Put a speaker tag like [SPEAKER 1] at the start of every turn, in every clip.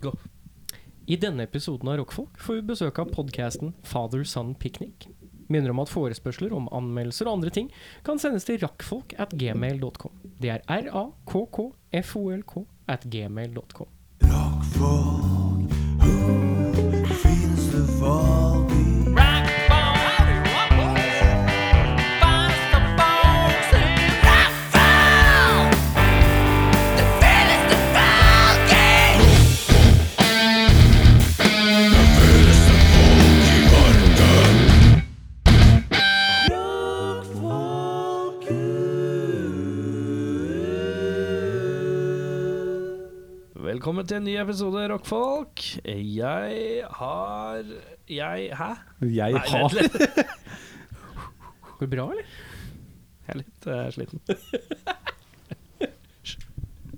[SPEAKER 1] Go. I denne episoden av Rockfolk får vi besøk av podcasten Father Son Picnic. Minner om at forespørsler om anmeldelser og andre ting kan sendes til rakkfolk at gmail.com. Det er r-a-k-k-f-o-l-k at gmail.com.
[SPEAKER 2] Velkommen til en ny episode Rockfolk. Jeg har Jeg Hæ?
[SPEAKER 3] Jeg har
[SPEAKER 2] vent litt.
[SPEAKER 1] Går det bra, eller?
[SPEAKER 2] Jeg er litt eh, sliten.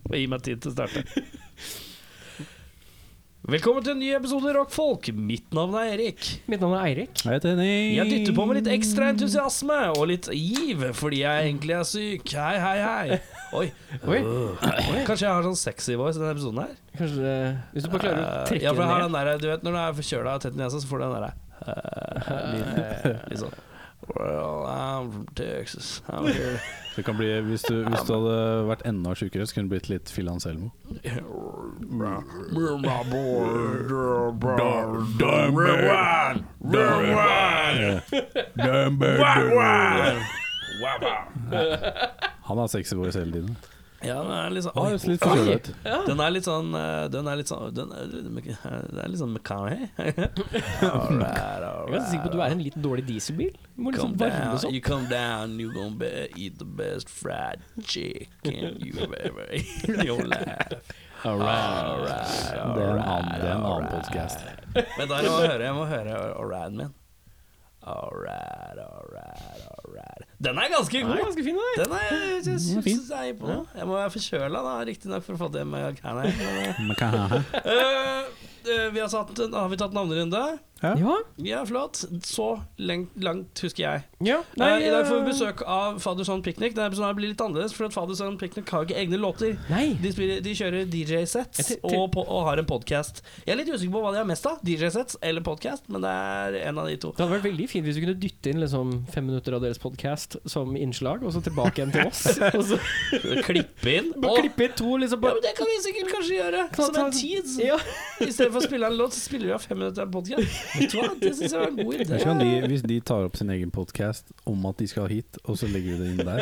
[SPEAKER 2] Gi meg tid til å starte. Velkommen til en ny episode Rockfolk. Mitt navn er Erik.
[SPEAKER 1] Mitt navn er Eirik.
[SPEAKER 3] Jeg heter Henning.
[SPEAKER 2] Jeg dytter på med litt ekstra entusiasme og litt giv fordi jeg egentlig er syk. Hei, hei, hei. Oi. Øh.
[SPEAKER 1] Oi,
[SPEAKER 2] Kanskje jeg har sånn sexy voice i denne episoden her?
[SPEAKER 1] kanskje det Hvis du bare klarer å
[SPEAKER 2] Eh, ja,
[SPEAKER 1] trekke
[SPEAKER 2] for jeg har
[SPEAKER 1] den
[SPEAKER 2] den der, du vet når du er forkjøla og tett i nesa, så får du den derre eh, lyden. Litt sånn Well, I'm from Texas. I'm here.
[SPEAKER 3] Det kan bli, hvis, du, hvis du hadde vært enda sjukere, så kunne du blitt litt Phil Anselmo.
[SPEAKER 2] We're my boy.
[SPEAKER 3] Han har sexy voice hele tiden.
[SPEAKER 2] Ja, den er litt sånn
[SPEAKER 3] Han
[SPEAKER 2] oi,
[SPEAKER 3] høres litt forkjøla ut.
[SPEAKER 2] Den er litt sånn eh, Den er litt sånn Den er litt, den er litt sånn McConaughey.
[SPEAKER 1] Jeg er ganske sikker på at du er en litt dårlig dieselbil. Du må liksom
[SPEAKER 2] Come
[SPEAKER 1] varmes
[SPEAKER 2] down,
[SPEAKER 1] opp.
[SPEAKER 2] you come down, you gonna be eat the best fried chicken you ever ate in your life.
[SPEAKER 3] Det er en annen, det er en annen podcast.
[SPEAKER 2] Vent, da, jeg må høre, jeg må høre Alright min. Alright, alright, alright. Den er ganske
[SPEAKER 1] Den er
[SPEAKER 2] god!
[SPEAKER 1] ganske fin, den der.
[SPEAKER 2] Den er jeg synes
[SPEAKER 3] Den er fin.
[SPEAKER 2] synes jeg er imponerende. Jeg må være forkjøla, da, riktignok, for å få det med Canada.
[SPEAKER 3] Men hva er det?
[SPEAKER 2] Eh, vi har, satt, har vi tatt navnerunde?
[SPEAKER 1] Ja.
[SPEAKER 2] Ja, flott. Så lengt, langt husker jeg.
[SPEAKER 1] ja.
[SPEAKER 2] Nei, Eh, I
[SPEAKER 1] øh.
[SPEAKER 2] dag får vi besøk av Fader Son Picnic. Denne episoden her blir litt annerledes, for at Fader Son Picnic har ikke egne låter.
[SPEAKER 1] eh, Nei.
[SPEAKER 2] De, spiller, de kjører
[SPEAKER 1] Jeg
[SPEAKER 2] DJ-sets
[SPEAKER 1] til- til-
[SPEAKER 2] og, på- og har en podkast. Jeg er litt usikker på hva de har mest av, DJ-sets eller podkast, men det er en av de to.
[SPEAKER 1] Det hadde vært veldig fint hvis du kunne dytte inn liksom fem minutter av deres podkast som innslag, og så tilbake igjen til oss. Og så
[SPEAKER 2] Klippe inn.
[SPEAKER 1] bare klippe inn to, liksom
[SPEAKER 2] ja,
[SPEAKER 1] bare
[SPEAKER 2] men det kan vi sikkert kanskje gjøre.
[SPEAKER 1] Ta-
[SPEAKER 2] Som
[SPEAKER 1] ta-
[SPEAKER 2] en tease.
[SPEAKER 1] ja.
[SPEAKER 2] I stedet for å spille en låt, så spiller vi av fem minutter av en podkast. Vet du hva, det syns jeg var en god
[SPEAKER 3] Kanskje kan
[SPEAKER 2] idé.
[SPEAKER 3] de, hvis de tar opp sin egen podcast om at de skal hit, og så legger du det inn der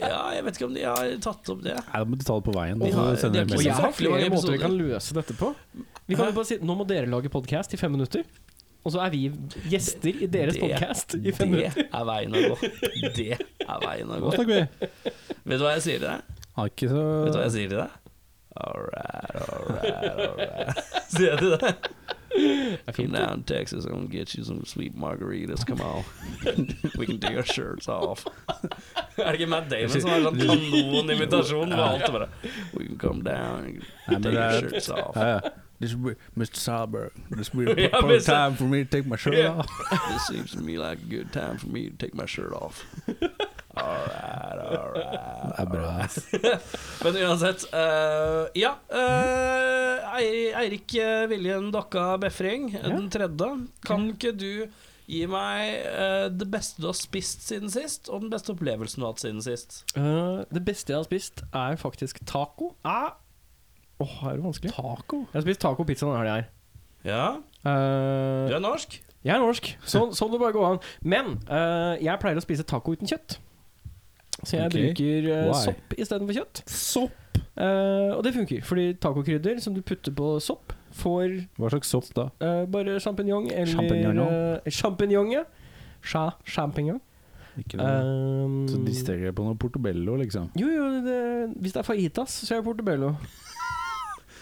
[SPEAKER 2] Ja, jeg vet ikke om de har tatt opp det.
[SPEAKER 3] Nei, da må du ta det på veien.
[SPEAKER 2] Vi
[SPEAKER 3] Og så
[SPEAKER 2] har-
[SPEAKER 3] sender
[SPEAKER 2] det er
[SPEAKER 3] du en
[SPEAKER 1] Og
[SPEAKER 3] melding.
[SPEAKER 1] jeg har
[SPEAKER 2] Mange
[SPEAKER 1] flere måter
[SPEAKER 2] episoder.
[SPEAKER 1] vi kan løse dette på. Vi kan jo bare si nå må dere lage podkast i fem minutter. Og så er vi gjester i deres
[SPEAKER 2] Det-
[SPEAKER 1] podkast i fem
[SPEAKER 2] Det
[SPEAKER 1] minutter.
[SPEAKER 2] er veien å gå. Det er veien å
[SPEAKER 3] Hva
[SPEAKER 2] gå.
[SPEAKER 3] snakker vi?
[SPEAKER 2] Vet du hva jeg sier til deg?
[SPEAKER 3] Har ikke så
[SPEAKER 2] Vet du hva jeg sier til deg? Alright, alright, alright. Sier jeg til deg? Come down to Texas, I'm gonna get you some sweet margaritas. Come on. We can take our shirts off. er det ikke Matt Damon som har sånn kanonimitasjon med alt det bare We can come down and
[SPEAKER 3] Nei, men
[SPEAKER 2] take our
[SPEAKER 3] det er-
[SPEAKER 2] shirts off.
[SPEAKER 3] Ja, ja. This will be, Mr. Saber, this will be a
[SPEAKER 2] Ja,
[SPEAKER 3] proper
[SPEAKER 2] Mr.
[SPEAKER 3] time for me to take my shirt
[SPEAKER 2] Ja.
[SPEAKER 3] off.
[SPEAKER 2] This seems to me like a good time for me to take my shirt off. Alright, alright.
[SPEAKER 3] Det er bra. ass.
[SPEAKER 2] Men uansett eh, Ja. eh, Eir- Eirik eh, Viljen Dokka Befring, eh, den tredje. Kan
[SPEAKER 1] Mm.
[SPEAKER 2] ikke du gi meg eh, det beste du har spist siden sist, og den beste opplevelsen du har hatt siden sist?
[SPEAKER 1] Eh, det beste jeg har spist, er faktisk taco. Ah. Åh, er det vanskelig?
[SPEAKER 3] Taco?
[SPEAKER 1] Jeg har spist taco og pizza denne helga her.
[SPEAKER 2] Ja,
[SPEAKER 1] Eh,
[SPEAKER 2] du er norsk?
[SPEAKER 1] Jeg er norsk, sånn sånn det bare går an. Men eh, jeg pleier å spise taco uten kjøtt. Så jeg
[SPEAKER 3] Ok.
[SPEAKER 1] bruker eh,
[SPEAKER 3] Why?
[SPEAKER 1] sopp istedenfor kjøtt.
[SPEAKER 3] Sopp?
[SPEAKER 1] Eh, og det funker, fordi tacokrydder som du putter på sopp, får
[SPEAKER 3] Hva slags sopp da?
[SPEAKER 1] eh, bare sjampinjong eller
[SPEAKER 3] Champignon.
[SPEAKER 1] eh, Sjampinjong, ja. Sja, sjampinjong.
[SPEAKER 3] Ikke
[SPEAKER 2] Eh,
[SPEAKER 3] noe.
[SPEAKER 1] Um,
[SPEAKER 3] så distraherer jeg på noe portobello, liksom.
[SPEAKER 1] Jo, jo, det, hvis det er fajitas, så er det portobello.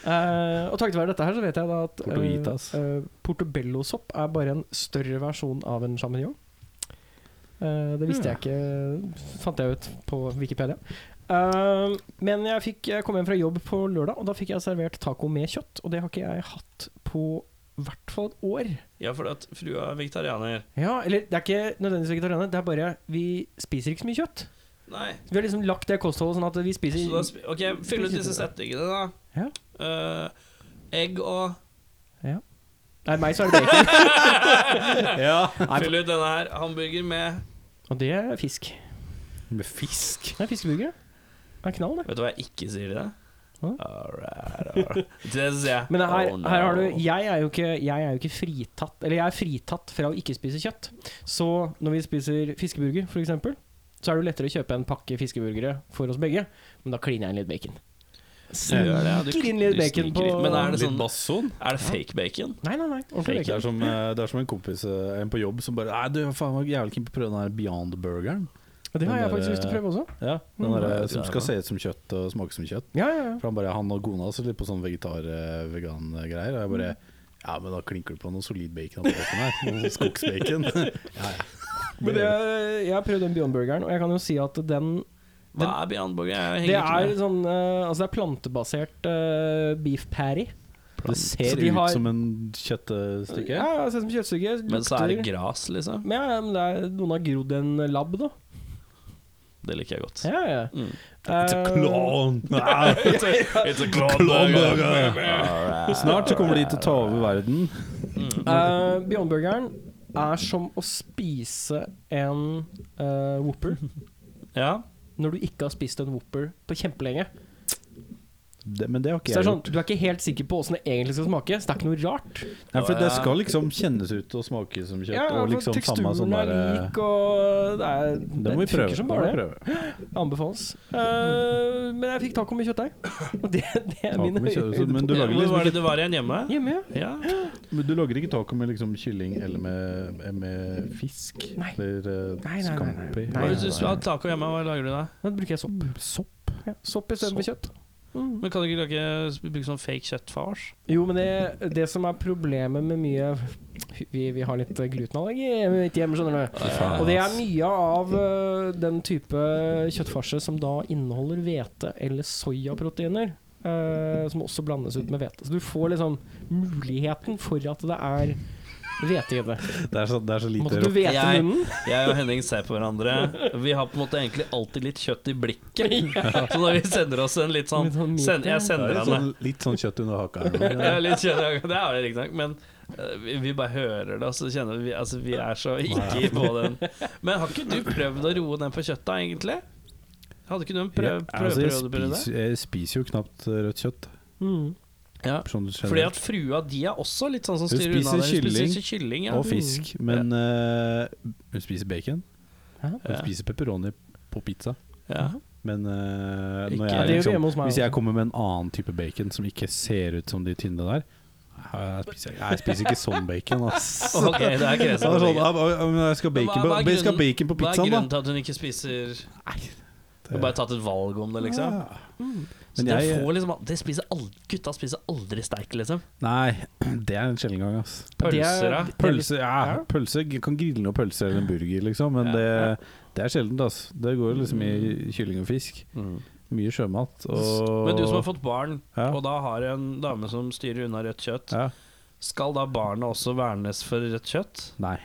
[SPEAKER 1] Eh, og takket være dette her, så vet jeg da at eh,
[SPEAKER 3] Portoitas.
[SPEAKER 1] eh, portobellosopp er bare en større versjon av en sjampinjong. Eh, det visste jeg ikke, fant jeg ut på Wikipedia. Eh, men jeg, fikk, jeg kom hjem fra jobb på lørdag, og da fikk jeg servert taco med kjøtt. Og det har ikke jeg hatt på i hvert fall et år.
[SPEAKER 2] Ja, for at frua er vegetarianer.
[SPEAKER 1] Ja, eller det er ikke nødvendigvis vegetarianer, det er bare vi spiser ikke så mye kjøtt.
[SPEAKER 2] Nei.
[SPEAKER 1] Vi har liksom lagt det kostholdet sånn at vi
[SPEAKER 2] Så da,
[SPEAKER 1] spiser
[SPEAKER 2] sp- ok, fyll ut disse setningene, da.
[SPEAKER 1] Ja.
[SPEAKER 2] Eh, egg og
[SPEAKER 1] Nei, meg så er det bacon.
[SPEAKER 3] Ja.
[SPEAKER 2] Fyll ut denne her. Hamburger med
[SPEAKER 1] Og det er fisk.
[SPEAKER 3] Med fisk.
[SPEAKER 1] Det er fiskeburger. Det er knall, det.
[SPEAKER 2] Vet du hva jeg ikke sier til deg?
[SPEAKER 1] Hva?
[SPEAKER 2] Alright, alright. Det sier jeg.
[SPEAKER 1] Men her,
[SPEAKER 2] Oh, no.
[SPEAKER 1] her har du Jeg er jo ikke, jeg er jo ikke fritatt Eller jeg er fritatt fra å ikke spise kjøtt. Så når vi spiser fiskeburger, f.eks., så er det jo lettere å kjøpe en pakke fiskeburgere for oss begge. Men da kliner jeg inn litt bacon.
[SPEAKER 2] Du gjør det, ja. Du-
[SPEAKER 1] Sniker inn litt
[SPEAKER 2] du
[SPEAKER 1] bacon
[SPEAKER 2] sniker
[SPEAKER 1] på-
[SPEAKER 2] inn. Men er det, altså.
[SPEAKER 3] Litt
[SPEAKER 2] sånn,
[SPEAKER 3] basson.
[SPEAKER 2] er det fake bacon?
[SPEAKER 1] Nei, nei, nei.
[SPEAKER 3] Det
[SPEAKER 1] Ordentlig
[SPEAKER 3] er,
[SPEAKER 1] bacon.
[SPEAKER 3] som, eh, det er som en kompis eh, En på jobb som bare Nei, du faen, jeg var jævlig keen på å prøve den her Beyond Burgeren.
[SPEAKER 1] Og det har jeg
[SPEAKER 3] den
[SPEAKER 1] faktisk
[SPEAKER 3] der-
[SPEAKER 1] lyst til å prøve også.
[SPEAKER 3] Ja, den
[SPEAKER 1] Mm.
[SPEAKER 3] der, eh,
[SPEAKER 2] Ja, det
[SPEAKER 3] som
[SPEAKER 2] er
[SPEAKER 3] skal
[SPEAKER 2] det.
[SPEAKER 3] se ut som kjøtt og smake som kjøtt.
[SPEAKER 1] Ja, ja, ja.
[SPEAKER 3] For han, bare, han og kona også litt på sånn vegetar-vegan-greier. eh, Og jeg bare Ja, men da klinker du på noe solid bacon. av den bacon her. Noe Skogsbacon. ja, ja.
[SPEAKER 1] Men jeg, jeg har prøvd den Beyond Burgeren, og jeg kan jo si at den
[SPEAKER 2] Hva er Beyond Burger? Jeg henger
[SPEAKER 1] Det
[SPEAKER 2] ikke
[SPEAKER 1] er
[SPEAKER 2] med.
[SPEAKER 1] sånn eh, Altså, det er plantebasert eh, beef patty. Så
[SPEAKER 3] Det ser
[SPEAKER 1] de
[SPEAKER 3] ut
[SPEAKER 1] har-
[SPEAKER 3] som en kjøttstykke.
[SPEAKER 1] Ja, det ser ut som kjøttstykke.
[SPEAKER 2] Men så er det
[SPEAKER 1] lukter-
[SPEAKER 2] gras, liksom.
[SPEAKER 1] Men ja, men det er noen har grodd en labb, da.
[SPEAKER 2] Det liker jeg godt.
[SPEAKER 1] Ja, ja.
[SPEAKER 2] Mm.
[SPEAKER 3] It's a
[SPEAKER 1] Eh,
[SPEAKER 3] clone. Nei.
[SPEAKER 2] It's a clone
[SPEAKER 3] Clone
[SPEAKER 2] burger.
[SPEAKER 3] burger.
[SPEAKER 2] Alright.
[SPEAKER 3] Snart så kommer de til å ta over verden.
[SPEAKER 1] eh, Beyond Burgeren er som å spise en eh, Whopper
[SPEAKER 2] Ja.
[SPEAKER 1] når du ikke har spist en Whopper på kjempelenge.
[SPEAKER 3] Det, men det har ikke
[SPEAKER 1] Så det
[SPEAKER 3] jeg
[SPEAKER 1] er sånn,
[SPEAKER 3] gjort.
[SPEAKER 1] Du er ikke helt sikker på åssen det egentlig skal smake, så det er ikke noe rart.
[SPEAKER 3] Nei, for det skal liksom kjennes ut og smake som kjøtt.
[SPEAKER 1] Ja,
[SPEAKER 3] og
[SPEAKER 1] for
[SPEAKER 3] liksom samme
[SPEAKER 1] teksturen
[SPEAKER 3] sånn
[SPEAKER 1] er
[SPEAKER 3] der eh,
[SPEAKER 1] lik, og det, er,
[SPEAKER 3] Det må vi
[SPEAKER 1] funker
[SPEAKER 3] prøve.
[SPEAKER 1] Som
[SPEAKER 3] det må
[SPEAKER 1] bare
[SPEAKER 3] vi
[SPEAKER 1] det.
[SPEAKER 3] prøve.
[SPEAKER 1] Anbefales. Eh, men jeg fikk taco med kjøttdeig. Og det, det er
[SPEAKER 3] Taco
[SPEAKER 1] mine
[SPEAKER 3] med kjøttdeig, men du
[SPEAKER 1] høydepunkter.
[SPEAKER 3] lager
[SPEAKER 2] Hvor
[SPEAKER 3] liksom
[SPEAKER 2] var det
[SPEAKER 3] ikke-
[SPEAKER 2] du var igjen hjemme?
[SPEAKER 1] Hjemme, ja.
[SPEAKER 2] Ja.
[SPEAKER 3] Men du lager ikke taco med liksom kylling eller med, eh, med fisk?
[SPEAKER 1] Nei.
[SPEAKER 3] Eller eh,
[SPEAKER 1] Nei, nei, nei, nei. Nei,
[SPEAKER 3] scampi?
[SPEAKER 2] Hva
[SPEAKER 1] nei,
[SPEAKER 2] hvis du skulle ha taco hjemme, hva lager du da?
[SPEAKER 1] Da bruker jeg sopp.
[SPEAKER 3] Mm, Sopp?
[SPEAKER 1] Ja, sopp istedenfor kjøtt. Mm.
[SPEAKER 2] Men kan du ikke lage, bruke sånn fake kjøttfars?
[SPEAKER 1] Jo, men det, det som er problemet med mye Vi, vi har litt glutenallergi i mitt hjem, skjønner du.
[SPEAKER 3] faen,
[SPEAKER 1] Og det er
[SPEAKER 3] ass.
[SPEAKER 1] mye av øh, den type kjøttfarse som da inneholder hvete eller soyaproteiner. øh, som også blandes ut med hvete. Så du får liksom muligheten for at det er hvete i det.
[SPEAKER 3] Det er så, det er så lite
[SPEAKER 1] Måtte du
[SPEAKER 3] rått.
[SPEAKER 1] hvete
[SPEAKER 2] Jeg-
[SPEAKER 1] munnen?
[SPEAKER 2] Jeg og Henning ser på hverandre. Vi har på en måte egentlig alltid litt kjøtt i blikket. Så når vi sender oss en litt sånn
[SPEAKER 1] Litt sånn myk,
[SPEAKER 2] send,
[SPEAKER 1] ja.
[SPEAKER 2] Jeg
[SPEAKER 3] Det er
[SPEAKER 2] sender
[SPEAKER 3] litt
[SPEAKER 2] henne
[SPEAKER 3] sånn, litt sånn kjøtt under haka. her nå.
[SPEAKER 2] Det er litt kjøtt, det er det riktignok, men eh, vi, vi bare hører det, og så kjenner vi Altså, vi er så ikke på den. Men har ikke du prøvd å roe ned på kjøttet, egentlig? Hadde ikke du en prøv,
[SPEAKER 3] Jeg-
[SPEAKER 2] prøv,
[SPEAKER 3] altså, jeg,
[SPEAKER 2] prøv, prøv,
[SPEAKER 3] spiser, jeg spiser jo knapt eh, rødt kjøtt.
[SPEAKER 1] Mm.
[SPEAKER 2] Ja.
[SPEAKER 3] Sånn
[SPEAKER 2] Fordi
[SPEAKER 3] generelt.
[SPEAKER 2] at frua di er også litt sånn som
[SPEAKER 3] Hun
[SPEAKER 2] styrer unna.
[SPEAKER 3] spiser
[SPEAKER 2] det. Hun
[SPEAKER 3] kylling
[SPEAKER 2] spiser kylling ja.
[SPEAKER 3] Og fisk. Men eh, hun spiser bacon. Hun
[SPEAKER 2] Ja.
[SPEAKER 3] spiser pepperoni på pizza.
[SPEAKER 2] Ja.
[SPEAKER 3] Men eh,
[SPEAKER 2] Ikke- Ja,
[SPEAKER 3] når jeg,
[SPEAKER 2] det gjør
[SPEAKER 1] vi
[SPEAKER 3] liksom,
[SPEAKER 1] hjemme hos meg
[SPEAKER 3] hvis
[SPEAKER 1] også.
[SPEAKER 3] jeg kommer med en annen type bacon som ikke ser ut som de tynne der Jeg spiser, jeg spiser ikke sånn bacon, ass.
[SPEAKER 2] Ok, det er
[SPEAKER 3] Det er
[SPEAKER 2] kresen.
[SPEAKER 3] sånn, ja, men jeg skal ha bacon,
[SPEAKER 2] Hva- hva er
[SPEAKER 3] på- jeg skal
[SPEAKER 2] grunnen-
[SPEAKER 3] ha bacon på
[SPEAKER 2] Hva er
[SPEAKER 3] pizzaen,
[SPEAKER 2] grunnen
[SPEAKER 3] da.
[SPEAKER 2] til at hun ikke spiser Du
[SPEAKER 3] Det-
[SPEAKER 2] har bare tatt et valg om det, liksom?
[SPEAKER 3] Ja.
[SPEAKER 2] Så det
[SPEAKER 3] Men jeg-
[SPEAKER 2] får liksom al- det spiser aldri, Gutta spiser aldri steik, liksom.
[SPEAKER 3] Nei, det er en sjelden gang, ass.
[SPEAKER 1] Det
[SPEAKER 2] Pølser,
[SPEAKER 1] er-
[SPEAKER 2] da?
[SPEAKER 3] Pølse, ja,
[SPEAKER 1] Ja.
[SPEAKER 3] pølse jeg kan grille noe pølse eller en burger, liksom, men
[SPEAKER 2] Ja. Mm.
[SPEAKER 3] det, det er sjeldent, ass. Det går jo liksom i kylling og fisk. Mye sjømat. Og,
[SPEAKER 2] Men du som har fått barn,
[SPEAKER 3] Ja.
[SPEAKER 2] og da har en dame som styrer unna rødt kjøtt,
[SPEAKER 3] ja.
[SPEAKER 2] skal da barnet også vernes for rødt kjøtt?
[SPEAKER 3] Nei.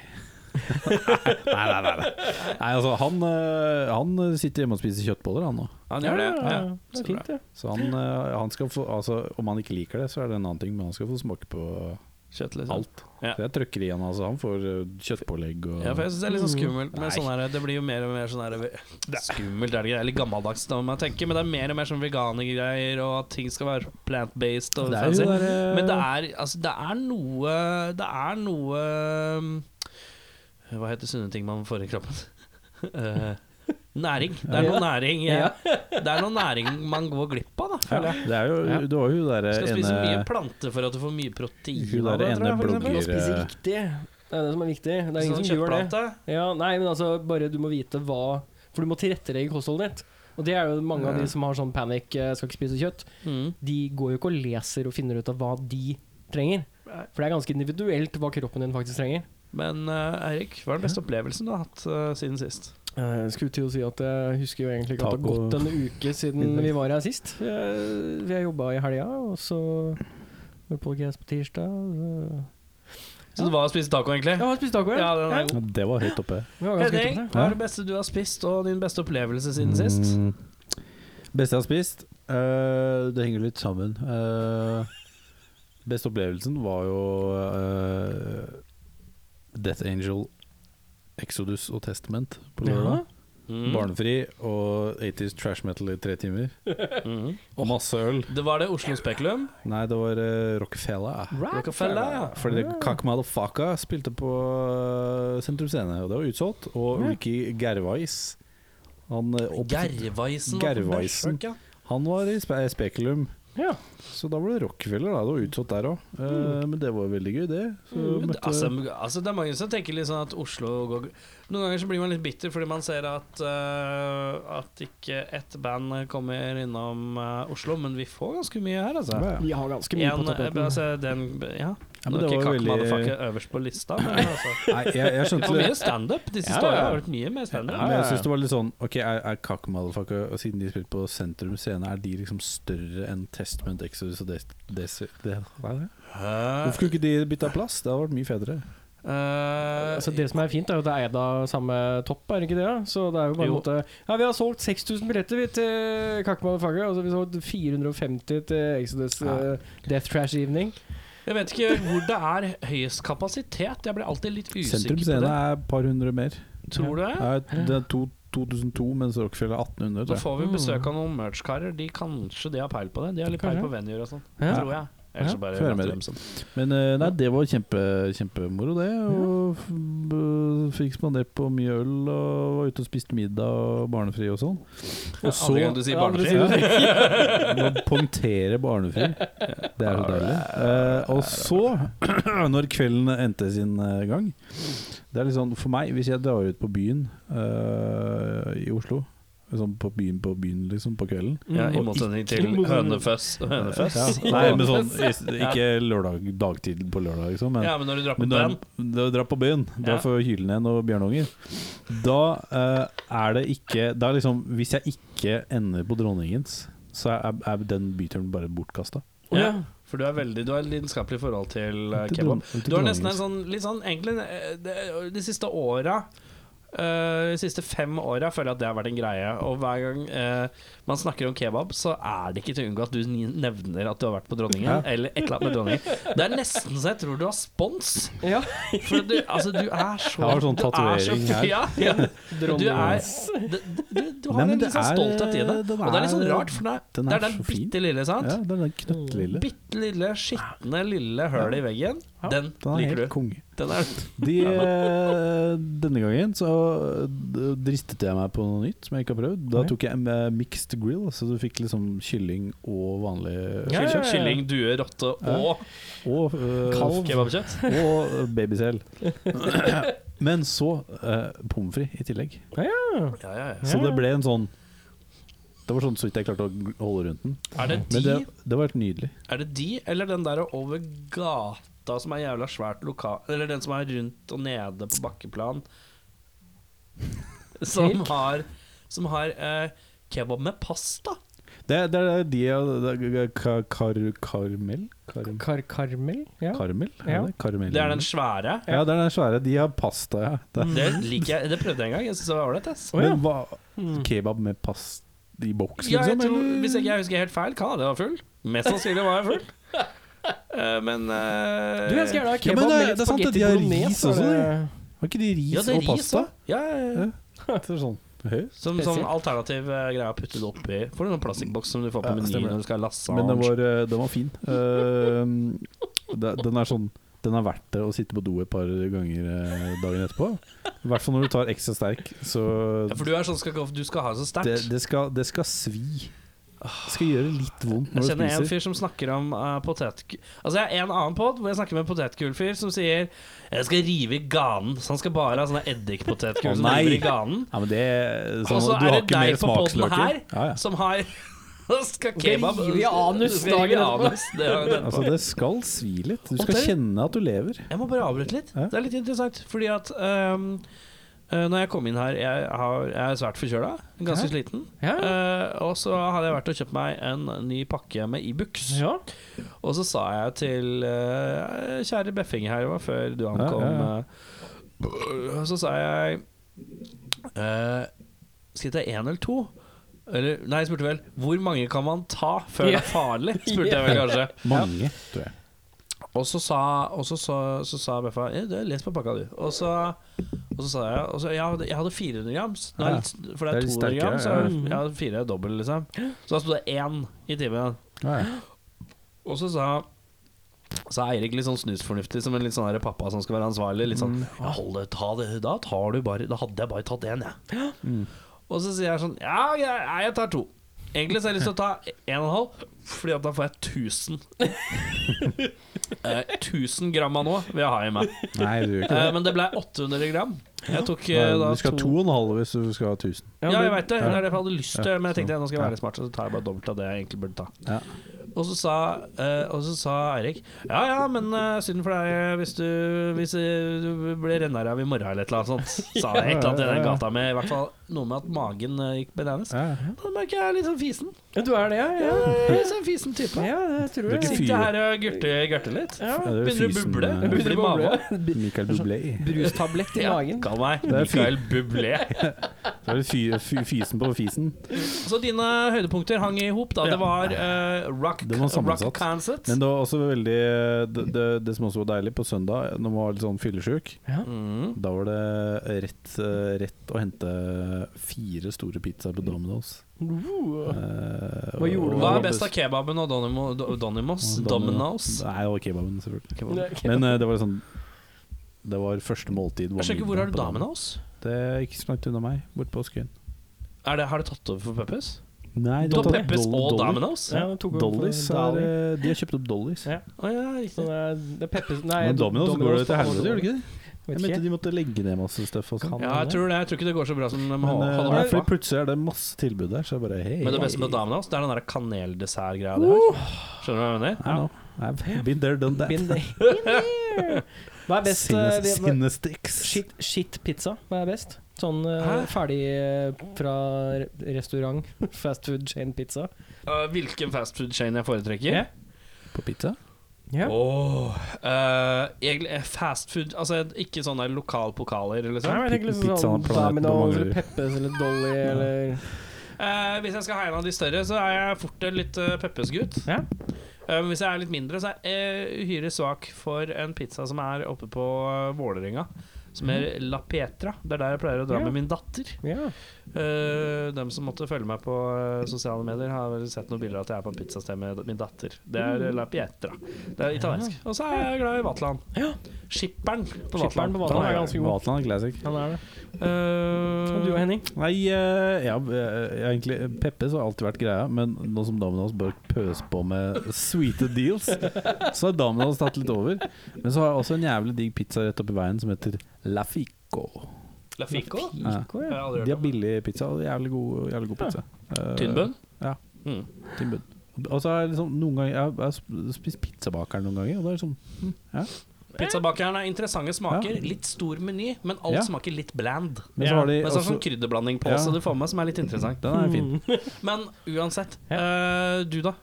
[SPEAKER 3] nei, nei, nei, nei. nei altså, han, eh, han sitter hjemme og spiser kjøttboller, han nå.
[SPEAKER 2] Han gjør det, ja.
[SPEAKER 1] det
[SPEAKER 2] Så
[SPEAKER 1] er fint, det.
[SPEAKER 3] Så han, eh, han skal få altså, Om han ikke liker det, så er det en annen ting, men han skal få smake på
[SPEAKER 2] Kjøtt, liksom.
[SPEAKER 3] alt.
[SPEAKER 2] Ja.
[SPEAKER 3] Så jeg trøkker i han, altså. Han får eh, kjøttpålegg og
[SPEAKER 2] Ja, for jeg synes det er litt sånn skummelt med
[SPEAKER 3] Mm. Nei.
[SPEAKER 2] sånn her Det blir jo mer og mer sånn her Skummelt er det ikke, eller gammeldags, da, må jeg tenke, men det er mer og mer sånn veganergreier, og at ting skal være plant-based og
[SPEAKER 3] Det er jo
[SPEAKER 2] fancy.
[SPEAKER 3] der, eh,
[SPEAKER 2] Men det er, altså, det er noe Det er noe um, Hva heter sunne ting man får i kroppen? Eh, Næring. Det er noe næring eh, Det er noe næring man går glipp av, da, føler
[SPEAKER 3] ja,
[SPEAKER 2] jeg.
[SPEAKER 3] det er jo,
[SPEAKER 1] Ja.
[SPEAKER 3] Du har jo hun derre
[SPEAKER 2] Skal spise mye
[SPEAKER 3] ene
[SPEAKER 2] planter for at du får mye
[SPEAKER 3] Hun
[SPEAKER 2] protein
[SPEAKER 3] der
[SPEAKER 2] av det, tror
[SPEAKER 3] ene
[SPEAKER 2] jeg. For eksempel.
[SPEAKER 3] blogger-
[SPEAKER 1] Å spise riktig. Det er det som er viktig. Det er ingen som gjør
[SPEAKER 2] Sånn
[SPEAKER 1] det.
[SPEAKER 2] kjøttplante.
[SPEAKER 1] Ja, nei, men altså bare du må vite hva For du må tilrettelegge kostholdet ditt. Og det er jo mange av de som har sånn panikk, eh, skal ikke spise kjøtt.
[SPEAKER 2] Mm.
[SPEAKER 1] De går jo ikke og leser og finner ut av hva de trenger. For det er ganske individuelt hva kroppen din faktisk trenger.
[SPEAKER 2] Men eh, Eirik, hva er den beste opplevelsen du har hatt eh, siden sist?
[SPEAKER 1] Eh, Jeg skulle til å si at jeg husker jo egentlig ikke at det har
[SPEAKER 3] Taco.
[SPEAKER 1] gått en uke siden vi var her sist. Eh, Jeg jobba i helga, og så var på gress på tirsdag. så-
[SPEAKER 2] Så det var å spise taco, egentlig?
[SPEAKER 1] Jeg har spist taco,
[SPEAKER 2] Ja, den er god.
[SPEAKER 3] Det var høyt oppe.
[SPEAKER 1] Vi var ganske
[SPEAKER 2] Henning,
[SPEAKER 1] ute på
[SPEAKER 2] hva
[SPEAKER 1] det.
[SPEAKER 2] er det beste du har spist, og din beste opplevelse siden sist?
[SPEAKER 3] Mm. Beste jeg har spist? Eh, det henger litt sammen. Eh, Beste opplevelsen var jo eh, Death Angel, Exodus og Testament på lørdag.
[SPEAKER 2] Mm.
[SPEAKER 3] Barnefri og 80s trash metal i tre timer.
[SPEAKER 2] Mhm.
[SPEAKER 3] Og masse øl.
[SPEAKER 2] Det var det Oslo Spekulum.
[SPEAKER 3] Nei, det var uh, Rockefeller.
[SPEAKER 2] Rockefeller, ja.
[SPEAKER 3] Fordi det Cock Motherfucker spilte på eh, Sentrum Scene, og det var utsolgt. Og Ricky Gervais Han, eh, opp-
[SPEAKER 2] Gervaisen.
[SPEAKER 3] Gervaisen. han var i spe Spekulum,
[SPEAKER 4] Ja.
[SPEAKER 3] så da var det Rockefeller. Da. Det var utsolgt der òg. Men det var veldig gøy, det. Så
[SPEAKER 2] Men
[SPEAKER 3] Mm. møtte-
[SPEAKER 2] Mm. Altså, altså, det er mange som tenker litt sånn at Oslo går Noen ganger så blir man litt bitter fordi man ser at eh, At ikke ett band kommer innom eh, Oslo, men vi får ganske mye her, altså.
[SPEAKER 3] Ja, ja.
[SPEAKER 4] Vi har ganske mye
[SPEAKER 2] En,
[SPEAKER 4] på
[SPEAKER 2] eh,
[SPEAKER 4] tapeten.
[SPEAKER 2] altså den, ja.
[SPEAKER 3] Ja,
[SPEAKER 2] Nå
[SPEAKER 3] men
[SPEAKER 2] er
[SPEAKER 3] det
[SPEAKER 2] ikke Kakk
[SPEAKER 3] var veldig
[SPEAKER 2] Motherfucker øverst på lista, men altså
[SPEAKER 3] Nei, jeg, jeg
[SPEAKER 2] Vi
[SPEAKER 3] skjønte
[SPEAKER 2] får
[SPEAKER 3] det.
[SPEAKER 2] mye standup de siste
[SPEAKER 4] Ja, ja.
[SPEAKER 2] årene. Det har vært mye mer standup.
[SPEAKER 3] Men jeg synes det var litt sånn Ok, er, er Kakk Motherfucker, og siden de spilte på Sentrum Scene, er de liksom større enn Testament Exodus og Des... Des det, hva er det?
[SPEAKER 2] Hæ?
[SPEAKER 3] Hvorfor kunne ikke de bytta plass? Det hadde vært mye fetere.
[SPEAKER 2] Eh,
[SPEAKER 4] Altså det som er fint, er jo at det er eid av samme topp, er det ikke det? da? Så det er jo bare en
[SPEAKER 2] Jo.
[SPEAKER 4] måte Ja, vi har solgt 6000 billetter vi til Kakmotherfucker. Altså vi har solgt 450 til Exodus
[SPEAKER 3] Ja.
[SPEAKER 4] eh, Death Trash Evening.
[SPEAKER 2] Jeg vet ikke hvor det er høyest kapasitet. Jeg blir alltid litt usikker
[SPEAKER 3] Sentrum
[SPEAKER 2] på
[SPEAKER 3] Scene
[SPEAKER 2] det.
[SPEAKER 3] er et par hundre mer.
[SPEAKER 2] Tror du det?
[SPEAKER 3] Ja, det er to, 2002, mens Rockefeller er 1800.
[SPEAKER 2] Da
[SPEAKER 3] Tror jeg.
[SPEAKER 2] får vi besøk av noen merch-karer. De kanskje de har peil på det. De har litt peil
[SPEAKER 4] Kanskje.
[SPEAKER 2] på venuer og sånn,
[SPEAKER 4] Ja.
[SPEAKER 2] tror jeg. Ellers
[SPEAKER 3] Ja,
[SPEAKER 2] så bare
[SPEAKER 3] får være med
[SPEAKER 2] later
[SPEAKER 3] det.
[SPEAKER 2] dem som.
[SPEAKER 3] Men eh, nei, det var kjempe, kjempemoro, det. Og f- b- fikk spandert på mye øl og var ute og spiste middag og barnefri og sånn. Og så
[SPEAKER 2] Andre gang du sier
[SPEAKER 4] Ja, andre
[SPEAKER 2] barnefri.
[SPEAKER 4] sier-
[SPEAKER 3] Må poengtere barnefri. Det er så deilig. Eh, og så, når kvelden endte sin eh, gang Det er litt sånn for meg, hvis jeg drar ut på byen eh, i Oslo Sånn på byen på byen, liksom, på kvelden
[SPEAKER 2] Ja, I
[SPEAKER 3] Og sånn-
[SPEAKER 2] motsetning
[SPEAKER 4] i
[SPEAKER 2] til
[SPEAKER 4] motsetning-
[SPEAKER 2] høneføss. høneføss.
[SPEAKER 3] Ja, nei, men sånn i- Ikke lørdag, dagtid på lørdag, liksom. Men,
[SPEAKER 2] Ja, men når du drar på
[SPEAKER 3] men
[SPEAKER 2] band
[SPEAKER 3] når når du drar på byen, drar
[SPEAKER 2] Ja.
[SPEAKER 3] for Hylen og Bjørnunger, da eh, er det ikke Da er liksom Hvis jeg ikke ender på Dronningens, så er, er den byturen bare bortkasta.
[SPEAKER 2] ja, For du er veldig Du har et lidenskapelig forhold til eh, kebab. Du har nesten en sånn, litt sånn egentlig, eh, det, De siste åra eh, De siste fem åra føler jeg at det har vært en greie. Og hver gang eh, man snakker om kebab, så er det ikke til å unngå at du ni- nevner at du har vært på Dronningen.
[SPEAKER 3] Ja.
[SPEAKER 2] Eller et eller annet med Dronningen. Det er nesten så jeg tror du har spons.
[SPEAKER 4] Ja.
[SPEAKER 2] For du, altså, du er så
[SPEAKER 3] Jeg har sånn
[SPEAKER 2] du er så-
[SPEAKER 3] tatovering her.
[SPEAKER 2] Ja, ja. Du, er,
[SPEAKER 4] Dronningens.
[SPEAKER 2] du, du, du har
[SPEAKER 3] Nei, men
[SPEAKER 2] en
[SPEAKER 3] det
[SPEAKER 2] litt sånn
[SPEAKER 3] er-
[SPEAKER 2] stolthet i det.
[SPEAKER 3] den
[SPEAKER 2] Og det er litt sånn
[SPEAKER 3] er-
[SPEAKER 2] rart, for det er
[SPEAKER 3] den
[SPEAKER 2] det,
[SPEAKER 3] er
[SPEAKER 2] er den
[SPEAKER 3] så fin.
[SPEAKER 2] bitte lille, sant?
[SPEAKER 3] Ja, den er knøttlille.
[SPEAKER 2] Bitte lille, skitne, lille høl i veggen.
[SPEAKER 4] Ja.
[SPEAKER 2] Den
[SPEAKER 3] Den er
[SPEAKER 2] liker
[SPEAKER 3] helt
[SPEAKER 2] du.
[SPEAKER 3] konge.
[SPEAKER 2] Den er
[SPEAKER 3] De, eh, denne gangen så eh, dristet jeg meg på noe nytt som jeg ikke har prøvd. Da
[SPEAKER 4] Oi.
[SPEAKER 3] tok jeg en eh, mixed grill, så du fikk liksom kylling og vanlig
[SPEAKER 4] Ja,
[SPEAKER 2] Kylling,
[SPEAKER 4] ja, ja.
[SPEAKER 2] kylling, due, rotte og
[SPEAKER 3] Og, eh,
[SPEAKER 2] kebabkjøtt.
[SPEAKER 3] og babysel. Men så eh, pommes frites i tillegg.
[SPEAKER 2] Ja, ja, ja.
[SPEAKER 3] Så det ble en sånn Det var sånn så vidt jeg klarte å gl- holde rundt den.
[SPEAKER 2] Er, det de,
[SPEAKER 3] Men det, det var helt nydelig.
[SPEAKER 2] er det de, eller den der over gata som er jævla svært lokal Eller den som er rundt og nede på bakkeplan, som har, som har eh, kebab med pasta?
[SPEAKER 3] Det, det er de det er ka- kar, Karmel? Karm,
[SPEAKER 4] Kar Karmel? Ja.
[SPEAKER 3] karmel? Er
[SPEAKER 4] Ja.
[SPEAKER 3] det? Karmel?
[SPEAKER 2] Det er den svære.
[SPEAKER 3] Ja, det er den svære. De har pasta, ja. Det.
[SPEAKER 2] Det liker jeg. Det prøvde jeg en gang. Jeg synes det var ålreit. ass.
[SPEAKER 4] Å, ja.
[SPEAKER 3] Men hva
[SPEAKER 4] Mm.
[SPEAKER 3] Kebab med pasta i boks,
[SPEAKER 2] Ja, jeg
[SPEAKER 3] liksom?
[SPEAKER 2] tror,
[SPEAKER 3] eller?
[SPEAKER 2] hvis ikke jeg husker helt feil, kan jeg det var full. Mest sannsynlig var jeg full. Eh, men eh,
[SPEAKER 4] Du, jeg skal gjerne ha
[SPEAKER 3] Ja,
[SPEAKER 4] kebab
[SPEAKER 3] men det er-
[SPEAKER 4] med litt
[SPEAKER 3] det er sant at
[SPEAKER 4] spagetti
[SPEAKER 3] de har
[SPEAKER 4] bolognese,
[SPEAKER 3] ris
[SPEAKER 4] var
[SPEAKER 3] også,
[SPEAKER 4] det-
[SPEAKER 3] Har ikke de ris
[SPEAKER 2] ja, det er
[SPEAKER 3] og
[SPEAKER 2] ris
[SPEAKER 3] pasta?
[SPEAKER 2] også. Ja, ja, ja.
[SPEAKER 3] Det er sånn Høy.
[SPEAKER 2] Som, som
[SPEAKER 4] Spesielt.
[SPEAKER 2] alternativ eh, greie å putte det oppi. Får du noen plastikkboks som du får på
[SPEAKER 3] Ja,
[SPEAKER 2] menyen
[SPEAKER 3] stemmer.
[SPEAKER 2] når du skal ha lasagne?
[SPEAKER 3] Men den var, eh, den var fin. Eh, det- den er sånn Den er verdt det å sitte på do et par ganger eh, dagen etterpå. I hvert fall når du tar ekstra sterk, så
[SPEAKER 2] ja, for du er sånn skal, gå- du skal ha det så
[SPEAKER 3] det,
[SPEAKER 2] sterkt.
[SPEAKER 3] det, skal, det skal svi. Det skal gjøre litt vondt
[SPEAKER 2] Jeg
[SPEAKER 3] når du
[SPEAKER 2] kjenner en
[SPEAKER 3] spiser.
[SPEAKER 2] fyr som snakker om uh, potet... Altså jeg har en annen pod hvor jeg snakker med en potetgullfyr som sier 'Jeg skal rive i ganen'. Så han skal bare ha sånne eddikpotetgull
[SPEAKER 3] Å,
[SPEAKER 2] som
[SPEAKER 3] nei.
[SPEAKER 2] river i ganen.
[SPEAKER 3] Ja, men det
[SPEAKER 2] Og
[SPEAKER 3] sånn,
[SPEAKER 2] så
[SPEAKER 3] Du
[SPEAKER 2] er
[SPEAKER 3] har
[SPEAKER 2] det
[SPEAKER 3] ikke mer
[SPEAKER 2] deg på podden
[SPEAKER 3] smaksløker.
[SPEAKER 2] her.
[SPEAKER 3] Ja, ja.
[SPEAKER 2] Som har skal
[SPEAKER 4] Skal
[SPEAKER 2] kebab
[SPEAKER 4] rive i anus
[SPEAKER 2] Rive i
[SPEAKER 4] dagen etterpå.
[SPEAKER 2] anus, det er den.
[SPEAKER 3] Altså, det skal svi litt. Du
[SPEAKER 2] Og
[SPEAKER 3] skal
[SPEAKER 2] det-
[SPEAKER 3] kjenne at du lever.
[SPEAKER 2] Jeg må bare avbryte litt.
[SPEAKER 3] Ja.
[SPEAKER 2] Det er litt interessant. Fordi at ehm, eh, når jeg kom inn her Jeg, har, jeg er svært forkjøla. Ganske
[SPEAKER 4] Ja.
[SPEAKER 2] sliten.
[SPEAKER 4] Ja.
[SPEAKER 2] Eh, og så hadde jeg vært og kjøpt meg en ny pakke med Ibux.
[SPEAKER 4] ja.
[SPEAKER 2] Og så sa jeg til eh, kjære Beffing her, det var før du ankom
[SPEAKER 3] Ja, ja,
[SPEAKER 2] eh, Og så sa jeg eh, Skal jeg ta én eller to? Eller, nei, jeg spurte vel Hvor mange kan man ta før det er farlig? Spurte jeg vel kanskje.
[SPEAKER 3] Mange, tror jeg.
[SPEAKER 2] Og så sa, og så, så, så sa Beffa «Eh, Du har lest på pakka, du. Og så, og så sa jeg og så, jeg, hadde, jeg hadde 400 grams. Nå er jeg litt, for det er
[SPEAKER 3] Det er
[SPEAKER 2] 200
[SPEAKER 3] litt sterkere,
[SPEAKER 2] gram, så
[SPEAKER 3] ja.
[SPEAKER 2] jeg, jeg hadde fire dobbel, liksom. Så da sto det én i timen.
[SPEAKER 3] Ja,
[SPEAKER 2] Og så sa så er Eirik litt sånn snusfornuftig, som en litt sånn her pappa som skal være ansvarlig. Litt sånn
[SPEAKER 3] Mm,
[SPEAKER 2] ja, 'Hold det, ta det, da tar du bare Da hadde jeg bare tatt én, jeg'. Mm. Og så sier jeg sånn 'Ja, jeg, nei, jeg tar to'. Egentlig så har jeg lyst til å ta en og en halv, Fordi at da får jeg 1000. eh, 1000 gram av noe vil jeg ha i meg.
[SPEAKER 3] Nei, du gjør ikke
[SPEAKER 2] Eh,
[SPEAKER 3] det.
[SPEAKER 2] men det ble 800 gram. Jeg tok eh,
[SPEAKER 3] Nei,
[SPEAKER 2] da
[SPEAKER 3] Du skal ha to og en halv hvis du skal ha 1000.
[SPEAKER 2] Ja, jeg veit det. Det er det jeg hadde lyst til.
[SPEAKER 3] Ja,
[SPEAKER 2] Men jeg tenkte
[SPEAKER 3] så-
[SPEAKER 2] nå skal jeg
[SPEAKER 3] ja.
[SPEAKER 2] være smart, så tar jeg bare dobbelt av det jeg egentlig burde ta.
[SPEAKER 3] Ja.
[SPEAKER 2] Og så sa, eh, og så sa Eirik Ja ja, men eh, synd for deg eh, hvis du, hvis eh, du ble rennaræv i morgen eller et eller annet sånt. Sa jeg et eller annet i den gata med i hvert fall noe med at magen eh, gikk bananas.
[SPEAKER 3] Ja.
[SPEAKER 2] Da merker jeg litt sånn fisen.
[SPEAKER 4] Ja, Du er det, ja?
[SPEAKER 2] Ja,
[SPEAKER 4] Ja,
[SPEAKER 2] jeg er litt sånn fisen type.
[SPEAKER 4] ja det tror
[SPEAKER 3] Du er
[SPEAKER 4] jeg.
[SPEAKER 3] ikke
[SPEAKER 2] Sitter her og gørter gørter litt.
[SPEAKER 4] Ja.
[SPEAKER 3] Ja, det er
[SPEAKER 2] Begynner å
[SPEAKER 3] fysen,
[SPEAKER 2] buble.
[SPEAKER 3] eh,
[SPEAKER 2] Buble i magen.
[SPEAKER 3] Michael Bublé.
[SPEAKER 4] Brustablett i
[SPEAKER 2] Ja,
[SPEAKER 4] magen.
[SPEAKER 2] kall meg
[SPEAKER 3] er fy-
[SPEAKER 2] Mikael Bublé.
[SPEAKER 3] Så er det fy, fy, fisen på fisen.
[SPEAKER 2] Så dine høydepunkter hang i hop. da.
[SPEAKER 4] Ja.
[SPEAKER 2] Det var eh, rock,
[SPEAKER 3] Det var sammensatt.
[SPEAKER 2] rock concert.
[SPEAKER 3] Men det var også veldig Det, det, det som også var deilig på søndag, når man var litt sånn fyllesjuk,
[SPEAKER 2] Mm.
[SPEAKER 3] da var det rett, eh, rett å hente fire store pizzaer på Domino's.
[SPEAKER 4] Uh,
[SPEAKER 3] Hva
[SPEAKER 4] Hva gjorde du?
[SPEAKER 2] Hva er best av kebaben og Donimo- Do- Donimos? Dominoes?
[SPEAKER 3] Nei, det var kebaben, selvfølgelig.
[SPEAKER 4] det er ikke-
[SPEAKER 3] Men eh, det var sånn Det var første måltid. var
[SPEAKER 2] Jeg skjønner ikke, hvor
[SPEAKER 3] middag
[SPEAKER 2] har du
[SPEAKER 3] på Domino's.
[SPEAKER 2] Dominoes?
[SPEAKER 3] Det er ikke så langt unna meg, borte på Skøyen.
[SPEAKER 2] Er det, har det tatt over for Peppes?
[SPEAKER 3] Nei,
[SPEAKER 2] Da
[SPEAKER 3] var
[SPEAKER 2] Peppes
[SPEAKER 3] Dolly-
[SPEAKER 2] og
[SPEAKER 3] Dolly.
[SPEAKER 2] Dominoes?
[SPEAKER 4] Ja, det tok over for
[SPEAKER 3] Dollys er,
[SPEAKER 4] Dali.
[SPEAKER 3] eh, De har kjøpt opp Dollys.
[SPEAKER 4] Ja.
[SPEAKER 2] Å ja,
[SPEAKER 4] Så
[SPEAKER 2] riktig.
[SPEAKER 4] det er, det er Peppes Nei,
[SPEAKER 3] Men Domino's går det til helvete, gjør det ikke det? Jeg
[SPEAKER 4] Vet
[SPEAKER 3] mente
[SPEAKER 4] ikke.
[SPEAKER 3] de måtte legge ned masse stuff. Og sånn.
[SPEAKER 2] Ja, jeg tror det. Jeg tror ikke det går så bra som de
[SPEAKER 3] Men,
[SPEAKER 2] hadde
[SPEAKER 3] eh, nei, fordi
[SPEAKER 2] håpa.
[SPEAKER 3] plutselig er det masse tilbud der, så jeg bare hei.
[SPEAKER 2] Men det beste med Dominoes, det er den der kaneldessertgreia de har. Skjønner du hva jeg mener?
[SPEAKER 3] I know. I've been there, done that.
[SPEAKER 4] Been there. Been there. Hva er best? eh, det- hva-
[SPEAKER 3] Sinnestix.
[SPEAKER 4] Shit, shit pizza, hva er best? Sånn eh,
[SPEAKER 2] Hæ?
[SPEAKER 4] ferdig eh, fra re- restaurant, fast food chain pizza.
[SPEAKER 2] Øh, hvilken fastfood-chain jeg foretrekker?
[SPEAKER 4] Ja.
[SPEAKER 3] På pizza?
[SPEAKER 4] Ja.
[SPEAKER 2] Åh, øh, egentlig eh, fastfood Altså ikke sånne der lokalpokaler, liksom.
[SPEAKER 4] Nei, men jeg tenker liksom
[SPEAKER 3] Pizzaen
[SPEAKER 4] sånn
[SPEAKER 3] er
[SPEAKER 4] Domino's
[SPEAKER 3] planeten, hvor mange
[SPEAKER 4] eller Peppes eller Dolly eller
[SPEAKER 2] Eh, hvis jeg skal ha en av de større, så er jeg fort en litt uh, Peppes-gutt.
[SPEAKER 4] Ja.
[SPEAKER 2] Eh, men hvis jeg er litt mindre, så er jeg eh, uhyre svak for en pizza som er oppe på eh, Vålerenga. Som er La Pietra. Det er der jeg pleier å dra
[SPEAKER 4] Mhm. Ja.
[SPEAKER 2] med min datter.
[SPEAKER 4] Ja.
[SPEAKER 2] Eh, dem som måtte følge meg på eh, sosiale medier, har vel sett noen bilder av at jeg er på et pizzasted med min datter. Det er
[SPEAKER 4] Mm.
[SPEAKER 2] eh, La Pietra. Det er italiensk. Og så er jeg glad i Vatland.
[SPEAKER 4] Ja.
[SPEAKER 2] Skipperen på
[SPEAKER 4] Skipperen på
[SPEAKER 2] Vatland.
[SPEAKER 4] Vatland er ganske god.
[SPEAKER 3] Vatland er classic.
[SPEAKER 4] Han er det.
[SPEAKER 2] Eh,
[SPEAKER 4] Og du og Henning?
[SPEAKER 3] Nei, eh, ja, eh, egentlig Peppes har alltid vært greia, men nå som Domino's bare pøser på med sweete deals, så har Domino's tatt litt over. Men så har jeg også en jævlig digg pizza rett oppi veien som heter La Fico.
[SPEAKER 2] La Fico?
[SPEAKER 3] Ja.
[SPEAKER 4] Pico,
[SPEAKER 2] Jeg
[SPEAKER 4] ja.
[SPEAKER 2] har aldri
[SPEAKER 3] De
[SPEAKER 2] hørt
[SPEAKER 3] har
[SPEAKER 2] om det.
[SPEAKER 3] billig pizza og jævlig god, jævlig god pizza. Eh,
[SPEAKER 2] Tynnbønn?
[SPEAKER 3] Ja.
[SPEAKER 2] Mm.
[SPEAKER 3] Timbun. Og så har jeg liksom noen ganger Jeg har- jeg har sp- spist pizzabakeren noen ganger, og det er liksom
[SPEAKER 2] Pizzabakeren er interessante smaker.
[SPEAKER 3] Eh. Ja.
[SPEAKER 2] Litt stor meny, men alt
[SPEAKER 3] Ja.
[SPEAKER 2] smaker litt bland.
[SPEAKER 3] Men
[SPEAKER 4] Ja,
[SPEAKER 3] så har de
[SPEAKER 2] Men så er det sånn Mm.
[SPEAKER 3] også
[SPEAKER 2] krydderblanding på,
[SPEAKER 3] Ja.
[SPEAKER 2] så du får med som er litt interessant.
[SPEAKER 3] Den er fin.
[SPEAKER 2] Men uansett. eh, du, da?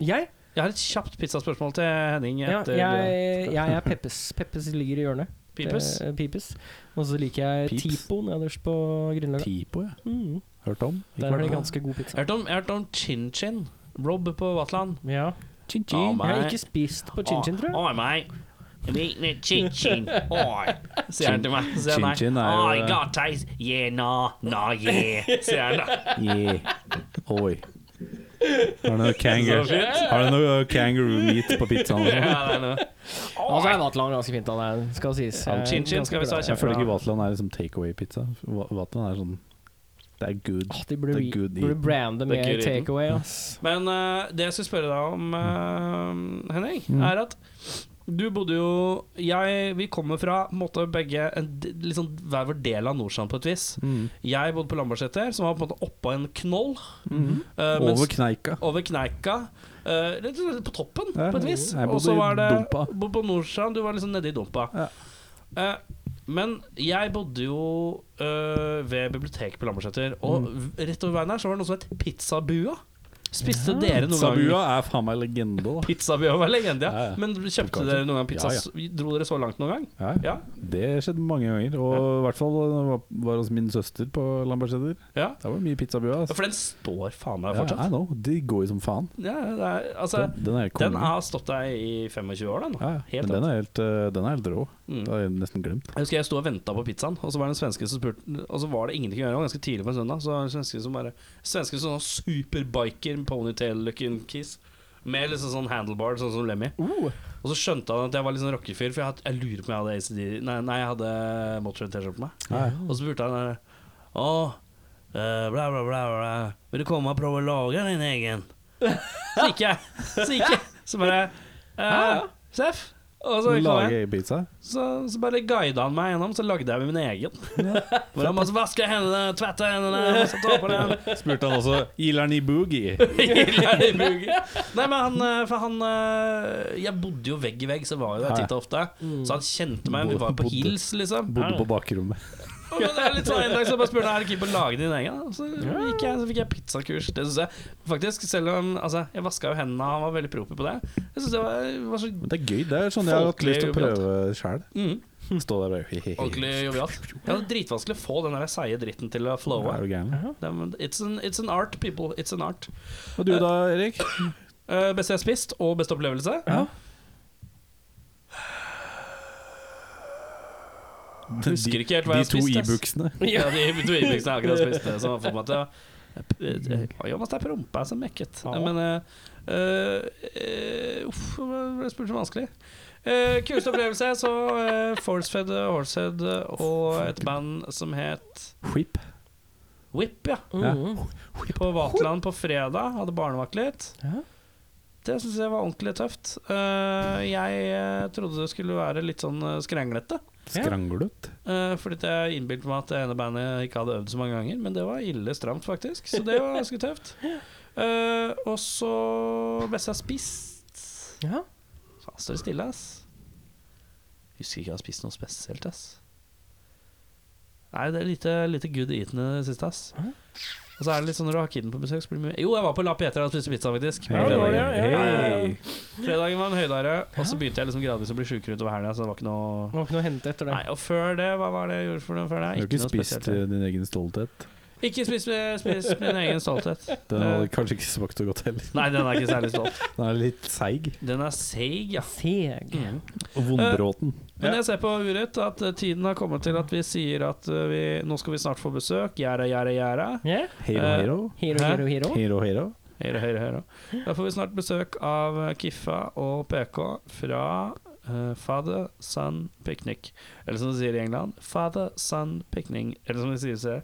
[SPEAKER 4] Jeg?
[SPEAKER 2] Jeg har et kjapt pizzaspørsmål til Henning.
[SPEAKER 4] Ja,
[SPEAKER 2] Etter eh,
[SPEAKER 4] jeg, jeg er Peppes. Peppes ligger i hjørnet.
[SPEAKER 2] Pipes.
[SPEAKER 4] Eh, Pipes. Og så liker jeg
[SPEAKER 3] Pips.
[SPEAKER 4] Tipo nederst på Grünerløkka.
[SPEAKER 3] Tipo, ja.
[SPEAKER 4] Mm.
[SPEAKER 3] Hørt om?
[SPEAKER 4] Der har de ganske god pizza.
[SPEAKER 2] Jeg hørte om, jeg hørte om Chin Chin. Rob på Vatland.
[SPEAKER 4] Ja.
[SPEAKER 2] chin. Å,
[SPEAKER 4] Jeg har
[SPEAKER 2] meg.
[SPEAKER 4] ikke spist på chin chin, tror jeg.
[SPEAKER 2] Oi, meg. Jeg liker Chin Chin. Oi, sier han til meg. Så Sier han
[SPEAKER 3] Chin Chin er jo-
[SPEAKER 2] meg. I got taste. Yeah, nah, nah, yeah. Sier han da.
[SPEAKER 3] Yeah. Oi. Har du noe kangaroo
[SPEAKER 2] Så fint.
[SPEAKER 3] Har du noe kangaroo meat på pizzaen? og sånn?
[SPEAKER 2] Ja, det er noe.
[SPEAKER 4] Og så er Vatland ganske fint, han er, skal sies.
[SPEAKER 2] Ja, chin chin skal vi ta
[SPEAKER 3] Jeg
[SPEAKER 4] kjempe.
[SPEAKER 3] føler ikke Vatland er liksom takeaway-pizza. Va- Vatland er sånn Det er good.
[SPEAKER 4] De burde,
[SPEAKER 3] Det er
[SPEAKER 4] re-
[SPEAKER 3] good
[SPEAKER 4] burde
[SPEAKER 3] eaten.
[SPEAKER 4] brande
[SPEAKER 2] Det er
[SPEAKER 4] med
[SPEAKER 2] good eaten.
[SPEAKER 4] takeaway, ass.
[SPEAKER 2] Men eh, det jeg skulle spørre deg om, eh, Henning, er at du bodde jo jeg, Vi kommer fra på en måte, begge en, d- liksom, hver vår del av Nordsjøen på et vis.
[SPEAKER 3] Mm.
[SPEAKER 2] Jeg bodde på Lambertseter, som var på en måte oppå en knoll.
[SPEAKER 3] Mhm.
[SPEAKER 2] eh, mens-
[SPEAKER 3] Over kneika.
[SPEAKER 2] over kneika. eh, rett og slett på toppen,
[SPEAKER 3] Ja.
[SPEAKER 2] på et vis.
[SPEAKER 3] Jeg bodde
[SPEAKER 2] Og så
[SPEAKER 3] i
[SPEAKER 2] var det
[SPEAKER 3] dumpa.
[SPEAKER 2] bodde på Nordsjøen, du var liksom nede i dumpa.
[SPEAKER 3] Ja.
[SPEAKER 2] Eh, men jeg bodde jo
[SPEAKER 3] Mm.
[SPEAKER 2] eh, ved biblioteket på Lambertseter, og v- rett over veien der så var det noe som het Pizzabua. Spiste dere noen gang
[SPEAKER 3] Sabua er faen meg legende, da.
[SPEAKER 2] Pizzabua var legende, ja.
[SPEAKER 3] Ja, ja.
[SPEAKER 2] Men kjøpte
[SPEAKER 3] Kanskje.
[SPEAKER 2] dere noen gang pizza?
[SPEAKER 3] Ja,
[SPEAKER 2] Dro dere så langt noen gang?
[SPEAKER 3] Ja.
[SPEAKER 2] Ja.
[SPEAKER 3] Det skjedde mange ganger. Og i hvert fall da jeg var, var hos min søster på Lambertseter.
[SPEAKER 2] ja.
[SPEAKER 3] Der var det mye pizzabua.
[SPEAKER 2] Ja, For den står faen meg
[SPEAKER 3] Ja,
[SPEAKER 2] fortsatt.
[SPEAKER 3] I know. De går jo som faen.
[SPEAKER 2] Ja, det er, altså,
[SPEAKER 3] Den, den er helt
[SPEAKER 2] den
[SPEAKER 3] konge.
[SPEAKER 2] har stått der i 25 år, den. nå.
[SPEAKER 3] Ja, ja.
[SPEAKER 2] Helt
[SPEAKER 3] men den er helt, eh, den er helt rå.
[SPEAKER 2] Mm.
[SPEAKER 3] Det har jeg nesten glemt.
[SPEAKER 2] Jeg husker jeg sto og venta på pizzaen, og så var det en svenske som spurte Og så var det ingenting å gjøre, det var ganske tidlig på en søndag. Så var det en svenske som bare Svenske sånn superbiker, ponytail-looking kiss. Med liksom sånn handlebar, sånn som Lemmy.
[SPEAKER 4] Uh,
[SPEAKER 2] Og så skjønte han at jeg var litt sånn rockefyr, for jeg, had, jeg lurer på om jeg hadde ACD Nei, nei jeg hadde Motorhead-T-skjorte på meg.
[SPEAKER 3] Ja.
[SPEAKER 2] Og så spurte han eh, Å, eh, bla, bla, bla, bla. Vil du komme og prøve å lage din egen? Så gikk jeg. Så gikk jeg. Så bare eh, Seff. Og
[SPEAKER 3] Altså,
[SPEAKER 2] så kom jeg.
[SPEAKER 3] Lage egen pizza.
[SPEAKER 2] Så, så bare guida han meg gjennom, så lagde jeg min egen. Hvor han bare så vasker hendene, tvetter hendene, så tar på den
[SPEAKER 3] Spurte han også Ilan i boogie.
[SPEAKER 2] Nei, men han, eh, for han eh, Jeg bodde jo vegg i vegg, så var jo der titt og ofte. Så han kjente meg. Vi var på
[SPEAKER 3] Mm. Bodde.
[SPEAKER 2] hils, liksom.
[SPEAKER 3] Bodde på bakrommet.
[SPEAKER 2] Og det er litt sånn En dag så bare spurte han Er du keen på å lage din egen. Og Så, gikk jeg, så fikk jeg pizzakurs. Det synes jeg Faktisk, selv om altså, jeg vaska jo hendene, han var veldig proper på det. Jeg synes det var, var så
[SPEAKER 3] Men det er gøy. Det er sånn jeg har hatt lyst til å
[SPEAKER 2] Folkelig
[SPEAKER 3] prøve sjæl.
[SPEAKER 2] mm,
[SPEAKER 3] Stå der og bare
[SPEAKER 2] ordentlig jovialt. Ja, det er dritvanskelig å få den der seige dritten til å flowe.
[SPEAKER 3] Er du gæren?
[SPEAKER 2] Det er- men It's an, it's an art, people. It's an art.
[SPEAKER 3] Og du da, Erik?
[SPEAKER 2] Eh, beste jeg har spist, og beste opplevelse.
[SPEAKER 3] Ja.
[SPEAKER 2] Husker ikke helt hva jeg har spist,
[SPEAKER 3] De to
[SPEAKER 2] ass.
[SPEAKER 3] e-booksene.
[SPEAKER 2] Ja, de dveibuksene jeg akkurat spiste, som har fått meg til å eh, Oi, hva slags rumpe som mekket?
[SPEAKER 4] Ja.
[SPEAKER 2] Men eh, eh, Uff, det ble spurt så vanskelig. Uh, Kuleste opplevelse så eh, Forcefed eh, Horsehead og et band som het
[SPEAKER 3] Whip.
[SPEAKER 2] Whip, ja.
[SPEAKER 4] mm.
[SPEAKER 2] På Vaterland på fredag. Hadde barnevakt litt.
[SPEAKER 4] Ja.
[SPEAKER 2] Det syns jeg var ordentlig tøft. Eh, jeg eh, trodde det skulle være litt sånn eh, skrenglete.
[SPEAKER 3] Skranglet.
[SPEAKER 2] Eh, fordi at jeg innbilte meg at det ene bandet ikke hadde øvd så mange ganger, men det var ille stramt, faktisk. Så det var ganske tøft. Eh, og så best jeg har spist
[SPEAKER 4] Ja.
[SPEAKER 2] Faen, står det stille, ass. Husker ikke jeg har spist noe spesielt, ass. Nei, det er lite, lite good eaten i det siste, ass.
[SPEAKER 4] Hæ?
[SPEAKER 2] Og så er det litt sånn når du har kiden på besøk, så blir det mye Jo, jeg var på La Pietra og spiste pizza, faktisk.
[SPEAKER 4] Ja, det var det, ja, ja, ja.
[SPEAKER 3] Hey.
[SPEAKER 2] Fredagen var en høydare, og så begynte jeg liksom gradvis å bli sjukere utover helga, så det var ikke noe
[SPEAKER 4] Det var ikke noe å hente etter det.
[SPEAKER 2] Nei, og før det, hva var det jeg gjorde for noe før det?
[SPEAKER 3] Du har ikke
[SPEAKER 2] noe
[SPEAKER 3] spist
[SPEAKER 2] spesielt.
[SPEAKER 3] eh, din egen stolthet.
[SPEAKER 2] Ikke spist, spist min egen stolthet.
[SPEAKER 3] Den hadde kanskje ikke smakt så godt heller.
[SPEAKER 2] Nei, den er ikke særlig stolt.
[SPEAKER 3] Den er litt seig.
[SPEAKER 2] Den er seig, ja.
[SPEAKER 4] Seg.
[SPEAKER 2] Mm.
[SPEAKER 3] Og vondbråten.
[SPEAKER 2] Men
[SPEAKER 3] Ja.
[SPEAKER 2] jeg ser på uret at eh, tiden har kommet til at vi sier at eh, vi, nå skal vi snart få besøk. Gjerda, gjerda, gjerda.
[SPEAKER 4] Ja.
[SPEAKER 3] Hero,
[SPEAKER 2] Eh,
[SPEAKER 3] hero.
[SPEAKER 4] Hero,
[SPEAKER 2] Hæ?
[SPEAKER 4] hero, hero.
[SPEAKER 3] Hero, hero.
[SPEAKER 2] Høyre, høyre, høyre. Da får vi snart besøk av eh, Kiffa og PK fra eh, Father Son Picnic. Eller som de sier i England, Father Son Picnic. Eller som de sier så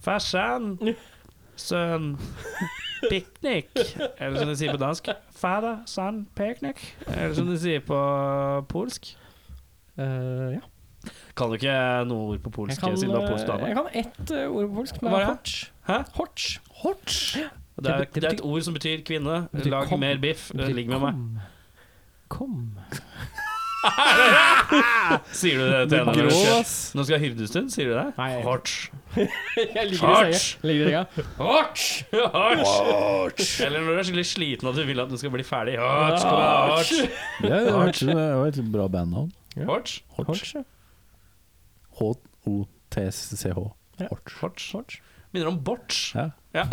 [SPEAKER 2] Farsan, sønn, piknik. Eller som de sier på dansk, Father Son Picnic. Eller som de sier på polsk.
[SPEAKER 4] Eh, ja.
[SPEAKER 2] Kan du ikke noe ord på
[SPEAKER 4] Jeg
[SPEAKER 2] polsk
[SPEAKER 4] kan,
[SPEAKER 2] siden du er
[SPEAKER 4] eh,
[SPEAKER 2] polsk
[SPEAKER 4] jeg
[SPEAKER 2] dame?
[SPEAKER 4] kan ett eh, ord på polsk, men
[SPEAKER 2] Hva
[SPEAKER 4] det
[SPEAKER 2] er
[SPEAKER 4] er
[SPEAKER 2] det?
[SPEAKER 4] horch.
[SPEAKER 2] Hæ?
[SPEAKER 4] Horch.
[SPEAKER 2] Det er,
[SPEAKER 4] Det betyr-
[SPEAKER 2] det er et ord som betyr kvinne.
[SPEAKER 4] Det betyr
[SPEAKER 2] Lag
[SPEAKER 4] kom.
[SPEAKER 2] mer biff. Ligg med meg.
[SPEAKER 4] Kom.
[SPEAKER 2] Sier du det til henne? når du
[SPEAKER 3] Grå,
[SPEAKER 2] kjører?
[SPEAKER 3] ass.
[SPEAKER 2] Nå skal jeg hyrdes ut, sier du det?
[SPEAKER 4] Nei.
[SPEAKER 2] Harts.
[SPEAKER 4] Jeg
[SPEAKER 2] Horch.
[SPEAKER 4] ligger i senga. Ligger i senga.
[SPEAKER 2] Harts! Eller når du er skikkelig sliten at du vil at den skal bli ferdig. Harts! kom igjen, harts.
[SPEAKER 3] Det er- det var et- det var et bra bandnavn.
[SPEAKER 2] Harts.
[SPEAKER 4] Horch. ja.
[SPEAKER 3] H-O-T-C-H.
[SPEAKER 4] Ja.
[SPEAKER 2] Harts. Minner om borts.
[SPEAKER 3] Ja.
[SPEAKER 2] Ja.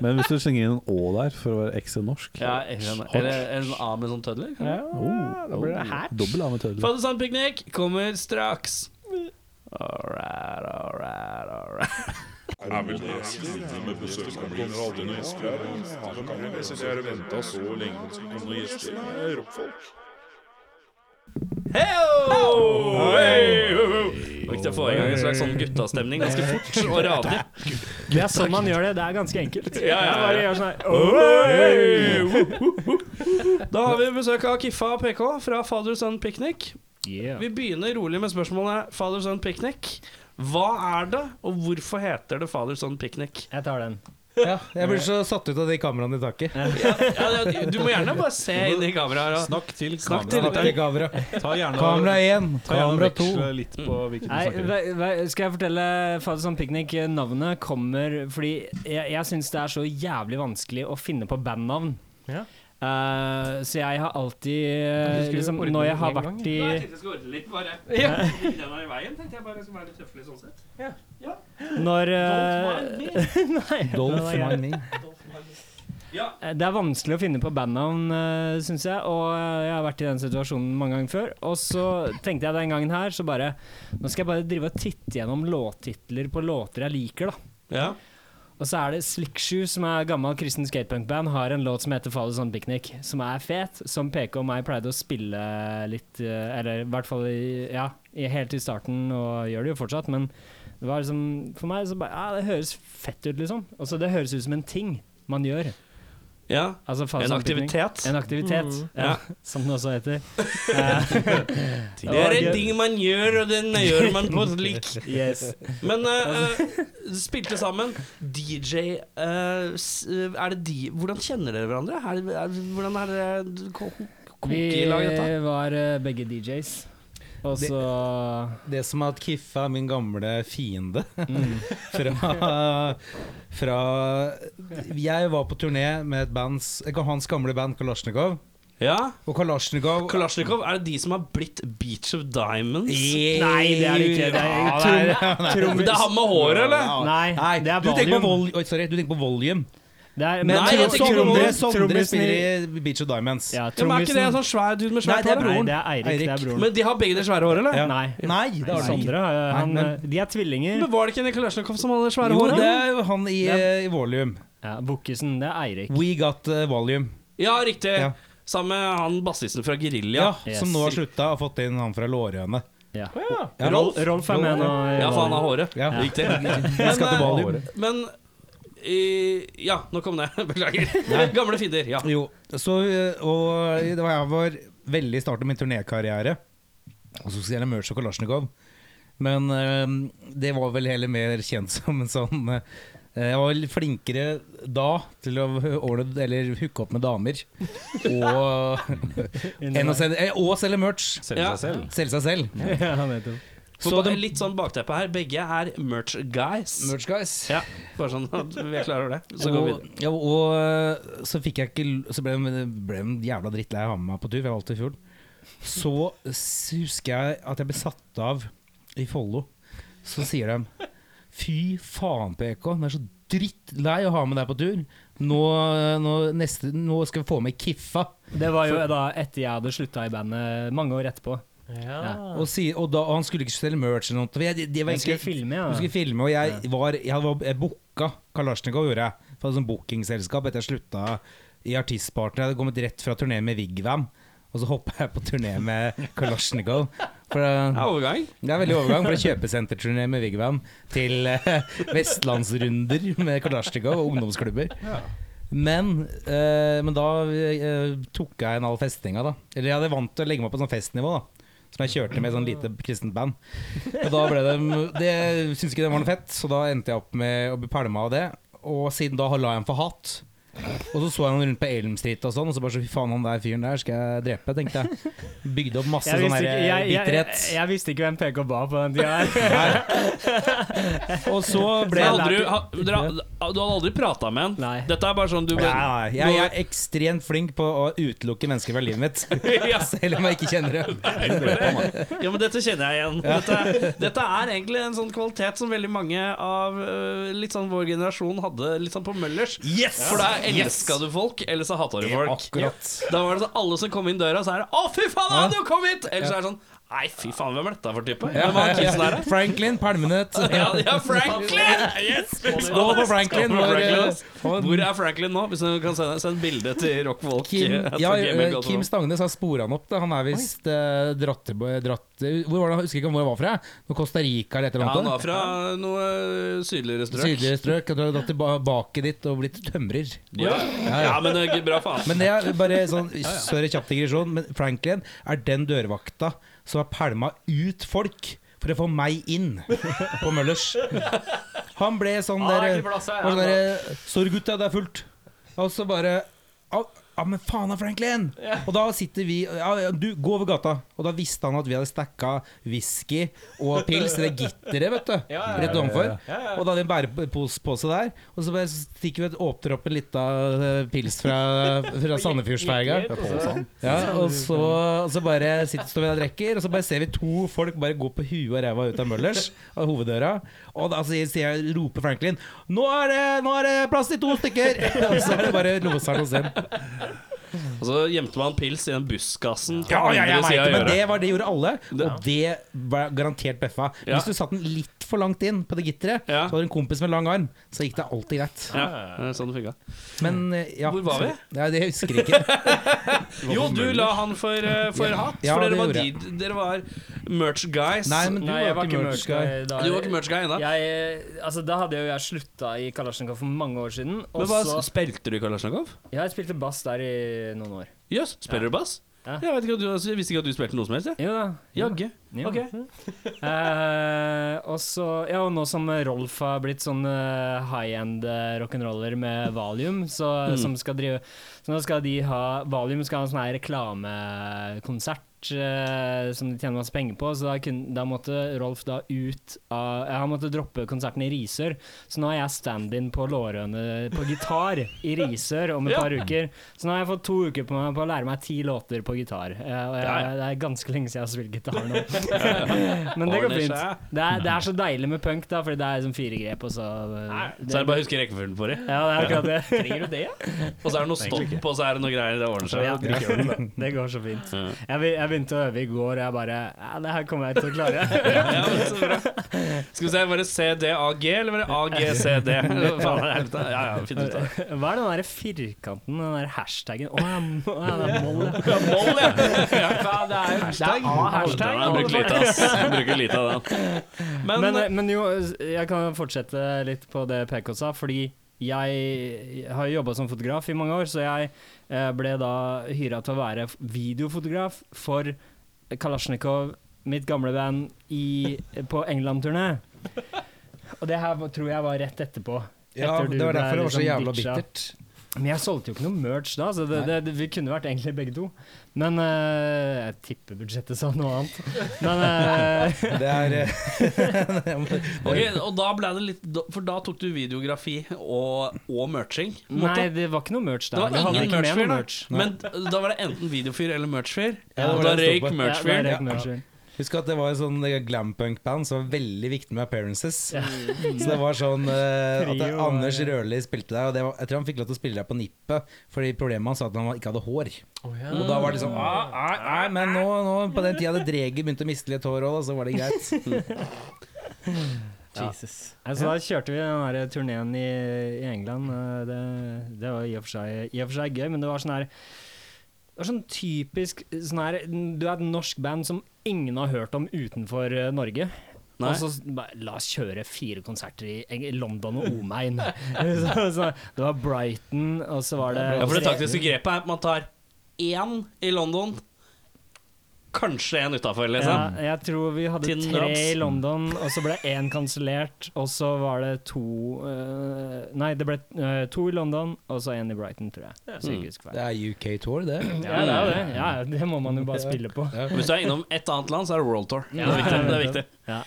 [SPEAKER 3] Men hvis du slenger inn en Å der for å være ekte norsk
[SPEAKER 2] Ja, eller eller en A med sånn tødler.
[SPEAKER 4] Ja,
[SPEAKER 3] Oh,
[SPEAKER 4] da blir det hatch.
[SPEAKER 3] Dobbel A med tødler.
[SPEAKER 2] Faddersandpiknik kommer straks. All right, all right, all right.
[SPEAKER 5] Er vel det siste med besøk som kommer aldri noen gjester her? Kan man vel si at jeg har venta så lenge på noen gjester? Nei, jeg er rockfolk.
[SPEAKER 2] Heyo! Hey! Viktig å få i gang en slags sånn guttastemning ganske fort og radig.
[SPEAKER 1] Det er sånn man gjør det. Det er ganske enkelt.
[SPEAKER 2] Ja, ja, ja.
[SPEAKER 1] Bare gjør sånn her.
[SPEAKER 2] Da har vi besøk av Kiffa og PK fra Father Son Picnic. Vi begynner rolig med spørsmålet Father Son Picnic. Hva er det, og hvorfor heter det Father Son Picnic?
[SPEAKER 1] Jeg tar den.
[SPEAKER 6] Ja, jeg blir så satt ut av de kameraene i taket.
[SPEAKER 2] Ja, ja, du må gjerne bare se inn i kameraet. og-
[SPEAKER 3] Snakk til
[SPEAKER 2] Snakk til
[SPEAKER 3] kameraet.
[SPEAKER 6] Det er kamera.
[SPEAKER 3] Ta gjerne
[SPEAKER 6] Kamera én,
[SPEAKER 3] ta gjerne
[SPEAKER 6] kamera to.
[SPEAKER 3] veksle litt på
[SPEAKER 2] Mm.
[SPEAKER 3] hvilken du
[SPEAKER 1] Nei,
[SPEAKER 3] snakker om.
[SPEAKER 1] ve- ve- skal jeg fortelle Fader Sam Picnic? eh, Navnet kommer fordi jeg, jeg syns det er så jævlig vanskelig å finne på bandnavn.
[SPEAKER 4] Ja.
[SPEAKER 1] Eh, så jeg har alltid
[SPEAKER 4] Kanskje du
[SPEAKER 1] eh,
[SPEAKER 4] skulle
[SPEAKER 1] liksom,
[SPEAKER 4] ordne
[SPEAKER 1] Når
[SPEAKER 4] det
[SPEAKER 1] jeg har
[SPEAKER 4] en gang,
[SPEAKER 1] vært i
[SPEAKER 2] Nei, jeg tenkte jeg skulle ordne litt, bare.
[SPEAKER 4] Ja.
[SPEAKER 2] Den er i veien, tenkte jeg bare skulle være litt høflig sånn sett.
[SPEAKER 1] Når
[SPEAKER 2] Don't mind me.
[SPEAKER 1] eh, Nei,
[SPEAKER 6] Dolph
[SPEAKER 1] det var jeg.
[SPEAKER 6] Mine.
[SPEAKER 1] Eh, Det er vanskelig å finne på bandnavn, uh, syns jeg. Og eh, jeg har vært i den situasjonen mange ganger før. Og så tenkte jeg den gangen her, så bare Nå skal jeg bare drive og titte gjennom låttitler på låter jeg liker, da.
[SPEAKER 2] Ja.
[SPEAKER 1] Og så er det Slickshoe, som er gammel kristen skatepunkband, har en låt som heter Father Son Picnic, som er fet, som PK og meg pleide å spille litt, eh, eller i hvert fall i, ja, i, helt i starten, og gjør det jo fortsatt, men det var liksom, for meg så bare, ja, det høres fett ut liksom. Og så det høres ut som en ting man gjør.
[SPEAKER 2] ja.
[SPEAKER 1] Altså Father
[SPEAKER 2] En
[SPEAKER 1] Son Picnic.
[SPEAKER 2] aktivitet.
[SPEAKER 1] En aktivitet, ja, som den også heter. Eh,
[SPEAKER 2] Det er
[SPEAKER 1] og-
[SPEAKER 2] en ting man gjør, og den gjør man på slik.
[SPEAKER 1] Yes.
[SPEAKER 2] Men eh, eh, spilte sammen. DJ eh, s- eh, Er det de Hvordan kjenner dere hverandre? Er, er, hvordan er det ko- koke
[SPEAKER 1] Vi
[SPEAKER 2] i lag, dette?
[SPEAKER 1] var eh, begge DJs, og
[SPEAKER 6] Det-
[SPEAKER 1] så...
[SPEAKER 6] Det som at Kiffe er min gamle fiende
[SPEAKER 1] Mm.
[SPEAKER 6] fra, fra Jeg var på turné med et band, s- hans gamle band Kalasjnikov.
[SPEAKER 2] Ja.
[SPEAKER 6] Og Kalasjnikov
[SPEAKER 2] Kalasjnikov, er det de som har blitt Beach of Diamonds?
[SPEAKER 1] Nei, det er det ikke. Det er
[SPEAKER 6] Ja,
[SPEAKER 1] trom-
[SPEAKER 6] det er-
[SPEAKER 2] Det er han med håret, eller?
[SPEAKER 1] Nei,
[SPEAKER 6] Nei,
[SPEAKER 1] det er
[SPEAKER 6] du tenker på
[SPEAKER 1] Valium.
[SPEAKER 6] vol Oi, sorry, du tenker på Volume.
[SPEAKER 1] Det er,
[SPEAKER 2] Nei, jeg tenker ikke på
[SPEAKER 6] Sondre,
[SPEAKER 2] Volume.
[SPEAKER 6] Sondre
[SPEAKER 1] trommisen i-
[SPEAKER 6] spiller i Beach of Diamonds.
[SPEAKER 1] Ja,
[SPEAKER 2] Ja, men er ikke det en
[SPEAKER 1] trommisen.
[SPEAKER 2] sånn svær dude med
[SPEAKER 6] Nei,
[SPEAKER 2] svært
[SPEAKER 6] det er
[SPEAKER 2] hår?
[SPEAKER 1] Nei,
[SPEAKER 6] broren?
[SPEAKER 1] det er Eirik. Det
[SPEAKER 6] Eirik.
[SPEAKER 1] er broren.
[SPEAKER 2] Men de har begge det svære håret, eller?
[SPEAKER 6] Ja.
[SPEAKER 1] Nei.
[SPEAKER 6] Nei, det har han ikke.
[SPEAKER 1] Sondre, eh, han,
[SPEAKER 6] Nei, men-
[SPEAKER 1] de er tvillinger.
[SPEAKER 2] Men var det ikke en Kalasjnikov som hadde det svære
[SPEAKER 6] Jo,
[SPEAKER 2] håret?
[SPEAKER 6] det er jo han i, eh, i Volume.
[SPEAKER 1] Ja, Bukkisen, det er Eirik.
[SPEAKER 6] We Got eh, Volume.
[SPEAKER 2] Ja, riktig.
[SPEAKER 6] Ja.
[SPEAKER 2] Sammen med han bassisten fra Gerilja.
[SPEAKER 6] Ja,
[SPEAKER 1] Yes.
[SPEAKER 6] Som nå har slutta og fått inn han fra Lårøyene.
[SPEAKER 1] Ja.
[SPEAKER 6] Ja,
[SPEAKER 1] Rolf, Rolf er med nå. i
[SPEAKER 2] Ja, for han har håret.
[SPEAKER 6] Ja.
[SPEAKER 2] Riktig.
[SPEAKER 6] Vi skal til Valium.
[SPEAKER 2] Men eh, Ja, nå kom det. Beklager. Gamle fiender. Ja.
[SPEAKER 6] Jo, så, eh, og det var jeg var veldig i starten av min turnékarriere. Og så skulle jeg merge og Kalasjnikov. Men eh, det var vel heller mer kjent som en sånn eh, Jeg var vel flinkere da til å ordne, eller hooke opp med damer. Og, enn å selge, eh, og selge merch.
[SPEAKER 3] Selge
[SPEAKER 2] Ja.
[SPEAKER 3] seg selv.
[SPEAKER 6] Selge seg selv.
[SPEAKER 1] Ja, nettopp.
[SPEAKER 2] Så
[SPEAKER 6] Så
[SPEAKER 2] det
[SPEAKER 6] det-
[SPEAKER 2] er litt sånn bakteppe her. Begge er merch guys.
[SPEAKER 6] Merch guys.
[SPEAKER 2] Ja, bare sånn at vi er klar over det. Så går vi
[SPEAKER 6] og,
[SPEAKER 2] videre.
[SPEAKER 6] ja, og så fikk jeg ikke l- Så ble jeg ble jeg en jævla drittlei av å ha med meg på tur, for jeg var alltid full. Så s- husker jeg at jeg ble satt av i Follo. Så sier de Fy faen, PK, du er så drittlei å ha med deg på tur. Nå, eh, nå, neste, nå skal vi få med Kiffa.
[SPEAKER 1] Det var jo da etter jeg hadde slutta i bandet, mange år etterpå.
[SPEAKER 4] Ja.
[SPEAKER 6] Og, si, og, da, og han skulle ikke selge merch eller noe. for Jeg, det, det var
[SPEAKER 1] Jeg Ah. skulle
[SPEAKER 6] egentlig
[SPEAKER 1] filme,
[SPEAKER 6] Du
[SPEAKER 1] ja.
[SPEAKER 6] skulle filme, og jeg var Jeg, var, jeg booka Kalasjnikov, gjorde jeg. For et sånt bookingselskap etter jeg slutta i Artistpartner. Jeg hadde kommet rett fra turné med Vigvam, og så hoppa jeg på turné med Kalasjnikov. For
[SPEAKER 2] Det
[SPEAKER 6] det,
[SPEAKER 2] er overgang.
[SPEAKER 6] det er veldig overgang fra kjøpesenterturné med Vigvam til eh, vestlandsrunder med Kalasjnikov og ungdomsklubber. Men, eh, men da eh, tok jeg en all festinga, da. Eller jeg hadde vant til å legge meg på sånn festnivå, da. Som jeg kjørte med et sånn lite kristent band. Og da ble det Det syntes ikke det var noe fett, så da endte jeg opp med å bli pælma av det. Og siden da la jeg ham for hat. Og så så jeg han rundt på Elm Street og sånn, og så bare så fy faen, han der fyren der skal jeg drepe, tenkte jeg. Bygde opp masse
[SPEAKER 1] Jeg
[SPEAKER 6] sånn
[SPEAKER 1] visste, ikke,
[SPEAKER 6] der
[SPEAKER 1] jeg, jeg, jeg,
[SPEAKER 6] bitterhet.
[SPEAKER 1] jeg visste ikke hvem PK ba på den tida her.
[SPEAKER 6] Og så
[SPEAKER 2] Men
[SPEAKER 6] ble jeg
[SPEAKER 2] hadde du, ha, dere, ha- du hadde aldri prata med han?
[SPEAKER 1] Nei.
[SPEAKER 2] Dette er bare sånn du
[SPEAKER 6] Nei, nei, nei. jeg, jeg er ekstremt flink på å utelukke mennesker fra livet mitt.
[SPEAKER 2] ja,
[SPEAKER 6] Selv om jeg ikke kjenner det.
[SPEAKER 2] ja, men dette kjenner jeg igjen. Dette, dette er egentlig en sånn kvalitet som veldig mange av øh, litt sånn vår generasjon hadde litt sånn på Møllers.
[SPEAKER 6] Yes!
[SPEAKER 2] For da elska du folk, eller så hata du folk.
[SPEAKER 6] Akkurat.
[SPEAKER 2] Da var det sånn alle som kom inn døra, så er det 'Å, fy faen, han du kom hit!' Eller så er det sånn 'Nei, fy faen, hvem er dette for type?' Hvem var han kidsen der, da?
[SPEAKER 6] Franklin, palmenøtt.
[SPEAKER 2] Ja, ja, Franklin! Yes!
[SPEAKER 6] Skål
[SPEAKER 2] Skål på
[SPEAKER 6] på Franklin. Hvor,
[SPEAKER 2] Franklin,
[SPEAKER 6] eh,
[SPEAKER 2] ass. Hvor er Franklin nå? Hvis du kan sende, send bilde til Rockfolk.
[SPEAKER 6] Kim,
[SPEAKER 2] eh, på
[SPEAKER 6] ja,
[SPEAKER 2] Gmail,
[SPEAKER 6] eh,
[SPEAKER 2] altså.
[SPEAKER 6] Kim Stangnes har spora han opp. Da. Han er visst eh, dratt, til- dratt Hvor var det, Jeg husker ikke hvor han var fra. Noe Costa Rica eller et
[SPEAKER 2] ja,
[SPEAKER 6] eller
[SPEAKER 2] han
[SPEAKER 6] annet.
[SPEAKER 2] var fra noe eh, sydligere strøk.
[SPEAKER 6] Sydligere strøk. Jeg tror han har dratt tilbake dit og blitt tømrer.
[SPEAKER 2] Ja.
[SPEAKER 6] Ja,
[SPEAKER 2] ja,
[SPEAKER 6] ja.
[SPEAKER 2] men eh, bra faen.
[SPEAKER 6] Men det er bare sånn Sorry, kjapp digresjon, men Franklin er den dørvakta som har pælma ut folk. for å få meg inn på Møllers. Han ble sånn
[SPEAKER 1] Ah,
[SPEAKER 6] der
[SPEAKER 1] ikke plass her.
[SPEAKER 6] var sånn der, Sorry, gutta, det er fullt. Og så bare Ja, ja, men faen da, Franklin! Og da sitter vi ja, ja, Du, gå over gata. Og da visste han at vi hadde stacka whisky og pils i det gitteret, vet du.
[SPEAKER 1] Ja, ja, ja.
[SPEAKER 6] Rett ovenfor.
[SPEAKER 1] Ja, ja.
[SPEAKER 6] Og da hadde vi en bærepose der. Og så bare stikker vi et åpner opp en lita eh, pils fra, fra Sandefjordsferga.
[SPEAKER 1] Gikk litt, og så-
[SPEAKER 6] Ja, og så, og så bare sitter står vi der og drikker, og så bare ser vi to folk bare gå på huet og ræva ut av Møllers, av hoveddøra. Og da sier sier jeg, roper Franklin 'Nå er det, nå er det plass til to stykker!' Og så er det bare loseren hos dem.
[SPEAKER 2] Og så gjemte man pils i den buskasen på
[SPEAKER 6] Ja, ja, jeg
[SPEAKER 2] andre
[SPEAKER 6] vet
[SPEAKER 2] siden
[SPEAKER 6] det,
[SPEAKER 2] av
[SPEAKER 6] men
[SPEAKER 2] øret.
[SPEAKER 6] det var det gjorde alle,
[SPEAKER 2] Ja.
[SPEAKER 6] og det var garantert bøffa.
[SPEAKER 2] Ja.
[SPEAKER 6] Hvis du satte den litt for langt inn på det gitteret,
[SPEAKER 2] Ja.
[SPEAKER 6] så hadde du en kompis med lang arm, så gikk det alltid greit.
[SPEAKER 2] Ja, det er sånn det funka.
[SPEAKER 6] Men eh, ja
[SPEAKER 2] Hvor var vi?
[SPEAKER 6] så- Ja, det husker jeg ikke.
[SPEAKER 2] Jo, du la han for, eh, for
[SPEAKER 6] Ja.
[SPEAKER 2] hatt,
[SPEAKER 6] Ja,
[SPEAKER 2] for dere
[SPEAKER 6] det
[SPEAKER 2] var,
[SPEAKER 6] gjorde jeg.
[SPEAKER 2] de, dere var merch guys.
[SPEAKER 6] Nei, men du
[SPEAKER 1] Nei, jeg
[SPEAKER 6] var ikke merch guy.
[SPEAKER 1] da.
[SPEAKER 2] du var ikke merch guy ennå.
[SPEAKER 1] Jeg, altså, da hadde jo jeg slutta i Kalasjnikov for mange år siden. Og
[SPEAKER 2] Men hva,
[SPEAKER 1] så
[SPEAKER 2] Spilte du Kalasjnikov?
[SPEAKER 1] Jeg spilte bass der i noen år.
[SPEAKER 2] Jøss, spiller du bass?
[SPEAKER 1] Ja.
[SPEAKER 2] Jeg, vet ikke, at du, altså, jeg visste ikke at du spilte noe som helst. jeg.
[SPEAKER 1] Jo da. jo da,
[SPEAKER 2] Jaggu.
[SPEAKER 1] jo da.
[SPEAKER 2] Ok.
[SPEAKER 1] Mhm. Eh, og så Ja, og nå som Rolf har blitt sånn eh, high-end eh, rock'n'roller med Valium, så,
[SPEAKER 2] Mm.
[SPEAKER 1] som skal drive Så nå skal de ha Valium skal ha en sånn her reklamekonsert. eh, Som de tjener masse penger på, så da, kun, da måtte Rolf da ut av ja, Han måtte droppe konserten i Risør, så nå har jeg stand-in på Lårøne på gitar i Risør om et
[SPEAKER 2] Ja.
[SPEAKER 1] par uker. Så nå har jeg fått to uker på meg på å lære meg ti låter på gitar. Eh, Og jeg,
[SPEAKER 2] Ja, ja.
[SPEAKER 1] Det er ganske lenge siden jeg har spilt gitar nå. Men det går
[SPEAKER 2] Ordner
[SPEAKER 1] fint.
[SPEAKER 2] seg.
[SPEAKER 1] Det er, det er så deilig med punk, da, fordi det er liksom fire grep, og så
[SPEAKER 2] Så er det bare å huske rekkefølgen for dem.
[SPEAKER 1] Ja, det er akkurat det. Trenger du det?
[SPEAKER 2] Og så er det noe stopp, og så er det noe greier. Det ordner seg.
[SPEAKER 1] Ja, det går så fint. Jeg, be- jeg begynte å øve i går, og jeg bare ja, Det her kommer jeg til å klare.
[SPEAKER 2] Ja, men så bra. Skal vi se, var det CDAG, eller var det AGCD? Faen, helvete. Ja, ja, finn ut av det.
[SPEAKER 1] Hva er den der firkanten, den der hashtaggen Å ja, må- å, ja, det er moll, ja.
[SPEAKER 2] Moll, ja!
[SPEAKER 1] Faen, Det er hashtag.
[SPEAKER 2] Den har jeg brukt lite, ass. Jeg bruker lite av den. Men, eh,
[SPEAKER 1] Men, eh, men jo, jeg kan fortsette litt på det PK sa, fordi jeg har jobba som fotograf i mange år, så jeg eh, ble da hyra til å være f- videofotograf for Kalasjnikov, mitt gamle band, i, på England-turné. Og det her var- tror jeg var rett etterpå.
[SPEAKER 6] Ja,
[SPEAKER 1] Etter du
[SPEAKER 6] det var
[SPEAKER 1] ble
[SPEAKER 6] derfor det var så
[SPEAKER 1] liksom
[SPEAKER 6] jævla
[SPEAKER 1] ditcha.
[SPEAKER 6] bittert.
[SPEAKER 1] Men jeg solgte jo ikke noe merch da, så det, det, det, vi kunne vært egentlig begge to. Men eh, jeg tipper budsjettet sa noe annet. Men eh,
[SPEAKER 6] Det er eh,
[SPEAKER 2] ok, og da ble det litt da- For da tok du videografi og, og merching? på en måte.
[SPEAKER 1] Nei, det var ikke noe merch
[SPEAKER 2] Det
[SPEAKER 1] der.
[SPEAKER 2] var
[SPEAKER 1] Vi hadde
[SPEAKER 2] ingen
[SPEAKER 1] ikke med
[SPEAKER 2] merch-fyr,
[SPEAKER 1] noe
[SPEAKER 2] da.
[SPEAKER 1] merch.
[SPEAKER 2] Men da var det enten videofyr eller merch-fyr.
[SPEAKER 6] Ja, det var
[SPEAKER 2] og da
[SPEAKER 6] det jeg sto
[SPEAKER 2] røyk
[SPEAKER 6] på.
[SPEAKER 1] Ja,
[SPEAKER 2] merch-fyr.
[SPEAKER 1] det
[SPEAKER 2] Ja,
[SPEAKER 1] er ikke merch-fyr.
[SPEAKER 6] Husk at det var et sånn glampunk-band som var veldig viktig med appearances. Så det var sånn eh, at det,
[SPEAKER 1] Trio,
[SPEAKER 6] Anders
[SPEAKER 1] ja.
[SPEAKER 6] Røli spilte der, og det var, jeg tror han fikk lov til å spille der på nippet, fordi problemet hans var at han ikke hadde hår. Og da var det sånn ah, Nei, nei, men nå, nå på den tida hadde Dreger begynt å miste litt hår òg, så var det greit.
[SPEAKER 1] Altså, da kjørte vi den der turneen i, i England. eh, Det, det var i og, for seg, i og for seg gøy, men det var sånn her det var sånn typisk sånn her, Du er et norsk band som ingen har hørt om utenfor eh, Norge.
[SPEAKER 2] Nei.
[SPEAKER 1] Og så s- bare, la oss kjøre fire konserter i Eng- London og omegn. så, så, det var Brighton, og så var det
[SPEAKER 2] for det taktiske grepet er at man tar én i London, kanskje én utafor, liksom.
[SPEAKER 1] Ja, jeg tror vi hadde
[SPEAKER 2] Til
[SPEAKER 1] tre
[SPEAKER 2] Nubs.
[SPEAKER 1] i London, og så ble én kansellert. Og så var det to eh, Nei, det ble eh, to i London, og så én i Brighton, tror jeg. Så jeg ikke husker feil.
[SPEAKER 6] Det er UK Tour, det.
[SPEAKER 1] Ja, det er jo det. Ja, det må man jo bare spille på.
[SPEAKER 2] Hvis du er innom et annet land, så er det World Tour. Det
[SPEAKER 1] Ja.
[SPEAKER 2] er viktig. Det er viktig.
[SPEAKER 1] Ja.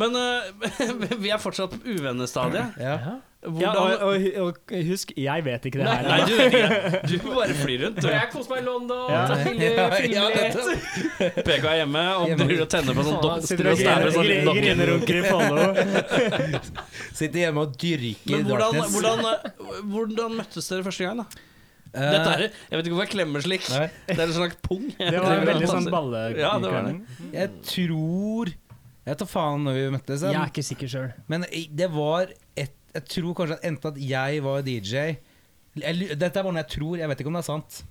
[SPEAKER 2] Men eh, vi er fortsatt på uvennestadiet.
[SPEAKER 6] Ja.
[SPEAKER 1] Ja, og,
[SPEAKER 2] Hvordan
[SPEAKER 1] og, og husk, jeg vet ikke det her.
[SPEAKER 2] Nei, du vet ikke. Du bare flyr rundt. Du.
[SPEAKER 7] Jeg koser meg i London.
[SPEAKER 1] Ja.
[SPEAKER 7] tar
[SPEAKER 6] Ja,
[SPEAKER 7] bilder,
[SPEAKER 6] ja,
[SPEAKER 7] filmer litt.
[SPEAKER 6] dette-
[SPEAKER 2] PK er hjemme og driver og tenner på sånn
[SPEAKER 1] Faen,
[SPEAKER 2] dokk.
[SPEAKER 1] Sitter og griner- griner- grinerunker i Follo.
[SPEAKER 6] Sitter hjemme og dyrker
[SPEAKER 2] Men hvordan,
[SPEAKER 6] darkness.
[SPEAKER 2] hvordan, eh, hvordan møttes dere første gang, da?
[SPEAKER 6] Eh,
[SPEAKER 2] Dette er, jeg vet ikke hvorfor jeg klemmer slik.
[SPEAKER 6] Nei.
[SPEAKER 2] Det er en slags pung.
[SPEAKER 1] Det var en veldig sånn
[SPEAKER 2] Ja, det var det.
[SPEAKER 1] ballekukling.
[SPEAKER 6] Jeg tror Jeg tar faen når vi møttes.
[SPEAKER 1] Jeg
[SPEAKER 6] men-
[SPEAKER 1] er ikke sikker sjøl.
[SPEAKER 6] Men i- det var et, Jeg tror kanskje at enten at jeg var DJ jeg, lu- Dette er bare noe jeg tror, jeg vet ikke om det er sant.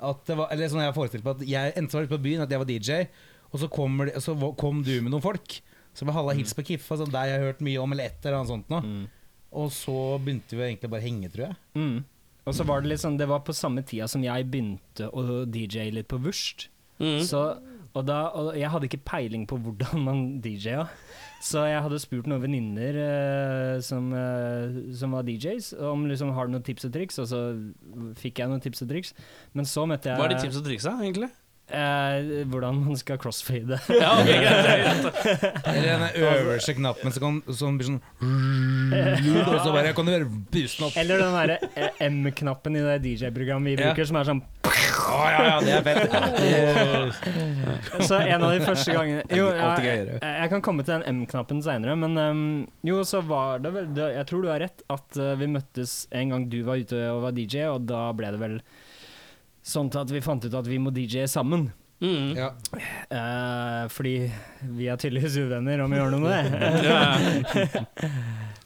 [SPEAKER 6] At det var, eller sånn jeg har forestilt meg at jeg enten var ute på byen, at jeg var DJ, og så, kommer, det- så var- kom du med noen folk. Som var halla hils på Kiffa, som deg jeg har hørt mye om, eller et eller annet sånt noe. Og så begynte vi egentlig bare å henge, tror jeg.
[SPEAKER 1] Mm. Og så var det litt sånn, det var på samme tida som jeg begynte å DJ litt på Wurst.
[SPEAKER 2] Mm.
[SPEAKER 1] Så Og, da, og jeg hadde ikke peiling på hvordan man DJ-a. Så jeg hadde spurt noen venninner eh, som, eh, som var DJs, om liksom, har du noen tips og triks. Og så fikk jeg noen tips og triks. Men så møtte jeg
[SPEAKER 2] Hva er de tips og triksa, egentlig?
[SPEAKER 1] Eh, hvordan man skal crossfade.
[SPEAKER 2] Ja, ok, greit,
[SPEAKER 6] Eller den øverste knappen som, kan, som blir sånn Og så bare kan du høre pusten opp.
[SPEAKER 1] Eller den derre eh, M-knappen i det DJ-programmet vi
[SPEAKER 2] Ja.
[SPEAKER 1] bruker, som er sånn
[SPEAKER 6] Å Ah, ja, ja, det er fett.
[SPEAKER 1] Så en av de første gangene Jo,
[SPEAKER 6] Alltid
[SPEAKER 1] jeg,
[SPEAKER 6] gøyere.
[SPEAKER 1] jeg kan komme til den M-knappen seinere, men ehm, jo, så var det vel det, Jeg tror du har rett at eh, vi møttes en gang du var ute og var DJ, og da ble det vel sånn til at vi fant ut at vi må DJ sammen.
[SPEAKER 2] Mm.
[SPEAKER 6] Ja.
[SPEAKER 1] Eh, fordi vi er tydeligvis uvenner, om vi gjør noe med det.
[SPEAKER 6] Altså,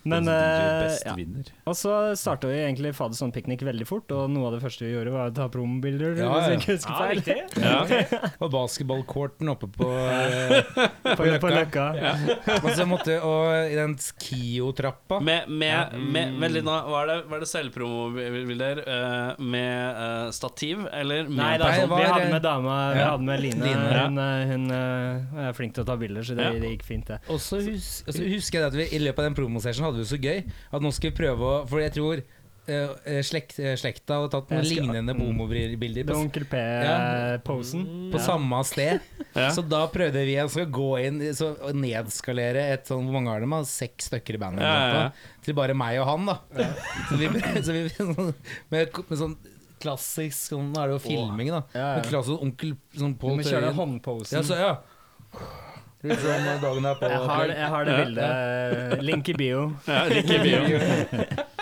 [SPEAKER 1] Men eh,
[SPEAKER 3] best
[SPEAKER 1] ja.
[SPEAKER 3] vinner.
[SPEAKER 1] Og så starta vi egentlig Faderson piknik veldig fort, og noe av det første vi gjorde, var å ta promobilder.
[SPEAKER 6] Ja,
[SPEAKER 1] hvis
[SPEAKER 6] ja.
[SPEAKER 1] jeg ikke husker
[SPEAKER 2] Ah,
[SPEAKER 1] feil.
[SPEAKER 6] Og basketballcourten oppe på, eh,
[SPEAKER 1] På, på løkka.
[SPEAKER 6] Og så måtte Og i den Skio-trappa.
[SPEAKER 2] Med, med, med, med litt nå, var det, var det selvpromobilder eh, med eh, stativ, eller med
[SPEAKER 1] Nei, det er
[SPEAKER 6] Nei,
[SPEAKER 1] sånn,
[SPEAKER 6] var- eh,
[SPEAKER 1] vi hadde med dama, vi
[SPEAKER 6] Ja.
[SPEAKER 1] hadde med Line.
[SPEAKER 6] Line, ja.
[SPEAKER 1] Hun, eh, hun eh, er flink til å ta bilder, så det,
[SPEAKER 2] Ja.
[SPEAKER 1] det gikk fint, det.
[SPEAKER 6] Og så hus og så husker jeg at vi i løpet av den promosessionen hadde vi det så gøy at nå skal vi prøve å For jeg tror eh, slekt, eh, slekta hadde tatt noen
[SPEAKER 1] Jeg skal- Mm.
[SPEAKER 6] lignende
[SPEAKER 1] Det
[SPEAKER 6] homobilder
[SPEAKER 1] var
[SPEAKER 6] på,
[SPEAKER 1] Onkel eh, P-posen.
[SPEAKER 6] på samme sted.
[SPEAKER 2] Ja.
[SPEAKER 1] sånn-
[SPEAKER 6] Så da prøvde vi å skal gå inn i- så, og nedskalere et sånn Hvor mange har de? da? Seks stykker i bandet?
[SPEAKER 2] Ja,
[SPEAKER 6] eller
[SPEAKER 2] ja,
[SPEAKER 6] noe, Til bare meg og han, da. Så vi, så vi sånn, med, med sånn klassisk sånn, Nå er det jo filming, da.
[SPEAKER 1] Ja, ja.
[SPEAKER 6] Med klassisk onkel sånn
[SPEAKER 1] Du
[SPEAKER 6] Pål
[SPEAKER 1] må kjøre
[SPEAKER 6] Tøyen.
[SPEAKER 1] håndposen.
[SPEAKER 6] Ja, så, ja. Du vet sånn, eh, dagen er på.
[SPEAKER 1] jeg, har, jeg har det bildet. eh, Link i bio.
[SPEAKER 2] Ja, like i bio.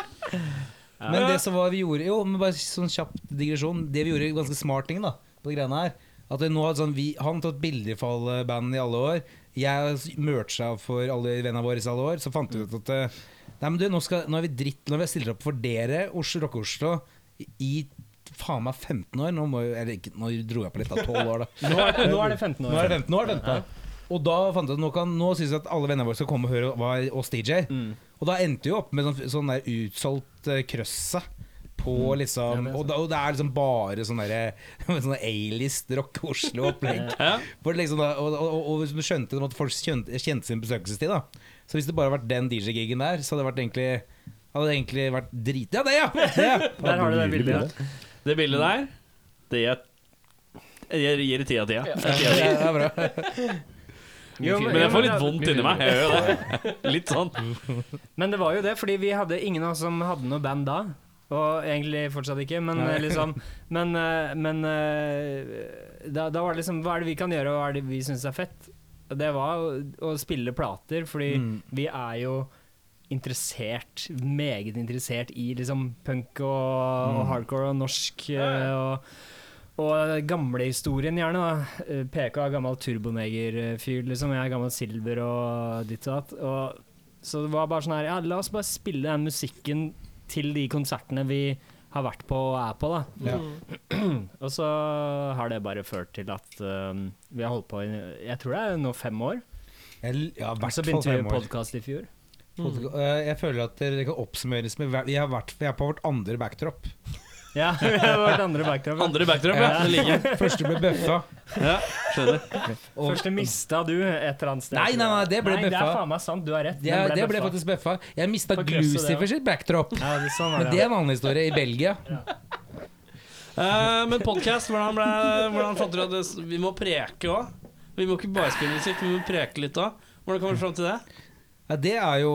[SPEAKER 6] Men det som var vi gjorde Jo, men bare sånn kjapp digresjon. Det vi gjorde ganske smart ting, da, på de greiene her. At det nå hadde sånn, vi, Han tatt bilder for alle bandene i alle år. Jeg mercha for alle vennene våre i alle år. Så fant vi ut at eh, Nei, men du, nå, skal, nå er vi dritt Nå har vi stilt opp for dere, Oslo Rocke-Oslo, i, i faen meg 15 år. Nå, må, jo- eller, ikke, nå dro jeg på litt, da. 12 år, da.
[SPEAKER 1] Nå er, nå er det 15
[SPEAKER 6] Nå er
[SPEAKER 1] år.
[SPEAKER 6] det 15, nå er det 15. Og da fant jeg at nå, kan, nå synes jeg at alle vennene våre skal komme og høre hva er oss DJ. Og da endte vi jo opp med sånn, sånn der utsolgt uh, krøsse. På liksom, og, da, og det er liksom bare sånn derre- sånn A-list Rock Oslo-opplegg.
[SPEAKER 2] Ja.
[SPEAKER 6] Hvor det liksom da- og, og, og, hvis du skjønte at folk kjente, kjente sin besøkelsestid. da Så hvis det bare hadde vært den DJ-gigen der, så hadde det vært egentlig Hadde det egentlig vært drit... Ja, det, ja! Det, ja.
[SPEAKER 1] Der har du det bildet.
[SPEAKER 2] Det bildet der, det gir jeg gir det ti av ti. ja. Ti av ti.
[SPEAKER 6] det er bra.
[SPEAKER 1] Jo,
[SPEAKER 2] Men jeg får litt vondt inni meg. Jeg gjør jo det. Litt sånn.
[SPEAKER 1] Men det var jo det, fordi vi hadde ingen av oss som hadde noe band da. Og egentlig fortsatt ikke, men eh, liksom Men, eh, men eh, da, da var det liksom Hva er det vi kan gjøre, og hva er det vi syns er fett? Og Det var å, å spille plater, fordi vi er jo interessert, meget interessert i liksom punk og, og hardcore og norsk eh, og og gamlehistorien, gjerne. da Eh, PK er gammel turbonegerfyr, liksom. Jeg er gammel silver og ditt og datt. Og så det var bare sånn her Ja, la oss bare spille den musikken til de konsertene vi har vært på og er på, da.
[SPEAKER 6] Ja.
[SPEAKER 1] og så har det bare ført til at eh, vi har holdt på i Jeg tror det er nå fem år.
[SPEAKER 6] Jeg, ja, i hvert
[SPEAKER 1] Så
[SPEAKER 6] fall
[SPEAKER 1] begynte vi
[SPEAKER 6] fem år.
[SPEAKER 1] podkast i fjor.
[SPEAKER 6] Podka- Eh, Jeg føler at det kan oppsummeres med hver- Vi har vært, vi er på vårt andre backdrop.
[SPEAKER 1] Ja, vi har vært andre backdrop. ja.
[SPEAKER 2] Andre backdrop, ja. Det ligger.
[SPEAKER 6] Første ble bøffa.
[SPEAKER 2] Ja, skjønner.
[SPEAKER 6] Og
[SPEAKER 1] Første mista du et eller annet sted.
[SPEAKER 6] Nei, nei, nei, det ble
[SPEAKER 1] Nei, det er
[SPEAKER 6] bøffa.
[SPEAKER 1] faen meg sant, du har rett.
[SPEAKER 6] det,
[SPEAKER 1] Den
[SPEAKER 6] det ble
[SPEAKER 1] bøffa.
[SPEAKER 6] faktisk bøffa. Jeg mista
[SPEAKER 1] På krysset, det,
[SPEAKER 6] Glucifer
[SPEAKER 1] ja.
[SPEAKER 6] sitt backdrop.
[SPEAKER 1] ja, det, sånn var
[SPEAKER 6] Men
[SPEAKER 1] det.
[SPEAKER 6] det er en annen historie. I Belgia.
[SPEAKER 2] Eh, men podcast, hvordan, ble, hvordan fant dere at det- vi må preke òg? Vi må ikke bare spille musikk, vi må preke litt òg. Hvordan kommer dere fram til det?
[SPEAKER 6] Ja, det er jo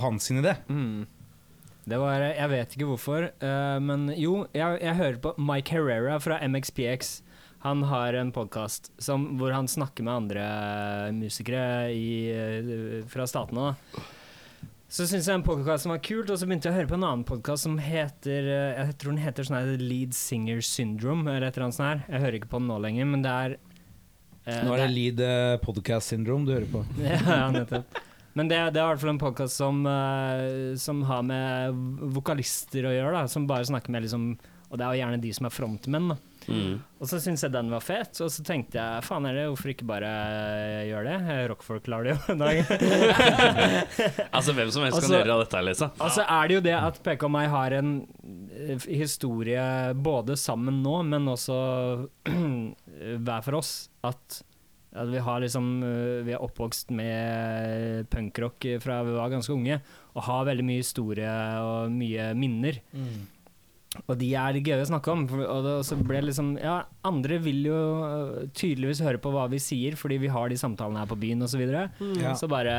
[SPEAKER 6] hans sin idé.
[SPEAKER 1] Det var, Jeg vet ikke hvorfor, eh, men jo, jeg, jeg hører på Mike Herrera fra MXPX. Han har en podkast hvor han snakker med andre eh, musikere i, eh, fra statene. da. Så syntes jeg en podkast som var kult, og så begynte jeg å høre på en annen podkast som heter eh, Jeg tror den heter sånn her Lead Singer Syndrome, eller et eller annet sånt her. Jeg hører ikke på den nå lenger, men det er eh,
[SPEAKER 6] Nå er det Lead eh, Podcast Syndrome du hører på.
[SPEAKER 1] ja, nettopp. Men det, det er i hvert fall en podkast som, eh, som har med vokalister å gjøre, da, som bare snakker med liksom Og det er jo gjerne de som er frontmenn, da.
[SPEAKER 6] Mm.
[SPEAKER 1] Og så syntes jeg den var fet, og så tenkte jeg faen er det, hvorfor ikke bare gjøre det? Eh, Rockfolk lar det jo en dag.
[SPEAKER 2] Altså, Hvem som
[SPEAKER 1] kan
[SPEAKER 2] helst kan
[SPEAKER 1] Altså-
[SPEAKER 2] gjøre
[SPEAKER 1] gjøre
[SPEAKER 2] dette,
[SPEAKER 6] liksom.
[SPEAKER 2] Lisa.
[SPEAKER 1] Altså er det jo det at PK og meg har en eh, historie både sammen nå, men også eh, hver for oss at at vi har liksom eh, Vi er oppvokst med punkrock fra vi var ganske unge, og har veldig mye historie og mye minner. Og de er litt gøye å snakke om. For, og det, og så ble det liksom Ja, andre vil jo øh, tydeligvis høre på hva vi sier, fordi vi har de samtalene her på byen osv. Så, videre.
[SPEAKER 6] Ja.
[SPEAKER 1] så bare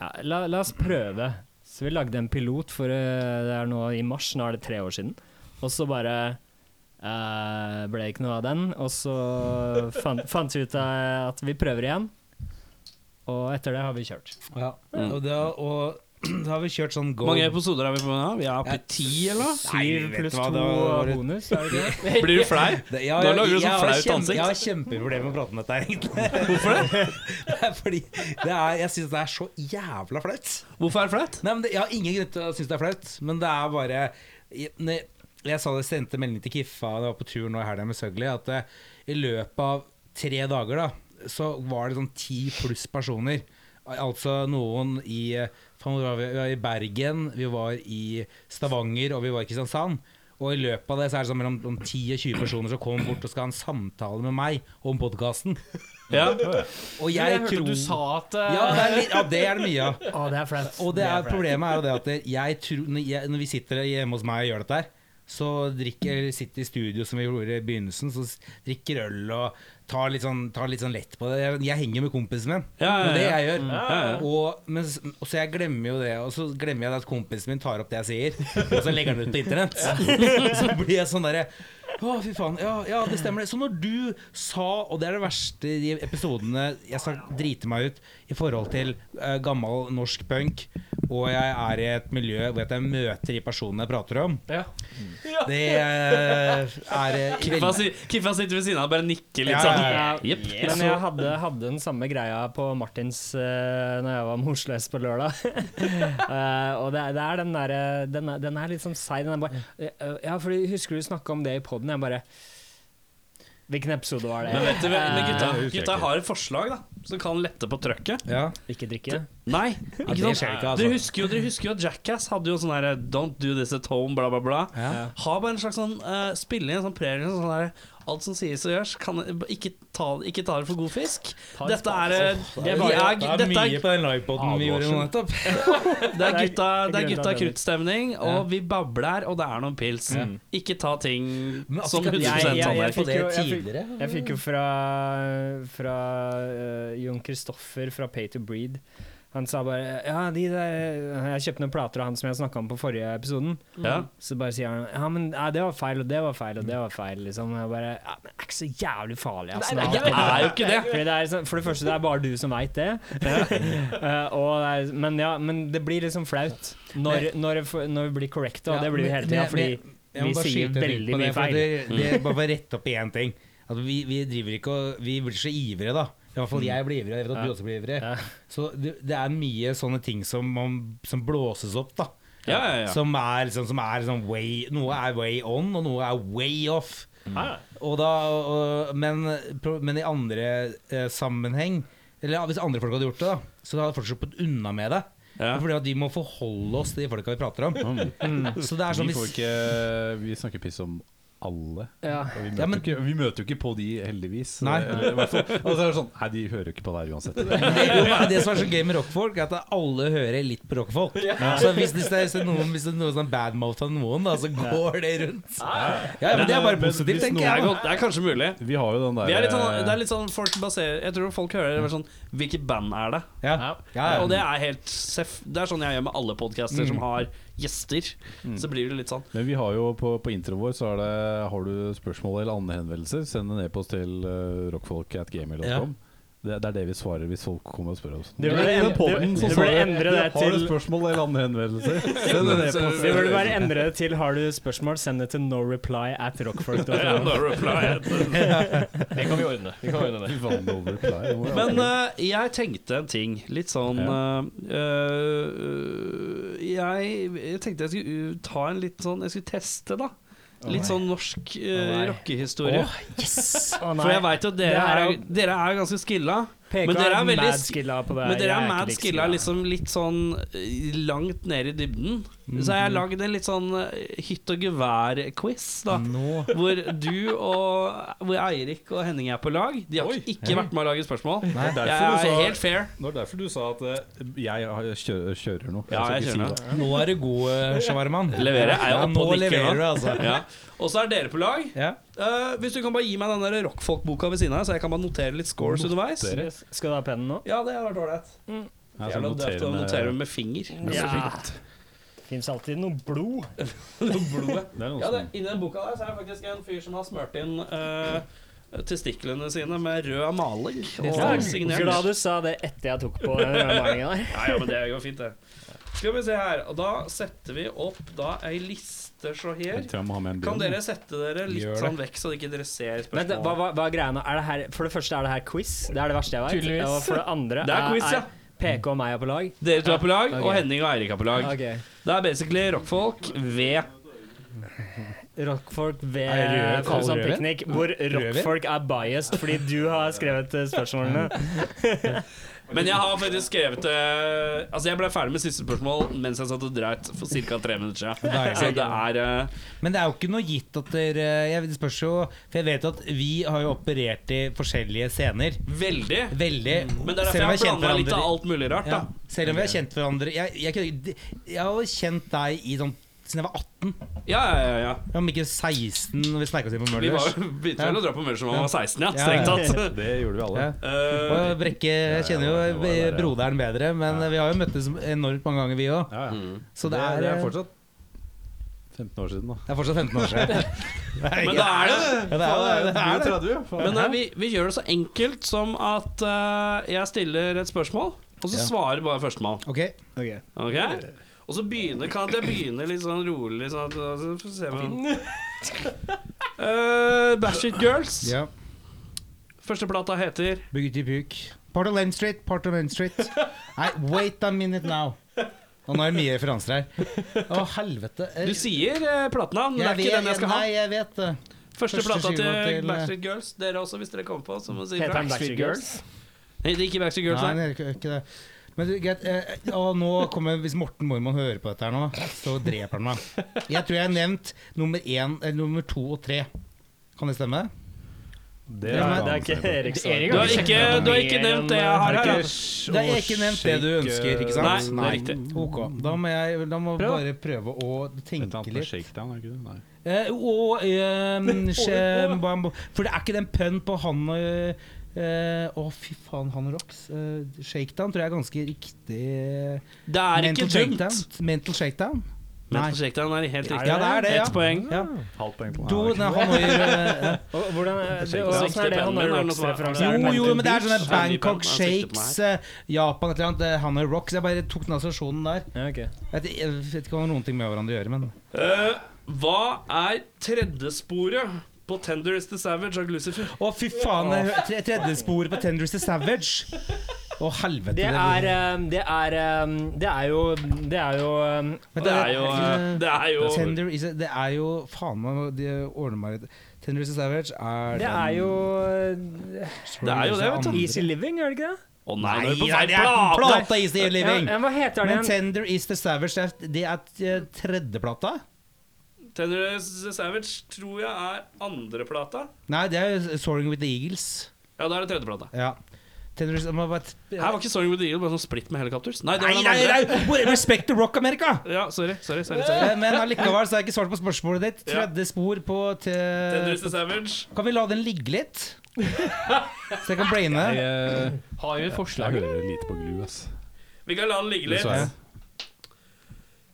[SPEAKER 1] ja, la, la oss prøve. Så vi lagde en pilot for øh, Det er nå i mars, nå er det tre år siden. Og så bare øh, ble det ikke noe av den. Og så fant, fant vi ut av at vi prøver igjen. Og etter det har vi kjørt.
[SPEAKER 6] Ja.
[SPEAKER 2] Mm.
[SPEAKER 6] Og, da, og da har vi kjørt sånn
[SPEAKER 2] Hvor
[SPEAKER 6] go
[SPEAKER 2] mange episoder er vi på nå? Vi er oppe i ti, eller?
[SPEAKER 1] Syv pluss
[SPEAKER 6] hva,
[SPEAKER 1] to
[SPEAKER 6] det var- det var-
[SPEAKER 1] bonus, er det ikke? det?
[SPEAKER 2] Blir du flau?
[SPEAKER 6] Det- ja,
[SPEAKER 2] Nå
[SPEAKER 6] jeg-
[SPEAKER 2] lager du sånn
[SPEAKER 6] jeg har
[SPEAKER 2] flaut
[SPEAKER 6] kjempe-
[SPEAKER 2] ansikt.
[SPEAKER 6] Jeg har kjempeproblemer med å prate om dette, her, egentlig. Hvorfor det? er fordi det er, jeg syns det er så jævla flaut.
[SPEAKER 2] Hvorfor er det flaut?
[SPEAKER 6] Nei, men det, Jeg har ingen grunn til å synes det er flaut, men det er bare Jeg, når jeg sa det, sendte melding til Kiffa da jeg var på tur nå i helga med Søgli, at eh, i løpet av tre dager da, så var det sånn ti pluss personer. Al- Altså noen i eh, faen, hvor var vi? Vi var i Bergen, vi var i Stavanger og vi var i Kristiansand. Og i løpet av det så er det sånn mellom om 10 og 20 personer som kommer bort og skal ha en samtale med meg om podkasten.
[SPEAKER 2] Ja.
[SPEAKER 6] Og jeg,
[SPEAKER 1] Jeg hørte
[SPEAKER 6] tror
[SPEAKER 1] du sa at øh,
[SPEAKER 6] ja, det er, litt- ja, det er det mye av.
[SPEAKER 1] Å, det er flaut.
[SPEAKER 6] eh, Og det er,
[SPEAKER 1] flaut.
[SPEAKER 6] problemet er jo det at jeg tror, når, jeg, når vi sitter hjemme hos meg og gjør dette her, så drikker, eller sitter i studio som vi gjorde i begynnelsen, så s- drikker øl og tar litt sånn, tar litt sånn lett på det. Jeg, jeg henger med kompisen min,
[SPEAKER 2] Ja, ja,
[SPEAKER 6] det er det
[SPEAKER 2] ja.
[SPEAKER 6] jeg gjør.
[SPEAKER 2] ja, ja.
[SPEAKER 6] Og, men, s- og så jeg glemmer jo det, og så glemmer jeg at kompisen min tar opp det jeg sier, og så legger han det ut på internett. Så blir jeg sånn derre å, fy faen. Ja, ja, det stemmer det. Så når du sa, og det er det verste i de episodene jeg skal drite meg ut i forhold til eh, gammel norsk punk, og jeg er i et miljø hvor jeg møter de personene jeg prater om,
[SPEAKER 2] Ja.
[SPEAKER 6] det eh, er eh,
[SPEAKER 2] Kiffa,
[SPEAKER 6] veldig-
[SPEAKER 2] si, Kiffa sitter ved siden av og bare nikker litt
[SPEAKER 6] Ja,
[SPEAKER 2] sånn.
[SPEAKER 1] ja, ja.
[SPEAKER 2] Jepp.
[SPEAKER 1] Men jeg hadde, hadde den samme greia på Martins uh, Når jeg var med Oslo S på lørdag. Eh, og det, er- det er den derre den, er- den er litt sånn seig. Den er bare eh, Ja, for husker du snakka om det i poden? Jeg bare Hvilken episode var det?
[SPEAKER 2] Men vet du, men gutta,
[SPEAKER 1] Eh,
[SPEAKER 2] gutta har et forslag da som kan lette på trøkket.
[SPEAKER 6] Ja.
[SPEAKER 1] Ikke drikke?
[SPEAKER 2] Nei.
[SPEAKER 6] det
[SPEAKER 2] Ikke sant?
[SPEAKER 6] skjer ikke, altså.
[SPEAKER 2] Dere husker jo, dere husker jo at Jackass hadde jo sånn her Don't do this at home, bla, bla, bla.
[SPEAKER 6] Ja.
[SPEAKER 2] Ha bare en slags sånn eh, Spille inn en sånn prerien sånn der Alt som sies og gjøres, kan, ikke, ta, ikke ta det for god fisk.
[SPEAKER 1] Ta en
[SPEAKER 2] Dette er, eh,
[SPEAKER 6] Det
[SPEAKER 2] det,
[SPEAKER 6] var-
[SPEAKER 2] er,
[SPEAKER 6] det er
[SPEAKER 2] dette er
[SPEAKER 6] mye på den livepoden vi gjorde nå nettopp.
[SPEAKER 2] Det er gutta, det er
[SPEAKER 1] Grunnen til
[SPEAKER 2] gutta
[SPEAKER 1] at det-
[SPEAKER 2] kruttstemning, og vi babler, og det er noen pils. Ikke ta ting
[SPEAKER 6] Men at
[SPEAKER 2] som
[SPEAKER 6] ikke
[SPEAKER 2] 100
[SPEAKER 6] at jeg-
[SPEAKER 1] jeg- jeg
[SPEAKER 2] sannhet.
[SPEAKER 1] fikk jo- jeg fikk-
[SPEAKER 6] tidligere.
[SPEAKER 1] Jeg fikk jo fra, fra eh, Jon Kristoffer fra Pay to Breed Han sa bare Ja, de der Jeg kjøpte noen plater av han som jeg snakka om på forrige episoden.
[SPEAKER 2] Ja.
[SPEAKER 1] Så bare sier han Ja, men ja, det var feil, og det var feil, og det var feil, liksom. Og Jeg bare Ja, men det er ikke så jævlig farlig, altså.
[SPEAKER 2] Nei, nei,
[SPEAKER 1] alt
[SPEAKER 2] det er jo ikke det.
[SPEAKER 1] Fordi det er, sånn- for det første, det er bare du som veit det. Eh, og det er, men ja, men det blir liksom flaut når, når, når vi blir korrekte, og
[SPEAKER 6] Ja,
[SPEAKER 1] det blir vi
[SPEAKER 6] men-
[SPEAKER 1] hele tida.
[SPEAKER 6] men-
[SPEAKER 1] Fordi
[SPEAKER 6] men- jeg må
[SPEAKER 1] vi
[SPEAKER 6] bare
[SPEAKER 1] sier
[SPEAKER 6] skyte litt
[SPEAKER 1] veldig
[SPEAKER 6] på det,
[SPEAKER 1] mye
[SPEAKER 6] for
[SPEAKER 1] feil.
[SPEAKER 6] Det, det
[SPEAKER 2] Mm.
[SPEAKER 6] er bare for å rette opp i én ting. At vi, vi driver ikke og Vi blir så ivrige, da. I hvert fall jeg blir ivrig, og jeg vet
[SPEAKER 1] Mm.
[SPEAKER 6] at
[SPEAKER 1] Ja.
[SPEAKER 6] du også blir ivrig.
[SPEAKER 1] Ja.
[SPEAKER 6] Så det, det er mye sånne ting som, man- som blåses opp, da.
[SPEAKER 2] Ja, ja, ja.
[SPEAKER 6] Som er liksom som er liksom way Noe er way on, og noe er way off.
[SPEAKER 2] Mm.
[SPEAKER 1] Ah.
[SPEAKER 6] Og da, og, men, pro- men i andre eh, sammenheng Eller ja, hvis andre folk hadde gjort det, da så hadde folk sluppet unna med det.
[SPEAKER 2] Ja.
[SPEAKER 6] Fordi at de må forholde oss til de folka vi prater om.
[SPEAKER 2] Mm.
[SPEAKER 6] Så det er sånn
[SPEAKER 3] Vi,
[SPEAKER 6] hvis-
[SPEAKER 3] får ikke, vi snakker piss om alle.
[SPEAKER 1] Ja.
[SPEAKER 3] Og vi, møter
[SPEAKER 6] Ja, men-
[SPEAKER 3] jo ikke, vi møter jo ikke på de, heldigvis.
[SPEAKER 6] Nei.
[SPEAKER 3] Eller i hvert fall- Og så er det sånn Nei, de hører jo ikke på det her uansett.
[SPEAKER 6] Men det, men det som er så gøy med rockfolk, er at alle hører litt på rockfolk. Så hvis det, hvis det er noen, hvis det er noen sånn badmouth av noen, da, så går det rundt. Ja, men Det er bare
[SPEAKER 3] Men
[SPEAKER 6] positivt,
[SPEAKER 3] hvis
[SPEAKER 2] Det
[SPEAKER 6] tenker
[SPEAKER 2] er,
[SPEAKER 6] jeg. da.
[SPEAKER 2] godt, det er kanskje mulig.
[SPEAKER 3] Vi har jo den der
[SPEAKER 2] Vi er litt sånn, det er litt sånn folk baserer Jeg tror folk hører det bare sånn Hvilket band er det?
[SPEAKER 6] Ja. Ja, ja.
[SPEAKER 2] Og det er helt seff. Det er sånn jeg gjør med alle podcaster som har gjester. Så blir det litt sånn.
[SPEAKER 3] Men vi har jo på, på introen vår så er det Har du spørsmål eller andre henvendelser, send en e-post til uh, rockfolk.gmail.com. Det, det er det vi svarer hvis folk kommer og spør oss.
[SPEAKER 1] Det burde-
[SPEAKER 3] I den podden
[SPEAKER 1] det-
[SPEAKER 3] så
[SPEAKER 1] det burde
[SPEAKER 3] svarer jeg,
[SPEAKER 1] endre det
[SPEAKER 3] Har du
[SPEAKER 1] til-
[SPEAKER 3] spørsmål eller andre henvendelser, send en e-post.
[SPEAKER 1] Vi burde bare endre det til Har du spørsmål, send det til noreply at
[SPEAKER 2] Ja,
[SPEAKER 1] rockfolk.no.
[SPEAKER 2] no reply.
[SPEAKER 7] Det kan vi ordne. Vi kan ordne det.
[SPEAKER 3] Fy faen, no reply. Det må jeg-
[SPEAKER 2] Men eh, jeg tenkte en ting. Litt sånn eh, eh, jeg, jeg tenkte jeg skulle uh, ta en litt sånn Jeg skulle teste, da. Litt sånn norsk uh,
[SPEAKER 1] Å, nei.
[SPEAKER 2] rockehistorie.
[SPEAKER 1] Yes!
[SPEAKER 2] For jeg veit jo at
[SPEAKER 1] Det
[SPEAKER 2] dere
[SPEAKER 1] her
[SPEAKER 2] er,
[SPEAKER 1] er
[SPEAKER 2] jo- dere er jo ganske skilla.
[SPEAKER 1] PK
[SPEAKER 2] Men dere er veldig
[SPEAKER 1] mad
[SPEAKER 2] sk-
[SPEAKER 1] skilla på det.
[SPEAKER 2] Men
[SPEAKER 1] Jeg
[SPEAKER 2] dere
[SPEAKER 1] ikke
[SPEAKER 2] er mad liksom
[SPEAKER 1] like
[SPEAKER 2] skilla liksom litt sånn eh, langt ned i dybden. Så
[SPEAKER 1] Mhm.
[SPEAKER 2] jeg har lagd en litt sånn eh, hytt og gevær-quiz, da.
[SPEAKER 1] Mhm.
[SPEAKER 2] Hvor du og hvor Eirik og Henning er på lag. De har
[SPEAKER 8] Oi.
[SPEAKER 2] ikke vært med å lage spørsmål.
[SPEAKER 8] Det er
[SPEAKER 2] Jeg
[SPEAKER 8] derfor du
[SPEAKER 2] er
[SPEAKER 8] sa-
[SPEAKER 2] helt fair.
[SPEAKER 8] det var derfor du sa at eh, jeg har- jeg kjører, kjører nå.
[SPEAKER 2] Ja, jeg kjører nå.
[SPEAKER 6] Nå er du god, Shawarman.
[SPEAKER 2] Leverer. Er jeg
[SPEAKER 6] Ja,
[SPEAKER 2] oppe
[SPEAKER 6] nå
[SPEAKER 2] og nikker
[SPEAKER 6] leverer du,
[SPEAKER 2] nå?
[SPEAKER 6] altså.
[SPEAKER 2] Ja. Og så er dere på lag.
[SPEAKER 6] Ja.
[SPEAKER 2] Eh, hvis du kan bare gi meg den der rockfolk-boka ved siden av, så jeg kan bare notere litt scores underveis.
[SPEAKER 1] Skal du ha pennen nå?
[SPEAKER 2] Ja, det hadde vært ålreit.
[SPEAKER 8] Jeg skal
[SPEAKER 2] Jævla
[SPEAKER 8] notere
[SPEAKER 2] døvt å
[SPEAKER 8] med-
[SPEAKER 2] notere med finger.
[SPEAKER 1] Ja. Fins alltid noe blod.
[SPEAKER 2] Noe blodet.
[SPEAKER 8] Det er noe
[SPEAKER 2] Ja, det,
[SPEAKER 8] som-
[SPEAKER 2] inni den boka der så er det faktisk en fyr som har smurt inn eh, testiklene sine med rød maling.
[SPEAKER 1] Ja,
[SPEAKER 2] Og signert.
[SPEAKER 1] Sånn. Glad du sa det etter jeg tok på den malingen der.
[SPEAKER 2] Ja, ja, men det går fint, det. Skal vi se her. Og da setter vi opp da ei liste, så her.
[SPEAKER 8] Jeg tror jeg må ha med en
[SPEAKER 2] Kan
[SPEAKER 8] bjørn.
[SPEAKER 2] dere sette dere litt
[SPEAKER 6] Gjør det.
[SPEAKER 2] sånn vekk, så dere ikke dere
[SPEAKER 1] Men
[SPEAKER 2] ser
[SPEAKER 1] det, hva,
[SPEAKER 2] spørsmålet?
[SPEAKER 1] hva, hva er greia nå? Er det her, for det første er det her quiz. Det er det verste jeg vet.
[SPEAKER 7] Tydeligvis.
[SPEAKER 1] Og for det andre
[SPEAKER 2] Det er quiz, ja.
[SPEAKER 1] PK og meg er på lag.
[SPEAKER 2] Dere to er på lag, og
[SPEAKER 1] Ok.
[SPEAKER 2] Henning og Eirik er på lag. Det er basically rockfolk ved
[SPEAKER 1] Rockfolk
[SPEAKER 6] Er det
[SPEAKER 1] ved
[SPEAKER 6] rød-
[SPEAKER 1] Kolsand
[SPEAKER 6] rødvin?
[SPEAKER 1] Picnic, hvor rockfolk er biased fordi du har skrevet eh, spørsmålene.
[SPEAKER 2] Men jeg har faktisk skrevet eh, Altså, jeg ble ferdig med siste spørsmål mens jeg satt og dreit for ca. tre minutter siden.
[SPEAKER 6] Deilig.
[SPEAKER 2] Så det er eh,
[SPEAKER 6] Men det er jo ikke noe gitt at dere jeg, Det spørs jo For jeg vet at vi har jo operert i forskjellige scener.
[SPEAKER 2] veldig
[SPEAKER 6] Veldig.
[SPEAKER 2] Men det er derfor jeg har blanda litt av alt mulig rart,
[SPEAKER 6] Ja,
[SPEAKER 2] da.
[SPEAKER 6] selv om vi har kjent hverandre Jeg, jeg, kunne- de- jeg har jo kjent deg i sånn siden jeg var 18,
[SPEAKER 2] Ja, ja, ja. ja.
[SPEAKER 6] om ikke 16, når vi snerka oss inn på
[SPEAKER 2] Vi var
[SPEAKER 6] Møllers.
[SPEAKER 2] jo begynte vel å dra på mer som man var 16, ja.
[SPEAKER 6] Ja, ja.
[SPEAKER 2] Strengt tatt.
[SPEAKER 8] Det gjorde vi alle.
[SPEAKER 6] Ja.
[SPEAKER 2] Eh,
[SPEAKER 6] Og Brekke jeg kjenner
[SPEAKER 8] det
[SPEAKER 6] jo
[SPEAKER 8] var der, ja.
[SPEAKER 6] broderen bedre, men vi har jo møttes enormt mange ganger, vi òg.
[SPEAKER 8] Ja, ja.
[SPEAKER 6] Så
[SPEAKER 8] Det,
[SPEAKER 6] det
[SPEAKER 8] er, det er
[SPEAKER 6] er, eh,
[SPEAKER 8] fortsatt 15 år siden, da.
[SPEAKER 6] det er fortsatt 15 år siden.
[SPEAKER 2] men da er det
[SPEAKER 6] Ja, det er, det er, det.
[SPEAKER 2] Men eh, vi, vi gjør det så enkelt som at eh, jeg stiller et spørsmål, og så svarer bare førstemann.
[SPEAKER 6] Ok,
[SPEAKER 2] Ok? Og så begynner, kan jeg begynne litt sånn rolig, sånn at så får vi se hva uh, Bashit Girls.
[SPEAKER 6] ja.
[SPEAKER 2] Første plata heter
[SPEAKER 6] Bugatti Puk. Part of Lane Street, part of Lane Street. Nei, wait a minute now. Og nå er det mye referanser her. Å, helvete. Eh,
[SPEAKER 2] Du sier uh, platenavn, men det
[SPEAKER 6] jeg
[SPEAKER 2] er ikke den jeg skal ha.
[SPEAKER 6] Nei, jeg vet det.
[SPEAKER 2] Første
[SPEAKER 6] første
[SPEAKER 2] plata til
[SPEAKER 6] skiva til, eh,
[SPEAKER 2] Backstreet Girls. Dere også, hvis dere kommer på. Så må dere si
[SPEAKER 1] Heter
[SPEAKER 2] fra.
[SPEAKER 1] han Backstreet Girls?
[SPEAKER 2] Nei, det er ikke Backstreet Girls,
[SPEAKER 6] Nei,
[SPEAKER 2] nei.
[SPEAKER 6] det er ikke det. Men du, greit. eh, å, nå kommer, hvis Morten Mormon hører på dette her nå, så dreper han meg. Jeg tror jeg har nevnt nummer én, eller nummer to og tre. Kan det stemme?
[SPEAKER 8] Det
[SPEAKER 1] Ja, men
[SPEAKER 8] er
[SPEAKER 1] det er ikke Eriks
[SPEAKER 7] Erik
[SPEAKER 2] Du har ikke, du har ikke nevnt det jeg
[SPEAKER 1] eh,
[SPEAKER 2] har her. da.
[SPEAKER 6] Det er ikke nevnt det du ønsker,
[SPEAKER 8] eh,
[SPEAKER 6] ikke
[SPEAKER 2] Nei,
[SPEAKER 6] sant?
[SPEAKER 2] det er riktig.
[SPEAKER 6] Ok, da må jeg da må
[SPEAKER 1] Prøv, da.
[SPEAKER 6] bare prøve å
[SPEAKER 8] Et
[SPEAKER 6] tenke
[SPEAKER 8] annet med
[SPEAKER 6] litt.
[SPEAKER 8] shakedown, er ikke det? Nei.
[SPEAKER 6] Eh, og ehm, skje- bam- bam- For det er ikke den pønn på han og eh, Å, fy faen, han rocks. Eh, shakedown tror jeg er ganske riktig.
[SPEAKER 2] Det er ikke dumt.
[SPEAKER 6] shakedown. Mental shakedown?
[SPEAKER 2] Men
[SPEAKER 6] Nei.
[SPEAKER 2] prosjektet er helt riktig.
[SPEAKER 6] Ja, det er det, ja.
[SPEAKER 2] Ett poeng.
[SPEAKER 6] Ja.
[SPEAKER 8] Halvt poeng på
[SPEAKER 6] Do, nei, Hanoi, eh,
[SPEAKER 1] Og Hvordan er det, og hvordan er det han
[SPEAKER 2] Pennen
[SPEAKER 1] har
[SPEAKER 2] er noe som er-
[SPEAKER 1] rocks-referanse?
[SPEAKER 2] er
[SPEAKER 6] jo,
[SPEAKER 2] Mental
[SPEAKER 6] jo, men det er sånne
[SPEAKER 2] Beach. Ja,
[SPEAKER 6] Bangkok
[SPEAKER 2] de kan-
[SPEAKER 6] Shakes, eh, Japan et eller annet. eh, Hanoi Rocks. Jeg bare tok den assosiasjonen der.
[SPEAKER 1] Ja, ok.
[SPEAKER 6] Jeg vet, jeg vet ikke hva noen ting med hverandre å gjøre, men
[SPEAKER 2] Eh, hva er tredjesporet på Tender is the Savage av Lucifer?
[SPEAKER 6] Å, fy faen! det er tre- Tredje sporet på Tenders to Savage. Å, helvete.
[SPEAKER 1] Det er um, Det er um, Det er jo Det er jo um,
[SPEAKER 6] Men
[SPEAKER 2] Det er jo eh, Det er jo
[SPEAKER 6] Tender is a, Det er jo Faen meg, de ordner meg litt. Tender is a savage er
[SPEAKER 1] Det er jo uh,
[SPEAKER 2] Det er jo det, vet du.
[SPEAKER 1] Easy Living, er det ikke det?
[SPEAKER 2] Å
[SPEAKER 6] Nei,
[SPEAKER 2] nei, nå er du på
[SPEAKER 6] det er
[SPEAKER 2] feil
[SPEAKER 6] den
[SPEAKER 2] plate!
[SPEAKER 6] plata Is the Living.
[SPEAKER 1] Ja, ja, hva heter den
[SPEAKER 6] Men
[SPEAKER 1] igjen?
[SPEAKER 6] Tender is the savage, det er- det er eh, tredjeplata?
[SPEAKER 2] Tender is the Savage tror jeg er andreplata.
[SPEAKER 6] Nei, det er jo Soaring with the Eagles.
[SPEAKER 2] Ja, da er det tredjeplata.
[SPEAKER 6] Ja. Tender is må bare-
[SPEAKER 2] Her var ikke Soaring with the Eagle bare sånn splitt med Helicopters. Nei, det
[SPEAKER 6] Nei,
[SPEAKER 2] var den
[SPEAKER 6] nei,
[SPEAKER 2] andre.
[SPEAKER 6] nei! Well, Respect the rock, America!
[SPEAKER 2] Ja, sorry, sorry, sorry, sorry.
[SPEAKER 6] Eh, Men allikevel så har jeg ikke svart på spørsmålet ditt.
[SPEAKER 2] Ja.
[SPEAKER 6] Tredje spor på
[SPEAKER 2] Tender is
[SPEAKER 6] til
[SPEAKER 2] the Savage.
[SPEAKER 6] Kan vi la den ligge litt? Så jeg eh, kan braine.
[SPEAKER 8] Jeg,
[SPEAKER 7] Har vi et
[SPEAKER 8] jeg
[SPEAKER 7] forslag? eller?
[SPEAKER 8] hører lite på glu, ass.
[SPEAKER 2] Vi kan la den ligge
[SPEAKER 8] Dessverre.
[SPEAKER 2] litt.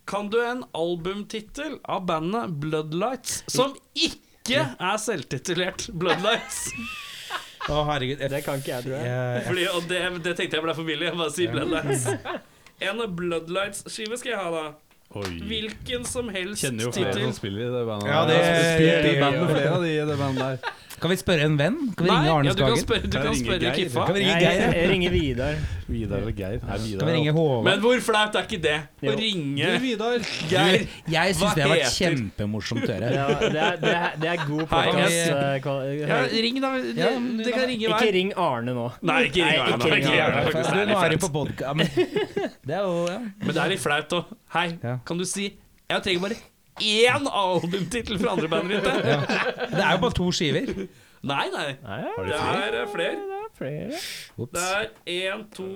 [SPEAKER 2] Kan du en albumtittel av bandet Bloodlights som ikke er selvtitulert Bloodlights?
[SPEAKER 6] Å, herregud. Jeg,
[SPEAKER 1] Det kan ikke jeg, tror jeg.
[SPEAKER 6] jeg,
[SPEAKER 2] Fordi, og det, det tenkte jeg ble for billig. Jeg Bare si Bloodlights. En Bloodlights-skive skal jeg ha, da.
[SPEAKER 8] Oi.
[SPEAKER 2] Hvilken som helst
[SPEAKER 8] Kjenner jo flere
[SPEAKER 2] tittel.
[SPEAKER 8] som spiller i det bandet.
[SPEAKER 6] Ja, det-
[SPEAKER 8] Jeg har spilt i
[SPEAKER 6] det-
[SPEAKER 8] band med flere av de i det bandet der.
[SPEAKER 6] Kan vi spørre en venn? Kan vi ringe Arne
[SPEAKER 2] ja, du kan
[SPEAKER 6] Skagen?
[SPEAKER 2] spørre, du
[SPEAKER 8] Kan
[SPEAKER 2] kan
[SPEAKER 8] ringe
[SPEAKER 2] spørre
[SPEAKER 8] Geir.
[SPEAKER 2] Kiffa.
[SPEAKER 6] Kan vi ringe
[SPEAKER 1] Jeg,
[SPEAKER 6] Geir?
[SPEAKER 1] jeg, jeg ringer Vidar.
[SPEAKER 8] Vidar eller Geir? Nei, Vidar.
[SPEAKER 6] Kan vi ringe
[SPEAKER 2] Men
[SPEAKER 6] Håvard?
[SPEAKER 2] hvor flaut er ikke det?
[SPEAKER 1] Jo.
[SPEAKER 2] Å ringe
[SPEAKER 8] Vidar.
[SPEAKER 2] Geir
[SPEAKER 6] Jeg
[SPEAKER 2] Hva
[SPEAKER 6] syns det har vært
[SPEAKER 2] heter-
[SPEAKER 6] kjempemorsomt å høre.
[SPEAKER 1] Ja, det, er, det, er, det er god
[SPEAKER 2] Hei,
[SPEAKER 6] jeg-
[SPEAKER 2] ja,
[SPEAKER 1] podkast.
[SPEAKER 2] Ring, da. Det,
[SPEAKER 6] Ja, men-
[SPEAKER 2] det kan ringe
[SPEAKER 1] Ikke
[SPEAKER 2] hver.
[SPEAKER 1] ring Arne nå.
[SPEAKER 2] Nei, ikke
[SPEAKER 1] Nei,
[SPEAKER 2] ring hver.
[SPEAKER 1] ikke
[SPEAKER 2] Nei,
[SPEAKER 1] ring
[SPEAKER 2] ikke
[SPEAKER 1] hver.
[SPEAKER 2] ring hver.
[SPEAKER 6] Du
[SPEAKER 2] faktisk. Det er litt
[SPEAKER 6] er jo
[SPEAKER 2] flaut.
[SPEAKER 6] på podka- men Det er jo ja.
[SPEAKER 2] Men det er litt flaut òg. Hei,
[SPEAKER 6] Ja.
[SPEAKER 2] kan du si Jeg trenger bare én albumtittel fra andre bandet ditt. jeg.
[SPEAKER 6] Det er jo bare to skiver.
[SPEAKER 2] Nei, nei. Det er eh, flere.
[SPEAKER 1] Flere.
[SPEAKER 2] Det er én, to,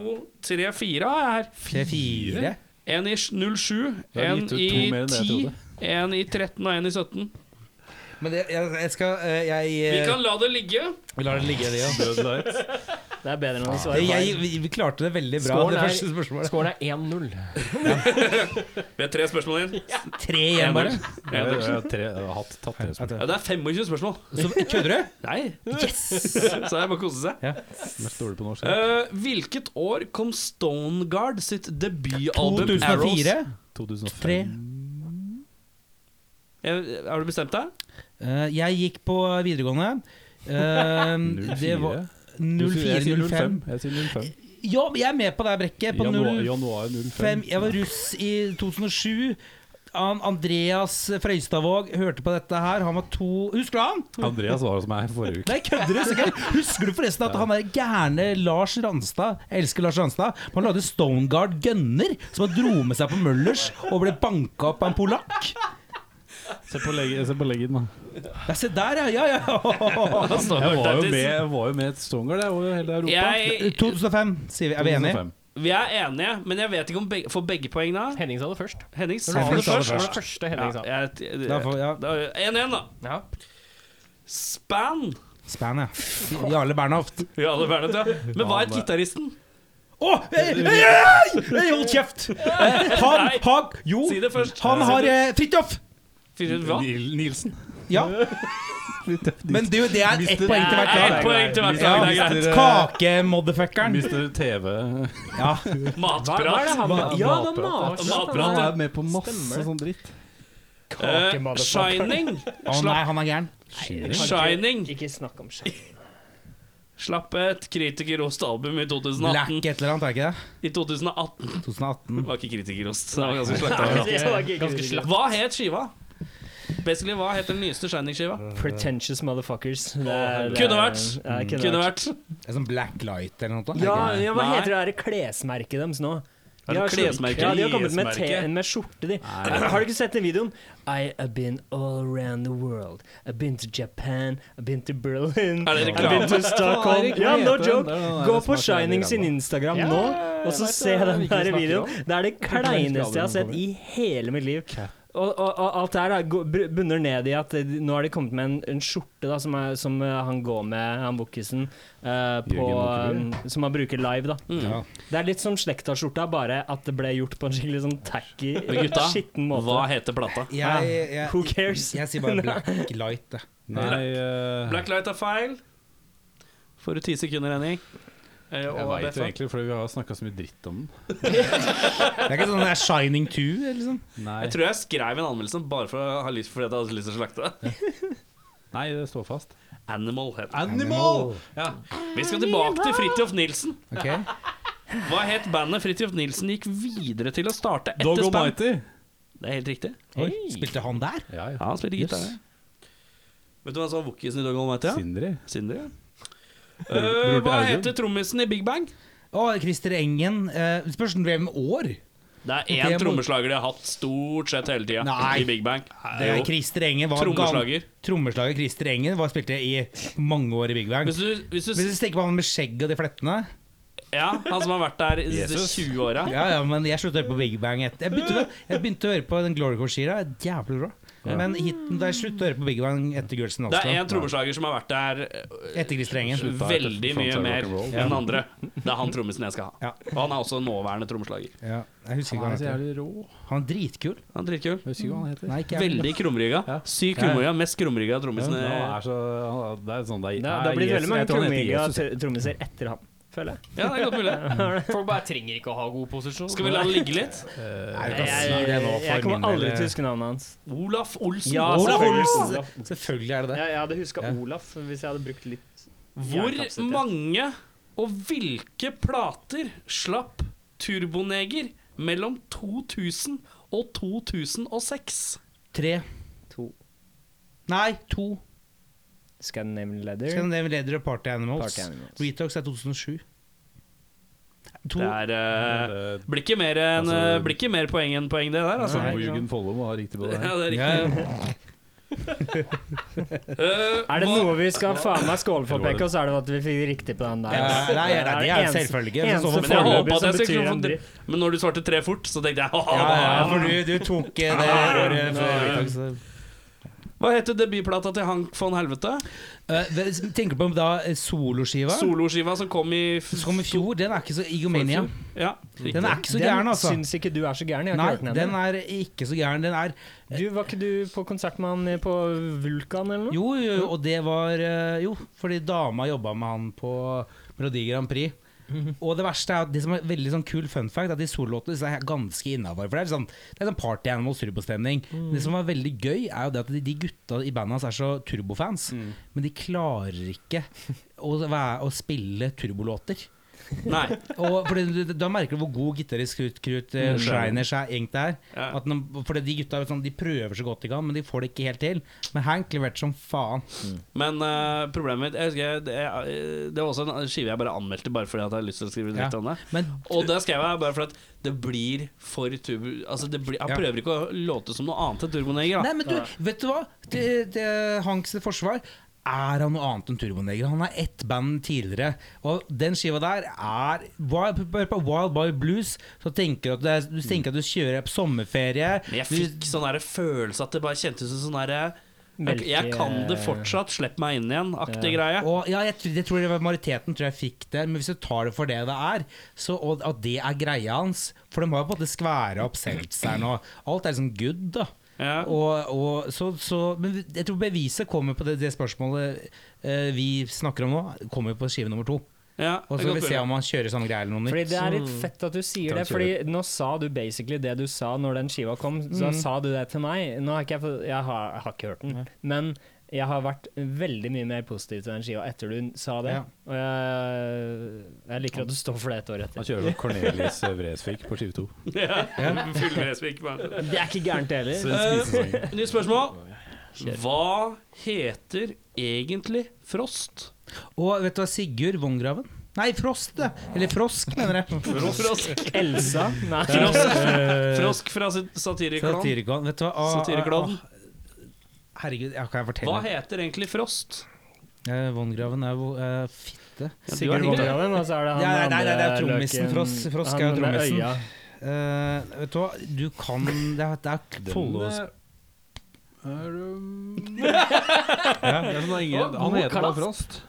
[SPEAKER 2] tre, fire har jeg her.
[SPEAKER 6] Tre-fire.
[SPEAKER 2] En i 07,
[SPEAKER 8] Da har
[SPEAKER 2] en
[SPEAKER 8] vi gitt ut to
[SPEAKER 2] i
[SPEAKER 8] mer enn det jeg
[SPEAKER 2] 10,
[SPEAKER 8] trodde.
[SPEAKER 2] en i 13 og en i 17.
[SPEAKER 6] Men det, jeg, jeg skal eh, Jeg
[SPEAKER 2] Vi
[SPEAKER 6] eh,
[SPEAKER 2] kan la det ligge.
[SPEAKER 6] Vi lar det ligge, det òg.
[SPEAKER 8] Død light.
[SPEAKER 1] Det er bedre enn å svare
[SPEAKER 6] Det- jeg-
[SPEAKER 1] feil.
[SPEAKER 6] Vi vi klarte det veldig bra,
[SPEAKER 4] Skål,
[SPEAKER 6] det
[SPEAKER 4] nei.
[SPEAKER 6] første spørsmålet.
[SPEAKER 4] Skålen er 1-0.
[SPEAKER 2] Vi har tre spørsmål igjen.
[SPEAKER 6] Tre igjen, bare.
[SPEAKER 8] Jeg har tre- jeg har hatt tatt det som
[SPEAKER 2] Ja, det er 25 spørsmål.
[SPEAKER 6] Så kødder du?
[SPEAKER 2] Nei. Yes! Så er det bare å kose seg.
[SPEAKER 8] mest dårlig på norsk.
[SPEAKER 2] Eh, hvilket år kom Stoneguard sitt debutalbum
[SPEAKER 6] 2004?
[SPEAKER 2] 2004.
[SPEAKER 8] 2003.
[SPEAKER 2] Har du bestemt deg?
[SPEAKER 6] Eh, jeg gikk på videregående. Eh, det var 04-05.
[SPEAKER 8] Jeg sier 05.
[SPEAKER 6] Ja, men jeg er med på det her brekket. På
[SPEAKER 8] Januar,
[SPEAKER 6] 05.
[SPEAKER 8] januar 05.
[SPEAKER 6] Jeg var russ i 2007. Han Andreas Frøystadvåg hørte på dette her. Han var to Husker du han?
[SPEAKER 8] Andreas var hos meg forrige uke.
[SPEAKER 6] Nei, kødder du? sikkert? Husker du forresten at han der gærne Lars Ranstad Jeg elsker Lars Ranstad. men Han lagde Stoneguard Gunner, som han dro med seg på Møllers og ble banka opp av en polakk.
[SPEAKER 8] Se på leggen, se på leggen mann.
[SPEAKER 6] Ja, se der, ja. ja, ja.
[SPEAKER 8] Jeg var jo med, jeg var jo med et Stoneguard, jeg, over hele Europa.
[SPEAKER 2] Jeg,
[SPEAKER 6] 2005, sier vi. Er vi enige?
[SPEAKER 8] 2005.
[SPEAKER 2] vi er enige, men jeg vet ikke om begge, får begge poeng da.
[SPEAKER 4] Henning sa det først.
[SPEAKER 2] Henning sa
[SPEAKER 6] Henning
[SPEAKER 2] det
[SPEAKER 6] sa det
[SPEAKER 4] Det
[SPEAKER 2] først.
[SPEAKER 4] var det første Henning sa.
[SPEAKER 2] Ja, jeg-
[SPEAKER 6] Da får- ja.
[SPEAKER 2] da- 1-1, da.
[SPEAKER 4] Ja.
[SPEAKER 2] Span.
[SPEAKER 6] Span, ja. Jarle Bernhoft.
[SPEAKER 2] Ja, det var det, ja. eh, Men hva het gitaristen?
[SPEAKER 6] Å! Hey, hey, hey, hey, hold kjeft! Eh, Han,
[SPEAKER 2] Nei.
[SPEAKER 6] han Jo,
[SPEAKER 2] Si det først.
[SPEAKER 6] han har
[SPEAKER 2] Si det.
[SPEAKER 6] eh, Fridtjof!
[SPEAKER 2] Fridtjof Hva?
[SPEAKER 8] Nil- Nilsen.
[SPEAKER 6] Ja. Men du, det er ett poeng til hvert
[SPEAKER 2] Ett
[SPEAKER 6] lag.
[SPEAKER 2] poeng til hvert
[SPEAKER 6] Ja,
[SPEAKER 2] lag. Det er greit.
[SPEAKER 8] mister, eh,
[SPEAKER 6] Kakemotherfuckeren.
[SPEAKER 8] Mister TV.
[SPEAKER 6] Ja.
[SPEAKER 2] Matprat.
[SPEAKER 8] Ma-
[SPEAKER 4] Ja, det er
[SPEAKER 8] matprat.
[SPEAKER 2] Matprat,
[SPEAKER 8] Han
[SPEAKER 2] ja.
[SPEAKER 8] er med på masse sånn dritt.
[SPEAKER 2] Eh,
[SPEAKER 1] Kakemotherfucker.
[SPEAKER 2] Shining.
[SPEAKER 6] Å nei, han er gæren.
[SPEAKER 2] Shining.
[SPEAKER 1] Ikke snakk om skjegg.
[SPEAKER 2] Slapp et kritikerost album i
[SPEAKER 6] Black
[SPEAKER 2] 2018.
[SPEAKER 6] et eller annet, er ikke det?
[SPEAKER 2] I 2018
[SPEAKER 6] 2018.
[SPEAKER 2] var ikke kritikerost. så Det var ganske slakta.
[SPEAKER 1] Det var ikke-
[SPEAKER 7] Ganske slapp.
[SPEAKER 2] Hva het skiva? Basically, hva het den nyeste Shining-skiva?
[SPEAKER 1] Pretentious motherfuckers. Det er- det er-
[SPEAKER 2] Kunne vært.
[SPEAKER 1] Ja, det
[SPEAKER 2] Kunne vært.
[SPEAKER 6] Det er sånn Black Light eller noe sånt.
[SPEAKER 1] Ja,
[SPEAKER 6] er det ikke det?
[SPEAKER 1] ja, hva
[SPEAKER 2] Nei.
[SPEAKER 1] heter det her klesmerket deres nå?
[SPEAKER 2] Er det
[SPEAKER 1] De har-
[SPEAKER 2] klesmerke?
[SPEAKER 1] Ja, de har kommet med, te,
[SPEAKER 7] Klesmerke?
[SPEAKER 1] med skjorte, de. Har du ikke sett den videoen? I have been all around the world. I've been to Japan, I've been to Berlin,
[SPEAKER 2] Er det
[SPEAKER 1] I've been to Stockholm. Ja, no joke! Gå på Shining sin Instagram nå, og så se den der videoen. Det er det kleineste jeg har sett i hele mitt liv. Og, og, og alt det her da, gå- br- bunner ned i at eh, nå har de kommet med en, en skjorte da, som, er, som eh, han går med, han Bukkisen, eh, på,
[SPEAKER 8] Jørgen
[SPEAKER 1] eh, som han bruker live. da.
[SPEAKER 2] Mm.
[SPEAKER 6] Ja.
[SPEAKER 1] Det er litt som slektaskjorta, bare at det ble gjort på en skikkelig sånn tacky,
[SPEAKER 2] Men gutta,
[SPEAKER 1] skitten måte.
[SPEAKER 2] hva heter plata?
[SPEAKER 6] Jeg, jeg, jeg,
[SPEAKER 1] Who cares?
[SPEAKER 6] sier bare Black Light, jeg.
[SPEAKER 8] Nei, eh,
[SPEAKER 2] Black Light er feil. Får du ti sekunder, Henning? Eh,
[SPEAKER 8] jeg
[SPEAKER 2] og
[SPEAKER 8] veit jo
[SPEAKER 2] BFA.
[SPEAKER 8] egentlig, for vi har snakka så mye dritt om den.
[SPEAKER 6] Det er ikke sånn det er Shining 2, eller sånn.
[SPEAKER 8] Nei,
[SPEAKER 2] Jeg tror jeg skrev en anmeldelse bare for å ha lyst, fordi at jeg hadde lyst til å slakte det.
[SPEAKER 8] nei, det står fast.
[SPEAKER 2] Animal het den.
[SPEAKER 8] Animal!
[SPEAKER 2] Vi skal tilbake til Fridtjof Nilsen.
[SPEAKER 6] Ok.
[SPEAKER 2] Hva het bandet Fridtjof Nilsen gikk videre til å starte
[SPEAKER 8] Dog
[SPEAKER 2] etter Span?
[SPEAKER 8] Almighty.
[SPEAKER 2] Det er helt riktig.
[SPEAKER 6] Oi, spilte han der?
[SPEAKER 8] Ja, ja.
[SPEAKER 2] Ja, han spilte gitar.
[SPEAKER 8] Yes.
[SPEAKER 2] Vet du hva som var wokisen i Dog Almighty? Ja?
[SPEAKER 8] Sindri.
[SPEAKER 2] Sindre. ja.
[SPEAKER 8] Bror
[SPEAKER 2] Eh,
[SPEAKER 8] til
[SPEAKER 2] hva
[SPEAKER 8] Audun.
[SPEAKER 2] heter trommisen i Big Bang?
[SPEAKER 6] Å, Christer Engen. Eh, Spørs hvem år?
[SPEAKER 2] Det er
[SPEAKER 6] Ok,
[SPEAKER 2] én
[SPEAKER 6] jeg må-
[SPEAKER 2] trommeslager de har hatt stort sett hele tida
[SPEAKER 6] Nei.
[SPEAKER 2] i Big Bang.
[SPEAKER 6] Det er
[SPEAKER 2] Jo.
[SPEAKER 6] Christer Engen var
[SPEAKER 2] Trommeslager.
[SPEAKER 6] gam- Trommeslager Christer Engen var spilte i mange år i Big Bang.
[SPEAKER 2] Hvis du, hvis du,
[SPEAKER 6] Hvis du tenker på han med skjegg og de flettene
[SPEAKER 2] ja, han som har vært der i de 20 åra.
[SPEAKER 6] Ja, ja, men jeg sluttet å høre på Big Bang etter Jeg begynte, å- jeg begynte å høre på den Glory Core Shira Jævlig bra Men hiten da jeg sluttet å høre på Big Bang etter Girls in
[SPEAKER 2] Det er
[SPEAKER 6] Oslo
[SPEAKER 2] én trommeslager som har vært der eh,
[SPEAKER 6] altså. Etter Christer Engen
[SPEAKER 2] veldig mye
[SPEAKER 8] Frontside
[SPEAKER 2] mer
[SPEAKER 8] rock'n'roll.
[SPEAKER 2] enn andre. Det er han trommisen jeg skal
[SPEAKER 6] Ja.
[SPEAKER 2] ha. Og han er også nåværende trommeslager.
[SPEAKER 6] ja, Jeg husker ikke hva
[SPEAKER 8] Han er
[SPEAKER 6] han
[SPEAKER 8] så
[SPEAKER 6] heter
[SPEAKER 8] jævlig rå.
[SPEAKER 6] Han er dritkul
[SPEAKER 2] Han er dritkul.
[SPEAKER 8] Jeg husker ikke hva han heter.
[SPEAKER 6] Nei, ikke jeg
[SPEAKER 2] Veldig krumrygga.
[SPEAKER 8] Ja.
[SPEAKER 2] Sykt
[SPEAKER 6] Ja, ja.
[SPEAKER 2] krumrygga. Mest krumrygga trommisen.
[SPEAKER 8] Han
[SPEAKER 2] eh,
[SPEAKER 8] er så, han er- det er sånn det er
[SPEAKER 1] Det, det har blitt
[SPEAKER 8] Jesus-
[SPEAKER 1] veldig mange
[SPEAKER 8] jeg tror han heter
[SPEAKER 1] trommehinger
[SPEAKER 8] Jesus.
[SPEAKER 1] og trommiser etter han. føler jeg.
[SPEAKER 2] Ja, det er godt mulig.
[SPEAKER 7] Folk bare trenger ikke å ha god posisjon.
[SPEAKER 2] Skal vi la det ligge litt?
[SPEAKER 1] Jeg,
[SPEAKER 6] kan si
[SPEAKER 1] jeg,
[SPEAKER 6] det nå for
[SPEAKER 1] jeg kommer
[SPEAKER 6] min
[SPEAKER 1] aldri
[SPEAKER 6] del.
[SPEAKER 1] til å huske navnet hans.
[SPEAKER 2] Olaf Olsen.
[SPEAKER 1] Ja,
[SPEAKER 2] Olaf Olsen.
[SPEAKER 1] selvfølgelig.
[SPEAKER 6] Selvfølgelig er det det.
[SPEAKER 7] Jeg, jeg hadde huska
[SPEAKER 6] Ja.
[SPEAKER 7] Olaf hvis jeg hadde brukt litt
[SPEAKER 2] Hvor
[SPEAKER 7] jernkapacitet.
[SPEAKER 2] mange og hvilke plater slapp Turboneger mellom 2000 og 2006?
[SPEAKER 6] Tre.
[SPEAKER 1] To.
[SPEAKER 6] Nei, to.
[SPEAKER 1] Scandinavian Leather.
[SPEAKER 6] Skal nevne Leder og Party Animals.
[SPEAKER 1] Party Animals.
[SPEAKER 6] Retox er 2007. To.
[SPEAKER 2] Det er eh, Blir ikke mer, enn, eh, blir ikke mer poeng enn poeng, det der, altså.
[SPEAKER 6] Nei.
[SPEAKER 8] Jugend Follum har riktig på det her.
[SPEAKER 2] Ja, det er
[SPEAKER 6] Ja,
[SPEAKER 2] riktig.
[SPEAKER 6] ja.
[SPEAKER 2] Eh,
[SPEAKER 1] Er det
[SPEAKER 2] hva-
[SPEAKER 1] noe vi skal faen meg skåle for, Pekka, så er det at vi fikk riktig på den der.
[SPEAKER 6] Ja, nei, ja, det er
[SPEAKER 1] eneste-
[SPEAKER 6] selvfølge.
[SPEAKER 1] eneste
[SPEAKER 6] Så- så-
[SPEAKER 2] Men jeg
[SPEAKER 1] foreløpig
[SPEAKER 2] håpet at
[SPEAKER 1] som
[SPEAKER 2] jeg skulle
[SPEAKER 1] betyr
[SPEAKER 2] få
[SPEAKER 1] en
[SPEAKER 2] det.
[SPEAKER 1] dritt.
[SPEAKER 2] Men når du svarte tre fort, så tenkte jeg
[SPEAKER 6] Ja, ja, for du, du tok eh, det året før Retox.
[SPEAKER 2] Hva heter debutplata til Hank von Helvete?
[SPEAKER 6] Eh, hva- Tenker du på da eh, soloskiva?
[SPEAKER 2] Soloskiva som kom i f-
[SPEAKER 6] Som kom i fjor. Den er ikke så Egomania.
[SPEAKER 2] Ja,
[SPEAKER 6] Den er ikke så
[SPEAKER 1] den
[SPEAKER 6] gæren, altså.
[SPEAKER 1] syns ikke du er så gæren. Jeg har
[SPEAKER 6] Nei,
[SPEAKER 1] ikke hørt den
[SPEAKER 6] den
[SPEAKER 1] ennå.
[SPEAKER 6] er ikke så gæren. Den er
[SPEAKER 1] Du, Var ikke du på konsert med han på Vulkan eller noe?
[SPEAKER 6] Jo, jo, og det var eh, Jo, fordi dama jobba med han på Melodi Grand Prix. Og det verste er at det som er veldig sånn kul fun fact, er at de sololåtene disse er ganske innafor. For det er sånn, det er sånn party animals turbostemning. Det som var veldig gøy, er jo det at de, de gutta i bandet hans er så turbofans. Men de klarer ikke å, være, å spille turbolåter.
[SPEAKER 2] Nei.
[SPEAKER 6] Og fordi, du- da merker du hvor god gitarist Krut, Krut eh, Shriners er, egentlig er.
[SPEAKER 2] Ja.
[SPEAKER 6] At når- fordi de gutta er sånn, de prøver så godt de kan, men de får det ikke helt til. Men Hank leverte som faen.
[SPEAKER 2] Men eh, problemet mitt jeg husker, jeg- det, er, eh, det var også en skive jeg bare anmeldte bare fordi at jeg hadde lyst til å skrive litt
[SPEAKER 6] Ja.
[SPEAKER 2] om det.
[SPEAKER 6] Men
[SPEAKER 2] Og det skrev jeg bare for at det blir for turbo... Altså, det blir,
[SPEAKER 6] Ja.
[SPEAKER 2] han prøver ikke å låte som noe annet enn Turboneger. da.
[SPEAKER 6] Nei, men du, vet du hva? Til, til Hanks forsvar er han noe annet enn Turboneger. Han har ett band tidligere, og den skiva der er Wild- Bare på Wild Boy Blues så tenker du at det er, du tenker at du kjører på sommerferie.
[SPEAKER 2] Men jeg
[SPEAKER 6] Du-
[SPEAKER 2] fikk sånn der følelse at det bare kjentes ut som sånn derre jeg,
[SPEAKER 1] Melke-
[SPEAKER 2] jeg kan det fortsatt, slipp meg inn igjen, aktig greie.
[SPEAKER 6] Og ja, jeg, tror- det tror jeg var majoriteten tror jeg fikk det, men hvis du tar det for det det er, så, og at det er greia hans For de har jo på en måte skværa opp seltzeren og alt er liksom good, da.
[SPEAKER 2] Ja.
[SPEAKER 6] Og, og, så, så, men jeg tror beviset kommer på det, det spørsmålet eh, vi snakker om nå, kommer på skive nummer to.
[SPEAKER 2] Ja, det kan
[SPEAKER 6] Og så skal vi se
[SPEAKER 2] være.
[SPEAKER 6] om han kjører samme greie eller noe
[SPEAKER 1] Fordi
[SPEAKER 6] nytt.
[SPEAKER 1] Det er litt fett at du sier det, Fordi nå sa du basically det du sa når den skiva kom. Så
[SPEAKER 6] Mm.
[SPEAKER 1] sa du det til meg. Nå har ikke jeg, fått- jeg, har, jeg har ikke hørt den, men jeg har vært veldig mye mer positiv til den skiva etter du sa det.
[SPEAKER 6] Ja.
[SPEAKER 1] Og jeg, jeg liker at du står for det et år
[SPEAKER 8] Han
[SPEAKER 1] etter.
[SPEAKER 8] kjører vel Cornelis Vresvik på skive to.
[SPEAKER 2] Ja. Full Nesvik, bare.
[SPEAKER 1] Det er ikke gærent heller.
[SPEAKER 2] Eh, Nytt spørsmål. Hva heter egentlig Frost?
[SPEAKER 6] Og vet du hva, Sigurd Vongraven? Nei, Frost, det. Eller Frosk, mener jeg.
[SPEAKER 2] Frosk,
[SPEAKER 1] Elsa? Nei.
[SPEAKER 2] Frosk, Frosk fra sit- Satirikon.
[SPEAKER 6] Satirikon. Vet du hva? ah,
[SPEAKER 2] Satirikon.
[SPEAKER 6] ah, ah, Herregud, ja, kan jeg
[SPEAKER 2] Hva
[SPEAKER 6] fortelle?
[SPEAKER 2] heter egentlig Frost?
[SPEAKER 6] Eh, Vongraven er jo eh,
[SPEAKER 2] Ja,
[SPEAKER 6] fitte.
[SPEAKER 2] du har
[SPEAKER 1] Sigurd
[SPEAKER 2] riktig.
[SPEAKER 1] Vondraven, og så altså er det han
[SPEAKER 6] Ja, nei, nei,
[SPEAKER 1] andre
[SPEAKER 6] det er trommisen.
[SPEAKER 1] løken-
[SPEAKER 6] Frost- Frosk er jo
[SPEAKER 1] han med
[SPEAKER 6] trommisen.
[SPEAKER 1] øya.
[SPEAKER 6] Eh, vet du hva, du kan Det er, det er Follos
[SPEAKER 8] Det er sånn at ingen- Han heter bare Frost.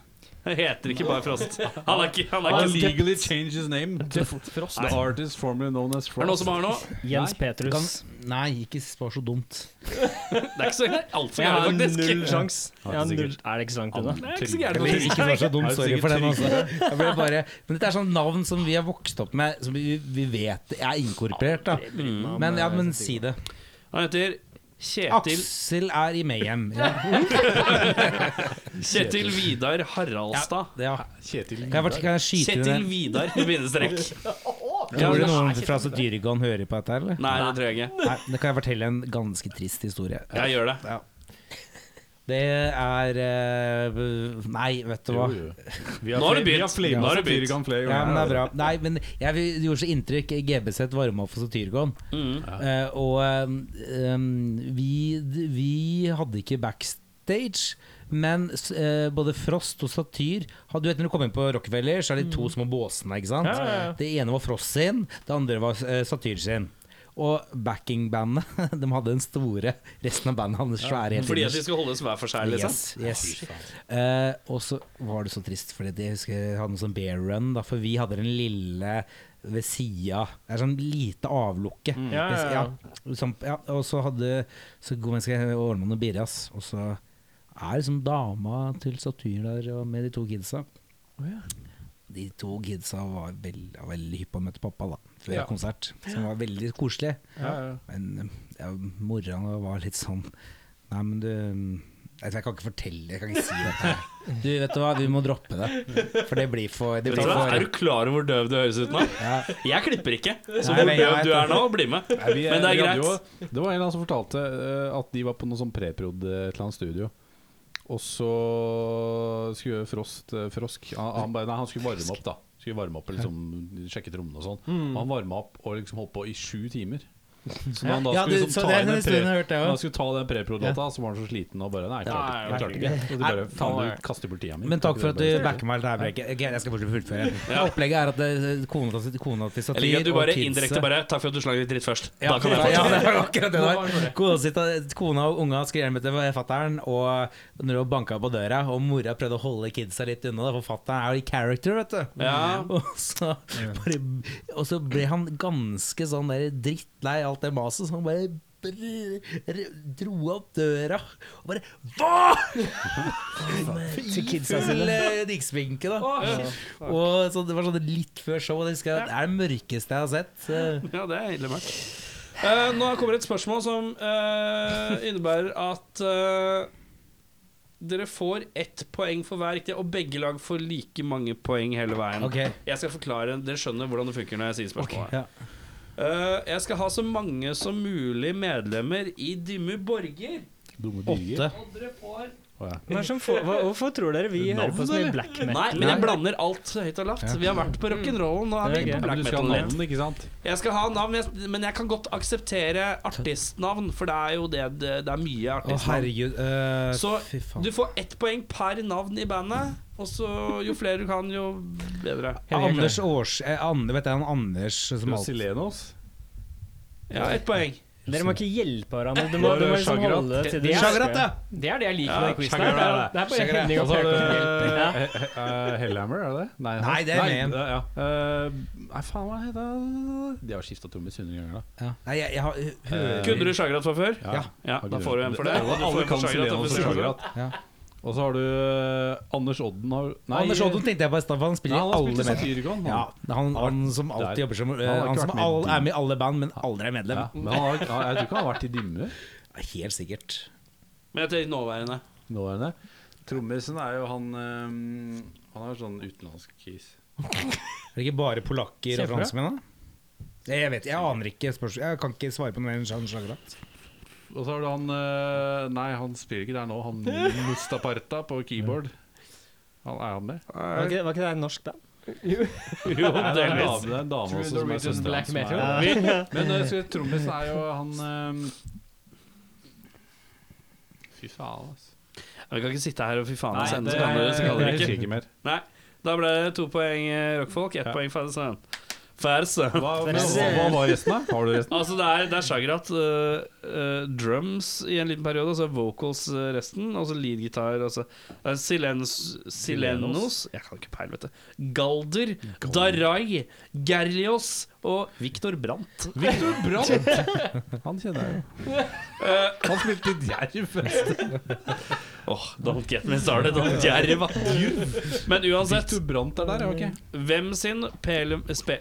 [SPEAKER 2] Han heter ikke bare Frost. Han er ikke, han er
[SPEAKER 8] Han
[SPEAKER 2] ikke Er
[SPEAKER 8] legally changed his name to Frost. The artist formerly known as
[SPEAKER 2] det noen som
[SPEAKER 8] Frost.
[SPEAKER 2] har noe?
[SPEAKER 1] Jens Petrus.
[SPEAKER 6] kan, Nei, ikke svar så dumt.
[SPEAKER 2] Det er ikke så altfor
[SPEAKER 1] Jeg har
[SPEAKER 2] gærent, faktisk.
[SPEAKER 1] null sjans. Jeg har null. Er det ikke så langt unna?
[SPEAKER 2] Det er ikke så gærent,
[SPEAKER 6] Eller
[SPEAKER 2] faktisk.
[SPEAKER 6] ikke svar så dumt,
[SPEAKER 8] Er det
[SPEAKER 6] sorry for
[SPEAKER 8] sikkert
[SPEAKER 6] den. Altså. Jeg ble bare, men dette er sånn navn som vi har vokst opp med, som vi, vi vet er inkorporert. Da. Men, ja, men si det.
[SPEAKER 2] Han heter Kjetil,
[SPEAKER 6] Aksel er i Mayhem. Ja,
[SPEAKER 2] Kjetil Vidar Haraldstad.
[SPEAKER 6] ja.
[SPEAKER 8] Kjetil
[SPEAKER 6] Kan, jeg, bare- kan jeg skyte inn
[SPEAKER 2] Kjetil
[SPEAKER 6] det?
[SPEAKER 2] Vidar med bindestrek.
[SPEAKER 6] Tror du noen fra Dyregan hører på dette? Eller?
[SPEAKER 2] Nei, det tror jeg ikke.
[SPEAKER 6] Nei, da kan jeg fortelle en ganske trist historie.
[SPEAKER 2] Jeg gjør det.
[SPEAKER 6] Det er eh, Nei, vet du hva.
[SPEAKER 2] Nå har du begynt. Nå har du begynt.
[SPEAKER 8] Satirikan flere
[SPEAKER 6] Ja, men det er
[SPEAKER 8] ganger.
[SPEAKER 6] bra. Nei, men jeg vil- det gjorde så inntrykk. GBZ varma opp for Satyricon.
[SPEAKER 2] Mm.
[SPEAKER 6] Eh, og eh, em, vi, vi hadde ikke backstage. Men s- eh, både Frost og Satyr har- Du vet Når du kommer inn på Rockefeller, så er det
[SPEAKER 2] Mm.
[SPEAKER 6] to små båsene. ikke sant? Det ene var Frost sin, det andre var eh, Satyr sin. Og backingbandet De hadde den store resten av bandet hadde svære helt
[SPEAKER 2] Fordi at
[SPEAKER 6] innerst.
[SPEAKER 2] de skal holdes hver for seg, liksom.
[SPEAKER 6] Yes, yes. Eh, og så var det så trist, Fordi det husker jeg hadde noe sånn bear run, da, for vi hadde den lille ved sida Det er sånn lite avlukke.
[SPEAKER 1] Ja, ja, ja.
[SPEAKER 6] Ja, sånn, ja, og så hadde Så god menneske ordna noe birre, ass. Og så sånn er liksom dama til Satyr der og med de to kidsa. de to kidsa var veldig, veldig hypp på å møte pappa da før
[SPEAKER 9] Ja.
[SPEAKER 6] konsert, som var veldig koselig. Men eh, ja, mora var litt sånn Nei, men du jeg, vet, jeg kan ikke fortelle, jeg kan ikke si dette. her. Du, vet du hva, vi må droppe det. For det blir for, det
[SPEAKER 2] Vet
[SPEAKER 6] blir
[SPEAKER 2] du hva?
[SPEAKER 6] for
[SPEAKER 2] Er du klar over hvor døv du høres ut nå?
[SPEAKER 6] ja.
[SPEAKER 2] Jeg klipper ikke, så
[SPEAKER 6] Nei,
[SPEAKER 2] hvor
[SPEAKER 6] men jeg
[SPEAKER 2] døv
[SPEAKER 6] vet
[SPEAKER 2] du er
[SPEAKER 6] det.
[SPEAKER 2] nå, bli med.
[SPEAKER 3] Nei, vi-
[SPEAKER 2] Men det er
[SPEAKER 3] vi
[SPEAKER 2] greit.
[SPEAKER 3] hadde Jo, det var en eller annen som fortalte eh, at de var på noe sånn preprod eh, et eller annet studio. Og så skulle Frost eh, Frosk han, han, bare- nei, han skulle varme opp, da. Skulle varme opp og liksom sjekke trommene og sånn.
[SPEAKER 2] Hmm.
[SPEAKER 3] Og han varma opp og liksom holdt på i sju timer. Så når han da
[SPEAKER 6] Ja,
[SPEAKER 3] skulle
[SPEAKER 6] du,
[SPEAKER 3] liksom
[SPEAKER 6] så
[SPEAKER 3] ta
[SPEAKER 6] det er
[SPEAKER 3] inn
[SPEAKER 6] den
[SPEAKER 3] den
[SPEAKER 6] historien jeg
[SPEAKER 3] pre-
[SPEAKER 6] hørte, jeg
[SPEAKER 3] når han
[SPEAKER 6] også.
[SPEAKER 3] skulle ta den preprod-låta, så var han så sliten og bare Nei, jeg klarte ikke. Jeg klarte ikke. Og de bare Faen, du kaster bort tida mi.
[SPEAKER 6] Men takk for at du
[SPEAKER 3] Bare-
[SPEAKER 6] backer meg. Det her breaket. Ok, Jeg skal fortsatt fullføre. Opplegget er at det- kona til- kona til
[SPEAKER 2] Jeg liker
[SPEAKER 6] Satir
[SPEAKER 2] at du
[SPEAKER 6] og
[SPEAKER 2] bare
[SPEAKER 6] kidsa-
[SPEAKER 2] indirekte bare Takk for at du slang litt dritt først.
[SPEAKER 6] Ja,
[SPEAKER 2] Da kan jeg
[SPEAKER 6] ja,
[SPEAKER 2] fortsette.
[SPEAKER 6] det var akkurat det der. Kona, sitt, kona og unga skulle hjem til fatter'n, og når hun banka på døra, og mora prøvde å holde kidsa litt unna, da, for fatter'n er jo i character, vet du.
[SPEAKER 2] Ja.
[SPEAKER 6] Og, så bare, og så ble han ganske sånn der drittlei alt det maset, så han bare br- r- dro opp døra og bare Hva?! Til kidsa sine. Diksminke, da. Og så Det var sånn litt før show, og det husker jeg det er det mørkeste jeg har sett. så-
[SPEAKER 2] Ja, det er ille mørkt. Eh, nå kommer et spørsmål som eh, innebærer at eh, dere får ett poeng for hver riktig, og begge lag får like mange poeng hele veien.
[SPEAKER 6] Ok.
[SPEAKER 2] Jeg skal forklare, Dere skjønner hvordan det funker når jeg sier spørsmålet.
[SPEAKER 6] Ja.
[SPEAKER 2] Eh, jeg skal ha så mange som mulig medlemmer i Dimmu Borger.
[SPEAKER 3] Dumme dyger.
[SPEAKER 2] Og dere får
[SPEAKER 1] Hva er som får- hva- hvorfor tror dere vi hører på så mye black metal?
[SPEAKER 2] Nei, men jeg blander alt høyt og lavt. Vi har vært på rock'n'roll, nå er
[SPEAKER 1] Det er
[SPEAKER 2] vi
[SPEAKER 1] gøy.
[SPEAKER 2] på
[SPEAKER 3] Men
[SPEAKER 2] black
[SPEAKER 3] du
[SPEAKER 2] metal.
[SPEAKER 3] skal ha
[SPEAKER 2] litt.
[SPEAKER 3] navn, ikke sant?
[SPEAKER 2] Jeg skal ha navn, jeg- men jeg kan godt akseptere artistnavn, for det er jo det det, det er mye
[SPEAKER 6] Å,
[SPEAKER 2] artistnavn.
[SPEAKER 6] herregud. eh,
[SPEAKER 2] Så
[SPEAKER 6] fy faen.
[SPEAKER 2] du får ett poeng per navn i bandet, og så jo flere du kan, jo bedre.
[SPEAKER 6] Anders Års... Eh, An- vet jeg, han Anders som alt.
[SPEAKER 3] Silenos?
[SPEAKER 2] Ja, ett poeng.
[SPEAKER 1] Dere må ikke hjelpe hverandre. Du må, du må liksom
[SPEAKER 3] Sjagrat.
[SPEAKER 1] holde til de
[SPEAKER 6] Sjagrat, ja!
[SPEAKER 10] Det er det jeg liker
[SPEAKER 2] Ja,
[SPEAKER 10] med den quizen. her.
[SPEAKER 2] Chagrin
[SPEAKER 10] Det
[SPEAKER 2] er
[SPEAKER 10] er-
[SPEAKER 2] det.
[SPEAKER 10] Det er bare
[SPEAKER 6] Chagrin.
[SPEAKER 10] Henning og
[SPEAKER 3] Altså,
[SPEAKER 10] Pekka som
[SPEAKER 3] det-
[SPEAKER 10] hjelper.
[SPEAKER 3] eh, eh, eh, Hellhammer, er det det? Nei,
[SPEAKER 6] Nei, det er Mayhem.
[SPEAKER 3] det- ja. Eh, Nei, faen hva heter det? De har skifta trommis 100 ganger, da.
[SPEAKER 6] Nei, jeg, jeg har
[SPEAKER 3] Eh,
[SPEAKER 2] Kunne du Sjagrat fra før?
[SPEAKER 3] Ja.
[SPEAKER 2] Ja, da får du en for det.
[SPEAKER 3] Alle,
[SPEAKER 2] Du får en
[SPEAKER 3] alle
[SPEAKER 2] for
[SPEAKER 3] kan
[SPEAKER 2] Chagrin, og
[SPEAKER 3] Silenos
[SPEAKER 2] for
[SPEAKER 3] og
[SPEAKER 2] Sjagrat.
[SPEAKER 3] Sjagrat.
[SPEAKER 6] Ja.
[SPEAKER 3] Og så har du eh, Anders Odden har Nei,
[SPEAKER 6] Anders Odden tenkte jeg på i stad, for han
[SPEAKER 3] Nei,
[SPEAKER 6] spiller
[SPEAKER 3] han
[SPEAKER 6] i
[SPEAKER 3] har
[SPEAKER 6] alle
[SPEAKER 3] spilt i
[SPEAKER 6] med.
[SPEAKER 3] Satyricon. han.
[SPEAKER 6] Ja, han, han som alltid
[SPEAKER 3] Der.
[SPEAKER 6] jobber som eh,
[SPEAKER 3] har ikke
[SPEAKER 6] Han som
[SPEAKER 3] vært med
[SPEAKER 6] all,
[SPEAKER 3] i
[SPEAKER 6] er med i alle band, men aldri er medlem.
[SPEAKER 3] Ja, men han har, han- jeg tror ikke han har vært i Dimmu.
[SPEAKER 6] Helt sikkert.
[SPEAKER 2] Men jeg tenker nåværende.
[SPEAKER 3] Nåværende. Trommisen er jo han eh, Han er sånn utenlandsk kis.
[SPEAKER 6] Er det ikke bare polakker og franskmenn, da? Nei, Jeg vet, jeg aner ikke spørsmål. Jeg kan ikke svare på noe mer enn Jean Sjagrat.
[SPEAKER 3] Og så har du han eh, Nei, han spiller ikke der nå. Han Mustaparta på keyboard. Han er han med?
[SPEAKER 1] Var ikke, var ikke det en norsk band?
[SPEAKER 2] Jo,
[SPEAKER 3] Nei, det er en
[SPEAKER 2] delvis.
[SPEAKER 3] dame, det er en dame også som er
[SPEAKER 10] Norwegian
[SPEAKER 3] søsteren
[SPEAKER 10] Black
[SPEAKER 3] som er-
[SPEAKER 10] Metal.
[SPEAKER 3] Men uh, trommisen er jo han ehm, Fy faen, altså.
[SPEAKER 2] Vi kan ikke sitte her og fy faen
[SPEAKER 3] Nei,
[SPEAKER 2] og sende,
[SPEAKER 3] det-
[SPEAKER 2] så kan dere- så kan dere
[SPEAKER 3] jeg husker
[SPEAKER 2] ikke.
[SPEAKER 3] ikke mer.
[SPEAKER 2] Nei, da ble det to poeng eh, rockfolk, ett
[SPEAKER 3] Ja.
[SPEAKER 2] poeng Ferdinand. Ferdinand.
[SPEAKER 3] Hva,
[SPEAKER 1] Det er
[SPEAKER 3] men hva, hva var resten, da? Har du resten?
[SPEAKER 2] Altså det er, det er sjagrat øh, øh, Drums i en liten periode Og så er vocals øh, resten Og så leadgitar og så- øh, Silenos, Silenos Jeg kan ikke peil, vet du Galder, Darai, Gerlios Og Viktor Brandt
[SPEAKER 3] Victor Brandt! Han kjenner jeg jo. Han spilte i Djerv.
[SPEAKER 2] Eh, Åh, don't get me started on Jerva Men uansett
[SPEAKER 3] Victor Brandt er der, ja. ok.
[SPEAKER 2] Hvem sin, pel, spe,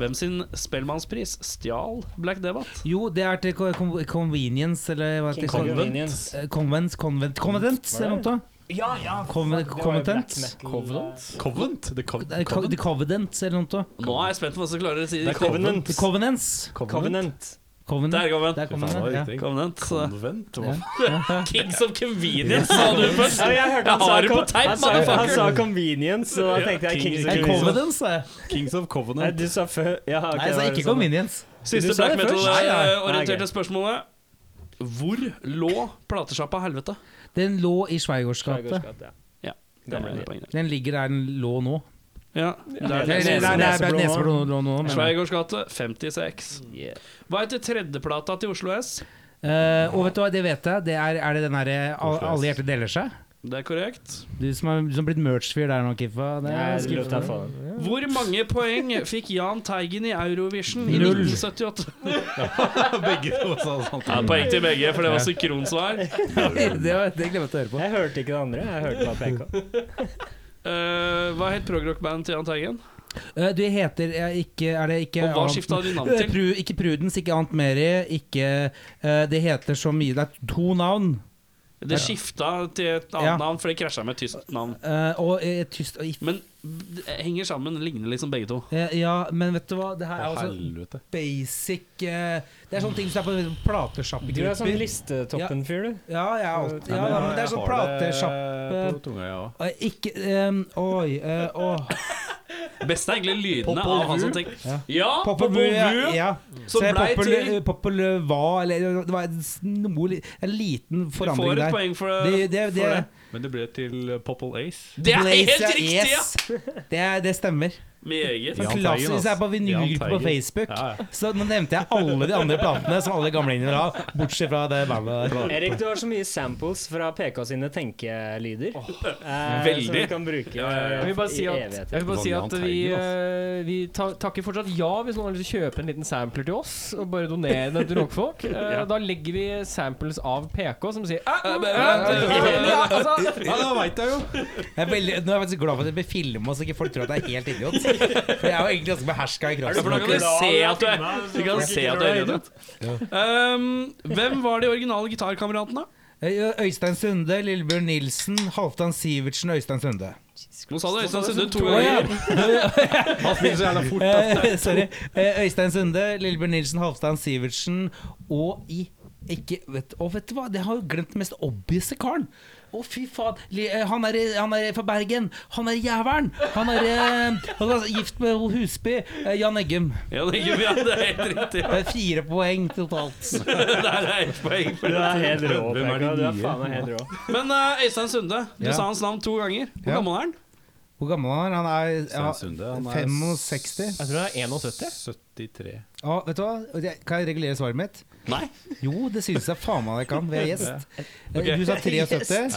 [SPEAKER 2] hvem sin Spellemannspris stjal Black Debatt?
[SPEAKER 6] Jo, det er til co- con- convenience, eller hva heter det?
[SPEAKER 1] Convenience.
[SPEAKER 6] Eh, Convent, convent, convent, jeg måtte.
[SPEAKER 10] Ja, ja.
[SPEAKER 6] Convent, conventant.
[SPEAKER 10] Covenant?
[SPEAKER 3] Covent? The Cov
[SPEAKER 6] Eh, co- The Covenant, eller noe sånt.
[SPEAKER 2] Nå er jeg spent på hva som klarer å si
[SPEAKER 1] Det er Covenant.
[SPEAKER 6] The Covenants.
[SPEAKER 1] Covenant.
[SPEAKER 6] Covenant.
[SPEAKER 2] Der kom den
[SPEAKER 6] Der kom den, ja.
[SPEAKER 2] Covenant, så-
[SPEAKER 3] Convent?
[SPEAKER 6] Ja.
[SPEAKER 2] Kings of Convenience sa du først
[SPEAKER 1] Ja, jeg hørte han
[SPEAKER 2] Jeg
[SPEAKER 1] sa
[SPEAKER 2] har det på
[SPEAKER 1] con-
[SPEAKER 2] teip,
[SPEAKER 1] han sa- Han
[SPEAKER 2] motherfucker.
[SPEAKER 1] sa convenience, så da tenkte jeg Kings of
[SPEAKER 6] Nei,
[SPEAKER 1] Convenience.
[SPEAKER 6] Covenants, sa jeg.
[SPEAKER 3] Kings of
[SPEAKER 1] Nei,
[SPEAKER 3] Covenant.
[SPEAKER 1] du sa før ja, ok,
[SPEAKER 6] Nei, jeg
[SPEAKER 1] det
[SPEAKER 6] sa
[SPEAKER 1] var
[SPEAKER 6] ikke
[SPEAKER 1] sånn.
[SPEAKER 6] convenience.
[SPEAKER 2] Siste
[SPEAKER 1] Du sa
[SPEAKER 2] black
[SPEAKER 1] det først. Nei, nei. Nei,
[SPEAKER 2] metal-orienterte
[SPEAKER 1] ok.
[SPEAKER 2] Eh, spørsmålet. Hvor lå platesjappa helvete?
[SPEAKER 6] Den lå i Sveigårdsgate.
[SPEAKER 1] Skjærgårdsgate, ja.
[SPEAKER 2] Det er
[SPEAKER 1] Gamle
[SPEAKER 2] poeng, det.
[SPEAKER 6] Den ligger der den lå nå.
[SPEAKER 2] Ja.
[SPEAKER 1] Nei,
[SPEAKER 6] Nei,
[SPEAKER 1] nei,
[SPEAKER 6] nei,
[SPEAKER 1] nei,
[SPEAKER 6] nei,
[SPEAKER 1] nei, Nesebro
[SPEAKER 6] Nesebro lå nå. men-
[SPEAKER 2] Sveigårds gate 56. Hva heter tredjeplata til Oslo S?
[SPEAKER 6] Eh, og vet du hva, det vet jeg. Det er, er det den derre Al-
[SPEAKER 3] Oslo S.
[SPEAKER 6] Alle hjerter deler seg?
[SPEAKER 2] Det er korrekt.
[SPEAKER 6] Du som har, du som har blitt merch-fyr der nå, Kiffa. Det
[SPEAKER 1] Nei,
[SPEAKER 6] er
[SPEAKER 1] det lot jeg
[SPEAKER 6] skuffende.
[SPEAKER 1] få.
[SPEAKER 2] Hvor mange poeng fikk Jahn Teigen i Eurovision i
[SPEAKER 6] Null.
[SPEAKER 2] 1978?
[SPEAKER 3] Begge to sa sånn. sant.
[SPEAKER 2] Ja, poeng til begge, for det var synkronsvar.
[SPEAKER 6] det, var- det glemte jeg å høre på.
[SPEAKER 1] Jeg hørte ikke det andre. Jeg hørte bare PK.
[SPEAKER 2] Eh, hva het progrock-bandet til Jahn Teigen?
[SPEAKER 6] Eh, Du heter eh, ikke Er det ikke
[SPEAKER 2] Og hva
[SPEAKER 6] annet-
[SPEAKER 2] skifta de navn
[SPEAKER 6] Eh,
[SPEAKER 2] til?
[SPEAKER 6] Pru, ikke Prudence, ikke Ant Mary, ikke eh, Det heter så mye Det er to navn.
[SPEAKER 2] Det skifta til et annet
[SPEAKER 6] Ja.
[SPEAKER 2] navn, for det krasja med et tysk navn.
[SPEAKER 6] eh, og eh, tyst og if-
[SPEAKER 2] Men det henger sammen, ligner liksom begge to.
[SPEAKER 6] eh, Ja, men vet du hva? Det her er
[SPEAKER 3] altså-
[SPEAKER 6] også
[SPEAKER 8] Helvete.
[SPEAKER 6] basic eh, Det er sånne ting som er på
[SPEAKER 1] Du er sånn
[SPEAKER 6] platesjappegrupper.
[SPEAKER 1] listetoppen-fyr, du.
[SPEAKER 6] Ja, jeg er alltid ja, da, men Det er sånn
[SPEAKER 1] Eh,
[SPEAKER 6] platesjappe
[SPEAKER 8] På tunga, ja.
[SPEAKER 6] Eh, Ikke ehm, Oi. eh, åh.
[SPEAKER 2] Beste er egentlig lydene
[SPEAKER 6] Popol
[SPEAKER 2] av han som
[SPEAKER 6] Vuh.
[SPEAKER 2] tenker
[SPEAKER 6] Ja.
[SPEAKER 2] Ja,
[SPEAKER 6] Popper Blue, ja,
[SPEAKER 2] Vu!
[SPEAKER 6] ja.
[SPEAKER 2] Som
[SPEAKER 6] Så
[SPEAKER 2] blei
[SPEAKER 6] Popper
[SPEAKER 2] til
[SPEAKER 6] Popper Hva, eller det var en noe li- En liten
[SPEAKER 2] Du får
[SPEAKER 6] forandring
[SPEAKER 2] et
[SPEAKER 6] der.
[SPEAKER 2] poeng for det.
[SPEAKER 6] Det, det, det,
[SPEAKER 2] for det.
[SPEAKER 8] Men det ble til Popple Ace.
[SPEAKER 2] Det er
[SPEAKER 6] Blaze,
[SPEAKER 2] helt riktig, ja!
[SPEAKER 6] yes. Det, er- det stemmer. Sånn
[SPEAKER 2] Meget.
[SPEAKER 8] Jan
[SPEAKER 6] Klassisk
[SPEAKER 8] Teigen, ass.
[SPEAKER 6] så er jeg på vinylgruppe på
[SPEAKER 8] Jan Teigen.
[SPEAKER 6] Facebook.
[SPEAKER 8] Ja, ja.
[SPEAKER 6] Så nå nevnte jeg alle de andre platene som alle gamlinger har, bortsett fra det bandet der.
[SPEAKER 1] Erik, du har så mye samples fra PK sine tenkelyder. eh,
[SPEAKER 2] veldig.
[SPEAKER 1] Som vi kan bruke
[SPEAKER 7] Jeg vil bare si
[SPEAKER 1] i
[SPEAKER 7] at,
[SPEAKER 1] evigheter.
[SPEAKER 7] jeg vil bare si at
[SPEAKER 8] Vanlig
[SPEAKER 7] vi,
[SPEAKER 8] anteiger,
[SPEAKER 7] eh, vi ta, takker fortsatt ja hvis noen har lyst til å kjøpe en liten sampler til oss. Og bare donere den til rockfolk. Eh, Da legger vi samples av PK som sier "Ah!" «Æ, æ, æ, æ, æ, ja, altså,
[SPEAKER 8] Ja, da veit jeg jo!
[SPEAKER 6] Jeg er veldig, nå er jeg faktisk glad for at det blir filma, så ikke folk tror at jeg er helt idiot. For jeg er jo egentlig ganske beherska i
[SPEAKER 2] For da kan du
[SPEAKER 6] kroppsspråket.
[SPEAKER 2] se at du er Du kan se at du er idiot. Um, hvem var de originale gitarkameratene?
[SPEAKER 6] Eh, Øystein Sunde, Lillebjørn Nilsen, Halvdan Sivertsen, Øystein Sunde.
[SPEAKER 2] Nå sa du Øystein Sunde to
[SPEAKER 6] Å, ja.
[SPEAKER 2] ganger.
[SPEAKER 8] Han spiller så jævla fort.
[SPEAKER 6] Eh, Sorry. Eh, Øystein Sunde, Lillebjørn Nilsen, Halvdan Sivertsen og i ikke, vet, og vet du hva, det har jo glemt den mest obvise karen. Å, fy faen. Li- eh, Han er, han er fra Bergen. Han er jævelen. Han er eh, han er gift med Husby. Eh, Jan Eggum.
[SPEAKER 2] Ja, det er, ja, det er helt riktig.
[SPEAKER 6] Det er fire poeng totalt.
[SPEAKER 2] Der er ett poeng.
[SPEAKER 1] Du
[SPEAKER 2] for det.
[SPEAKER 1] er helt rå,
[SPEAKER 8] Hvem er
[SPEAKER 1] PK.
[SPEAKER 8] de
[SPEAKER 1] Du er
[SPEAKER 8] nye?
[SPEAKER 1] faen meg helt rå.
[SPEAKER 2] Men eh, Øystein Sunde, du
[SPEAKER 6] Ja.
[SPEAKER 2] sa hans navn to ganger. Hvor
[SPEAKER 6] Ja.
[SPEAKER 2] gammel er han?
[SPEAKER 6] Hvor gammel er han? Han er ja,
[SPEAKER 8] Stein Sunde, han er
[SPEAKER 6] 65.
[SPEAKER 7] Jeg tror det er 71.
[SPEAKER 8] 73.
[SPEAKER 6] Ja, vet du hva, Jeg- kan jeg regulere svaret mitt?
[SPEAKER 2] Nei.
[SPEAKER 6] Jo, det synes jeg faen meg jeg kan. Vi er gjest.
[SPEAKER 2] Ok.
[SPEAKER 6] Du sa 73.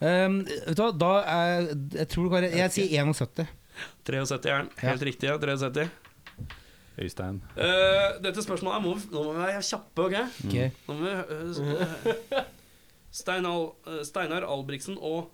[SPEAKER 6] Um, vet du hva, da er, jeg tror du kan Jeg sier 71.
[SPEAKER 2] 73 er han. Helt riktig. ja, 73.
[SPEAKER 8] Øystein.
[SPEAKER 2] Eh, dette spørsmålet er må, Nå må vi være kjappe, OK?
[SPEAKER 6] Ok.
[SPEAKER 8] Mm.
[SPEAKER 2] Nå må vi eh, så- eh, Steinar, eh, Steinar Albrigtsen og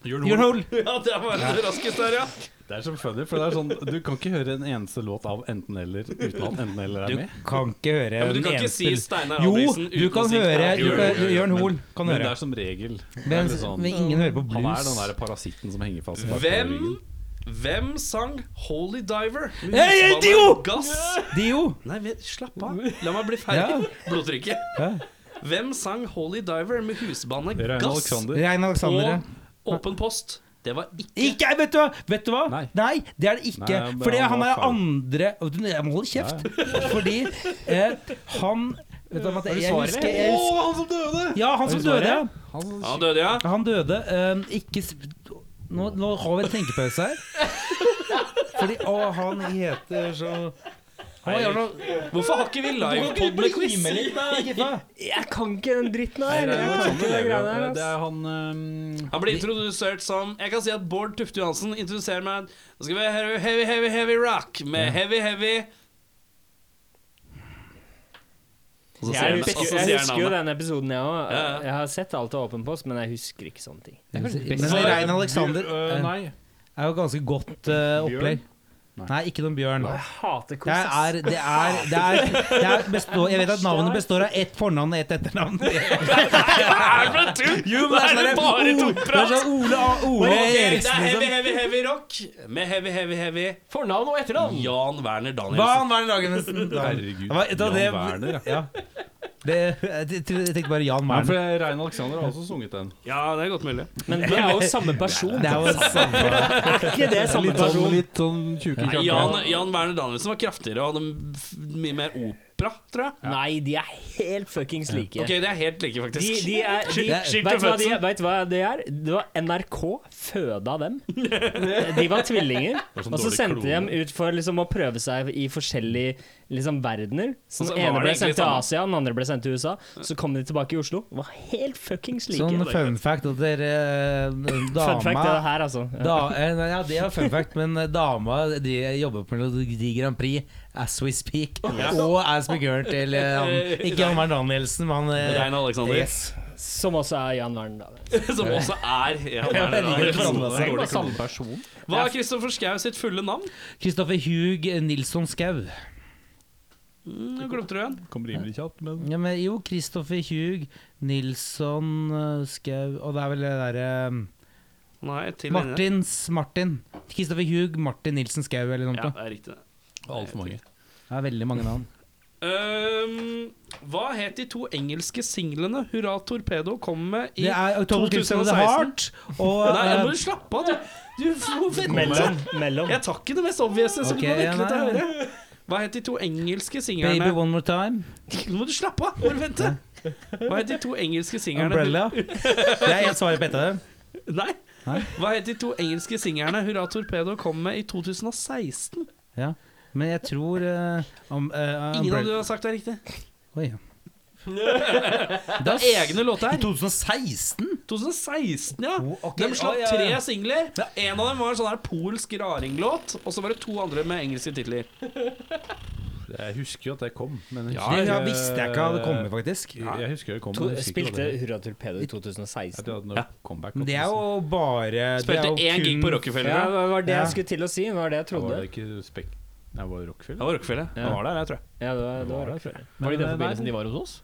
[SPEAKER 8] Jørn
[SPEAKER 6] Bjørn Hoel.
[SPEAKER 2] Ja, det var det raskeste her, ja.
[SPEAKER 8] Det er så funny, for det er sånn Du kan ikke høre en eneste låt av enten-eller uten at enten-eller er med.
[SPEAKER 6] Kan ikke høre
[SPEAKER 2] Ja, men du
[SPEAKER 6] den
[SPEAKER 2] kan ikke si
[SPEAKER 6] eneste-
[SPEAKER 2] Steinar
[SPEAKER 6] Jo,
[SPEAKER 2] Albrigtsen
[SPEAKER 6] du kan høre
[SPEAKER 2] Ja,
[SPEAKER 6] du
[SPEAKER 2] jo,
[SPEAKER 6] kan,
[SPEAKER 2] jo, jo.
[SPEAKER 6] Jørn Hoel. Kan
[SPEAKER 8] Men det
[SPEAKER 6] høre.
[SPEAKER 8] er som regel det er
[SPEAKER 6] Men,
[SPEAKER 8] litt sånn,
[SPEAKER 6] men ingen hører på
[SPEAKER 8] Han er den
[SPEAKER 6] blues.
[SPEAKER 8] der parasitten som henger fast. bak på
[SPEAKER 2] Hvem
[SPEAKER 8] ryggen.
[SPEAKER 2] Hvem sang 'Holy Diver'?
[SPEAKER 6] Hey,
[SPEAKER 2] Husbandet
[SPEAKER 6] idiot!
[SPEAKER 2] Gass.
[SPEAKER 6] Dio!
[SPEAKER 2] Nei, vent, slapp av. La meg bli ferdig. Blodtrykket.
[SPEAKER 6] Ja.
[SPEAKER 2] Hvem sang 'Holy Diver' med husbandet
[SPEAKER 8] Rein
[SPEAKER 2] Gass
[SPEAKER 8] Alexander.
[SPEAKER 6] Rein Alexandre.
[SPEAKER 2] på Åpen post? Det var ikke
[SPEAKER 6] Ikke, vet du hva! Vet du hva? Nei.
[SPEAKER 8] Nei.
[SPEAKER 6] det er det ikke.
[SPEAKER 8] Nei, men
[SPEAKER 6] fordi
[SPEAKER 8] han
[SPEAKER 6] han
[SPEAKER 8] var
[SPEAKER 6] er
[SPEAKER 8] feil.
[SPEAKER 6] andre Å, du, Jeg må holde kjeft. Fordi eh, han Vet du hva, Mathie, jeg husker, jeg husker
[SPEAKER 8] han som døde!
[SPEAKER 6] Ja, han som døde.
[SPEAKER 2] Ja, døde, ja.
[SPEAKER 6] Han døde eh, Ikke s- nå, nå har vi en tenkepause her. Fordi å, han heter så Han gjør noe
[SPEAKER 2] Hvorfor har ikke vi livepod med quiz?
[SPEAKER 1] Jeg kan ikke den dritten her.
[SPEAKER 8] Rein
[SPEAKER 1] Jeg kan
[SPEAKER 8] Alexander
[SPEAKER 1] ikke den
[SPEAKER 8] lever
[SPEAKER 1] greia
[SPEAKER 8] jo.
[SPEAKER 1] der. altså.
[SPEAKER 8] Det
[SPEAKER 1] ass.
[SPEAKER 8] er han um,
[SPEAKER 2] Han ble introdusert som Jeg kan si at Bård Tufte Johansen introduserer meg Nå skal vi ha heavy, heavy, heavy, heavy rock med heavy, heavy Og så sier
[SPEAKER 1] Jeg
[SPEAKER 2] han- og
[SPEAKER 1] husker,
[SPEAKER 2] så
[SPEAKER 1] jeg
[SPEAKER 2] sier han
[SPEAKER 1] husker jo
[SPEAKER 2] navnet.
[SPEAKER 1] denne episoden, jeg òg.
[SPEAKER 2] Ja, ja.
[SPEAKER 1] Jeg har sett alt av Åpen post, men jeg husker ikke sånne ting.
[SPEAKER 6] Men Rein Alexander eh,
[SPEAKER 8] øh,
[SPEAKER 6] er
[SPEAKER 8] Nei.
[SPEAKER 6] jo ganske godt eh, opplegg. Nei, ikke noen bjørn.
[SPEAKER 1] Jeg hater
[SPEAKER 6] Det
[SPEAKER 1] quiz. ass.
[SPEAKER 6] er, det er, det er, det er bestå, Jeg vet at navnet består av ett fornavn og ett etternavn. Jo, men
[SPEAKER 2] Det er
[SPEAKER 6] sånn-
[SPEAKER 2] bare
[SPEAKER 6] O-
[SPEAKER 2] tullprat.
[SPEAKER 6] det er sånn Ole, Ole
[SPEAKER 2] Ok, det
[SPEAKER 6] Eriksen,
[SPEAKER 2] er heavy,
[SPEAKER 6] liksom.
[SPEAKER 2] heavy, heavy rock med heavy, heavy, heavy
[SPEAKER 7] Fornavn og etternavn.
[SPEAKER 2] Jan Werner Danielsen.
[SPEAKER 6] Van Werner Dagensen.
[SPEAKER 8] Herregud,
[SPEAKER 6] Det var- det var
[SPEAKER 8] Jan
[SPEAKER 6] det-
[SPEAKER 8] Werner, ja.
[SPEAKER 6] Ja. Det, jeg, tror- jeg tenkte bare Jan
[SPEAKER 8] Nei, for
[SPEAKER 6] Werner.
[SPEAKER 8] Rein Alexander har også sunget den.
[SPEAKER 2] Ja, det er godt mulig.
[SPEAKER 1] Men det er jo samme person.
[SPEAKER 6] Det er jo samme
[SPEAKER 1] Ikke det samme person.
[SPEAKER 8] litt sånn tjuke
[SPEAKER 2] Nei, Jan, Jan Werner Danielsen var kraftigere og hadde f- mye mer opera, tror jeg.
[SPEAKER 1] Nei, de er helt fuckings like.
[SPEAKER 2] Ok, det er helt like,
[SPEAKER 1] De,
[SPEAKER 2] faktisk.
[SPEAKER 1] de er de,
[SPEAKER 6] Skyt-
[SPEAKER 1] vet,
[SPEAKER 2] skyt
[SPEAKER 1] du hva
[SPEAKER 2] til
[SPEAKER 1] de,
[SPEAKER 2] fødselen.
[SPEAKER 1] vet du hva det er? Det var NRK føda dem. De var tvillinger.
[SPEAKER 8] sånn
[SPEAKER 1] Og så
[SPEAKER 8] dårlig
[SPEAKER 1] sendte de
[SPEAKER 8] klone.
[SPEAKER 1] dem ut for liksom å prøve seg i forskjellige liksom, verdener. Så
[SPEAKER 2] Og så
[SPEAKER 1] den
[SPEAKER 2] var
[SPEAKER 1] ene
[SPEAKER 2] det
[SPEAKER 1] ble
[SPEAKER 2] egentlig
[SPEAKER 1] sendt til
[SPEAKER 2] samme.
[SPEAKER 1] Asia, den andre ble sendt til USA. Så kom de tilbake i Oslo. Var helt fuckings like.
[SPEAKER 6] Sånn fun fact at dere eh,
[SPEAKER 1] Fun fact er det
[SPEAKER 6] Dama
[SPEAKER 1] her, altså. Ja.
[SPEAKER 6] da, eh, nei, ja, det er fun fact, men eh, dama de jobber på Melodi Grand Prix as we speak. Og as we girl til eh, han, Ikke Jan Werner Danielsen, men han eh,
[SPEAKER 2] Rein Alexander.
[SPEAKER 6] Yes.
[SPEAKER 1] Som også er Jan Werner.
[SPEAKER 2] Som også er ja, det er det, det er
[SPEAKER 7] Det
[SPEAKER 2] dårlig
[SPEAKER 7] var
[SPEAKER 2] kombinasjon.
[SPEAKER 7] samme person.
[SPEAKER 2] Hva er Kristoffer Schau sitt fulle navn?
[SPEAKER 6] Kristoffer Hug Nilsson Skau.
[SPEAKER 2] Mm, nå glemte du igjen.
[SPEAKER 8] Kom rimelig kjapt, men
[SPEAKER 6] Ja, men jo, Kristoffer Hug Nilsson eh, Skau Og det er vel det derre
[SPEAKER 2] Nei, til inne.
[SPEAKER 6] Martins Martin. Kristoffer Hug Martin Nilsen Skau eller noe.
[SPEAKER 2] Ja,
[SPEAKER 6] sånt.
[SPEAKER 2] det er riktig. det.
[SPEAKER 8] altfor mange.
[SPEAKER 6] Det er veldig mange navn.
[SPEAKER 2] Øhm, hva het de to engelske singlene Hurra Torpedo kom med i
[SPEAKER 6] Det er October Kids of the
[SPEAKER 2] 2016?
[SPEAKER 6] Heart og
[SPEAKER 2] Nei, jeg må
[SPEAKER 6] eh,
[SPEAKER 2] jo slappe av, du. du får vente.
[SPEAKER 1] Mellom. mellom.
[SPEAKER 2] Jeg tar ikke det mest obvious som
[SPEAKER 6] Ok,
[SPEAKER 2] du kan
[SPEAKER 6] ja,
[SPEAKER 2] vekle til å
[SPEAKER 6] nei, nei.
[SPEAKER 2] høre. Hva het de to engelske
[SPEAKER 6] Baby
[SPEAKER 2] singlene
[SPEAKER 6] One More Time.
[SPEAKER 2] Nå må du slappe av! Bare vente. Hva het de to engelske singlene
[SPEAKER 6] Umbrella. Det er ett svar på ett av dem.
[SPEAKER 2] Nei.
[SPEAKER 6] Nei.
[SPEAKER 2] Hva het de to engelske singlene Hurra Torpedo kom med i 2016?
[SPEAKER 6] Ja. Men jeg tror eh, om, eh,
[SPEAKER 2] Ingen av
[SPEAKER 6] Umbrella
[SPEAKER 2] dere har sagt det er riktig.
[SPEAKER 6] Oi, ja.
[SPEAKER 2] Det er egne låter her.
[SPEAKER 6] 2016?
[SPEAKER 2] 2016, ja.
[SPEAKER 6] Oh, ok.
[SPEAKER 2] De slapp
[SPEAKER 6] Å, ja, ja.
[SPEAKER 2] tre singler. En av dem var en sånn her polsk raringlåt, og så var det to andre med engelske titler.
[SPEAKER 8] Jeg husker jo at det kom, men
[SPEAKER 2] Ja,
[SPEAKER 6] Det jeg visste jeg ikke hadde kommet, faktisk.
[SPEAKER 8] Jeg husker det kom.
[SPEAKER 1] To,
[SPEAKER 8] men jeg husker ikke
[SPEAKER 1] spilte
[SPEAKER 8] hva det-
[SPEAKER 1] Hurra Torpedo i
[SPEAKER 8] Jeg
[SPEAKER 1] 2016.
[SPEAKER 8] tror jeg hadde noe comeback.
[SPEAKER 6] Men det er jo bare
[SPEAKER 2] Spilte
[SPEAKER 6] det er jo
[SPEAKER 2] én
[SPEAKER 6] kun-
[SPEAKER 2] gig på
[SPEAKER 1] Ja,
[SPEAKER 2] Rockefeller.
[SPEAKER 1] det var det
[SPEAKER 6] Ja.
[SPEAKER 1] jeg skulle til å si. Det var det jeg
[SPEAKER 8] Da Var
[SPEAKER 1] trodde.
[SPEAKER 8] det ikke spek... Nei, var det Rockfield?
[SPEAKER 2] Det var Rockefeller.
[SPEAKER 1] Ja.
[SPEAKER 2] Det var der, jeg tror jeg.
[SPEAKER 1] Ja, det var, det var,
[SPEAKER 7] Var det i den forbindelsen de var hos oss?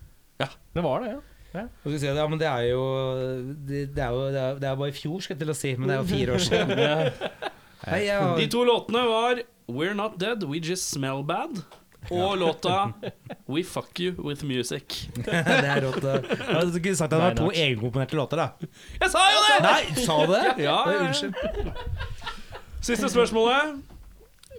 [SPEAKER 2] Ja.
[SPEAKER 7] Det var det, ja.
[SPEAKER 6] Hva skal jeg si, ja, men det er jo Det, det er jo det er, det er bare i fjor, skal jeg til å si, men det er jo fire år siden. Hei, jeg har-
[SPEAKER 2] De to låtene var We're Not Dead, We Just Smell Bad og låta We Fuck You With Music.
[SPEAKER 6] det er rått. da. Ja, Du kunne sagt at det var to egenkomponerte låter, da.
[SPEAKER 2] Jeg sa jo det!
[SPEAKER 6] Nei, sa du det?
[SPEAKER 2] Ja,
[SPEAKER 6] Oi,
[SPEAKER 2] ja.
[SPEAKER 6] Unnskyld.
[SPEAKER 2] Siste spørsmålet.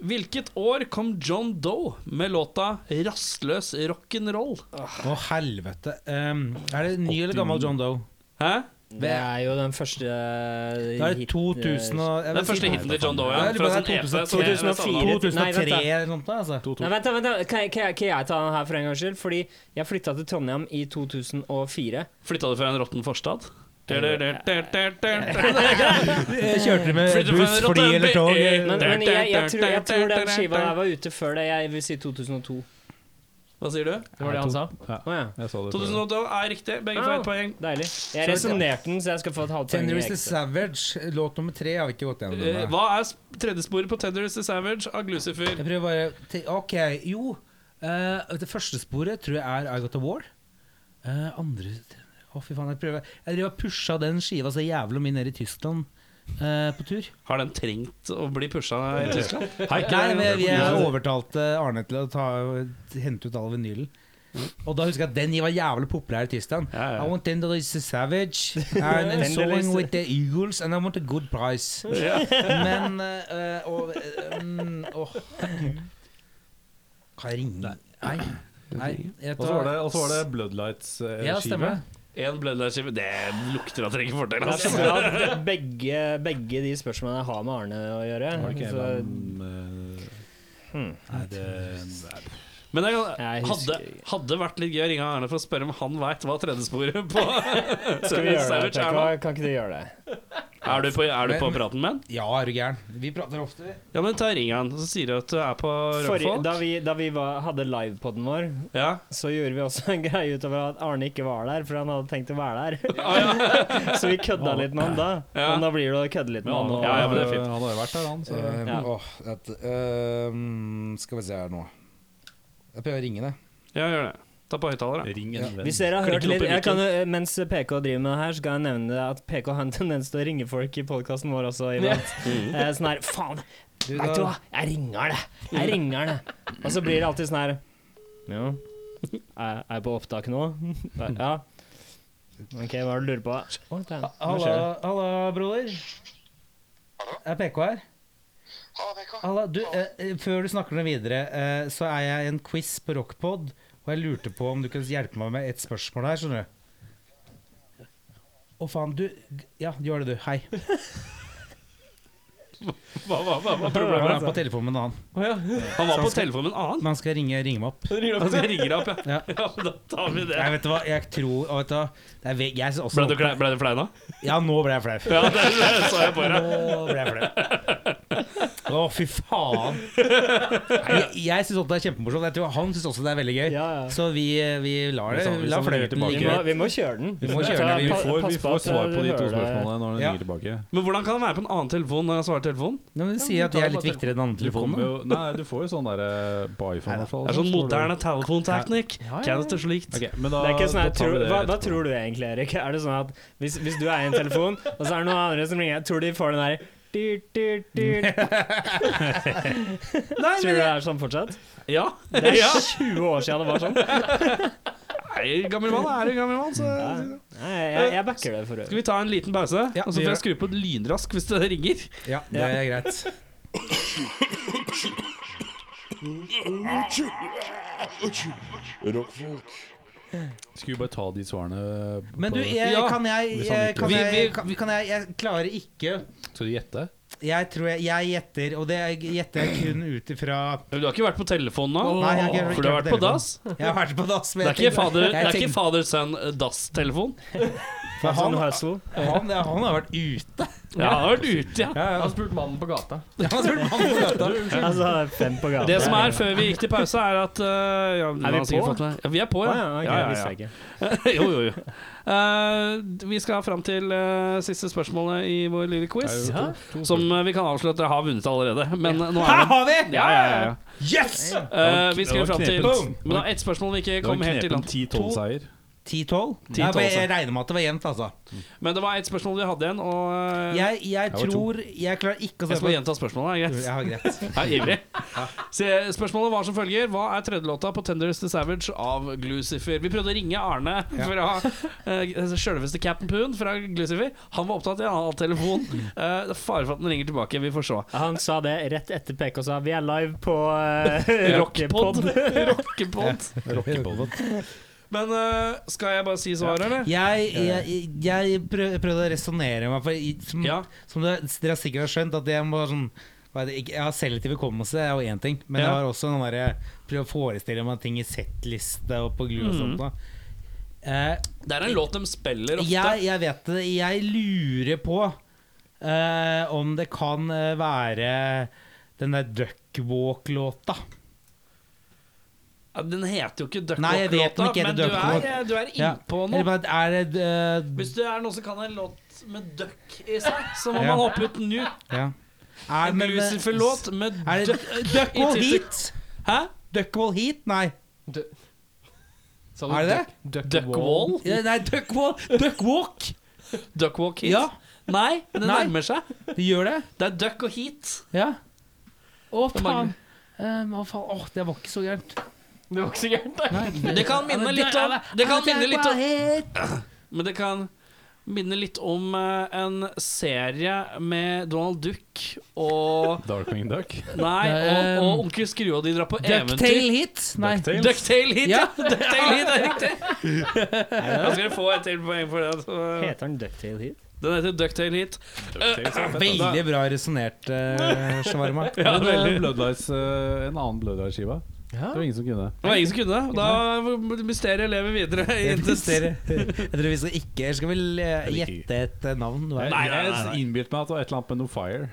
[SPEAKER 2] Hvilket år kom John Doe med låta 'Rastløs rock'n'roll'?
[SPEAKER 6] Å, helvete. Ehm, er det ny eller gammel John Doe?
[SPEAKER 2] Hæ?
[SPEAKER 1] det er jo den første eh,
[SPEAKER 6] Det er 2000 og jeg vil
[SPEAKER 2] Den
[SPEAKER 6] si-
[SPEAKER 2] første hiten til John Doe, ja.
[SPEAKER 6] Ja, det
[SPEAKER 2] Fra
[SPEAKER 6] er
[SPEAKER 2] sin E
[SPEAKER 6] bare
[SPEAKER 2] EP. som
[SPEAKER 6] 2000
[SPEAKER 2] jeg- jeg savner.
[SPEAKER 1] 2004.
[SPEAKER 6] 2003
[SPEAKER 1] Nei,
[SPEAKER 6] eller noe sånt, da, altså.
[SPEAKER 1] Nei, vent, da, vent, da. Kan, jeg- kan, jeg- kan jeg ta den her for en gangs skyld? Fordi jeg flytta til Trondheim i 2004.
[SPEAKER 2] Flytta du fra en råtten forstad? Flytta
[SPEAKER 6] Jeg Kjørte med
[SPEAKER 2] du
[SPEAKER 6] buss,
[SPEAKER 2] fra en Eh,
[SPEAKER 6] fly eller tog?
[SPEAKER 2] rotten
[SPEAKER 1] Men, men jeg, jeg, tror, jeg tror den skiva der var ute før det. Jeg vil si 2002.
[SPEAKER 2] Hva sier du?
[SPEAKER 7] Det var det han sa.
[SPEAKER 1] Å ja.
[SPEAKER 8] Jeg sa det. før.
[SPEAKER 2] 2008 er riktig. Begge får ett poeng.
[SPEAKER 1] Deilig. Jeg resonnerte den, så jeg skal få et halvt poeng.
[SPEAKER 6] Tender is the
[SPEAKER 1] ekstra.
[SPEAKER 6] Savage, eh, låt nummer tre, har vi ikke gått gjennom.
[SPEAKER 2] Eh,
[SPEAKER 6] den, da.
[SPEAKER 2] Hva er s- tredjesporet på Tender is the Savage av Glucifer?
[SPEAKER 6] Jeg prøver bare te- Ok, jo. eh, det første sporet tror jeg er I Got A War. Eh, andre Å, fy faen. Jeg prøver Jeg driver og pusha den skiva så jævlig mye ned i Tyskland eh, på tur.
[SPEAKER 2] Har den trengt å bli pusha i Tyskland?
[SPEAKER 6] Nei, men jeg, jeg overtalte Arne til å ta, hente ut all vinylen. Og da husker jeg at den var jævlig populær i Tyskland.
[SPEAKER 2] Ja, ja.
[SPEAKER 6] I want Tender is a Savage and a song with the Eagles and I want a good price. Men eh, og, eh, mm, åh, Gud. Kan jeg ringe? Nei. Nei jeg
[SPEAKER 8] Og så var det- og så var det eh, Bloodlights-skive.
[SPEAKER 6] Ja, stemmer.
[SPEAKER 2] Én bloodline-skive, det lukter at dere ikke får til.
[SPEAKER 1] Det er
[SPEAKER 2] Altså.
[SPEAKER 1] bra at begge, begge de spørsmålene har med Arne å gjøre.
[SPEAKER 8] Var det ikke en
[SPEAKER 1] Så,
[SPEAKER 8] av dem eh, Nei, det nei,
[SPEAKER 2] Men jeg,
[SPEAKER 1] Jeg
[SPEAKER 2] hadde,
[SPEAKER 1] husker
[SPEAKER 2] hadde vært litt gøy å ringe Arne for å spørre om han veit hva tredjesporet på
[SPEAKER 1] skal vi gjøre det?
[SPEAKER 2] Savage er nå.
[SPEAKER 1] Pekka? Kan ikke du gjøre det?
[SPEAKER 2] Er du på, er du på praten med han?
[SPEAKER 6] Ja, er du gæren. Vi prater ofte, vi.
[SPEAKER 2] Ja, men ta ring han, så sier du at du er på
[SPEAKER 1] Forrige,
[SPEAKER 2] Rockfolk.
[SPEAKER 1] da vi, da vi var, hadde livepoden vår,
[SPEAKER 2] Ja.
[SPEAKER 1] så gjorde vi også en greie utover at Arne ikke var der, for han hadde tenkt å være der. så vi kødda litt med han da.
[SPEAKER 2] Ah, Ja.
[SPEAKER 1] Men da blir det å kødde litt med han.
[SPEAKER 2] Ja, ja, men det er fint.
[SPEAKER 8] Han har jo vært der, han. Så.
[SPEAKER 6] Eh,
[SPEAKER 1] Ja.
[SPEAKER 6] åh, dette, ehm, skal vi se her nå. Jeg prøver å ringe det.
[SPEAKER 2] ja, gjør det. Ta på høyttaler, da.
[SPEAKER 8] Ring en venn.
[SPEAKER 1] Hvis dere har hørt
[SPEAKER 2] Klikk opp
[SPEAKER 1] litt
[SPEAKER 2] i
[SPEAKER 1] jeg kan, jo- Mens PK driver med det her, så kan jeg nevne at PK har en tendens til å ringe folk i podkasten vår også. Iblant. Eh, Sånn her Faen,
[SPEAKER 6] Du,
[SPEAKER 1] vet du hva?
[SPEAKER 6] da-
[SPEAKER 1] Jeg ringer det! Jeg ringer det! Og så blir det alltid sånn her Ja, er er jeg på opptak nå? Ja. OK, hva er det du lurer på? Å, damn, hva
[SPEAKER 6] Halla,
[SPEAKER 1] skjer?
[SPEAKER 6] halla, broder. Jeg er PK her. Halla, du, eh, eh, før du snakker noe videre, eh, så er jeg i en quiz på Rockpod, og jeg lurte på om du kunne hjelpe meg med et spørsmål her, skjønner du. Å faen, du Ja, gjør det, du. Hei.
[SPEAKER 2] Hva, hva, hva, hva
[SPEAKER 6] Han
[SPEAKER 2] problemet
[SPEAKER 6] er på telefonen med en annen.
[SPEAKER 2] er? Han
[SPEAKER 1] Sånn
[SPEAKER 2] var på telefonen med en annen.
[SPEAKER 6] Men han skal ringe, ringe meg opp.
[SPEAKER 2] Han skal ringe deg opp, ja.
[SPEAKER 6] Ja.
[SPEAKER 2] ja. men Da tar vi det.
[SPEAKER 6] Jeg vet du hva, jeg tror og vet du, hva, det er ve- jeg er
[SPEAKER 2] Ble
[SPEAKER 6] også,
[SPEAKER 2] du, klei- ble du flau nå?
[SPEAKER 6] Ja, nå ble jeg flau.
[SPEAKER 2] Ja, det, det så jeg på deg.
[SPEAKER 6] Nå ble jeg flau. Å, fy faen! Nei, Jeg, jeg syns det er kjempemorsomt. Jeg tror Han syns også det er veldig gøy.
[SPEAKER 1] Ja, ja.
[SPEAKER 6] Så vi, vi lar det
[SPEAKER 8] Vi tar- vi
[SPEAKER 6] La
[SPEAKER 8] tar ringer
[SPEAKER 6] fløyten
[SPEAKER 8] tilbake.
[SPEAKER 1] Vi
[SPEAKER 6] ligge.
[SPEAKER 1] må, vi må kjøre den.
[SPEAKER 6] Vi må kjøre den. Vi
[SPEAKER 1] Pa-
[SPEAKER 8] får, vi
[SPEAKER 1] pass
[SPEAKER 8] får
[SPEAKER 1] at
[SPEAKER 8] svar på de
[SPEAKER 1] du
[SPEAKER 8] to
[SPEAKER 1] hører det.
[SPEAKER 8] spørsmålene når den
[SPEAKER 6] Ja.
[SPEAKER 8] ringer tilbake.
[SPEAKER 2] Men hvordan kan det være på en annen telefon når jeg svarer telefonen?
[SPEAKER 6] Nei, men Si at jeg er litt viktigere enn den andre
[SPEAKER 8] Du kommer
[SPEAKER 6] telefonen.
[SPEAKER 8] jo, nei, du får jo sånn der eh, på iPhone i hvert fall.
[SPEAKER 2] Det er sånn moderne telefonteknikk. Kjennes slikt?
[SPEAKER 8] Ok, men da,
[SPEAKER 1] Det er ikke sånn
[SPEAKER 8] da
[SPEAKER 1] jeg
[SPEAKER 8] tar
[SPEAKER 1] tror,
[SPEAKER 8] vi det
[SPEAKER 1] hva, hva
[SPEAKER 8] etterpå.
[SPEAKER 1] tror du egentlig, Erik? Er det sånn at hvis, hvis du er i en telefon, og så er det noen andre som ringer, tror de får den der dyrt, dyrt, dyrt. Tror du det er sånn fortsatt?
[SPEAKER 2] Ja.
[SPEAKER 1] Det er 20 år siden det var sånn.
[SPEAKER 2] Nei, gammel mann er en gammel mann, så
[SPEAKER 1] Nei, jeg, jeg backer det for
[SPEAKER 2] Skal
[SPEAKER 1] øvrig.
[SPEAKER 2] vi ta en liten pause?
[SPEAKER 6] Ja,
[SPEAKER 2] og så får
[SPEAKER 6] vi gjør
[SPEAKER 2] jeg skru på lynrask hvis det ringer.
[SPEAKER 6] Ja, det er greit.
[SPEAKER 5] Rockfolk.
[SPEAKER 8] Skal vi bare ta de svarene
[SPEAKER 6] Men du,
[SPEAKER 8] på-
[SPEAKER 6] jeg,
[SPEAKER 2] Ja.
[SPEAKER 6] kan jeg
[SPEAKER 8] Hvis han
[SPEAKER 6] eh,
[SPEAKER 8] ikke-
[SPEAKER 6] kan
[SPEAKER 2] Vi-
[SPEAKER 6] jeg,
[SPEAKER 2] vi-
[SPEAKER 6] kan- kan jeg Jeg klarer ikke
[SPEAKER 8] Skal du gjette?
[SPEAKER 6] Jeg tror jeg, jeg gjetter, og det gjetter jeg kun ut ifra
[SPEAKER 2] Du har ikke vært på telefonen nå?
[SPEAKER 6] Nei, jeg har ikke vært
[SPEAKER 2] for du har vært
[SPEAKER 6] på
[SPEAKER 2] på
[SPEAKER 6] telefonen.
[SPEAKER 2] dass?
[SPEAKER 6] Jeg har vært på dass, men
[SPEAKER 2] Det er
[SPEAKER 6] jeg
[SPEAKER 2] ikke
[SPEAKER 6] tenker-
[SPEAKER 2] fader, det
[SPEAKER 6] jeg
[SPEAKER 2] er ikke
[SPEAKER 6] tenker-
[SPEAKER 2] fader sønn eh, dass-telefon?
[SPEAKER 6] for
[SPEAKER 1] Sånn
[SPEAKER 6] han,
[SPEAKER 1] hustle.
[SPEAKER 6] han, han har vært ute.
[SPEAKER 2] Ja, han har vært ute, ja.
[SPEAKER 6] Ja,
[SPEAKER 7] Han spurte mannen på gata.
[SPEAKER 6] ja. Han har vært på gata.
[SPEAKER 1] Altså, fem på gata.
[SPEAKER 2] Det som er før vi gikk til pause, er at øh, ja, du
[SPEAKER 1] Er vi
[SPEAKER 2] har sikkert
[SPEAKER 1] på?
[SPEAKER 2] fått med- Ja, vi er på,
[SPEAKER 1] Å
[SPEAKER 2] ja.
[SPEAKER 1] ja, ok,
[SPEAKER 2] ja,
[SPEAKER 1] visste
[SPEAKER 2] ja,
[SPEAKER 1] jeg ikke.
[SPEAKER 2] ja. jo, jo, jo. Eh, vi skal fram til eh, siste spørsmålet i vår lille quiz. Som eh, vi kan avslå at dere har vunnet allerede. Men eh, nå er
[SPEAKER 6] Her
[SPEAKER 2] det
[SPEAKER 6] har vi!
[SPEAKER 2] ja, ja, ja, ja.
[SPEAKER 6] Yes!
[SPEAKER 2] Eh, vi
[SPEAKER 8] Det
[SPEAKER 2] skal
[SPEAKER 8] var
[SPEAKER 2] fram til
[SPEAKER 8] knepent.
[SPEAKER 2] Men da ett spørsmål vi ikke
[SPEAKER 8] Det var
[SPEAKER 2] kom helt til.
[SPEAKER 8] knepen 10-12-seier.
[SPEAKER 6] 10-12.
[SPEAKER 2] Ti,
[SPEAKER 6] Jeg,
[SPEAKER 2] tolv,
[SPEAKER 6] jeg
[SPEAKER 2] så.
[SPEAKER 6] regner med at det var jevnt, altså.
[SPEAKER 2] Men det var ett spørsmål vi hadde igjen, og eh,
[SPEAKER 6] Jeg, jeg
[SPEAKER 8] var to.
[SPEAKER 6] tror Jeg klarer ikke å
[SPEAKER 2] jeg
[SPEAKER 6] svare
[SPEAKER 2] skal
[SPEAKER 6] på
[SPEAKER 2] gjenta spørsmålet. Er det greit?
[SPEAKER 6] Ja, greit.
[SPEAKER 2] Jeg er ivrig. Se, spørsmålet var som følger Hva er tredjelåta på Tenders The Savage av Glucifer? Vi prøvde å ringe Arne fra uh, sjølveste Captain Poon fra Glucifer. Han var opptatt i en annen telefon. Eh, det er fare for at den ringer tilbake. Vi får se.
[SPEAKER 1] Han sa det rett etter PK sa vi er live på uh,
[SPEAKER 2] Rockepod. Rockepod.
[SPEAKER 8] Rockebolle.
[SPEAKER 2] Men eh, skal jeg bare si svaret, eller?
[SPEAKER 6] Jeg, jeg, jeg prøv, prøvde å resonnere meg, for i- som,
[SPEAKER 2] Ja.
[SPEAKER 6] som dere, dere sikkert har skjønt, at jeg må sånn hva er det, ikke- jeg har selektiv hukommelse, det er jo én ting. Men jeg
[SPEAKER 2] Ja.
[SPEAKER 6] har også den derre prøve å forestille meg ting i settliste og på glu og
[SPEAKER 2] Mm.
[SPEAKER 6] sånt. Da. Eh,
[SPEAKER 2] Det er en låt de spiller ofte.
[SPEAKER 6] jeg, jeg vet det. Jeg lurer på eh, om det kan eh, være den der Duckwalk-låta.
[SPEAKER 2] Ja, Den heter jo ikke
[SPEAKER 6] Nei, jeg vet den
[SPEAKER 2] Duckwalk-låta,
[SPEAKER 6] ikke heter
[SPEAKER 2] men du
[SPEAKER 6] Duckwalk.
[SPEAKER 2] er, du er
[SPEAKER 6] Ja.
[SPEAKER 2] innpå
[SPEAKER 6] Eller
[SPEAKER 2] noe.
[SPEAKER 6] bare, er det eh,
[SPEAKER 2] Hvis det er noen som kan en låt med duck i seg, så må
[SPEAKER 6] Ja.
[SPEAKER 2] man hoppe ut nå.
[SPEAKER 6] ja. er,
[SPEAKER 2] En
[SPEAKER 6] men, eh,
[SPEAKER 2] Lucifer-låt med
[SPEAKER 6] Er det
[SPEAKER 2] duck
[SPEAKER 6] Duckwall
[SPEAKER 2] i tittelen.
[SPEAKER 6] Heat?
[SPEAKER 2] Hæ?
[SPEAKER 6] Duckwall Heat? Nei.
[SPEAKER 7] Sa
[SPEAKER 6] Er det det?
[SPEAKER 7] Duck, duck wall.
[SPEAKER 2] Duckwall?
[SPEAKER 6] Ja, Nei, Duckwall Duckwalk.
[SPEAKER 2] Duckwalk Heat?
[SPEAKER 6] Ja,
[SPEAKER 2] Nei, det
[SPEAKER 6] Nei.
[SPEAKER 2] nærmer seg.
[SPEAKER 6] det gjør det.
[SPEAKER 2] Det er duck og heat.
[SPEAKER 6] Ja. Å,
[SPEAKER 2] Det
[SPEAKER 6] faen.
[SPEAKER 2] mangler-
[SPEAKER 6] Eh, Hva faen? Åh, det var ikke så gærent.
[SPEAKER 7] Det var ikke så gærent, nei.
[SPEAKER 2] Det kan minne litt om Det kan minne litt om Men det kan minne litt om eh, en serie med Donald Duck og
[SPEAKER 8] Darkwing Duck.
[SPEAKER 2] Nei, og, og Onkel Skrue og de drar på eventyr.
[SPEAKER 6] Ducktail Heat? Nei.
[SPEAKER 8] Ducktail.
[SPEAKER 2] Ducktail Heat, ja!
[SPEAKER 6] Ja.
[SPEAKER 2] Ducktail Heat er riktig. Da skal dere få et til poeng for det. så-
[SPEAKER 1] Heter han Ducktail Heat?
[SPEAKER 2] Den heter Ducktail Heat.
[SPEAKER 6] Veldig bra resonnert, uh, Shawarma.
[SPEAKER 2] Ja,
[SPEAKER 8] Men, eh,
[SPEAKER 2] veldig.
[SPEAKER 8] Bloodlights, eh, en annen Bloodlights-skiva. Det var ingen som kunne.
[SPEAKER 2] Det var ingen som kunne. Da mysteriet lever videre. i
[SPEAKER 6] Jeg
[SPEAKER 2] det-
[SPEAKER 6] tror vi skal ikke Skal vi eh, gjette et eh, navn? Hva er det?
[SPEAKER 2] nei, nei, nei.
[SPEAKER 8] Jeg innbilte meg at det var et eller annet med noe fire.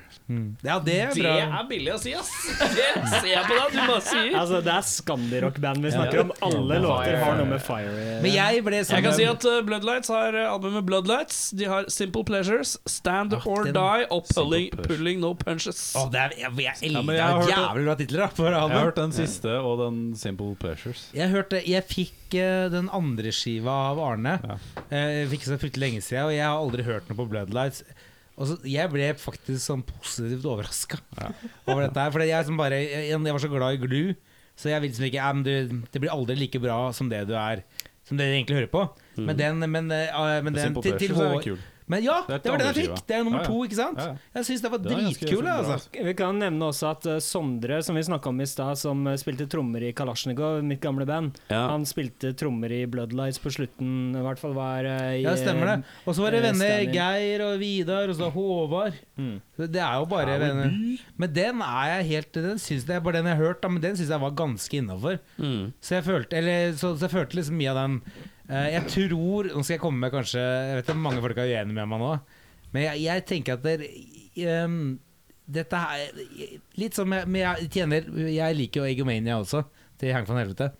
[SPEAKER 6] Ja, det er
[SPEAKER 2] Det
[SPEAKER 6] bra.
[SPEAKER 2] er billig å si, ass! Det ser jeg på deg, du bare sier.
[SPEAKER 1] Altså, det er Scandi-rock-band vi snakker om. Alle låter har noe med fire i
[SPEAKER 6] Men jeg ble sånn
[SPEAKER 2] Jeg kan si at uh, Bloodlights har uh, albumet Bloodlights. De har Simple Pleasures, Stand or
[SPEAKER 6] den- Ah.
[SPEAKER 2] Die og pulling,
[SPEAKER 8] Pleasures.
[SPEAKER 2] pulling No Punches.
[SPEAKER 6] Å, det er, jeg, jeg elsker
[SPEAKER 8] men jeg
[SPEAKER 6] det
[SPEAKER 8] har
[SPEAKER 6] er
[SPEAKER 8] hørt
[SPEAKER 6] jævlig bra titler, da. For
[SPEAKER 8] Jeg
[SPEAKER 6] han,
[SPEAKER 8] har hørt den siste og den Simple Pleasures.
[SPEAKER 6] Jeg hørte, jeg fikk eh, den andre skiva av Arne eh, Fikk så fryktelig lenge siden Og jeg har aldri hørt noe på Bloodlights Og så, jeg ble faktisk sånn positivt overrasket Over dette her Fordi jeg, som bare, jeg, jeg var så glad i glu Så jeg vil liksom ikke ja, men du, Det blir aldri like bra som det du er Som det du egentlig hører på
[SPEAKER 8] Mm.
[SPEAKER 6] Men den, men, eh, ah, men den
[SPEAKER 8] Simple
[SPEAKER 6] til, til
[SPEAKER 8] Pleasures er
[SPEAKER 6] vår-
[SPEAKER 8] kul.
[SPEAKER 6] Men ja,
[SPEAKER 8] Det er
[SPEAKER 6] det, var den jeg
[SPEAKER 8] til andre
[SPEAKER 6] fikk Det er
[SPEAKER 8] skiva.
[SPEAKER 6] nummer
[SPEAKER 8] Ja, ja.
[SPEAKER 6] to, ikke sant?
[SPEAKER 8] Ja, ja.
[SPEAKER 6] Jeg synes det var
[SPEAKER 8] Den er ganske
[SPEAKER 6] dritkul
[SPEAKER 8] bra,
[SPEAKER 6] altså.
[SPEAKER 8] altså.
[SPEAKER 1] Vi kan nevne også at eh, Sondre, som vi snakka om i stad, som eh, spilte trommer i Kalasjnikov, mitt gamle band,
[SPEAKER 2] Ja.
[SPEAKER 1] han spilte trommer i Bloodlights på slutten, i hvert fall var eh, i,
[SPEAKER 6] Ja, det stemmer det. Og så var det
[SPEAKER 1] eh,
[SPEAKER 6] venner
[SPEAKER 1] Stanley.
[SPEAKER 6] Geir og Vidar, og så Håvard.
[SPEAKER 1] Mm.
[SPEAKER 6] Så Det er jo bare venner. Men den er jeg helt Den syns jeg bare den jeg har hørt, da, men den syns jeg var ganske innafor.
[SPEAKER 2] Mm.
[SPEAKER 6] Så jeg følte Eller så, så jeg følte liksom mye av den eh, Jeg tror Nå skal jeg komme med kanskje Jeg vet at mange folk er uenige med meg nå, men jeg, jeg tenker at det, ehm, Dette her Litt som jeg, Men jeg tjener Jeg liker jo Egomania også, til Hang van Helvete.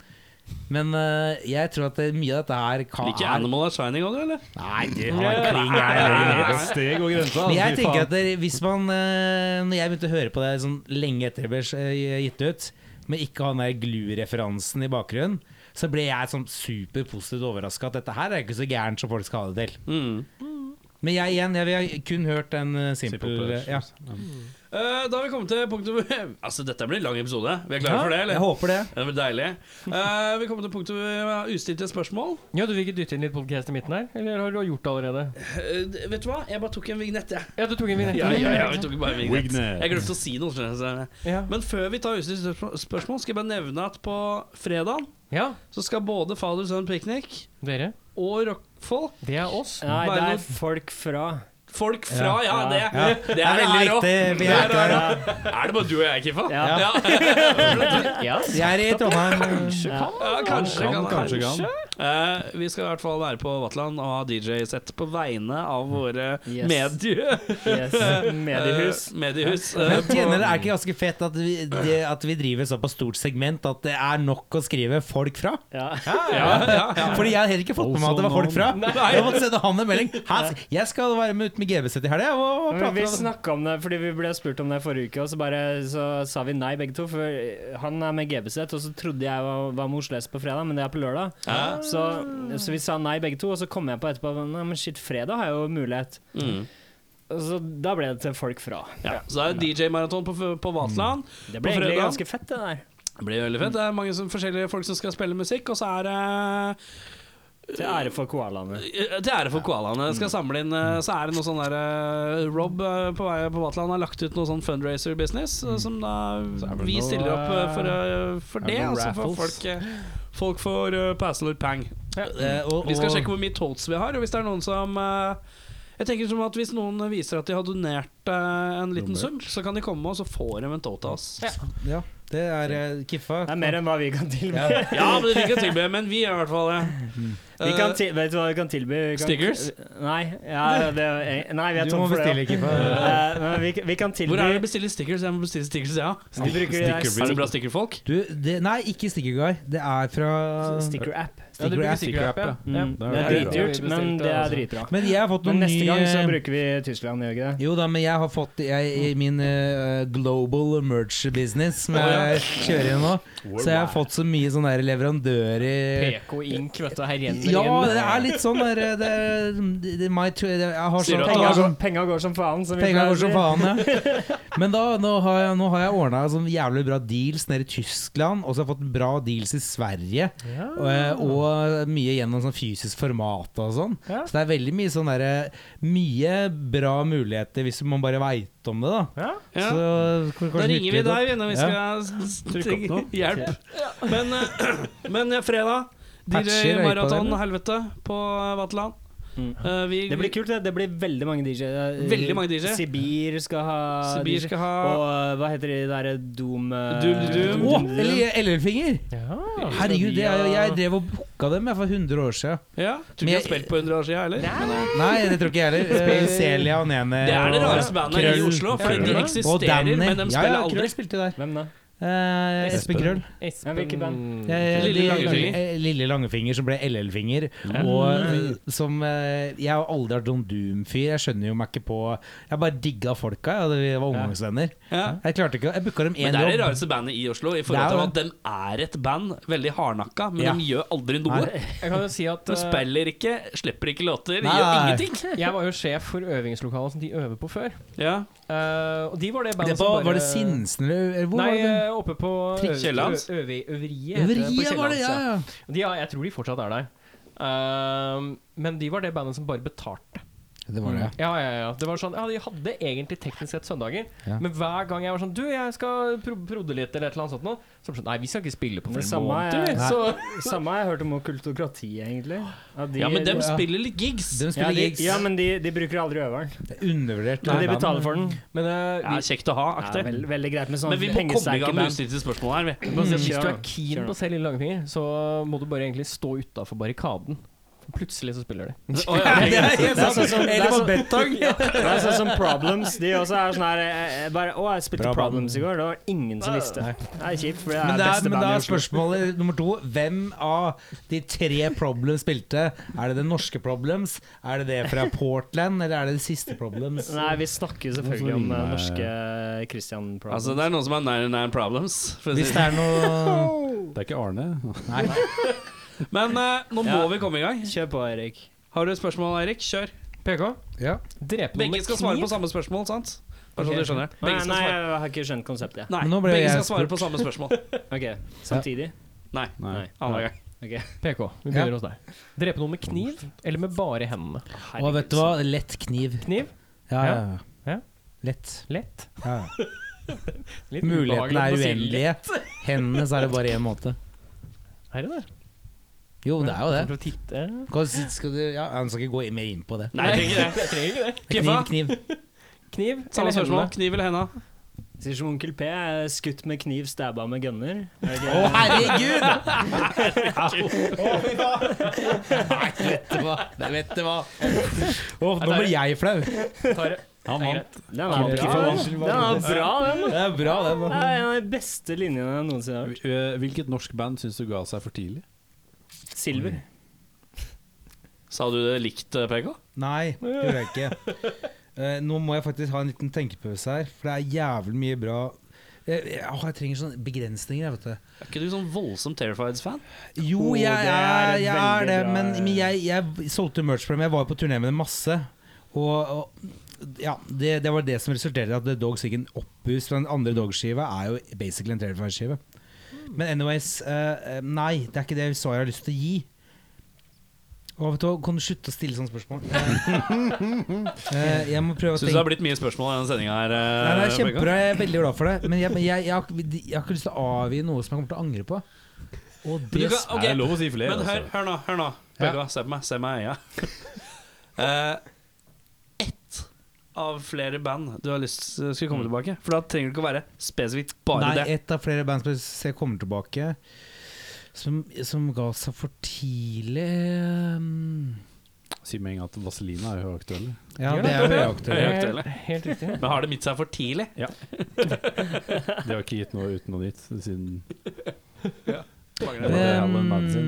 [SPEAKER 6] Men eh, jeg tror at det, mye av dette her kan
[SPEAKER 2] Liker Animal of Shining òg, du, eller?
[SPEAKER 6] Nei, du har kling her.
[SPEAKER 8] Steg altså. og grensa.
[SPEAKER 6] Men jeg tenker at det, hvis man eh, Når jeg begynte å høre på det sånn lenge etter det ble eh, gitt ut, men ikke han der Glu-referansen i bakgrunnen, så ble jeg sånn superpositivt overraska at dette her er ikke så gærent som folk skal ha det til.
[SPEAKER 2] Mm.
[SPEAKER 6] Men jeg igjen, jeg har kun hørt den eh, simple ja.
[SPEAKER 2] Eh, da har vi kommet til punktet Altså, dette blir en lang episode. Vi er klare for det, eller?
[SPEAKER 6] Jeg håper det.
[SPEAKER 2] Det blir deilig. Eh, vi kommer til punktet hvor vi har ustilte spørsmål.
[SPEAKER 7] Ja, Du vil ikke dytte inn litt podcast i midten her? Eller har du gjort det allerede?
[SPEAKER 2] Eh, d- vet du hva? Jeg bare tok en vignett, jeg.
[SPEAKER 7] Ja, du tok en vignett.
[SPEAKER 2] Ja, ja, ja, vi tok bare en vignett.
[SPEAKER 8] Vignett.
[SPEAKER 2] Jeg glemte å si noe. skjønner jeg, så-
[SPEAKER 7] Ja.
[SPEAKER 2] Men før vi tar ustilte spørsmål- spørsmål, skal jeg bare nevne at på fredag
[SPEAKER 7] ja,
[SPEAKER 2] så skal både Fader Sønn Piknik
[SPEAKER 7] dere.
[SPEAKER 2] og rockfolk
[SPEAKER 7] Det er oss.
[SPEAKER 1] eh, Nei, det
[SPEAKER 2] Bare noe-
[SPEAKER 1] er folk fra.
[SPEAKER 2] Folk fra, ja, det, det,
[SPEAKER 6] Det
[SPEAKER 2] er
[SPEAKER 6] er veldig
[SPEAKER 2] her også.
[SPEAKER 6] viktig. Vi er,
[SPEAKER 2] Det er her
[SPEAKER 6] ikke,
[SPEAKER 2] også. Er det bare du og jeg, Kiffa?
[SPEAKER 1] Ja.
[SPEAKER 6] vi er i Trondheim. eh,
[SPEAKER 2] Ja, kanskje.
[SPEAKER 8] Kan,
[SPEAKER 2] Kan,
[SPEAKER 8] kanskje kan.
[SPEAKER 2] Eh, vi skal i hvert fall være på Vatland og ha DJ-sett på vegne av våre
[SPEAKER 1] Yes.
[SPEAKER 2] medie...
[SPEAKER 1] Yes. Mediehus.
[SPEAKER 2] Eh, mediehus. eh,
[SPEAKER 6] Men tjener det er ikke ganske fett at vi, det, at vi driver såpass stort segment at det er nok å skrive 'folk fra'?
[SPEAKER 1] Ja.
[SPEAKER 2] ja, ja, ja.
[SPEAKER 6] Fordi jeg har heller ikke fått med meg at det var folk fra. Jeg måtte sende han en melding. Hæ, jeg skal være med ut med GBC til helga og
[SPEAKER 1] Men
[SPEAKER 6] prate
[SPEAKER 1] Vi
[SPEAKER 6] om det.
[SPEAKER 1] snakket om det fordi vi ble spurt om det forrige uke, og så bare så sa vi nei begge to. For han er med GBZ, og så trodde jeg var, var med Oslo S på fredag, men det er på lørdag.
[SPEAKER 2] Ja.
[SPEAKER 1] Så, så vi sa nei begge to, og så kom jeg på etterpå Nei, men shit, fredag har jeg jo mulighet.
[SPEAKER 2] Mm.
[SPEAKER 1] Og Så da ble det til folk fra.
[SPEAKER 2] ja. Så det er DJ-maraton på, på Vatland.
[SPEAKER 1] Det
[SPEAKER 2] På
[SPEAKER 1] ble egentlig
[SPEAKER 2] fredag?
[SPEAKER 1] ganske fett, det der.
[SPEAKER 2] Det blir veldig fett. Det er mange som, forskjellige folk som skal spille musikk, og så er det
[SPEAKER 1] Til ære for koalaene.
[SPEAKER 2] eh, til ære for koalaene. Skal samle inn eh, Så er det noe sånn der eh, Rob eh, på vei på Vatland har lagt ut noe sånn fundraiser-business, eh, som da
[SPEAKER 8] er det
[SPEAKER 2] Vi
[SPEAKER 8] noe,
[SPEAKER 2] stiller opp eh, for, eh,
[SPEAKER 8] er
[SPEAKER 2] for
[SPEAKER 8] det
[SPEAKER 2] det.
[SPEAKER 8] noen
[SPEAKER 2] Altså for
[SPEAKER 8] raffles?
[SPEAKER 2] folk, eh, folk får uh, pass eller pang.
[SPEAKER 6] Eh, og-
[SPEAKER 2] Vi skal
[SPEAKER 6] og-
[SPEAKER 2] sjekke hvor mye totes vi har, og hvis det er noen som eh, Jeg tenker som at Hvis noen viser at de har donert eh, en liten sum, så kan de komme, og så får de en tote av oss. Ja.
[SPEAKER 6] Ja, det er eh, Kiffa.
[SPEAKER 1] Det er mer enn hva vi kan tilby.
[SPEAKER 2] men vi kan tilby, men vi gjør i hvert fall det.
[SPEAKER 1] Vi kan til, vet du hva vi kan tilby? Vi kan,
[SPEAKER 2] Stickers?
[SPEAKER 1] Nei, ja, det, nei, vi er
[SPEAKER 6] Du
[SPEAKER 1] tom
[SPEAKER 6] må
[SPEAKER 1] for
[SPEAKER 6] bestille,
[SPEAKER 1] det.
[SPEAKER 6] Kiffa.
[SPEAKER 1] Eh, men vi, vi kan tilby
[SPEAKER 2] Hvor er det å bestille stickers? Jeg må bestille stickers, ja.
[SPEAKER 1] Vi bruker de der
[SPEAKER 2] Er det bra stickerfolk?
[SPEAKER 6] Du, det, nei, ikke Sticker Guy. Det er fra
[SPEAKER 1] sticker-app.
[SPEAKER 7] Ja, du
[SPEAKER 6] Sticker
[SPEAKER 7] bruker
[SPEAKER 6] App.
[SPEAKER 7] stikkerapp, ja. ja.
[SPEAKER 1] Mm.
[SPEAKER 8] det er
[SPEAKER 1] Det er
[SPEAKER 8] veldig
[SPEAKER 1] dritdyrt,
[SPEAKER 7] bra.
[SPEAKER 1] men det er
[SPEAKER 7] Bestilte,
[SPEAKER 1] dritbra.
[SPEAKER 6] Men jeg har fått noen
[SPEAKER 1] Men neste gang så
[SPEAKER 6] ny-
[SPEAKER 1] bruker vi Tyskland, gjør vi ikke det?
[SPEAKER 6] Jo da, men jeg har fått jeg, i min eh, global merch business som jeg kjører i nå, så jeg har fått så mye sånne der leverandører
[SPEAKER 7] PK Ink, vet du. Her renner
[SPEAKER 6] Ja, det er litt sånn der eh, det, er- det, det, my, tw- det, Jeg har
[SPEAKER 2] Sier du
[SPEAKER 6] sånn
[SPEAKER 2] at
[SPEAKER 1] Penga
[SPEAKER 2] Ja, altså-
[SPEAKER 1] går, penga går som faen. Som vi
[SPEAKER 6] Penga
[SPEAKER 1] pleier å
[SPEAKER 6] går som
[SPEAKER 1] si.
[SPEAKER 6] faen, ja. Men da, nå har jeg, nå har jeg ordna sånn jævlig bra deals nede i Tyskland, og så har jeg fått bra deals i Sverige. Og, eh, og mye gjennom sånn fysisk format og sånn.
[SPEAKER 7] Ja.
[SPEAKER 6] Så det er veldig mye sånn derre Mye bra muligheter hvis man bare veit om det, da.
[SPEAKER 7] Ja.
[SPEAKER 2] Ja.
[SPEAKER 6] Så k-
[SPEAKER 2] Da
[SPEAKER 6] kanskje
[SPEAKER 2] ringer vi
[SPEAKER 6] nyttig å-
[SPEAKER 2] deg vi, når vi skal s- s- hjelp. Men, eh, men ja, fredag,
[SPEAKER 6] Patcher
[SPEAKER 2] DJ
[SPEAKER 6] øypa
[SPEAKER 2] Maraton
[SPEAKER 6] dere.
[SPEAKER 2] Helvete på Vatland.
[SPEAKER 1] Mm.
[SPEAKER 2] Eh, vi-
[SPEAKER 1] Det blir kult, det. Det blir veldig mange DJ-er.
[SPEAKER 2] Veldig mange DJ.
[SPEAKER 1] Sibir skal ha
[SPEAKER 2] Sibir
[SPEAKER 1] DJ.
[SPEAKER 2] skal ha
[SPEAKER 1] Og eh, hva heter de derre Doom eh,
[SPEAKER 2] Doom, Doom.
[SPEAKER 6] Å, eller Ellelfinger! Herregud, det er, jo- jeg drev og booka dem jeg, for 100 år siden.
[SPEAKER 2] Ja, Tror
[SPEAKER 6] Men
[SPEAKER 2] ikke de har
[SPEAKER 6] jeg-
[SPEAKER 2] spilt på 100 år siden, heller.
[SPEAKER 6] Nei, det tror ikke jeg heller. Eh, Celia og Nene
[SPEAKER 2] Det er det
[SPEAKER 6] og-
[SPEAKER 2] rareste bandet i
[SPEAKER 6] Krøll.
[SPEAKER 2] Oslo, for de
[SPEAKER 1] Krøll.
[SPEAKER 6] Og
[SPEAKER 2] eksisterer,
[SPEAKER 6] Danny.
[SPEAKER 2] men de
[SPEAKER 6] ja,
[SPEAKER 2] spiller
[SPEAKER 6] ja, Krøll
[SPEAKER 2] aldri.
[SPEAKER 6] spilte der.
[SPEAKER 1] Hvem da?
[SPEAKER 6] Eh, Espen Krøll.
[SPEAKER 1] Ja, hvilke band?
[SPEAKER 6] Eh,
[SPEAKER 2] Lille
[SPEAKER 6] de-
[SPEAKER 2] Langefinger.
[SPEAKER 6] eh, Lille Langefinger som ble LL-finger. Og eh, som eh, Jeg har aldri vært noen Doom-fyr. Jeg skjønner jo meg ikke på Jeg bare digga folka. Ja, vi var ungdomsvenner.
[SPEAKER 2] Ja.
[SPEAKER 6] Jeg klarte ikke å- Jeg booka dem
[SPEAKER 2] Men
[SPEAKER 6] én
[SPEAKER 2] det er det
[SPEAKER 6] jobb.
[SPEAKER 2] rareste bandet i Oslo, i
[SPEAKER 6] Det
[SPEAKER 2] forhold
[SPEAKER 6] er
[SPEAKER 2] til
[SPEAKER 6] jo
[SPEAKER 2] at de er et band, veldig hardnakka, men
[SPEAKER 6] Ja.
[SPEAKER 2] de gjør aldri noe.
[SPEAKER 7] Jeg kan jo si at
[SPEAKER 2] De
[SPEAKER 7] eh,
[SPEAKER 2] spiller ikke, slipper ikke låter,
[SPEAKER 6] Nei,
[SPEAKER 2] gjør
[SPEAKER 6] nei, nei.
[SPEAKER 2] ingenting.
[SPEAKER 7] jeg var jo sjef for øvingslokalet som de øver på før.
[SPEAKER 2] Ja.
[SPEAKER 7] Eh, og de var det
[SPEAKER 6] Det
[SPEAKER 7] bandet
[SPEAKER 6] var, var det Sinsen eller hvor
[SPEAKER 7] Nei,
[SPEAKER 6] var det?
[SPEAKER 7] eh, oppe på
[SPEAKER 6] Trikk-
[SPEAKER 7] Øv-
[SPEAKER 2] Kiellands?
[SPEAKER 7] Ø- Øvi- Øveriet. heter det, på
[SPEAKER 6] Øveriet var det,
[SPEAKER 7] Kiellands,
[SPEAKER 6] ja, ja.
[SPEAKER 7] De, ja, jeg tror de fortsatt er der. Ehm, men de var det bandet som bare betalte.
[SPEAKER 6] Det var det.
[SPEAKER 7] Ja, ja, ja. Det var sånn, ja, De hadde egentlig teknisk sett søndager,
[SPEAKER 6] Ja.
[SPEAKER 7] men hver gang jeg var sånn Du, jeg skal pro prodde litt, eller et eller annet sånt nå. Så var det sånn Nei, vi skal ikke spille på
[SPEAKER 1] Det
[SPEAKER 7] flere
[SPEAKER 1] samme
[SPEAKER 7] måneder.
[SPEAKER 1] er-
[SPEAKER 7] vi." Så
[SPEAKER 1] Samme har jeg hørt om kultokrati, egentlig. At de-
[SPEAKER 2] ja, men de
[SPEAKER 1] ja,
[SPEAKER 2] spiller litt gigs.
[SPEAKER 6] De
[SPEAKER 1] ja,
[SPEAKER 6] spiller
[SPEAKER 1] de,
[SPEAKER 6] gigs.
[SPEAKER 1] ja, men de, de bruker aldri øveren.
[SPEAKER 6] Det er Undervurdert.
[SPEAKER 1] Men de betaler for den.
[SPEAKER 7] Men eh,
[SPEAKER 2] Ja, kjekt å ha,
[SPEAKER 1] Ja,
[SPEAKER 2] aktig.
[SPEAKER 1] veld, veldig greit med sånn
[SPEAKER 2] Men vi må komme i gang med
[SPEAKER 1] band.
[SPEAKER 2] utstilte spørsmål her, vi.
[SPEAKER 7] hvis,
[SPEAKER 1] kjør
[SPEAKER 7] hvis du
[SPEAKER 1] da,
[SPEAKER 7] er keen
[SPEAKER 1] kjør
[SPEAKER 7] på å se Lille Langfinger, så må du bare egentlig stå utafor barrikaden.
[SPEAKER 4] Plutselig så spiller de.
[SPEAKER 1] det er sånn som- det er sånn-
[SPEAKER 6] Betong!
[SPEAKER 1] det er sånn som Problems. De også er sånn her eh, eh, bare, Å, jeg spilte
[SPEAKER 6] Bra band.
[SPEAKER 1] Problems i går. Det var ingen som visste. Det er kjipt, for det er
[SPEAKER 6] Men, det er,
[SPEAKER 1] beste
[SPEAKER 6] men da
[SPEAKER 1] bandet i
[SPEAKER 6] er
[SPEAKER 1] Oslo.
[SPEAKER 6] spørsmålet nummer to Hvem av de tre Problems spilte? Er det det norske Problems? Er det det fra Portland? Eller er det det siste Problems?
[SPEAKER 1] Nei, vi snakker jo selvfølgelig om eh, norske Christian Problems.
[SPEAKER 2] Altså, det er noen som har 99 problems. For å si.
[SPEAKER 6] Hvis det er noe
[SPEAKER 3] Det er ikke Arne.
[SPEAKER 2] det. Men eh, nå må
[SPEAKER 1] Ja.
[SPEAKER 2] vi komme i gang.
[SPEAKER 1] Kjør på, Erik.
[SPEAKER 2] Har du et spørsmål, Eirik? Kjør.
[SPEAKER 4] PK?
[SPEAKER 6] Ja.
[SPEAKER 4] Drepe noen
[SPEAKER 2] Begge
[SPEAKER 4] med
[SPEAKER 2] skal svare
[SPEAKER 4] kniv?
[SPEAKER 2] på samme spørsmål, sant? Bare så
[SPEAKER 4] Ok.
[SPEAKER 2] du skjønner.
[SPEAKER 1] Nei,
[SPEAKER 2] Begge skal
[SPEAKER 1] nei,
[SPEAKER 2] svare,
[SPEAKER 1] jeg har ikke skjønt konseptet. jeg.
[SPEAKER 2] nei,
[SPEAKER 6] Men nå ble
[SPEAKER 2] begge
[SPEAKER 6] jeg
[SPEAKER 2] skal svare på samme spørsmål.
[SPEAKER 1] Ok, Samtidig?
[SPEAKER 2] Nei.
[SPEAKER 1] Nei.
[SPEAKER 2] Annenhver gang.
[SPEAKER 4] PK, vi
[SPEAKER 6] Ja.
[SPEAKER 4] begynner hos deg. Drepe noen med kniv, eller med bare hendene?
[SPEAKER 6] Og vet du hva? Lett kniv.
[SPEAKER 4] Kniv?
[SPEAKER 6] Ja, ja.
[SPEAKER 4] Ja.
[SPEAKER 6] Lett.
[SPEAKER 4] Lett?
[SPEAKER 6] Ja.
[SPEAKER 4] Litt
[SPEAKER 6] Mulighetene
[SPEAKER 4] ubehagelig
[SPEAKER 6] er
[SPEAKER 4] å si lett.
[SPEAKER 6] uendelige. Hennes er det bare én måte.
[SPEAKER 4] Er det det?
[SPEAKER 6] Jo, det er jo
[SPEAKER 4] Kommer
[SPEAKER 6] det.
[SPEAKER 4] til å titte
[SPEAKER 6] Hva s- Skal du, ja, han skal ikke gå mer inn på det.
[SPEAKER 2] Nei, jeg trenger det.
[SPEAKER 4] Jeg trenger ikke det.
[SPEAKER 6] Kniv, kniv.
[SPEAKER 4] Kniv
[SPEAKER 2] Samme
[SPEAKER 4] eller
[SPEAKER 2] spørsmål.
[SPEAKER 4] hendene?
[SPEAKER 2] Kniv eller henda?
[SPEAKER 1] Sier som onkel P, eh, skutt med kniv, stabba med gunner.
[SPEAKER 6] Å, herregud! Nei, vet du hva. Nei, vet du hva. Å, nå blir jeg flau.
[SPEAKER 3] Han vant.
[SPEAKER 1] Den er bra, den. Den er bra, den.
[SPEAKER 6] Det er bra, den.
[SPEAKER 1] Det er en av de beste linjene jeg noensinne har hørt.
[SPEAKER 3] Eh, Hvilket norsk band syns du ga seg for tidlig?
[SPEAKER 1] Silver.
[SPEAKER 2] Sa du det likt, eh, PK?
[SPEAKER 6] Nei, det gjør jeg ikke. Eh, nå må jeg faktisk ha en liten tenkepause her, for det er jævlig mye bra jeg, jeg, åh, jeg trenger sånne begrensninger, jeg, vet
[SPEAKER 2] Er ikke du sånn voldsom Terrifieds-fan?
[SPEAKER 6] du. Jo,
[SPEAKER 1] Åh,
[SPEAKER 6] jeg,
[SPEAKER 1] det
[SPEAKER 6] er,
[SPEAKER 1] er
[SPEAKER 6] jeg er
[SPEAKER 1] veldig
[SPEAKER 6] det,
[SPEAKER 1] bra.
[SPEAKER 6] men, men jeg, jeg solgte merch for dem. Jeg var på turné med dem masse. Og, og ja, det, det var det som resulterte i at The Dogs fikk en opphus fra den andre Dogs-skiva. Er jo basically en Terrifier-skive.
[SPEAKER 1] Hmm.
[SPEAKER 6] Men anyways, eh, eh, nei, det er ikke det svaret jeg har lyst til å gi. Åh, vet du, hva, kan du slutte å stille sånne spørsmål? Eh, eh, jeg må prøve å
[SPEAKER 2] Syns
[SPEAKER 6] tenke
[SPEAKER 2] det har blitt mye spørsmål i denne sendinga her. eh,
[SPEAKER 6] Nei, det er
[SPEAKER 2] Pekka?
[SPEAKER 6] kjempebra, jeg er veldig glad for det. Men jeg, men jeg, jeg, har, ikke- jeg har ikke lyst til å avgi noe som jeg kommer til å angre på. Og
[SPEAKER 2] Men du
[SPEAKER 6] det
[SPEAKER 2] kan- ok,
[SPEAKER 3] Det er lov å si flere.
[SPEAKER 2] Men hør,
[SPEAKER 3] altså.
[SPEAKER 2] hør nå, hør nå. Begge, Se på meg, se meg i øya. Eh, ett av flere band du har lyst til skulle
[SPEAKER 3] Mm.
[SPEAKER 2] komme tilbake. For da trenger det ikke å være spesifikt bare
[SPEAKER 6] Nei,
[SPEAKER 2] det.
[SPEAKER 6] et av flere band som jeg ser kommer tilbake, som, som ga seg for tidlig um,
[SPEAKER 3] Si med en gang at Vaselina er jo aktuell.
[SPEAKER 6] Ja, det er høyaktuelt.
[SPEAKER 2] Høyaktuelle.
[SPEAKER 7] Eh,
[SPEAKER 4] Helt riktig.
[SPEAKER 2] Men har det mitt seg for tidlig?
[SPEAKER 3] De har ikke gitt noe uten noe nytt siden
[SPEAKER 2] Mangler det.
[SPEAKER 1] Nå har det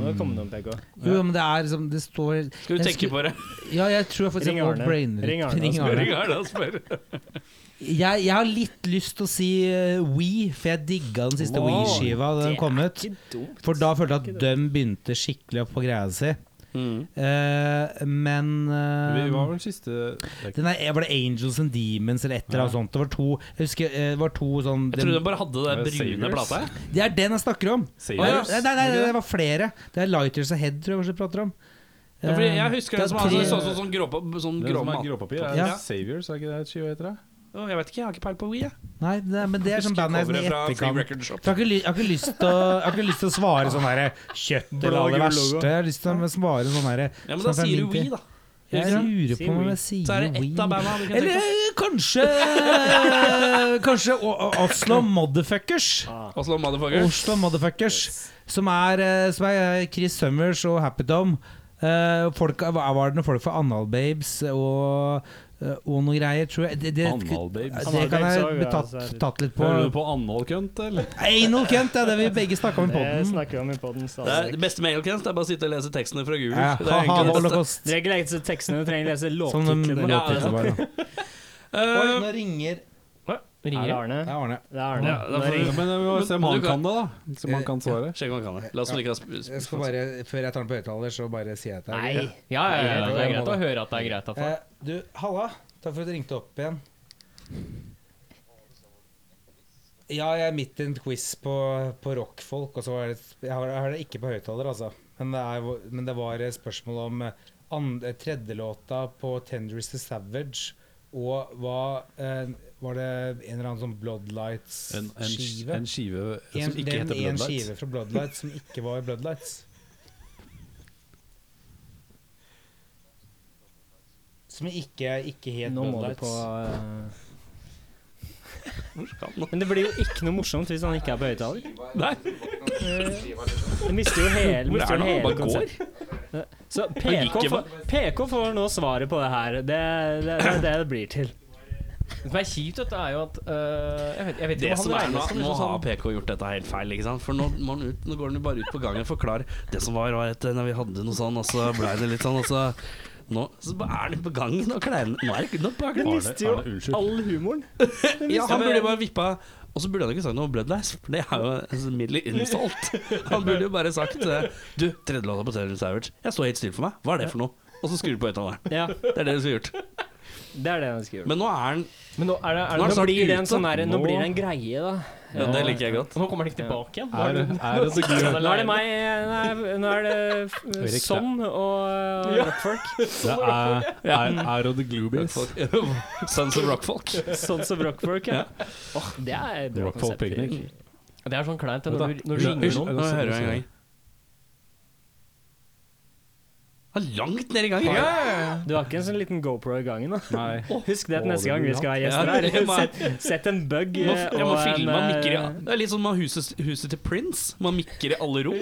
[SPEAKER 6] Um,
[SPEAKER 1] kommet noen, PK.
[SPEAKER 6] Ehm, jo, men det er liksom Det står
[SPEAKER 2] Skal du
[SPEAKER 6] Jeg
[SPEAKER 2] tenke
[SPEAKER 6] skulle-
[SPEAKER 2] på det?
[SPEAKER 6] Ja, jeg tror jeg faktisk
[SPEAKER 1] Ring
[SPEAKER 6] jeg må
[SPEAKER 1] Arne.
[SPEAKER 6] braine
[SPEAKER 1] Ring
[SPEAKER 6] litt.
[SPEAKER 1] Arne,
[SPEAKER 6] Ring
[SPEAKER 1] altså.
[SPEAKER 6] Arne.
[SPEAKER 2] Ring Arne og spør.
[SPEAKER 6] Jeg, jeg har litt lyst til å si uh, We, for jeg digga den siste
[SPEAKER 1] Wow,
[SPEAKER 6] We-skiva da
[SPEAKER 1] det
[SPEAKER 6] den kom
[SPEAKER 1] er
[SPEAKER 6] ut. For da følte jeg at de begynte skikkelig opp på greia si.
[SPEAKER 2] Mm.
[SPEAKER 6] Eh, men eh,
[SPEAKER 3] Vi var vel siste
[SPEAKER 6] den der, Var det Angels and Demons eller et eller annet sånt? Det var to Jeg husker eh, det var to sånn
[SPEAKER 2] Jeg
[SPEAKER 6] den,
[SPEAKER 2] trodde de bare hadde det brune
[SPEAKER 3] Savers.
[SPEAKER 2] plata.
[SPEAKER 6] Det er den jeg snakker om!
[SPEAKER 3] Savers.
[SPEAKER 6] Å, ja. Nei, nei, nei, det var flere. Det er Lighters Ahead, tror jeg kanskje jeg prater om.
[SPEAKER 2] Ja, fordi jeg husker
[SPEAKER 6] det
[SPEAKER 2] det
[SPEAKER 6] er
[SPEAKER 2] som hadde
[SPEAKER 6] tre-
[SPEAKER 2] sånn, sånn, sånn, grå, sånn
[SPEAKER 3] Den
[SPEAKER 2] grå
[SPEAKER 3] som er
[SPEAKER 2] mat.
[SPEAKER 3] gråpapir, er
[SPEAKER 6] Ja.
[SPEAKER 3] Saviors, er ikke det et skive heter? det?
[SPEAKER 2] Å, Jeg vet ikke, jeg har ikke peil på Wii. Jeg.
[SPEAKER 6] Nei, det, men det er sånn
[SPEAKER 2] Husker
[SPEAKER 6] band jeg sånn i
[SPEAKER 2] coveret fra Free
[SPEAKER 6] etterkant
[SPEAKER 2] Record Shop.
[SPEAKER 6] For jeg har, ikke, ly- jeg, har ikke lyst til å, jeg har ikke lyst til å svare sånn derre kjøtt eller
[SPEAKER 1] Blå,
[SPEAKER 6] alle det
[SPEAKER 1] gul
[SPEAKER 6] verste.
[SPEAKER 1] logo.
[SPEAKER 6] Jeg har lyst til å svare sånn derre
[SPEAKER 2] Ja, men da
[SPEAKER 6] sånn
[SPEAKER 2] sier du
[SPEAKER 6] femti.
[SPEAKER 2] Wii, da.
[SPEAKER 6] Jeg lurer
[SPEAKER 1] Si
[SPEAKER 6] på om
[SPEAKER 1] Wii.
[SPEAKER 6] jeg sier
[SPEAKER 2] Så er det ett
[SPEAKER 6] Wii.
[SPEAKER 2] av banda du kan
[SPEAKER 6] Eller
[SPEAKER 2] tenke på.
[SPEAKER 6] eh, kanskje Kanskje O- O- Oslo Motherfuckers.
[SPEAKER 2] Oslo Motherfuckers.
[SPEAKER 6] Oslo Motherfuckers, som er, eh, som er Chris Summers og Happy Dome. Eh, folk, hva var det noen folk fra Anal Babes og, eh, og noe greier, tror jeg. Det, det,
[SPEAKER 3] Analbabes.
[SPEAKER 6] det kan
[SPEAKER 1] Anal Babes
[SPEAKER 6] jeg
[SPEAKER 1] også,
[SPEAKER 6] bli
[SPEAKER 1] ja,
[SPEAKER 6] tatt,
[SPEAKER 1] så er det-
[SPEAKER 6] tatt litt på.
[SPEAKER 3] Hører du på analkønt, eller?
[SPEAKER 6] Anal Kent, det er det vi begge snakka om i
[SPEAKER 1] Det
[SPEAKER 6] poden.
[SPEAKER 1] snakker vi om i poden
[SPEAKER 2] Det, er,
[SPEAKER 1] stadig.
[SPEAKER 2] det beste med Elkens det er bare å sitte og lese tekstene fra Google.
[SPEAKER 6] Ja,
[SPEAKER 2] det er egentlig det beste.
[SPEAKER 6] holocaust.
[SPEAKER 1] Dere har ikke lest tekstene, dere trenger lese
[SPEAKER 6] Som de
[SPEAKER 1] låttitlene.
[SPEAKER 2] Ja, det er sant.
[SPEAKER 6] låter bare. da. Oi,
[SPEAKER 2] Eh,
[SPEAKER 6] nå ringer
[SPEAKER 1] Er det Arne?
[SPEAKER 6] Det er Arne.
[SPEAKER 1] Det er Arne.
[SPEAKER 2] Ja, da får
[SPEAKER 1] Nå ringer-
[SPEAKER 3] Ja, men vi må se om
[SPEAKER 2] Men
[SPEAKER 3] han
[SPEAKER 2] du
[SPEAKER 3] kan
[SPEAKER 2] kan-
[SPEAKER 3] det, da. Så man kan svare.
[SPEAKER 2] Sjekk om han kan det. La oss ikke ha sp-
[SPEAKER 6] Jeg skal bare, Før jeg tar den på høyttaler, så bare sier jeg til deg.
[SPEAKER 1] Nei.
[SPEAKER 4] Ja, ja, ja, det er
[SPEAKER 6] Ja,
[SPEAKER 4] greit å høre at det er greit. At det.
[SPEAKER 6] Eh, du, halla. Takk for at du ringte opp igjen. Ja, jeg er midt i en quiz på, på rockfolk, og så var det Jeg har, jeg har det ikke på høyttaler, altså. Men det, er, jo- men det var et spørsmål om eh, and- eh, tredjelåta på 'Tenderist to Savage', og hva eh, Var det en eller annen sånn
[SPEAKER 3] En, en,
[SPEAKER 6] Bloodlights-skive?
[SPEAKER 3] en skive
[SPEAKER 6] En,
[SPEAKER 3] som ikke
[SPEAKER 6] den
[SPEAKER 3] heter
[SPEAKER 6] en
[SPEAKER 3] Bloodlights.
[SPEAKER 6] skive fra Bloodlights som ikke var Bloodlights. Som ikke, ikke het
[SPEAKER 1] Nå må du
[SPEAKER 6] Bloodlights.
[SPEAKER 1] på
[SPEAKER 2] Hvor skal han?
[SPEAKER 1] Men det blir jo ikke noe morsomt hvis han ikke er på høyttaler.
[SPEAKER 2] Nei,
[SPEAKER 1] Du mister jo hele,
[SPEAKER 2] hvor
[SPEAKER 1] mister jo
[SPEAKER 2] er han? Han
[SPEAKER 1] hele
[SPEAKER 2] bare
[SPEAKER 1] konseptet.
[SPEAKER 2] går.
[SPEAKER 1] Så PK, får, PK får nå svaret på det her. Det det, det, er det det blir til.
[SPEAKER 7] Det som er kjipt, vet du, er jo at øh, Jeg vet, jeg vet
[SPEAKER 2] Det
[SPEAKER 7] ikke om
[SPEAKER 2] som er
[SPEAKER 7] han
[SPEAKER 2] nå,
[SPEAKER 7] regnes som
[SPEAKER 2] nå
[SPEAKER 7] liksom
[SPEAKER 2] har
[SPEAKER 7] sånn
[SPEAKER 2] PK gjort dette helt feil, ikke sant? For nå, må han ut, nå går han jo bare ut på gangen og forklarer Det som var, var at eh, når vi hadde noe sånn, og så ble det litt sånn, og så Nå så er han på gangen og kleiner Nå er det ikke noe bak det.
[SPEAKER 8] mister jo
[SPEAKER 1] All humoren.
[SPEAKER 2] Ja, han burde jo bare vippa og så burde han ikke sagt noe om Bloodlies, for det er jo altså, middelig insult. Han burde jo bare sagt eh, Du, tredje låta på Terror Savage, jeg står helt stille for meg, hva er det for noe? Og så skrur du på høyttaleren.
[SPEAKER 1] Ja,
[SPEAKER 2] Det er det du skulle gjort.
[SPEAKER 1] det er det han skal gjøre.
[SPEAKER 2] Men nå er han
[SPEAKER 7] Men nå er det, er
[SPEAKER 2] Nå er
[SPEAKER 7] det,
[SPEAKER 1] Nå
[SPEAKER 2] snart
[SPEAKER 1] blir det
[SPEAKER 2] ute.
[SPEAKER 1] en sånn her, nå
[SPEAKER 8] Nå-
[SPEAKER 1] blir det en greie, da.
[SPEAKER 2] ja, Det liker jeg godt.
[SPEAKER 7] og nå kommer han ikke tilbake igjen. Nå
[SPEAKER 8] Er,
[SPEAKER 7] er det-
[SPEAKER 8] er det så gøy?
[SPEAKER 1] Nå er det meg Nei, nå er det eh,
[SPEAKER 8] Erik,
[SPEAKER 1] sånn og rockfolk.
[SPEAKER 8] Det er, er, er det Gloobies?
[SPEAKER 2] Rockfolk. Sons of Rockfolk.
[SPEAKER 1] Sånn som rockfolk, ja. Åh, det er et bra
[SPEAKER 8] Rockfolk
[SPEAKER 1] konsept.
[SPEAKER 8] Picnic.
[SPEAKER 7] Det er sånn kleint det,
[SPEAKER 8] Vent da.
[SPEAKER 7] når du, når du
[SPEAKER 8] Hysj,
[SPEAKER 7] ringer
[SPEAKER 8] hysj.
[SPEAKER 7] noen.
[SPEAKER 2] Nå hører jeg en gang. Han er langt ned i gangen.
[SPEAKER 1] Du har ikke en sånn liten GoPro i gangen, da?
[SPEAKER 8] Nei.
[SPEAKER 1] Husk
[SPEAKER 8] Å,
[SPEAKER 1] det til neste
[SPEAKER 8] det
[SPEAKER 1] gang vi
[SPEAKER 8] blir
[SPEAKER 1] skal ha
[SPEAKER 2] Ja,
[SPEAKER 1] gjester
[SPEAKER 2] jeg
[SPEAKER 1] her.
[SPEAKER 2] må-
[SPEAKER 1] Sett, sett en bug
[SPEAKER 2] Jeg må,
[SPEAKER 1] eh,
[SPEAKER 2] jeg må
[SPEAKER 1] og en
[SPEAKER 2] filme han mikker i
[SPEAKER 1] eh,
[SPEAKER 2] Det er litt sånn man har huset, huset til Prince. Man mikker i alle rom.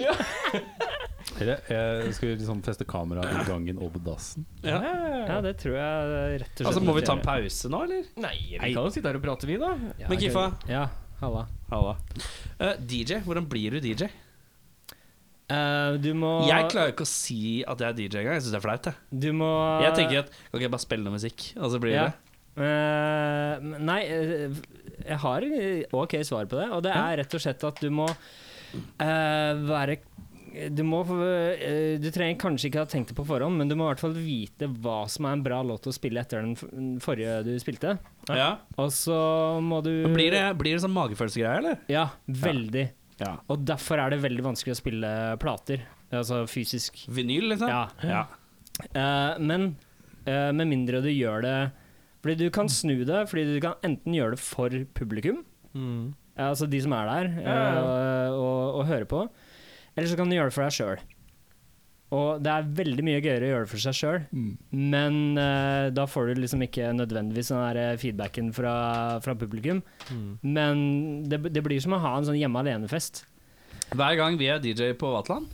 [SPEAKER 8] Eller
[SPEAKER 3] eh,
[SPEAKER 8] jeg skal liksom feste kamera i gangen og på dassen.
[SPEAKER 2] Ja.
[SPEAKER 1] Ja, det tror jeg eh, rett og slett
[SPEAKER 2] Altså, Må vi ta en
[SPEAKER 1] ikke er-
[SPEAKER 2] pause nå, eller?
[SPEAKER 7] Nei, vi kan jo sitte her og prate, vi, da.
[SPEAKER 1] Ja,
[SPEAKER 2] Men
[SPEAKER 1] ok.
[SPEAKER 2] Kifa,
[SPEAKER 1] Ja, halla.
[SPEAKER 2] halla. Eh, DJ, hvordan blir du DJ?
[SPEAKER 1] Eh, du må
[SPEAKER 2] Jeg klarer ikke å si at jeg er DJ engang. Jeg syns det er flaut. Jeg,
[SPEAKER 1] Du må
[SPEAKER 2] jeg tenker at Kan ikke jeg bare spille noe musikk, og så blir
[SPEAKER 1] Ja.
[SPEAKER 2] det
[SPEAKER 1] Eh, nei, eh, jeg har eh, ok svar på det. Og det er rett og slett at du må eh, være du, må, eh, du trenger kanskje ikke ha tenkt det på forhånd, men du må i hvert fall vite hva som er en bra låt å spille etter den f- den forrige du spilte.
[SPEAKER 2] ja.
[SPEAKER 1] Og så må du
[SPEAKER 2] Men Blir det, blir det sånn magefølelsegreie, eller?
[SPEAKER 1] Ja, veldig.
[SPEAKER 2] Ja.
[SPEAKER 1] Og derfor er det veldig vanskelig å spille plater. Altså fysisk.
[SPEAKER 2] Vinyl, liksom?
[SPEAKER 1] Ja. Eh, men eh, med mindre du gjør det Fordi du kan snu det, fordi du kan enten gjøre det for publikum,
[SPEAKER 7] Mm.
[SPEAKER 1] eh, altså de som er der, eh, og, og hører på, eller så kan du gjøre det for deg sjøl. Og det er veldig mye gøyere å gjøre det for seg sjøl, men eh, da får du liksom ikke nødvendigvis den der eh, feedbacken fra, fra publikum. Men det, det blir som å ha en sånn hjemme alene-fest.
[SPEAKER 2] Hver gang vi er DJ på Vatland,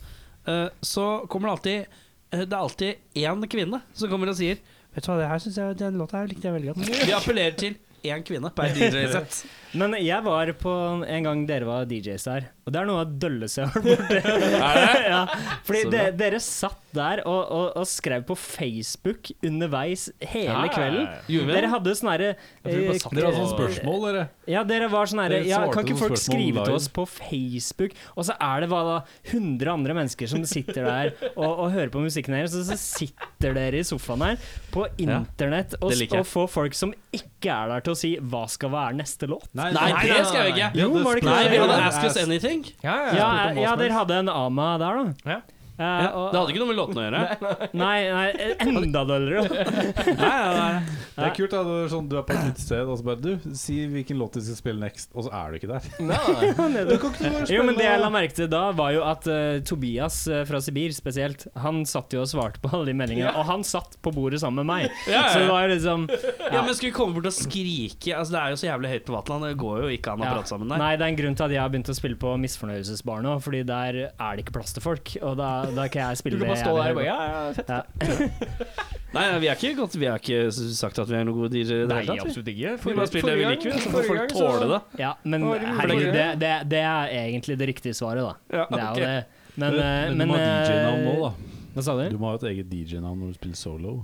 [SPEAKER 2] eh, så kommer det alltid eh, Det er alltid én kvinne som kommer og sier Vet du hva, det her synes jeg, den låta her likte jeg veldig godt. Vi appellerer til én kvinne per DJ-sett.
[SPEAKER 1] Men jeg var på en gang dere var DJs der, og det er noe av det dølleste jeg har vært borti. ja, fordi
[SPEAKER 2] Så
[SPEAKER 1] de,
[SPEAKER 2] bra.
[SPEAKER 1] dere satt der og, og, og skrev på Facebook underveis hele kvelden.
[SPEAKER 2] Gjorde vi det?
[SPEAKER 1] Dere hadde sånn herre eh,
[SPEAKER 8] Dere hadde sånne spørsmål, dere.
[SPEAKER 1] Ja, dere var sånn herre
[SPEAKER 8] Dere
[SPEAKER 1] ja,
[SPEAKER 8] svarte
[SPEAKER 1] Kan ikke
[SPEAKER 8] på
[SPEAKER 1] folk
[SPEAKER 8] spørsmål
[SPEAKER 1] skrive
[SPEAKER 8] live?
[SPEAKER 1] til oss på Facebook? Og så er det hva da 100 andre mennesker som sitter der og, og hører på musikken deres, og så sitter dere i sofaen her på
[SPEAKER 2] Ja,
[SPEAKER 1] internett og,
[SPEAKER 2] det liker jeg.
[SPEAKER 1] og får folk som ikke er der til å si 'hva skal være neste låt'?
[SPEAKER 8] Nei,
[SPEAKER 2] Eh, Nei, det skal vi ikke.
[SPEAKER 1] Jo, var det ikke
[SPEAKER 2] Nei, vi
[SPEAKER 1] det?
[SPEAKER 2] hadde Ask Us Anything.
[SPEAKER 7] Ja, ja.
[SPEAKER 1] Ja, eh, ja, dere hadde en ama der, da.
[SPEAKER 7] Ja.
[SPEAKER 1] Eh,
[SPEAKER 2] Ja,
[SPEAKER 1] og-
[SPEAKER 2] det hadde ikke noe med låtene å gjøre.
[SPEAKER 1] Nei, nei, enda døllere.
[SPEAKER 8] Det er kult. da det er sånn, Du er på et utested, og så bare Du, si hvilken låt vi skal spille next, og så er du ikke der.
[SPEAKER 1] Jo, men det jeg la merke til da, var jo at eh, Tobias eh, fra Sibir spesielt, han satt jo og svarte på alle de meldingene, og han satt på bordet sammen med meg.
[SPEAKER 2] Ja, ja,
[SPEAKER 1] Så det
[SPEAKER 2] ja.
[SPEAKER 1] var liksom
[SPEAKER 2] Ja, men skulle vi komme bort og skrike Altså, Det er jo så jævlig høyt på Vatland. Det går jo ikke an å
[SPEAKER 1] ja.
[SPEAKER 2] prate sammen der.
[SPEAKER 1] Nei, det er en grunn til at jeg har begynt å spille på Misfornøyelsesbar nå, fordi der er det ikke plass til folk, og da, da kan jeg
[SPEAKER 7] Du
[SPEAKER 1] spille
[SPEAKER 7] kan bare
[SPEAKER 1] det
[SPEAKER 7] stå der
[SPEAKER 1] vil
[SPEAKER 7] og bare
[SPEAKER 1] høre
[SPEAKER 7] Ja, ja, fett.
[SPEAKER 1] på. Ja.
[SPEAKER 2] Nei, vi er ikke godt, Vi har ikke sagt at vi er noen gode DJ-er i det hele tatt. vi.
[SPEAKER 7] ikke.
[SPEAKER 2] Vi bare spiller det vi liker, så får folk tåle det.
[SPEAKER 1] Ja, men
[SPEAKER 7] Å, det blir
[SPEAKER 1] herregud,
[SPEAKER 7] bra.
[SPEAKER 1] det, det, det er egentlig det riktige svaret, da.
[SPEAKER 2] Ja,
[SPEAKER 1] Det er
[SPEAKER 2] ok.
[SPEAKER 1] jo det. Men, eh,
[SPEAKER 8] du må ha
[SPEAKER 1] eh,
[SPEAKER 8] DJ-navn nå, da.
[SPEAKER 1] Hva sa du?
[SPEAKER 8] Du må ha et eget DJ-navn når du spiller solo.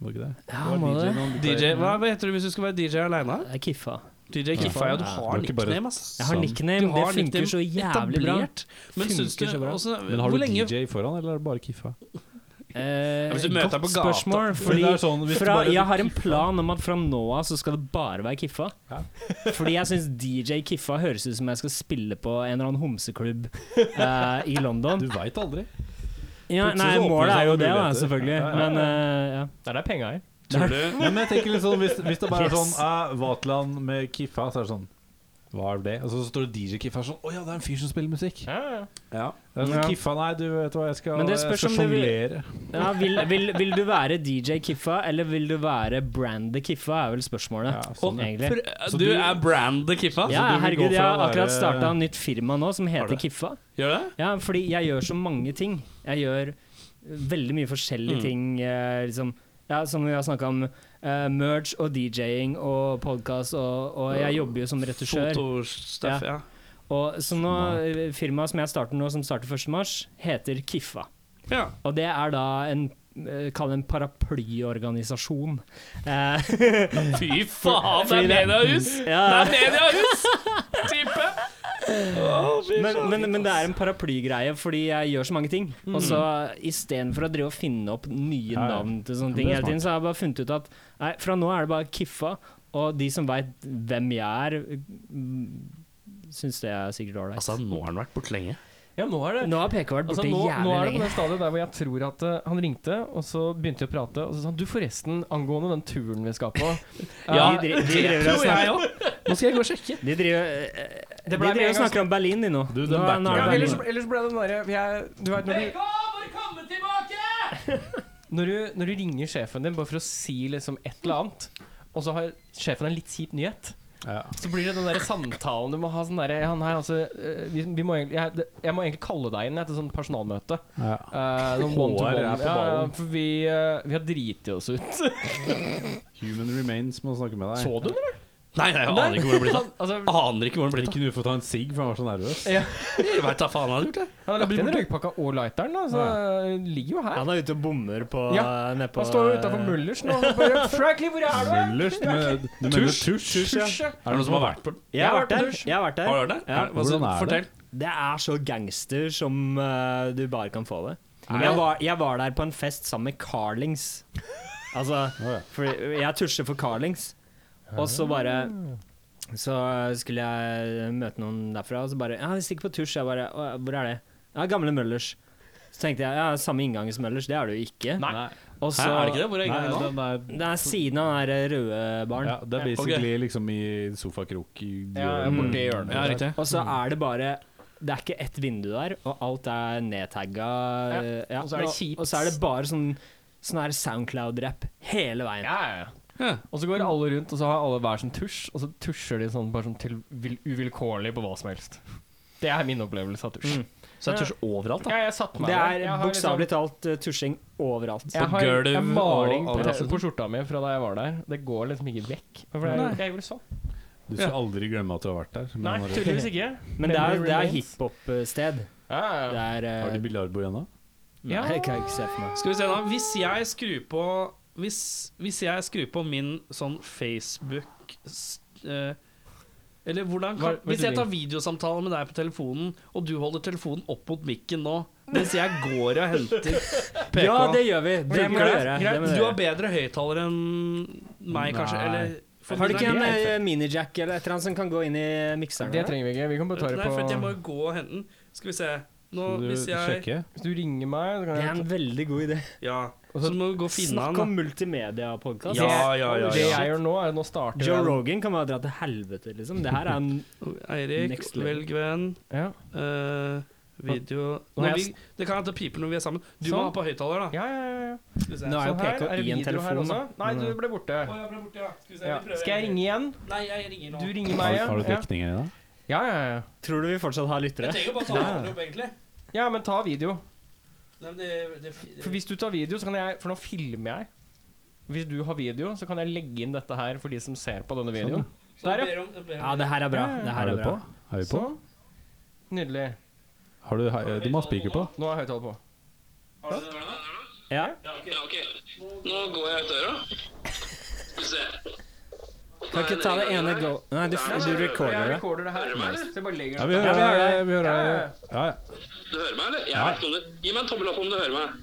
[SPEAKER 8] Var ikke det?
[SPEAKER 1] Ja, må det?
[SPEAKER 2] DJ, hva hva heter du hvis du skal være DJ aleine?
[SPEAKER 1] Jeg kiffa.
[SPEAKER 2] DJ Kiffa, ja. Du
[SPEAKER 8] Du
[SPEAKER 2] har
[SPEAKER 8] er ikke bare-
[SPEAKER 2] nickname, ass.
[SPEAKER 1] Jeg har nickname,
[SPEAKER 2] Du har
[SPEAKER 1] det funker
[SPEAKER 2] nickname
[SPEAKER 1] så jævlig bra.
[SPEAKER 2] etablert. Men syns du
[SPEAKER 1] Funker så bra.
[SPEAKER 2] også,
[SPEAKER 8] Men har
[SPEAKER 2] Hvor
[SPEAKER 8] du
[SPEAKER 2] lenge
[SPEAKER 8] DJ foran, eller er det bare Kiffa?
[SPEAKER 1] Eh,
[SPEAKER 2] Hvis du møter deg på
[SPEAKER 1] godt
[SPEAKER 2] gata.
[SPEAKER 1] spørsmål.
[SPEAKER 8] Men
[SPEAKER 1] Fordi
[SPEAKER 8] det er sånn, hvis du
[SPEAKER 1] fra,
[SPEAKER 8] bare-
[SPEAKER 1] jeg har en plan om at fra nå av så skal det bare være Kiffa. Fordi jeg syns DJ Kiffa høres ut som jeg skal spille på en eller annen homseklubb eh, i London.
[SPEAKER 8] Du veit aldri.
[SPEAKER 1] Ja,
[SPEAKER 8] plutselig
[SPEAKER 1] nei,
[SPEAKER 8] så åpner
[SPEAKER 1] målet
[SPEAKER 8] det seg
[SPEAKER 1] er jo
[SPEAKER 8] noen
[SPEAKER 1] det, da,
[SPEAKER 8] muligheter.
[SPEAKER 1] selvfølgelig.
[SPEAKER 8] Ja, ja,
[SPEAKER 1] Men eh, ja.
[SPEAKER 7] Der er penga her.
[SPEAKER 2] Tror du
[SPEAKER 8] Ja, men jeg tenker litt sånn, Hvis, hvis det bare er sånn
[SPEAKER 1] Yes.
[SPEAKER 8] eh, Vatland med Kiffa, så er det sånn Hva er det? Og så står det DJ Kiffa sånn Å ja, det er en fyr som spiller musikk.
[SPEAKER 7] Ja, ja.
[SPEAKER 8] Det er sånn,
[SPEAKER 1] Ja.
[SPEAKER 8] Kiffa, nei, du vet hva, jeg skal,
[SPEAKER 1] Men det
[SPEAKER 8] jeg
[SPEAKER 1] spørs
[SPEAKER 8] skal
[SPEAKER 1] om du vil-
[SPEAKER 8] sjonglere.
[SPEAKER 1] ja vil, vil, vil du være DJ Kiffa, eller vil du være brandet Kiffa, er vel spørsmålet.
[SPEAKER 8] Ja, sånn, ja.
[SPEAKER 1] egentlig.
[SPEAKER 2] For- Du er altså. brandet Kiffa?
[SPEAKER 1] Ja,
[SPEAKER 8] du vil
[SPEAKER 1] herregud,
[SPEAKER 8] gå
[SPEAKER 1] jeg
[SPEAKER 8] fra å
[SPEAKER 1] har akkurat
[SPEAKER 8] være-
[SPEAKER 1] starta nytt firma nå som
[SPEAKER 2] du
[SPEAKER 1] heter
[SPEAKER 2] det?
[SPEAKER 1] Kiffa.
[SPEAKER 2] Gjør du det?
[SPEAKER 1] Ja, fordi jeg gjør så mange ting. Jeg gjør veldig mye forskjellige ting. eh, liksom, ja, som vi har snakka om, eh, merge og DJ-ing og podkast, og, og jeg jobber jo som retusjør.
[SPEAKER 2] Fotostuff, ja.
[SPEAKER 1] Og så nå, eh, firmaet som jeg starter nå, som starter 1. mars, heter Kiffa.
[SPEAKER 2] ja.
[SPEAKER 1] Og det er da en eh, Kall det en paraplyorganisasjon. Eh,
[SPEAKER 7] Fy faen, det
[SPEAKER 1] Fordi
[SPEAKER 7] er
[SPEAKER 1] det-
[SPEAKER 7] mediehus! Det
[SPEAKER 1] ja.
[SPEAKER 7] er mediehus! Type!
[SPEAKER 1] men, men, men det er en paraplygreie, fordi jeg gjør så mange ting.
[SPEAKER 7] Mm.
[SPEAKER 1] Og så istedenfor å drive og finne opp nye
[SPEAKER 3] Ja, ja.
[SPEAKER 1] navn til sånne ting hele tiden, så har jeg bare funnet ut at nei, fra nå er det bare Kiffa, og de som veit hvem jeg er, syns det er sikkert ålreit.
[SPEAKER 2] Altså, nå har han vært borte lenge.
[SPEAKER 7] Ja, nå er det
[SPEAKER 1] Nå har PK vært
[SPEAKER 7] Altså,
[SPEAKER 1] borte
[SPEAKER 7] nå,
[SPEAKER 1] jævlig
[SPEAKER 7] nå er det på
[SPEAKER 1] lenge.
[SPEAKER 7] det stadiet der hvor jeg tror at eh, han ringte, og så begynte vi å prate. Og så sa han du, forresten, angående den turen vi skal på
[SPEAKER 1] Ja, de, dri- de driver og snakker,
[SPEAKER 7] Nå skal jeg gå og sjekke.
[SPEAKER 1] de driver, eh, de
[SPEAKER 7] ble
[SPEAKER 1] driver
[SPEAKER 7] med en
[SPEAKER 1] og
[SPEAKER 7] gang-
[SPEAKER 1] snakker om Berlin, de nå.
[SPEAKER 8] Du, den
[SPEAKER 1] nå, er- nå er
[SPEAKER 8] backer jeg.
[SPEAKER 1] det
[SPEAKER 7] Ja,
[SPEAKER 1] Berlin.
[SPEAKER 7] ellers, ellers ble det den derre jeg- Du vet når du når du, når du ringer sjefen din bare for å si liksom et eller annet, og så har sjefen en litt kjip nyhet,
[SPEAKER 8] Ja.
[SPEAKER 7] så blir det den derre samtalen du må ha sånn derre Han her, altså eh, vi, vi må egentlig, jeg, jeg må egentlig kalle deg inn jeg, til sånn personalmøte.
[SPEAKER 3] Ja.
[SPEAKER 7] Eh, noen
[SPEAKER 8] HR
[SPEAKER 7] one-to-one.
[SPEAKER 8] er på
[SPEAKER 7] Ja, ja,
[SPEAKER 8] ballen.
[SPEAKER 7] for vi, eh, vi har driti oss ut.
[SPEAKER 3] Human remains må snakke med deg.
[SPEAKER 7] Så du den, eller?
[SPEAKER 2] Nei, nei, jeg aner ikke hvor det ble av.
[SPEAKER 7] Altså,
[SPEAKER 2] Aner ikke hvor det ble av.
[SPEAKER 3] Ikke noe for å ta en sigg, for han var så nervøs.
[SPEAKER 2] Jeg vet da faen han har gjort det.
[SPEAKER 7] Han har lagt inn røykpakka og lighteren, da, så den ligger jo her.
[SPEAKER 1] Han er ute og bommer på
[SPEAKER 7] Ja,
[SPEAKER 1] nedpå
[SPEAKER 7] Han står jo utafor Mullers nå. og bare, Franklin, hvor er du?
[SPEAKER 3] Møllers? Du mener- du mener tusj?
[SPEAKER 7] Tusj, ja.
[SPEAKER 2] Er det noen som har vært på den?
[SPEAKER 1] Jeg har vært der. Jeg har vært
[SPEAKER 2] Har du
[SPEAKER 1] der.
[SPEAKER 2] hørt det?
[SPEAKER 1] Ja.
[SPEAKER 2] Er- hva så-
[SPEAKER 3] Hvordan er
[SPEAKER 2] Fortell.
[SPEAKER 1] Det er så gangster som eh, du bare kan få det. Jeg var, jeg var der på en fest sammen med Carlings. Altså, for jeg tusjer for Carlings. Og så bare Så skulle jeg møte noen derfra, og så bare Ja, vi stikker på tusj. Jeg bare «Å, Hvor er det? Ja, Gamle Møllers. Så tenkte jeg ja, samme inngang som Møllers. Det er det jo ikke.
[SPEAKER 7] Nei.
[SPEAKER 1] Og så
[SPEAKER 2] Hæ, er det ikke det? Hvor er
[SPEAKER 3] Nei,
[SPEAKER 2] gangen nå?
[SPEAKER 3] den er
[SPEAKER 1] Det er siden av den der røde baren.
[SPEAKER 3] ja, Det er basically liksom i sofakrok i
[SPEAKER 7] Ja,
[SPEAKER 3] hjørnet.
[SPEAKER 7] borti hjørnet.
[SPEAKER 2] Ja, riktig.
[SPEAKER 1] Og så er det bare Det er ikke ett vindu der, og alt er nedtagga. eh, ja,
[SPEAKER 7] og så er det kjipt.
[SPEAKER 1] Og så er det bare sånn Sånn her Soundcloud-rapp hele veien.
[SPEAKER 7] Ja, ja, ja. Og så går alle rundt, og så har alle hver sin tusj, og så tusjer de sånn bare sånn til vil, uvilkårlig på hva som helst. Det er min opplevelse av tusj.
[SPEAKER 1] Mm.
[SPEAKER 2] Så jeg tusjer overalt, da.
[SPEAKER 7] Ja, liksom. jeg satte meg
[SPEAKER 1] Det
[SPEAKER 7] der.
[SPEAKER 1] er
[SPEAKER 7] Jeg har
[SPEAKER 1] bokstavelig talt eh, tusjing overalt.
[SPEAKER 7] liksom- jeg har,
[SPEAKER 2] gulv
[SPEAKER 7] jeg har maling
[SPEAKER 2] og
[SPEAKER 7] på,
[SPEAKER 2] overalt.
[SPEAKER 7] på skjorta mi fra da jeg var der. Det går liksom ikke vekk. For jeg, jeg gjorde sånn.
[SPEAKER 3] Du skal aldri glemme at du har vært der. men
[SPEAKER 7] Nei,
[SPEAKER 3] har, du-
[SPEAKER 7] tydeligvis ikke.
[SPEAKER 1] Men det er, det er
[SPEAKER 7] Memory
[SPEAKER 1] hiphop-sted.
[SPEAKER 7] Ja, ja,
[SPEAKER 1] Det
[SPEAKER 7] ja.
[SPEAKER 1] er
[SPEAKER 3] har
[SPEAKER 1] eh,
[SPEAKER 3] du biljardbord ennå?
[SPEAKER 1] Nei, det kan jeg ikke se for meg.
[SPEAKER 2] Skal vi se da, hvis jeg skrur på Hvis, hvis jeg skrur på min sånn Facebook s- eh, Eller hvordan kan
[SPEAKER 7] Hva- hva
[SPEAKER 2] Hvis
[SPEAKER 7] sier
[SPEAKER 2] jeg tar videosamtale med deg på telefonen, og du holder telefonen opp mot mikken nå, mens jeg går og henter PK
[SPEAKER 1] Ja, det gjør vi! Det må du gjøre. Det må
[SPEAKER 2] Greit,
[SPEAKER 1] du
[SPEAKER 2] Du har
[SPEAKER 1] gjøre.
[SPEAKER 2] bedre høyttaler enn meg, kanskje? Eller for
[SPEAKER 1] Har du
[SPEAKER 2] det
[SPEAKER 1] ikke
[SPEAKER 2] er
[SPEAKER 1] en
[SPEAKER 2] greit.
[SPEAKER 1] eh, minijack eller et eller annet som kan gå inn i mikseren?
[SPEAKER 7] Det
[SPEAKER 1] eller?
[SPEAKER 7] trenger vi ikke. Vi kan bare ta det
[SPEAKER 2] Nei, for at jeg må
[SPEAKER 7] på
[SPEAKER 2] jo gå og hente den. Skal vi se. Nå,
[SPEAKER 3] Skal du
[SPEAKER 2] hvis jeg
[SPEAKER 3] sjekke?
[SPEAKER 7] Hvis du ringer meg, så kan
[SPEAKER 1] det
[SPEAKER 7] jeg
[SPEAKER 1] er en veldig god idé.
[SPEAKER 2] Ja. Så må du gå og finne
[SPEAKER 1] Snakk
[SPEAKER 2] den.
[SPEAKER 1] om multimedia-podkast.
[SPEAKER 2] Ja, ja, ja.
[SPEAKER 7] Det
[SPEAKER 2] ja.
[SPEAKER 7] jeg gjør nå, er at nå starter
[SPEAKER 1] Joe
[SPEAKER 7] jeg-
[SPEAKER 1] Rogan kan bare dra til helvete, liksom. Det her er en
[SPEAKER 2] Eirik,
[SPEAKER 1] Next level.
[SPEAKER 2] velg venn.
[SPEAKER 7] Ja.
[SPEAKER 2] Eh, video
[SPEAKER 7] Nå er
[SPEAKER 2] når vi,
[SPEAKER 7] jeg-
[SPEAKER 2] Det kan hende det piper når vi er sammen. Du
[SPEAKER 7] Sånn.
[SPEAKER 2] må ha på høyttaler, da.
[SPEAKER 7] Ja, ja, ja, ja.
[SPEAKER 2] Skal vi se.
[SPEAKER 1] Nå er jo
[SPEAKER 7] Sånn her,
[SPEAKER 1] PK
[SPEAKER 7] er det
[SPEAKER 1] i en
[SPEAKER 7] video her
[SPEAKER 1] telefon, da.
[SPEAKER 7] også? Nei, du ble
[SPEAKER 2] Å,
[SPEAKER 7] borte.
[SPEAKER 2] jeg ble borte, ja. Skal vi se,
[SPEAKER 7] Ja.
[SPEAKER 2] vi prøver
[SPEAKER 7] Skal jeg
[SPEAKER 2] en
[SPEAKER 7] ringe igjen?
[SPEAKER 2] gang. Nei, jeg ringer nå.
[SPEAKER 7] Du ringer meg
[SPEAKER 3] Har,
[SPEAKER 7] igjen.
[SPEAKER 3] har du
[SPEAKER 7] ja.
[SPEAKER 3] dekning i det?
[SPEAKER 7] Ja, ja, ja.
[SPEAKER 1] Tror du vi fortsatt har lyttere?
[SPEAKER 2] Jeg trenger jo bare ta den opp, egentlig.
[SPEAKER 7] ja, men ta video.
[SPEAKER 2] Nei, men det, det, det,
[SPEAKER 7] For hvis du tar video, så kan jeg For nå filmer jeg. Hvis du har video, så kan jeg legge inn dette her for de som ser på denne videoen. Der, ja.
[SPEAKER 2] ber om, jeg ber om.
[SPEAKER 1] Ja, det her er bra. Det her
[SPEAKER 3] Er
[SPEAKER 1] er
[SPEAKER 3] det
[SPEAKER 1] bra.
[SPEAKER 3] på? Har vi på?
[SPEAKER 7] Sånn. Nydelig.
[SPEAKER 3] Har du, har, du må ha spiker på.
[SPEAKER 7] Nå er høyttaler på.
[SPEAKER 1] Ja.
[SPEAKER 11] Ja, ok. Nå går jeg ut døra. Skal vi se.
[SPEAKER 1] Kan ikke ta det ene go... Nei, du, du recorder
[SPEAKER 7] Jeg
[SPEAKER 1] det.
[SPEAKER 7] recorder det her. Så jeg bare legger
[SPEAKER 3] Ja,
[SPEAKER 7] det
[SPEAKER 3] vi hører deg. Vi hører
[SPEAKER 7] Ja,
[SPEAKER 3] deg. Ja, ja.
[SPEAKER 11] Du hører meg, eller? Jeg vet ikke om du... Gi meg en tommel opp om du hører meg.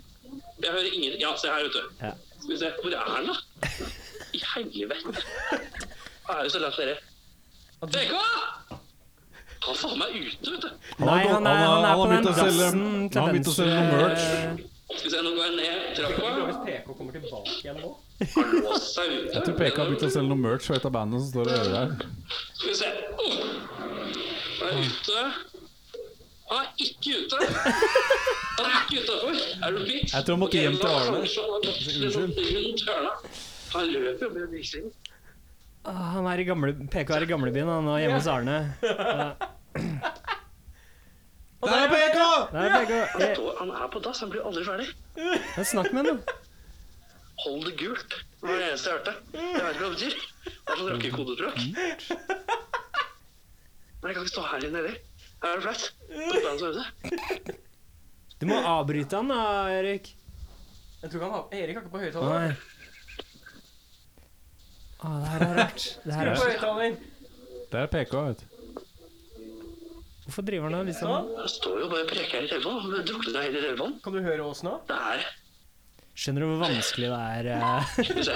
[SPEAKER 11] Jeg hører ingen... Ja, se her, vet du.
[SPEAKER 1] Ja.
[SPEAKER 11] Skal vi se. Hvor er han, da? I helvete. Hva er det så langt dere? PK! Han faen meg er ute, vet du.
[SPEAKER 1] Nei, han er, han er
[SPEAKER 3] har
[SPEAKER 1] på den
[SPEAKER 3] begynt å selge-
[SPEAKER 1] dassen
[SPEAKER 3] han har
[SPEAKER 1] til
[SPEAKER 3] begynt å selge noe merch.
[SPEAKER 11] Skal vi se, nå går jeg ned trappa.
[SPEAKER 7] Hvis PK kommer tilbake igjen nå
[SPEAKER 11] Han låst seg ute.
[SPEAKER 3] Jeg tror PK har begynt å selge noe merch for et av bandene som står og hører der.
[SPEAKER 11] Skal vi se. Oh. Han er ute. Han er ikke ute. Han er ikke utafor. Er du bitch?
[SPEAKER 3] Jeg tror han måtte
[SPEAKER 11] Ok,
[SPEAKER 3] hjem til
[SPEAKER 11] da
[SPEAKER 3] Arne.
[SPEAKER 11] kanskje Han har gått rundt rundt hjørnet. Han løper jo med bilen.
[SPEAKER 1] Ah, Han er i gamle... PK er i gamlebyen, han er hjemme hos Arne.
[SPEAKER 7] Og der er PK!
[SPEAKER 1] Nei, begge, jeg,
[SPEAKER 11] Står- Han er på dass, han blir aldri ferdig.
[SPEAKER 1] jeg eh, Snakk med ham, da.
[SPEAKER 11] Hold det gult. Det var det eneste jeg hørte. Jeg vet ikke hva det betyr. Det er sånn rockekodespråk. Men jeg kan ikke stå her inne heller. Her er det flaut. Det er bandet som hører det.
[SPEAKER 1] Du må avbryte han da, Erik.
[SPEAKER 4] Jeg tror ikke han har Erik har ikke på høyttaler.
[SPEAKER 1] Nei. Å, det her er rart. Det her er...
[SPEAKER 4] På høyttaler.
[SPEAKER 8] Der er PK, vet du.
[SPEAKER 1] Hvorfor driver han og liksom
[SPEAKER 11] Han står jo bare og preker her i telefonen. Han drukner hele telefonen.
[SPEAKER 4] Kan du høre oss nå?
[SPEAKER 11] Det er
[SPEAKER 1] Skjønner du hvor vanskelig det er? eh?
[SPEAKER 11] Skal vi se.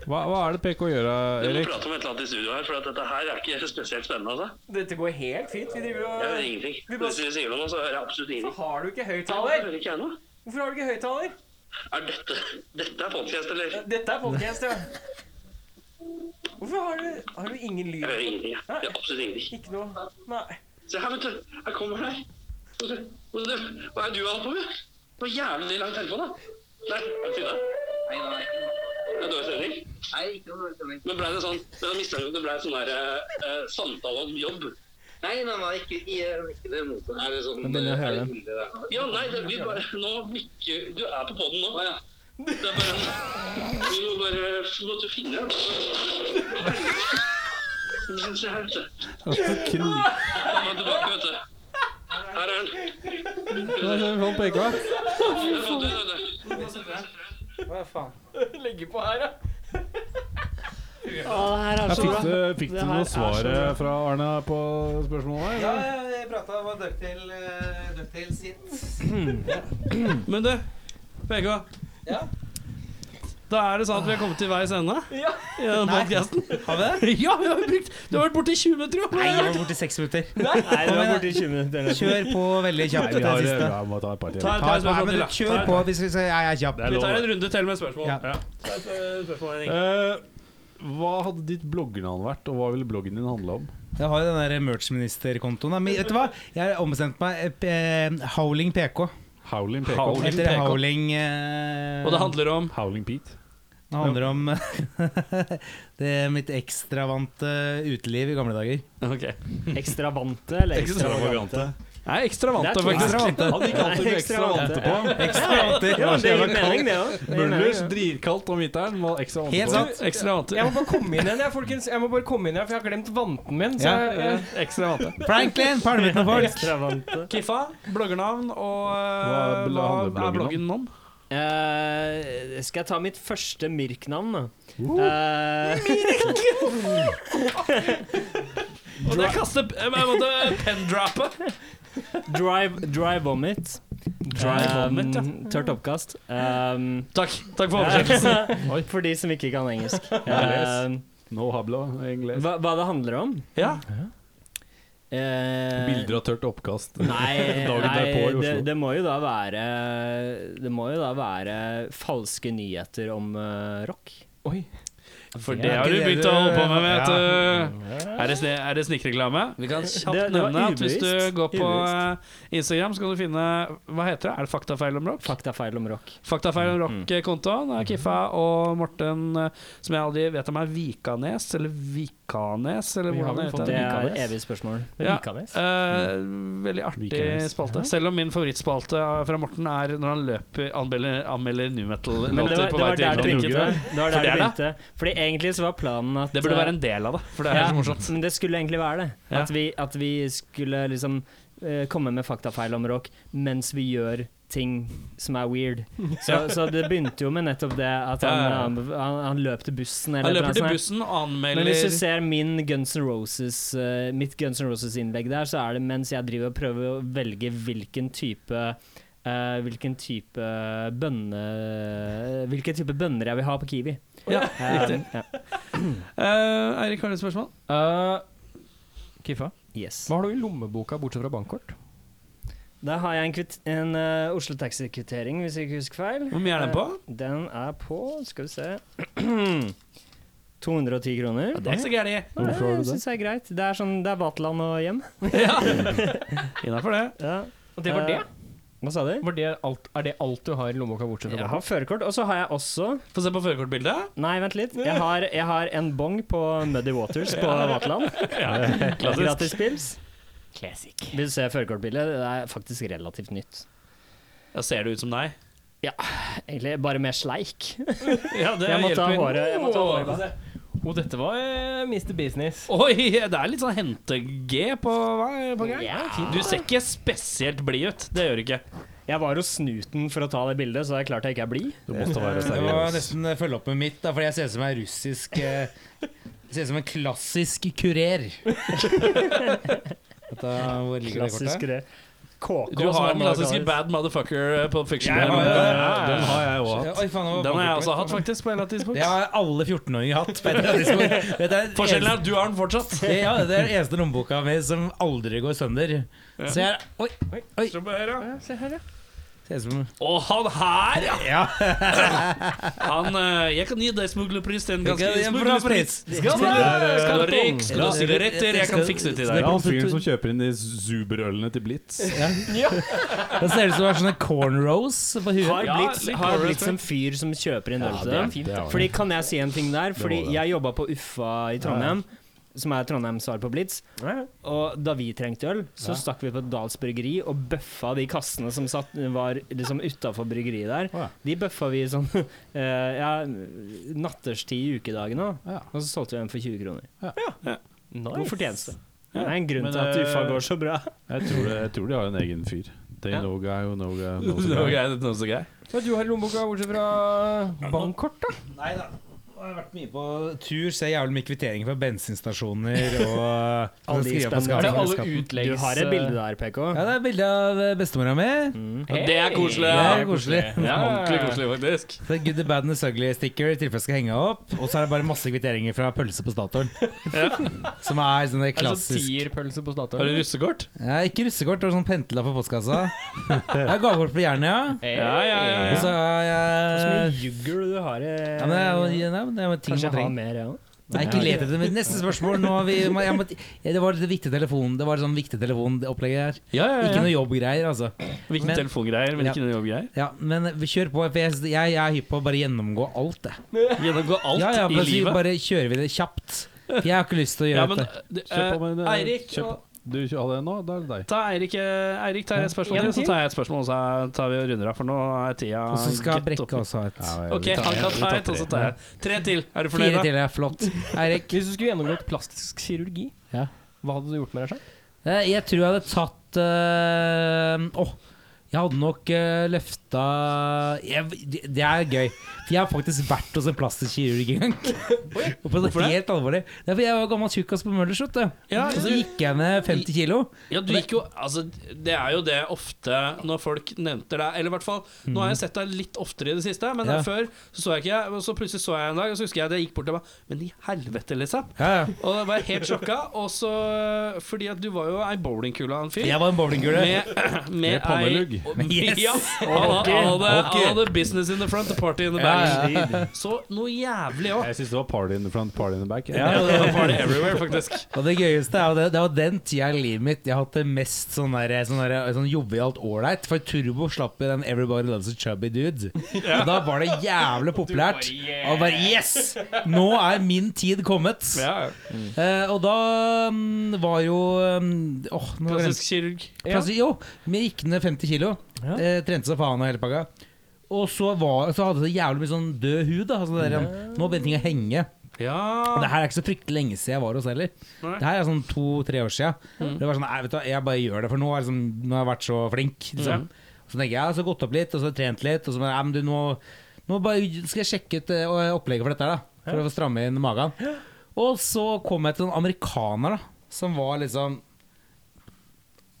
[SPEAKER 8] Hva, hva er det PK gjør, eh,
[SPEAKER 11] Vi må
[SPEAKER 8] Erik?
[SPEAKER 11] prate om et eller annet i studio her, for at dette her er ikke spesielt spennende. altså.
[SPEAKER 4] Dette går helt fint. Vi driver
[SPEAKER 11] Jeg hører
[SPEAKER 4] og
[SPEAKER 11] ingenting. Hvis du sier noe, så hører jeg absolutt ingenting.
[SPEAKER 4] Har du ikke
[SPEAKER 11] Jeg
[SPEAKER 4] høyttaler?
[SPEAKER 11] hører ikke jeg noe.
[SPEAKER 4] Hvorfor har du ikke høyttaler?
[SPEAKER 11] Er dette Dette er podcast, eller?
[SPEAKER 4] Dette er podcast, ja. Hvorfor har du Har du ingen lyd?
[SPEAKER 11] Jeg hører ingenting. jeg. Jeg hører absolutt ingenting.
[SPEAKER 4] Ikke noe Nei.
[SPEAKER 11] Se her, vet du. Her kommer deg. Hva er det hva er det du holder på med? Det var jævlig lang telefon, da. Der. Er det Tina? Det er dårlig stemning? Men ble det sånn men jeg mistenker at det ble sånn der eh, eh, samtale om jobb? Nei, nei, nei, ikke, ikke eh, det motsatte. Er det sånn
[SPEAKER 1] begynner jeg å høre
[SPEAKER 11] Ja, nei, det, vi bare Nå mikke Du er på poden nå. Ja. Det er bare Vi må bare vi måtte finne Se her, vet du. Han er tilbake, vet du. Her er han.
[SPEAKER 8] Sånn PK.
[SPEAKER 11] Jeg har fått ut denne.
[SPEAKER 1] Å, det her er
[SPEAKER 8] Jeg
[SPEAKER 1] så
[SPEAKER 8] fikk du,
[SPEAKER 1] bra.
[SPEAKER 8] fikk du
[SPEAKER 1] Det her
[SPEAKER 8] noe
[SPEAKER 1] er så
[SPEAKER 8] svar
[SPEAKER 1] bra.
[SPEAKER 8] eh, fra Arne på spørsmålet? eller?
[SPEAKER 12] jeg prata om Ducktail, uh, Ducktail sitt.
[SPEAKER 2] Men du, PK.
[SPEAKER 12] Ja?
[SPEAKER 2] Da er det sånn at vi har kommet til veis ende i denne podcasten. Har vi det? Ja, vi har brukt Du har vært borte i 20 minutter, jo.
[SPEAKER 6] Nei, jeg var borte i seks minutter.
[SPEAKER 1] Nei, det var borti 20 minutter.
[SPEAKER 6] Kjør på veldig kjapt.
[SPEAKER 8] Vi
[SPEAKER 6] dette
[SPEAKER 8] har,
[SPEAKER 6] er siste.
[SPEAKER 8] ja, vi må ta et par til.
[SPEAKER 2] Ta, ta et spørsmål til, da.
[SPEAKER 6] Kjør på. Vi skal, jeg er kjapp.
[SPEAKER 8] Det er
[SPEAKER 2] Vi
[SPEAKER 8] lov.
[SPEAKER 2] tar en runde til med spørsmål.
[SPEAKER 6] Ja.
[SPEAKER 2] Ja. Ta et, eh, spørsmål, Henning.
[SPEAKER 8] Eh, hva hadde ditt bloggnavn vært, og hva ville bloggen din handle om?
[SPEAKER 6] Jeg har jo den der merch-ministerkontoen. da, Men vet du hva? Jeg har ombestemt meg. eh, p- Howling PK.
[SPEAKER 8] Howling PK.
[SPEAKER 2] Howling.
[SPEAKER 6] Etter
[SPEAKER 2] PK.
[SPEAKER 6] Howling eh,
[SPEAKER 2] Og det handler om
[SPEAKER 8] Howling Pete.
[SPEAKER 6] Det handler om det er mitt ekstravante uteliv i gamle dager.
[SPEAKER 2] Ok.
[SPEAKER 1] Ekstravante eller ekstravagante?
[SPEAKER 2] Nei, ekstra vant,
[SPEAKER 1] Det er to
[SPEAKER 2] faktisk.
[SPEAKER 6] Ekstravante.
[SPEAKER 8] Han gikk alltid
[SPEAKER 1] Nei,
[SPEAKER 8] med ekstra vante på.
[SPEAKER 6] Ekstravante.
[SPEAKER 1] Ja, det gir mening, det òg.
[SPEAKER 8] Møllers dritkaldt om vinteren. må ha Ekstra vante
[SPEAKER 6] Helt
[SPEAKER 8] på.
[SPEAKER 6] sant.
[SPEAKER 2] Ekstra vant.
[SPEAKER 4] Jeg må bare komme inn igjen, jeg, folkens. Jeg må bare komme inn igjen, For jeg har glemt vanten min. Så
[SPEAKER 6] Ja.
[SPEAKER 4] jeg, jeg,
[SPEAKER 2] Ekstra vant.
[SPEAKER 6] Franklin, palmete folk.
[SPEAKER 1] Ekstravante.
[SPEAKER 2] Kiffa, bloggernavn og eh,
[SPEAKER 8] Hva er
[SPEAKER 2] hva
[SPEAKER 8] bloggen
[SPEAKER 2] er bloggen om?
[SPEAKER 1] Eh, skal jeg ta mitt første Mirk-navn, da? Eh,
[SPEAKER 2] Og det kaster Jeg måtte pendroppe.
[SPEAKER 1] drive, drive Vomit.
[SPEAKER 2] Drive vomit, ja.
[SPEAKER 1] Um, Tørt oppkast. Um,
[SPEAKER 2] Takk. Takk for oversettelsen.
[SPEAKER 1] for de som ikke kan engelsk. Um,
[SPEAKER 8] No habla, egentlig.
[SPEAKER 1] hva, hva det handler om?
[SPEAKER 2] Ja.
[SPEAKER 1] Eh,
[SPEAKER 8] Bilder av tørt oppkast.
[SPEAKER 1] Nei,
[SPEAKER 8] Dagen derpå i
[SPEAKER 1] nei
[SPEAKER 8] Oslo.
[SPEAKER 1] det, det må jo da være Det må jo da være falske nyheter om eh, rock.
[SPEAKER 2] For det har du begynt å holde på med, vet du. Er det, sne- er det snikreklame? Vi kan kjapt
[SPEAKER 1] Det- det var
[SPEAKER 2] nevne at hvis du
[SPEAKER 1] ubevisst.
[SPEAKER 2] går på eh, Instagram, så kan du finne Hva heter det? Er det Faktafeil om rock?
[SPEAKER 1] Faktafeil om rock.
[SPEAKER 2] Faktafeil
[SPEAKER 4] Mm.
[SPEAKER 2] om rock-kontoen er Kiffa og Morten, eh, som jeg aldri vet om er Vikanes, eller Vikanes, eller
[SPEAKER 4] Vi har
[SPEAKER 2] hvordan
[SPEAKER 4] vel
[SPEAKER 2] det
[SPEAKER 4] fått
[SPEAKER 2] heter.
[SPEAKER 1] Det er
[SPEAKER 4] Vikanes.
[SPEAKER 1] evig spørsmål.
[SPEAKER 2] Ja.
[SPEAKER 1] Vikanes?
[SPEAKER 2] Eh, veldig artig
[SPEAKER 8] Vikanes.
[SPEAKER 2] spalte. Selv om min favorittspalte eh, fra Morten er når han løper anmelder, anmelder new
[SPEAKER 1] Men det
[SPEAKER 2] metal-låter
[SPEAKER 1] var,
[SPEAKER 2] på
[SPEAKER 1] det
[SPEAKER 2] vei
[SPEAKER 1] var
[SPEAKER 2] til
[SPEAKER 1] der det
[SPEAKER 2] England.
[SPEAKER 1] begynte. Det var der
[SPEAKER 2] For det
[SPEAKER 1] det
[SPEAKER 2] er det.
[SPEAKER 1] begynte. Fordi egentlig så var planen at
[SPEAKER 2] Det burde være en del av det, for det er
[SPEAKER 1] Ja,
[SPEAKER 2] så morsomt.
[SPEAKER 1] Men det skulle egentlig være det.
[SPEAKER 2] Ja.
[SPEAKER 1] At, vi, at vi skulle liksom eh, komme med faktafeil om rock mens vi gjør ting som er weird. Så, så det begynte jo med nettopp det at han,
[SPEAKER 2] Ja, ja, ja.
[SPEAKER 1] han, han, han løp til bussen.
[SPEAKER 2] Han
[SPEAKER 1] et
[SPEAKER 2] løper
[SPEAKER 1] eller
[SPEAKER 2] til
[SPEAKER 1] annet
[SPEAKER 2] bussen og
[SPEAKER 1] Men
[SPEAKER 2] anmelder
[SPEAKER 1] hvis du ser min Guns N' Roses, eh, mitt Guns N' Roses-innlegg der, så er det mens jeg driver og prøver å velge hvilken type eh, hvilken type bønne Hvilke type bønner jeg vil ha på Kiwi.
[SPEAKER 2] Ja,
[SPEAKER 1] Eh,
[SPEAKER 2] riktig.
[SPEAKER 1] ja.
[SPEAKER 2] Eh, Eirik, har du et spørsmål?
[SPEAKER 4] Kiffa,
[SPEAKER 1] Yes.
[SPEAKER 4] hva har du i lommeboka bortsett fra bankkort?
[SPEAKER 1] Da har jeg en, kvitt, en eh, Oslo Taxi-kvittering, hvis jeg ikke husker feil.
[SPEAKER 2] Hvor mye er den på?
[SPEAKER 1] Eh, den er på, skal vi se 210 kroner.
[SPEAKER 2] Det er ikke så gærent.
[SPEAKER 1] Nei, jeg synes det er greit. Det er sånn, det er Vaterland og hjem.
[SPEAKER 2] Innafor det.
[SPEAKER 1] Ja.
[SPEAKER 4] Og det var det?
[SPEAKER 1] Eh, Hva sa du?
[SPEAKER 4] Var det alt, er det alt du har i lommeboka bortsett fra
[SPEAKER 1] Jeg
[SPEAKER 4] bankkort?
[SPEAKER 1] har førerkort, og så har jeg også
[SPEAKER 2] Få se på førerkortbildet.
[SPEAKER 1] Nei, vent litt. Jeg har, jeg har en bong på Muddy Waters på Vaterland. Gratis pils. Classic. Vil du se førerkortbildet? Det er faktisk relativt nytt.
[SPEAKER 2] Ja, ser det ut som deg?
[SPEAKER 1] Egentlig bare mer sleik.
[SPEAKER 2] Ja, det
[SPEAKER 1] Jeg må ta
[SPEAKER 2] hjelper.
[SPEAKER 1] håret. Jeg må ta håret. bare.
[SPEAKER 7] Og dette var eh, Mr. Business.
[SPEAKER 2] Oi, det er litt sånn hente-G på, hva- på gang.
[SPEAKER 1] Ja, fint.
[SPEAKER 2] Du ser ikke spesielt blid ut. Det gjør du ikke.
[SPEAKER 1] Jeg var hos snuten for å ta det bildet, så det er klart jeg ikke er blid.
[SPEAKER 3] Du måtte være
[SPEAKER 6] Jeg må
[SPEAKER 3] seriøs.
[SPEAKER 6] nesten eh, følge opp med mitt, da, for jeg ser ut som en russisk eh, Ser ut som en klassisk kurer. Vet du hvor ligger det
[SPEAKER 1] Klassisk
[SPEAKER 6] kortet?
[SPEAKER 1] det. KK.
[SPEAKER 2] Du har den
[SPEAKER 1] den
[SPEAKER 2] klassiske bad motherfucker på fiction.
[SPEAKER 6] Jeg har det.
[SPEAKER 2] Den har
[SPEAKER 3] jeg òg
[SPEAKER 6] Ja, Oi, faen, det var
[SPEAKER 2] Den har jeg
[SPEAKER 6] kortet
[SPEAKER 2] også
[SPEAKER 6] mitt.
[SPEAKER 2] hatt, faktisk. på en eller annet tidspunkt
[SPEAKER 6] Det har alle 14-åringer hatt. på et eller annet tidspunkt. Dette er det
[SPEAKER 2] Forskjellen er at du har den fortsatt.
[SPEAKER 6] eneste- Ja, det er den eneste lommeboka mi som aldri går sønder. Så jeg er Oi, oi, oi. Se på her, ja. Se her, ja. Ser ut som
[SPEAKER 2] Og han her, ja!
[SPEAKER 6] Ja.
[SPEAKER 2] Han eh, Jeg kan gi deg smuglerpris til en
[SPEAKER 6] Det
[SPEAKER 2] ganske
[SPEAKER 6] er en bra
[SPEAKER 2] smuglerpris.
[SPEAKER 6] pris.
[SPEAKER 2] Skal du ha røyk, skal du ha sigaretter, jeg kan fikse det til
[SPEAKER 3] Det er
[SPEAKER 2] deg.
[SPEAKER 3] han fyren som kjøper inn de Zuber-ølene til Blitz.
[SPEAKER 6] Det ser ut som det er sånne cornrows på huet.
[SPEAKER 1] Har
[SPEAKER 2] Ja,
[SPEAKER 1] blitt,
[SPEAKER 2] litt
[SPEAKER 1] har
[SPEAKER 2] korrekt,
[SPEAKER 1] blitt som fyr som kjøper inn øl til
[SPEAKER 3] det er
[SPEAKER 1] dem.
[SPEAKER 3] fint, det.
[SPEAKER 1] Fordi Kan jeg si en ting der? Fordi jeg jobba på Uffa i Trondheim, som er Trondheims svar på Blitz. Og da vi trengte øl, så stakk vi på Dals bryggeri og bøffa de kassene som satt, var liksom utafor bryggeriet
[SPEAKER 3] Ja.
[SPEAKER 1] der. De bøffa vi sånn eh, ja, natterstid i ukedagene, da.
[SPEAKER 3] Ja.
[SPEAKER 1] og så solgte vi dem for 20 kroner. God
[SPEAKER 7] Nice.
[SPEAKER 1] fortjeneste. Det er en grunn
[SPEAKER 3] Men,
[SPEAKER 1] til at
[SPEAKER 3] eh,
[SPEAKER 1] Uffa går så bra.
[SPEAKER 3] Jeg tror, det, jeg tror de har en egen fyr. They
[SPEAKER 2] Ja.
[SPEAKER 3] know guy who know guy. Knows
[SPEAKER 2] Det var
[SPEAKER 3] guy.
[SPEAKER 2] greit, det var så greit.
[SPEAKER 7] Hva du har i lommeboka, bortsett fra bankkort, da?
[SPEAKER 6] Nei da. Jeg har vært mye på tur, ser jævlig mye kvitteringer fra bensinstasjoner og
[SPEAKER 1] Alle de
[SPEAKER 6] skriver på
[SPEAKER 1] spennende-
[SPEAKER 6] skatten.
[SPEAKER 7] Alle utleggs...
[SPEAKER 1] Du har et bilde der, PK.
[SPEAKER 6] Ja, det er bilde av eh, bestemora mi.
[SPEAKER 2] Ja, det er koselig.
[SPEAKER 6] Det er
[SPEAKER 2] Ja.
[SPEAKER 6] koselig.
[SPEAKER 2] Ja, ordentlig koselig, faktisk.
[SPEAKER 6] Så det er good, the bad and the ugly sticker i tilfelle jeg skal henge opp. Og så er det bare masse kvitteringer fra pølse på Statoil. Som er sånne
[SPEAKER 7] Er det sånn
[SPEAKER 6] klassisk
[SPEAKER 7] tierpølse på
[SPEAKER 2] Har
[SPEAKER 7] Statoil?
[SPEAKER 2] du russekort?
[SPEAKER 6] ja, Ikke russekort, det var sånn pentla på postkassa. Jeg har gavekort på Jernia.
[SPEAKER 2] Ja, ja, ja.
[SPEAKER 6] Og så har
[SPEAKER 1] Så mye
[SPEAKER 6] jeg
[SPEAKER 1] juggel du har eh, i
[SPEAKER 6] ja, men det er jo-
[SPEAKER 2] Eh,
[SPEAKER 6] ja, men det er jo ting
[SPEAKER 1] Kanskje
[SPEAKER 6] man
[SPEAKER 1] jeg har
[SPEAKER 6] trenger.
[SPEAKER 1] mer, jeg ja.
[SPEAKER 6] Nei, ikke let etter mitt neste spørsmål. Nå har vi, jeg må, det var litt viktig telefon. Det var sånn viktig telefonopplegget her.
[SPEAKER 2] ja, ja,
[SPEAKER 6] Ikke
[SPEAKER 2] ja.
[SPEAKER 6] noe jobbgreier, altså.
[SPEAKER 2] Hvilke
[SPEAKER 6] Men-
[SPEAKER 2] telefongreier, men
[SPEAKER 6] Ja.
[SPEAKER 2] ikke noe jobbgreier.
[SPEAKER 6] Ja, Men vi kjør på. For jeg, jeg, jeg er hypp på å bare gjennomgå alt, jeg.
[SPEAKER 2] Gjennomgå alt
[SPEAKER 6] ja, ja,
[SPEAKER 2] i
[SPEAKER 6] bare, si-
[SPEAKER 2] livet.
[SPEAKER 6] bare kjører vi det kjapt. For jeg har ikke lyst til å
[SPEAKER 2] Ja,
[SPEAKER 6] gjøre
[SPEAKER 2] men
[SPEAKER 6] dette.
[SPEAKER 2] det-
[SPEAKER 3] Kjør på med
[SPEAKER 2] eh,
[SPEAKER 3] det.
[SPEAKER 2] Eirik
[SPEAKER 3] Kjør på.
[SPEAKER 2] og-
[SPEAKER 3] Du hadde en nå? Da er det deg.
[SPEAKER 2] Ta Eirik, eh, Eirik tar et spørsmål til, så tar jeg et spørsmål, og så tar vi og runder av, for nå er tida
[SPEAKER 6] Og så skal
[SPEAKER 2] gitt opp.
[SPEAKER 6] Brekke også ha et.
[SPEAKER 2] Ok, han kan ta et, og så tar jeg Tre til. Er du fornøyd,
[SPEAKER 6] Fire
[SPEAKER 2] da?
[SPEAKER 6] til er flott. Eirik?
[SPEAKER 7] Hvis du skulle gjennomgått plastisk kirurgi,
[SPEAKER 6] Ja.
[SPEAKER 7] hva hadde du gjort med deg selv?
[SPEAKER 6] eh, Jeg tror jeg hadde tatt eh, Åh, jeg hadde nok uh, løfta jeg, det- Det er gøy. For jeg har faktisk vært hos en plastisk kirurg en gang. Og på det
[SPEAKER 2] Hvorfor det?
[SPEAKER 6] helt alvorlig. Det er fordi jeg var gammel tjukkas på Møllers, vet du.
[SPEAKER 2] Ja,
[SPEAKER 6] Og så
[SPEAKER 2] du,
[SPEAKER 6] gikk jeg ned 50 kilo.
[SPEAKER 2] ja, du gikk jo Altså, det er jo det ofte når folk nevnte deg, eller i hvert fall Nå har jeg sett deg litt oftere i det siste, men
[SPEAKER 6] Mhm. Ja.
[SPEAKER 2] før så så jeg ikke Og så plutselig så jeg en dag, og så husker jeg det gikk bort og bare Men i helvete, liksom.
[SPEAKER 6] Ja, ja.
[SPEAKER 2] Og da var jeg helt sjokka. Og så Fordi at du var jo ei bowlingkule av en fyr.
[SPEAKER 6] Jeg var en bowlingkule.
[SPEAKER 2] Med, med ei-
[SPEAKER 3] pannelugg.
[SPEAKER 6] Yes.
[SPEAKER 2] Ja, han hadde, han hadde,
[SPEAKER 6] Hockey.
[SPEAKER 2] han hadde business in the front og party in the
[SPEAKER 6] Ja,
[SPEAKER 2] back. Så noe jævlig òg.
[SPEAKER 3] Jeg syns det var party in the front, party in the back.
[SPEAKER 6] Ja,
[SPEAKER 2] Ja,
[SPEAKER 6] og
[SPEAKER 2] det
[SPEAKER 6] det-
[SPEAKER 2] var party everywhere, faktisk.
[SPEAKER 6] Og det gøyeste er jo det, det var den tida i livet mitt jeg har hatt det mest sånn, der, sånn, der, sånn jovialt ålreit. For Turbo slapp jo den 'Everybody Loves a Chubby Dude'. Og da var det jævlig populært. Og bare Yes! Nå er min tid kommet! Eh, og da mm, var jo mm, Åh, nå glemte
[SPEAKER 2] Klassisk kirurg.
[SPEAKER 6] Plassi, Jo, vi gikk ned 50 kilo. Eh, trente seg faen og hele pakka. Og så, var, så hadde det jævlig mye sånn død hud. Da, sånn der, Nå begynte ting å henge. Og
[SPEAKER 2] Ja.
[SPEAKER 6] det her er ikke så fryktelig lenge siden jeg var hos heller.
[SPEAKER 2] Nei. Mm.
[SPEAKER 6] Det her er sånn to-tre år siden. Det var sånn, nei, vet du, hva, jeg bare gjør det, for nå, er det sånn, nå har jeg vært så flink. Liksom. Så tenker jeg, så gått opp litt, og så trent litt, og så bare, nei, men du, nå, nå bare skal jeg sjekke ut eh, opplegget for dette her, da. For å stramme inn magen. Og så kom jeg til en amerikaner, da, som var liksom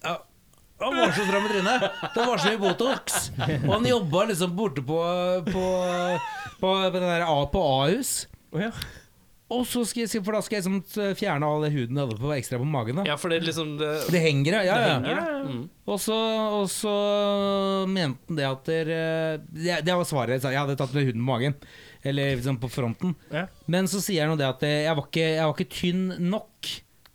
[SPEAKER 6] ja, han var så stram i trynet. Det var så mye Botox. Og han jobba liksom borte på På, på, på, den der, A- på Ahus. Og så skal jeg, for da skal jeg liksom fjerne all den huden jeg hadde på ekstra på magen. da
[SPEAKER 2] ja, for det er liksom det,
[SPEAKER 6] Det henger, ja. ja, ja.
[SPEAKER 2] Mm.
[SPEAKER 6] Og så, og så mente han det at der, eh, det, det var svaret. Jeg sa, Jeg hadde tatt med huden på magen. Eller liksom på fronten.
[SPEAKER 7] Ja.
[SPEAKER 6] Men så sier han jo det at eh, jeg var ikke, jeg var ikke tynn nok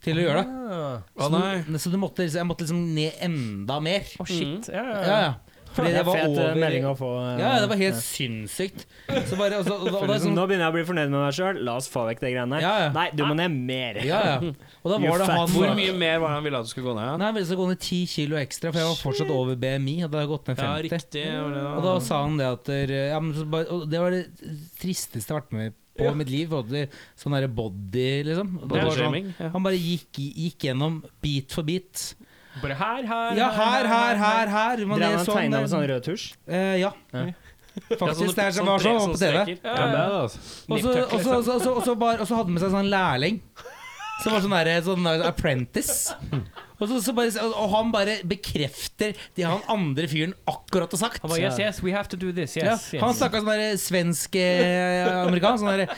[SPEAKER 6] til å gjøre det.
[SPEAKER 7] Ah.
[SPEAKER 2] Å,
[SPEAKER 6] Så,
[SPEAKER 2] nei.
[SPEAKER 6] så det måtte, liksom- jeg måtte liksom ned enda mer.
[SPEAKER 7] Å, shit. Ja, ja,
[SPEAKER 6] Ja,
[SPEAKER 7] ja.
[SPEAKER 6] ja. Fordi det var
[SPEAKER 1] Fet eh,
[SPEAKER 6] over
[SPEAKER 1] melding å få. eh,
[SPEAKER 6] Ja, det var helt sinnssykt. Så bare, altså, og da, og da,
[SPEAKER 1] Sånn,
[SPEAKER 6] sånn,
[SPEAKER 1] Nå begynner jeg å bli fornøyd med meg sjøl. La oss få vekk de greiene der.
[SPEAKER 6] Ja, ja.
[SPEAKER 1] Nei, du må ned mer.
[SPEAKER 6] ja, ja. Og da
[SPEAKER 1] You
[SPEAKER 6] var det
[SPEAKER 1] fat
[SPEAKER 6] han
[SPEAKER 2] Hvor mye mer var det han ville at du skulle gå ned?
[SPEAKER 6] Nei, jeg ville så gå ned 10 kilo ekstra, for jeg var fortsatt over BMI. Og det hadde gått ned
[SPEAKER 2] Ja,
[SPEAKER 6] 50.
[SPEAKER 2] riktig. var det
[SPEAKER 6] Og da sa han det at eh, ja, men så bare, og Det var det tristeste jeg har vært med på i mitt liv. Både sånn derre body, liksom. Og det var sånn,
[SPEAKER 2] Bodyshaming, ja.
[SPEAKER 6] han bare gikk, gikk gjennom bit for bit.
[SPEAKER 7] Bare her, her,
[SPEAKER 6] Ja, her, her, her, her. Man
[SPEAKER 1] Drev
[SPEAKER 6] er
[SPEAKER 1] han og
[SPEAKER 6] sånn,
[SPEAKER 1] tegna med sånn
[SPEAKER 6] eh,
[SPEAKER 1] rød tusj?
[SPEAKER 6] eh, ja. Faktisk. Det er som var sånn på TV.
[SPEAKER 8] Ja, det er det, altså.
[SPEAKER 6] Og så og så- og så- og så bare- og så hadde han med seg en sånn lærling. Som var sånn der, sånn der apprentice. Og, så, så bare, og han bare bekrefter det han andre fyren akkurat har sagt.
[SPEAKER 7] Han bare, yes, yes, we have to do this.
[SPEAKER 6] Ja,
[SPEAKER 7] Yes,
[SPEAKER 6] han
[SPEAKER 7] yes.
[SPEAKER 6] snakka sånn der svensk eh, amerikansk. Sånn der,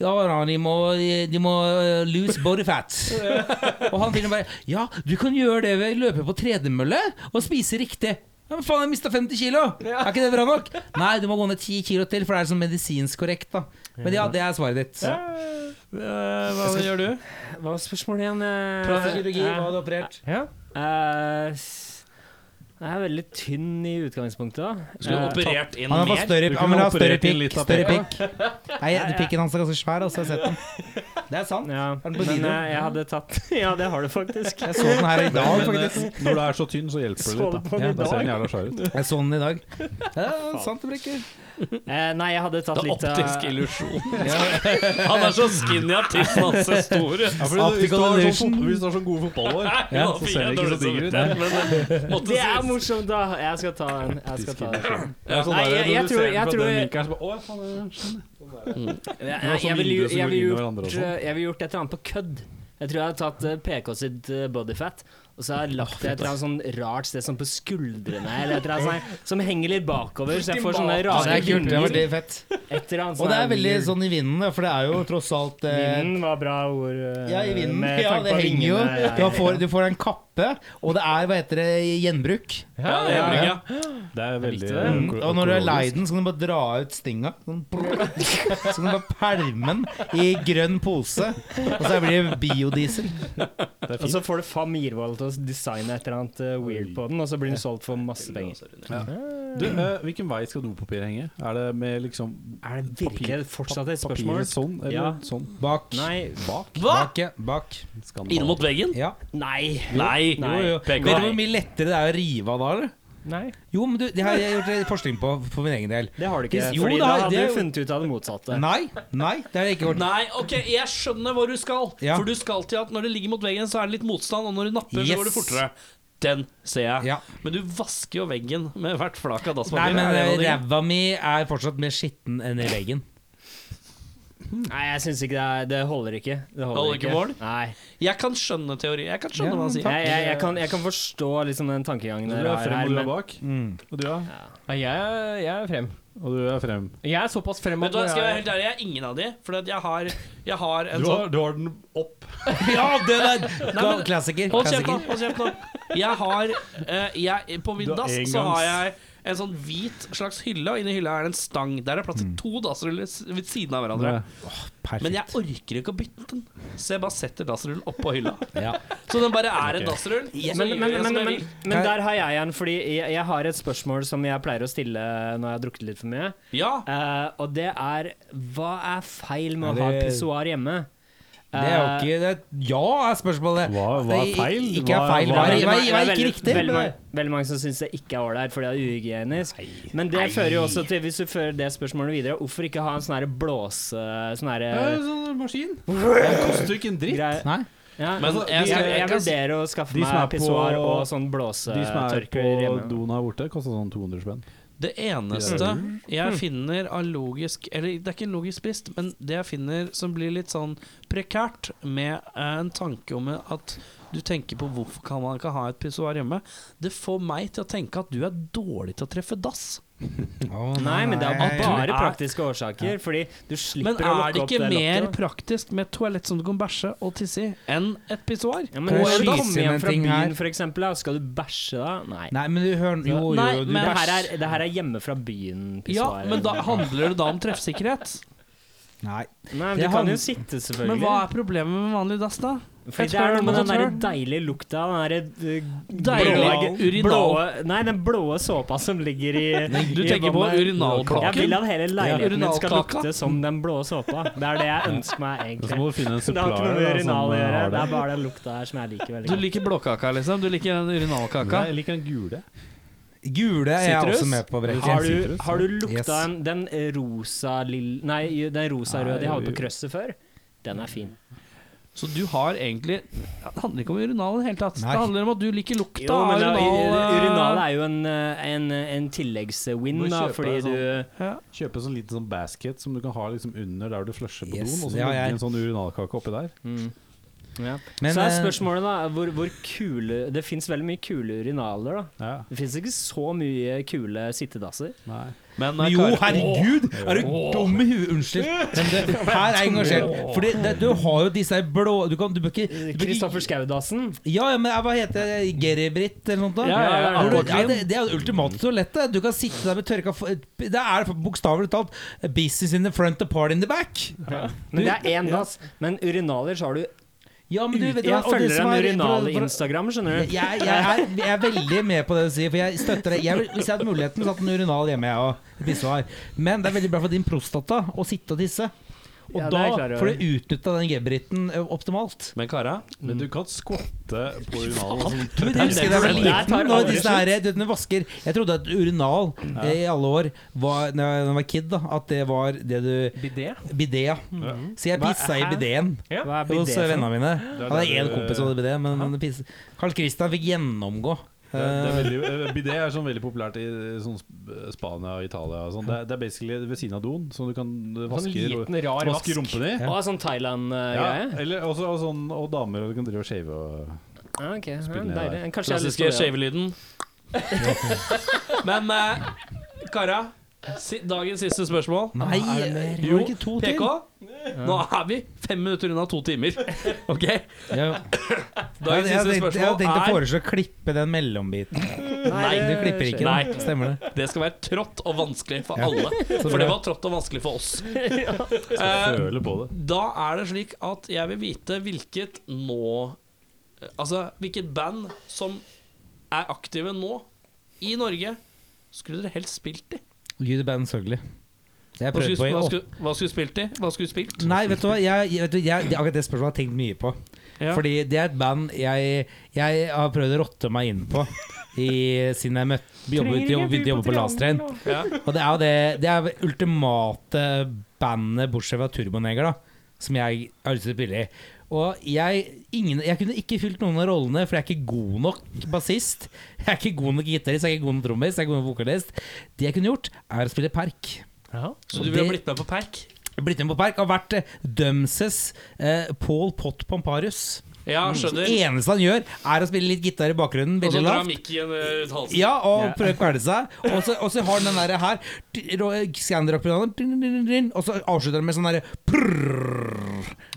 [SPEAKER 6] ja, da, de må, de må eh, lose body fat. og han fyren bare Ja, du kan gjøre det ved å løpe på tredemølle og spise riktig. Ja, men faen, jeg mista 50 kilo! Er ikke det bra nok? Nei, du må gå ned 10 kilo til, for det er sånn medisinsk korrekt, da. Men ja, det er svaret ditt.
[SPEAKER 2] Hva gjør du?
[SPEAKER 1] Hva var spørsmålet igjen? eh?
[SPEAKER 6] Plastisk kirurgi,
[SPEAKER 1] Eh,
[SPEAKER 6] hva hadde du operert?
[SPEAKER 1] eh, s- Jeg er veldig tynn i utgangspunktet, da.
[SPEAKER 2] Skulle
[SPEAKER 1] Eh,
[SPEAKER 2] operert inn
[SPEAKER 6] Han har
[SPEAKER 2] mer?
[SPEAKER 6] fått større, han vil ha større
[SPEAKER 8] operert inn
[SPEAKER 6] pikk.
[SPEAKER 8] litt av
[SPEAKER 6] Større pikk. Nei, pikken hans er ganske svær, altså. Jeg har sett den. Det er sant.
[SPEAKER 1] Ja,
[SPEAKER 6] den
[SPEAKER 1] men
[SPEAKER 6] på
[SPEAKER 1] eh,
[SPEAKER 6] video?
[SPEAKER 1] jeg hadde tatt Ja, det har du faktisk.
[SPEAKER 6] Jeg så den her i dag,
[SPEAKER 8] Men
[SPEAKER 6] faktisk.
[SPEAKER 8] eh, når du er så tynn, så hjelper det
[SPEAKER 1] Så
[SPEAKER 8] litt.
[SPEAKER 1] det
[SPEAKER 8] Da, ja,
[SPEAKER 1] på den
[SPEAKER 8] da ser
[SPEAKER 1] i
[SPEAKER 8] den jævla svær ut.
[SPEAKER 6] Jeg så den i dag.
[SPEAKER 8] eh,
[SPEAKER 6] Ja, sant det, Brekke.
[SPEAKER 1] Eh, nei, jeg hadde tatt
[SPEAKER 2] Det er
[SPEAKER 1] litt
[SPEAKER 2] optisk
[SPEAKER 1] av
[SPEAKER 2] illusjon. Han er så skinny at tissen hans er stor.
[SPEAKER 8] Ja,
[SPEAKER 6] du- hvis du har sånn fot-
[SPEAKER 8] hvis du har sånn gode fotballår,
[SPEAKER 2] Ja,
[SPEAKER 8] så ser den ikke så digg ut.
[SPEAKER 2] ut.
[SPEAKER 1] Det er morsomt, da! Jeg skal ta en. Jeg skal ta en.
[SPEAKER 8] Ja, sånn
[SPEAKER 1] Nei,
[SPEAKER 8] der,
[SPEAKER 1] jeg-
[SPEAKER 8] når
[SPEAKER 1] jeg
[SPEAKER 8] du
[SPEAKER 1] tror-
[SPEAKER 8] ser den
[SPEAKER 1] jeg
[SPEAKER 8] fra
[SPEAKER 1] tror-
[SPEAKER 8] den vinkelen, så bare, «Å, faen, det er sånn».
[SPEAKER 1] Jeg,
[SPEAKER 8] har
[SPEAKER 1] jeg,
[SPEAKER 8] sånn
[SPEAKER 1] ville
[SPEAKER 8] vindu
[SPEAKER 1] gjort,
[SPEAKER 8] som
[SPEAKER 1] jeg
[SPEAKER 8] går inn
[SPEAKER 1] ville
[SPEAKER 8] i
[SPEAKER 1] gjort,
[SPEAKER 8] hverandre og sånn.
[SPEAKER 1] eh, jeg ville gjort et eller annet på kødd. Jeg tror jeg hadde tatt eh, PK sitt eh, bodyfat, og så har jeg lagt det et eller annet sånn rart sted sånn på skuldrene, eller et eller annet sånt, som henger litt bakover, så jeg får sånne
[SPEAKER 6] Ja, det
[SPEAKER 1] rare
[SPEAKER 6] er kult. Det var det fett.
[SPEAKER 1] Et eller annet
[SPEAKER 6] Og det er
[SPEAKER 1] sånn
[SPEAKER 6] veldig
[SPEAKER 1] weird-
[SPEAKER 6] sånn i vinden, da, for det er jo tross alt eh,
[SPEAKER 1] Vinden var bra ord. eh,
[SPEAKER 6] ja, i vinden.
[SPEAKER 1] med
[SPEAKER 6] Ja,
[SPEAKER 1] tanke
[SPEAKER 6] det
[SPEAKER 1] på
[SPEAKER 6] henger jo.
[SPEAKER 1] vingene, ja,
[SPEAKER 6] Du
[SPEAKER 1] ja.
[SPEAKER 6] får, du får en kappe, og det er, hva heter det, gjenbruk.
[SPEAKER 2] Ja, det er brygga.
[SPEAKER 8] Det er veldig
[SPEAKER 6] Mm. Og når du er lei den, så kan du bare dra ut stinga. Sånn, brrr. Så kan du bare pælme den i grønn pose, og så blir det biodiesel.
[SPEAKER 1] Og så får du Fam Irvold til å designe et eller annet eh, weird på den, og så blir den solgt for masse penger.
[SPEAKER 8] Du, eh, hvilken vei skal dopapir henge? Er det med liksom
[SPEAKER 1] Er det virkelig fortsatt et spørsmål?
[SPEAKER 8] papiret sånn, eller
[SPEAKER 1] Ja.
[SPEAKER 8] sånn?
[SPEAKER 6] Bak.
[SPEAKER 1] Nei.
[SPEAKER 8] Bak?
[SPEAKER 6] Bak, ja. Bak.
[SPEAKER 2] Inn mot veggen?
[SPEAKER 6] Ja.
[SPEAKER 1] Nei.
[SPEAKER 2] Nei.
[SPEAKER 1] Nei.
[SPEAKER 6] Jo, jo.
[SPEAKER 2] Begge
[SPEAKER 6] Vet du
[SPEAKER 2] veier.
[SPEAKER 6] hvor mye lettere det er å rive av da, eller?
[SPEAKER 7] Nei.
[SPEAKER 6] Jo, men du, det har jeg gjort litt forskning på for min egen del.
[SPEAKER 1] Det har du ikke.
[SPEAKER 6] Jo,
[SPEAKER 1] fordi
[SPEAKER 6] det
[SPEAKER 1] da
[SPEAKER 6] har-
[SPEAKER 1] hadde
[SPEAKER 6] det er
[SPEAKER 1] du
[SPEAKER 6] jo-
[SPEAKER 1] funnet ut av det motsatte.
[SPEAKER 6] Nei, nei, det har jeg ikke gjort.
[SPEAKER 2] Nei, ok, jeg skjønner hvor du skal.
[SPEAKER 6] Ja.
[SPEAKER 2] For du skal til at når det ligger mot veggen, så er det litt motstand, og når du napper, så
[SPEAKER 6] Yes.
[SPEAKER 2] går det fortere. Den ser jeg.
[SPEAKER 6] Ja.
[SPEAKER 2] Men du vasker jo veggen med hvert flak av
[SPEAKER 6] Nei,
[SPEAKER 2] dasspapir.
[SPEAKER 6] men eh,
[SPEAKER 2] Er det en av de-
[SPEAKER 6] ræva mi er fortsatt mer skitten enn i veggen.
[SPEAKER 1] Nei, jeg syns ikke det er Det holder ikke. Det holder,
[SPEAKER 2] Holder ikke mål?
[SPEAKER 1] Nei.
[SPEAKER 2] Jeg kan skjønne teori. Jeg kan skjønne hva han sier.
[SPEAKER 1] Jeg, jeg, jeg, kan, jeg kan forstå liksom den tankegangen
[SPEAKER 8] Du er
[SPEAKER 1] dere har
[SPEAKER 8] frem, og
[SPEAKER 1] her,
[SPEAKER 8] du er
[SPEAKER 1] men
[SPEAKER 8] bak. Og du er,
[SPEAKER 7] Nei, jeg, er- jeg er frem.
[SPEAKER 8] og du er frem.
[SPEAKER 7] Jeg er såpass frem
[SPEAKER 2] Vet
[SPEAKER 7] at
[SPEAKER 2] du hva,
[SPEAKER 7] når
[SPEAKER 2] skal jeg være
[SPEAKER 7] jeg
[SPEAKER 2] helt ærlig, jeg er ingen av de. For at jeg har, jeg har en
[SPEAKER 8] Du
[SPEAKER 2] sånn
[SPEAKER 8] har, du har den opp.
[SPEAKER 6] Ja, det der!
[SPEAKER 2] men-
[SPEAKER 6] Klassiker.
[SPEAKER 2] Hold kjeft, nå!
[SPEAKER 6] klassiker.
[SPEAKER 2] Hold kjeft nå. Jeg har eh, jeg, På min
[SPEAKER 8] Du har
[SPEAKER 2] dass så
[SPEAKER 8] engangs.
[SPEAKER 2] har jeg en sånn hvit slags hylle, og inni hylla er det en stang. Der er det plass
[SPEAKER 8] Mm.
[SPEAKER 2] til to dassruller s- ved siden av hverandre. Men jeg orker ikke å bytte den, så jeg bare setter dassrullen oppå hylla.
[SPEAKER 6] Ja.
[SPEAKER 2] Så den bare er en dassrull. og så
[SPEAKER 1] men, men,
[SPEAKER 2] gjør jeg
[SPEAKER 1] men,
[SPEAKER 2] som jeg
[SPEAKER 1] men,
[SPEAKER 2] vil.
[SPEAKER 1] men der har jeg en, fordi jeg, jeg har et spørsmål som jeg pleier å stille når jeg har drukket litt for mye.
[SPEAKER 2] Ja,
[SPEAKER 1] Eh, og det er Hva er feil med å
[SPEAKER 6] Ja,
[SPEAKER 1] ha
[SPEAKER 6] det-
[SPEAKER 1] pissoar hjemme? Eh,
[SPEAKER 6] Det er jo ikke det, Ja, er spørsmålet.
[SPEAKER 8] Hva- hva er feil?
[SPEAKER 6] Det Ikke er feil.
[SPEAKER 8] Hva-
[SPEAKER 6] Hva
[SPEAKER 8] hva-
[SPEAKER 6] er, hva
[SPEAKER 1] Det
[SPEAKER 6] er, hva er ikke
[SPEAKER 1] veldig-
[SPEAKER 6] riktig?
[SPEAKER 1] Veldig, mange- veldig mange som syns det ikke er ålreit fordi det er uhygienisk. Men det fører jo også til, hvis du fører det spørsmålet videre, hvorfor ikke ha en sånn her blåse... Sånn her
[SPEAKER 8] sånn maskin. Den koster jo ikke en dritt.
[SPEAKER 1] greie.
[SPEAKER 6] Nei.
[SPEAKER 1] Ja,
[SPEAKER 2] Men
[SPEAKER 1] altså,
[SPEAKER 2] jeg-
[SPEAKER 1] jeg, jeg,
[SPEAKER 2] jeg kan si-
[SPEAKER 1] vurderer å skaffe
[SPEAKER 8] De som er
[SPEAKER 1] meg
[SPEAKER 8] på-
[SPEAKER 1] pissoar og
[SPEAKER 8] De
[SPEAKER 1] sånn
[SPEAKER 8] som er på
[SPEAKER 1] blåsetørker hjemme.
[SPEAKER 8] doen her borte, koster sånn 200 spenn.
[SPEAKER 2] Det eneste
[SPEAKER 1] Mm.
[SPEAKER 2] jeg finner av logisk Eller det er ikke en logisk brist, men det jeg finner som blir litt sånn prekært med eh, en tanke om at du tenker på hvorfor kan man ikke ha et pissoar hjemme, det får meg til å tenke at du er dårlig til å treffe dass.
[SPEAKER 6] Å,
[SPEAKER 1] Nei, men det er
[SPEAKER 6] nei.
[SPEAKER 1] bare
[SPEAKER 2] Er-
[SPEAKER 1] praktiske årsaker, fordi du slipper
[SPEAKER 2] Men
[SPEAKER 1] å
[SPEAKER 2] er det
[SPEAKER 1] lukke opp
[SPEAKER 2] ikke
[SPEAKER 1] det
[SPEAKER 2] mer
[SPEAKER 1] lokket.
[SPEAKER 2] praktisk med et toalett som du kan bæsje og tisse i, enn et pissoar?
[SPEAKER 1] Ja, men
[SPEAKER 6] Kan jeg
[SPEAKER 1] når du
[SPEAKER 6] skyte
[SPEAKER 1] kommer
[SPEAKER 6] inn
[SPEAKER 1] hjem
[SPEAKER 6] en
[SPEAKER 1] fra
[SPEAKER 6] ting her?
[SPEAKER 1] byen, for eksempel, da, skal du bæsje da? Nei.
[SPEAKER 6] Nei, men du hører Jo, jo,
[SPEAKER 2] Nei,
[SPEAKER 6] jo, du
[SPEAKER 2] men
[SPEAKER 1] Det her
[SPEAKER 6] bæsj.
[SPEAKER 1] er, det her er hjemme fra byen,
[SPEAKER 2] Ja,
[SPEAKER 1] pissoar.
[SPEAKER 2] men da handler det da om treffsikkerhet.
[SPEAKER 6] Nei.
[SPEAKER 1] Nei, men
[SPEAKER 6] Det
[SPEAKER 1] du kan
[SPEAKER 6] hand-
[SPEAKER 1] jo sitte, selvfølgelig.
[SPEAKER 2] Men hva er problemet med vanlig dass, da?
[SPEAKER 1] Fordi det er noe med den der deilige lukta av den der eh,
[SPEAKER 2] Deilig urinal.
[SPEAKER 1] Nei, den blåe såpa som ligger i
[SPEAKER 2] Du
[SPEAKER 1] i
[SPEAKER 2] tenker på
[SPEAKER 1] vannet. Jeg vil
[SPEAKER 2] urinalkaken?
[SPEAKER 1] at hele leiligheten min skal
[SPEAKER 2] Urinalkaka.
[SPEAKER 1] lukte som den blå såpa. Det er det jeg ønsker meg,
[SPEAKER 3] Og så
[SPEAKER 1] egentlig.
[SPEAKER 3] må du finne en
[SPEAKER 1] Det har ikke noe med
[SPEAKER 3] supplier da,
[SPEAKER 1] urinal
[SPEAKER 3] som
[SPEAKER 1] å gjøre.
[SPEAKER 3] har
[SPEAKER 1] Det
[SPEAKER 3] det.
[SPEAKER 1] er bare den lukta her som jeg liker veldig
[SPEAKER 2] Du
[SPEAKER 1] godt.
[SPEAKER 2] liker blåkaka, liksom? Du liker den urinalkaka?
[SPEAKER 3] Nei, jeg liker den gule.
[SPEAKER 6] Gule er jeg
[SPEAKER 1] Sitrus?
[SPEAKER 6] også med på brekket.
[SPEAKER 1] Har du, har du lukta
[SPEAKER 6] Yes.
[SPEAKER 1] en, den rosa lill... Nei, den rosa røde de hadde på krøsset før? Den er fin.
[SPEAKER 2] Så du har egentlig Det handler ikke om urinal i det hele tatt.
[SPEAKER 6] Nei.
[SPEAKER 2] Det handler om at du liker lukta
[SPEAKER 1] Jo, men da,
[SPEAKER 2] av urinal. eh,
[SPEAKER 1] urinal er jo en, eh, en, en tilleggswin,
[SPEAKER 3] Må
[SPEAKER 1] da,
[SPEAKER 3] kjøpe
[SPEAKER 1] fordi
[SPEAKER 3] en
[SPEAKER 1] du
[SPEAKER 3] Kjøpe sånn liten sånn basket som du kan ha liksom under der du flusher på
[SPEAKER 6] Yes,
[SPEAKER 3] doen, og så
[SPEAKER 6] det har
[SPEAKER 3] legge
[SPEAKER 6] jeg.
[SPEAKER 3] en sånn urinalkake oppi der.
[SPEAKER 1] ja.
[SPEAKER 6] Men,
[SPEAKER 1] Så er
[SPEAKER 6] eh,
[SPEAKER 1] spørsmålet, da, hvor, hvor kule Det fins veldig mye kule urinaler, da.
[SPEAKER 3] Ja,
[SPEAKER 1] Det fins ikke så mye kule sittedasser.
[SPEAKER 3] nei.
[SPEAKER 2] Men,
[SPEAKER 6] Men
[SPEAKER 2] eh,
[SPEAKER 6] Jo,
[SPEAKER 2] Kari-
[SPEAKER 6] herregud! Er du dum i huet? Unnskyld. Men det, her er jeg engasjert. Fordi det, du har jo disse her blå Du, kan, du bør ikke du bør ikke-
[SPEAKER 1] Kristoffer Schou-dassen.
[SPEAKER 6] Ja, ja, men eh, hva heter det? Geribritt eller noe sånt? da?
[SPEAKER 1] Ja, ja, ja.
[SPEAKER 6] Hvor du-
[SPEAKER 1] Aquaclean.
[SPEAKER 6] det, det er jo det ultimate toalettet. Du kan sitte der med tørka fo- Det er bokstavelig talt business in the front og party in the back.
[SPEAKER 1] Men det er én dass. Men urinaler så har du
[SPEAKER 6] Ja, men du, vet du hva?
[SPEAKER 1] Jeg
[SPEAKER 6] Og det
[SPEAKER 1] følger
[SPEAKER 6] som
[SPEAKER 1] en
[SPEAKER 6] er-
[SPEAKER 1] urinal-instagram, skjønner
[SPEAKER 6] Jeg,
[SPEAKER 1] du.
[SPEAKER 6] jeg, er, jeg er veldig med på det du sier, for jeg støtter det. Jeg, vil- hvis jeg hadde muligheten, satt en urinal hjemme, jeg òg. Bisvar. Men det er veldig bra for din prostata å sitte og tisse. Og
[SPEAKER 1] Ja, det er jeg klar
[SPEAKER 6] da
[SPEAKER 1] over.
[SPEAKER 6] får du utnytta den gebriten ø, optimalt.
[SPEAKER 2] men Kara,
[SPEAKER 3] Men du kan skvatte på urinalen. Sånn.
[SPEAKER 6] Du, jeg husker da jeg var
[SPEAKER 1] Den der tar
[SPEAKER 6] liten når
[SPEAKER 1] aldri
[SPEAKER 6] disse her, du, vet, når du vasker, Jeg trodde at urinal eh, i alle år var, Når jeg når jeg var kid, da, at det var det du
[SPEAKER 1] Bidé?
[SPEAKER 6] Bidé, ja. Mm. Så jeg
[SPEAKER 1] Hva-
[SPEAKER 6] pissa i
[SPEAKER 1] hæ?
[SPEAKER 6] bidéen.
[SPEAKER 1] Hva er
[SPEAKER 6] Hos
[SPEAKER 1] bidé?
[SPEAKER 6] eh,
[SPEAKER 1] for noe?
[SPEAKER 6] vennene
[SPEAKER 3] er
[SPEAKER 6] mine. Jeg hadde
[SPEAKER 3] der
[SPEAKER 6] én
[SPEAKER 3] du-
[SPEAKER 6] kompis som hadde bidé, men han pissa. Carl Christian fikk gjennomgå.
[SPEAKER 3] Det er, det
[SPEAKER 6] eh,
[SPEAKER 3] er veldig, eh, bidé er sånn veldig populært i sånn Sp- Spania og Italia. Og sånn. det, er- det er basically ved siden av doen, som du kan
[SPEAKER 7] Sånn
[SPEAKER 3] vaske,
[SPEAKER 7] liten, rar vask.
[SPEAKER 3] vaske rumpen i.
[SPEAKER 1] Å, sånn Thailand-greie?
[SPEAKER 3] Ja, eller, også, og, sånn, og damer, og du kan drive og shave og
[SPEAKER 1] Ja, ok. Ja,
[SPEAKER 3] Spille ned
[SPEAKER 1] deilig. Kanskje jeg har lyst
[SPEAKER 2] klassiske
[SPEAKER 1] til å gjøre det.
[SPEAKER 2] skjevelyden. Men eh, Kara, si, dagens siste spørsmål.
[SPEAKER 6] Nei,
[SPEAKER 2] Jo,
[SPEAKER 6] jo, ikke to
[SPEAKER 2] PK,
[SPEAKER 6] til.
[SPEAKER 2] nå er vi fem minutter unna to timer. Ok?
[SPEAKER 6] Ja. Jeg,
[SPEAKER 2] Dagens
[SPEAKER 6] jeg,
[SPEAKER 2] siste
[SPEAKER 6] tenkte, jeg hadde tenkt å
[SPEAKER 2] spørsmål er
[SPEAKER 6] foreslå å klippe den mellombiten.
[SPEAKER 1] Nei,
[SPEAKER 6] Du klipper ikke
[SPEAKER 2] Nei.
[SPEAKER 6] den. Stemmer det.
[SPEAKER 2] Det skal være trått og vanskelig for alle. For det var trått og vanskelig for oss. Eh,
[SPEAKER 3] føle på det.
[SPEAKER 2] Da er det slik at jeg vil vite hvilket nå Altså hvilket band som er aktive nå i Norge, skulle dere helst spilt i?
[SPEAKER 6] Gud, band Søgli. Jeg
[SPEAKER 2] Hva
[SPEAKER 6] prøvde
[SPEAKER 2] skulle,
[SPEAKER 6] på i
[SPEAKER 2] hva
[SPEAKER 6] åtte
[SPEAKER 2] skulle, hva skulle spilt i? Hva skulle spilt?
[SPEAKER 6] Nei, vet du hva. Jeg, jeg- vet du, jeg, det- akkurat det spørsmålet har jeg tenkt mye på.
[SPEAKER 2] Ja.
[SPEAKER 6] Fordi det er et band jeg, jeg har prøvd å rotte meg inn på i, siden jeg møtte, jobbet, jobbet, begynte å jobbe på Lastrain.
[SPEAKER 2] Ja.
[SPEAKER 6] Og det er jo det, det er det ultimate bandet, bortsett fra Turboneger, da, som jeg har lyst til å spille i. Og jeg, ingen, jeg kunne ikke fylt noen av rollene, for jeg er ikke god nok bassist. Jeg er ikke god nok gitarist, jeg er ikke god nok trommis, jeg er ikke god nok vokalist. Det jeg kunne gjort, er å spille park.
[SPEAKER 2] Så du ville blitt med på Perk?
[SPEAKER 6] Blitt med på Park har vært eh, Dømses eh, Paul Pott Pomparius.
[SPEAKER 2] Ja, skjønner.
[SPEAKER 6] Det eneste han gjør, er å spille litt gitar i bakgrunnen.
[SPEAKER 2] Og så
[SPEAKER 6] Veldig
[SPEAKER 2] drar
[SPEAKER 6] lavt.
[SPEAKER 2] mikken eh, ut halsen.
[SPEAKER 6] Ja, og prøve å kvele seg. Og så- og så har han den derre her Scandirock-pedalen, og så avslutter han med sånn derre prrrr.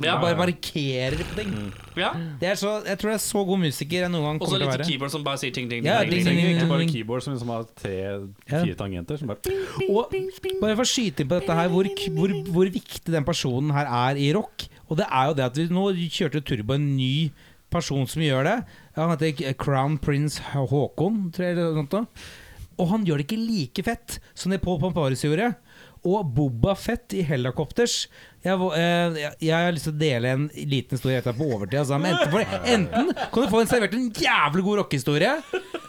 [SPEAKER 2] Ja.
[SPEAKER 6] Bare markerer på ting.
[SPEAKER 2] Ja.
[SPEAKER 6] Det er så, jeg tror jeg er så god musiker jeg noen gang
[SPEAKER 2] Og så
[SPEAKER 6] kommer til å
[SPEAKER 2] litt
[SPEAKER 6] være.
[SPEAKER 2] keyboard som bare sier ting, ting, ting.
[SPEAKER 6] Ja,
[SPEAKER 2] ting, ting,
[SPEAKER 6] ding,
[SPEAKER 2] ting.
[SPEAKER 6] ding,
[SPEAKER 3] Ikke
[SPEAKER 6] ding,
[SPEAKER 3] bare
[SPEAKER 6] ding.
[SPEAKER 3] keyboard som liksom har
[SPEAKER 6] Ja.
[SPEAKER 3] tre-fire tangenter. Som bare
[SPEAKER 6] Og bare for å skyte inn på dette her, hvor, hvor, hvor viktig den personen her er i rock. Og det er jo det at vi nå kjørte Turbo en ny person som gjør det. Ja, Han heter K- Crown Prince Hå- Håkon, tror jeg. Eller noe sånt da. og han gjør det ikke like fett som det Paul Pamparis gjorde. Og Boba Fett i Helicopters. Jeg, var- eh, jeg, jeg har lyst til å dele en liten historie etter på overtid. Altså. Men enten, for, enten kan du få en servert en jævlig god rockehistorie,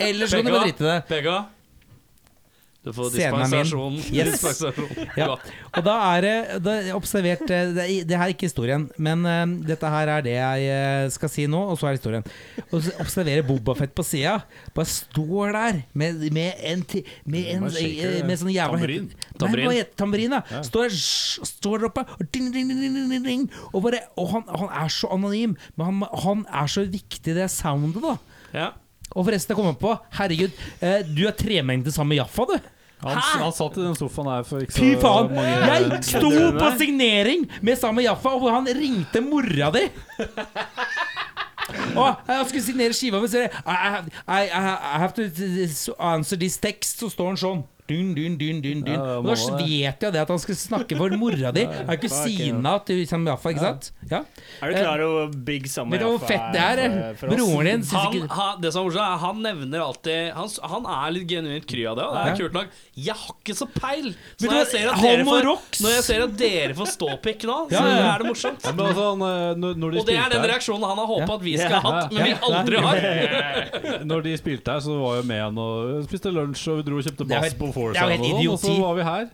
[SPEAKER 6] eller så kan du bare drite i det.
[SPEAKER 2] Pega. Du får
[SPEAKER 6] Scenen er min.
[SPEAKER 2] dispensasjon.
[SPEAKER 6] Yes.
[SPEAKER 2] dispensasjon.
[SPEAKER 6] Ja. Og da er det da er jeg observert eh, det, er- det her er ikke historien, men eh, dette her er det jeg eh, skal si nå, og så er historien. Og så observerer Bobafett på sida. Bare står der med, med en ti- Med, en,
[SPEAKER 3] Med shaker,
[SPEAKER 6] eh, med sånn jævla
[SPEAKER 3] tamburin.
[SPEAKER 6] Nei,
[SPEAKER 2] Tamburin.
[SPEAKER 6] hva heter tamburin, da? Står, der, sh- står der oppe og, ding, ding, ding, ding, ding, ding, og, bare, og han, han er så anonym, men han, han er så viktig, det soundet, da.
[SPEAKER 2] Ja.
[SPEAKER 6] Og forresten, jeg kommer på Herregud, eh, du er tremengde sammen med Jaffa, du.
[SPEAKER 3] han, han satt i den sofaen her for ikke så
[SPEAKER 6] Fy faen! Jeg
[SPEAKER 3] mange
[SPEAKER 6] sto på signering med Sami Jaffa, og han ringte mora di! Og jeg skulle signere skiva, men så sier jeg I, I, have- I, I have to answer this text, så står han sånn. dun, dun, dun, dun, dun.
[SPEAKER 3] Ja,
[SPEAKER 6] Og da
[SPEAKER 3] mamma, det.
[SPEAKER 6] vet jeg det at han skulle snakke for mora di. Er jo kusina til liksom, Jaffa, ikke sant? Ja.
[SPEAKER 13] Er du klar over hvor big Sam
[SPEAKER 6] Vet du hvor
[SPEAKER 13] Jaffa
[SPEAKER 6] fett det er?
[SPEAKER 13] for- for oss?
[SPEAKER 6] Broren din syns
[SPEAKER 2] Han,
[SPEAKER 6] ikke
[SPEAKER 2] han, det som er morsomt, er han nevner alltid Han, s- han er litt genuint kry av det, og det er kult nok. Jeg har ikke så peil! Så
[SPEAKER 6] Men
[SPEAKER 2] når jeg
[SPEAKER 6] du-
[SPEAKER 2] ser at
[SPEAKER 6] han
[SPEAKER 2] dere
[SPEAKER 6] og
[SPEAKER 2] får,
[SPEAKER 6] Rox!
[SPEAKER 2] når jeg ser at dere får ståpikk nå, så
[SPEAKER 6] Ja, ja, ja.
[SPEAKER 2] er det morsomt.
[SPEAKER 8] Men altså, han, eh, når, når, de
[SPEAKER 2] Og det er
[SPEAKER 8] spilte
[SPEAKER 2] den
[SPEAKER 8] her,
[SPEAKER 2] reaksjonen han har håpa at vi skal ha hatt, men vi aldri har.
[SPEAKER 8] når de spilte her, så var jeg med han og spiste lunsj, og vi dro og kjøpte
[SPEAKER 6] er
[SPEAKER 8] bass
[SPEAKER 6] helt-
[SPEAKER 8] på
[SPEAKER 6] det er
[SPEAKER 8] Forsa, og,
[SPEAKER 6] jo helt
[SPEAKER 8] sånn, og så
[SPEAKER 6] idioti.
[SPEAKER 8] var vi her.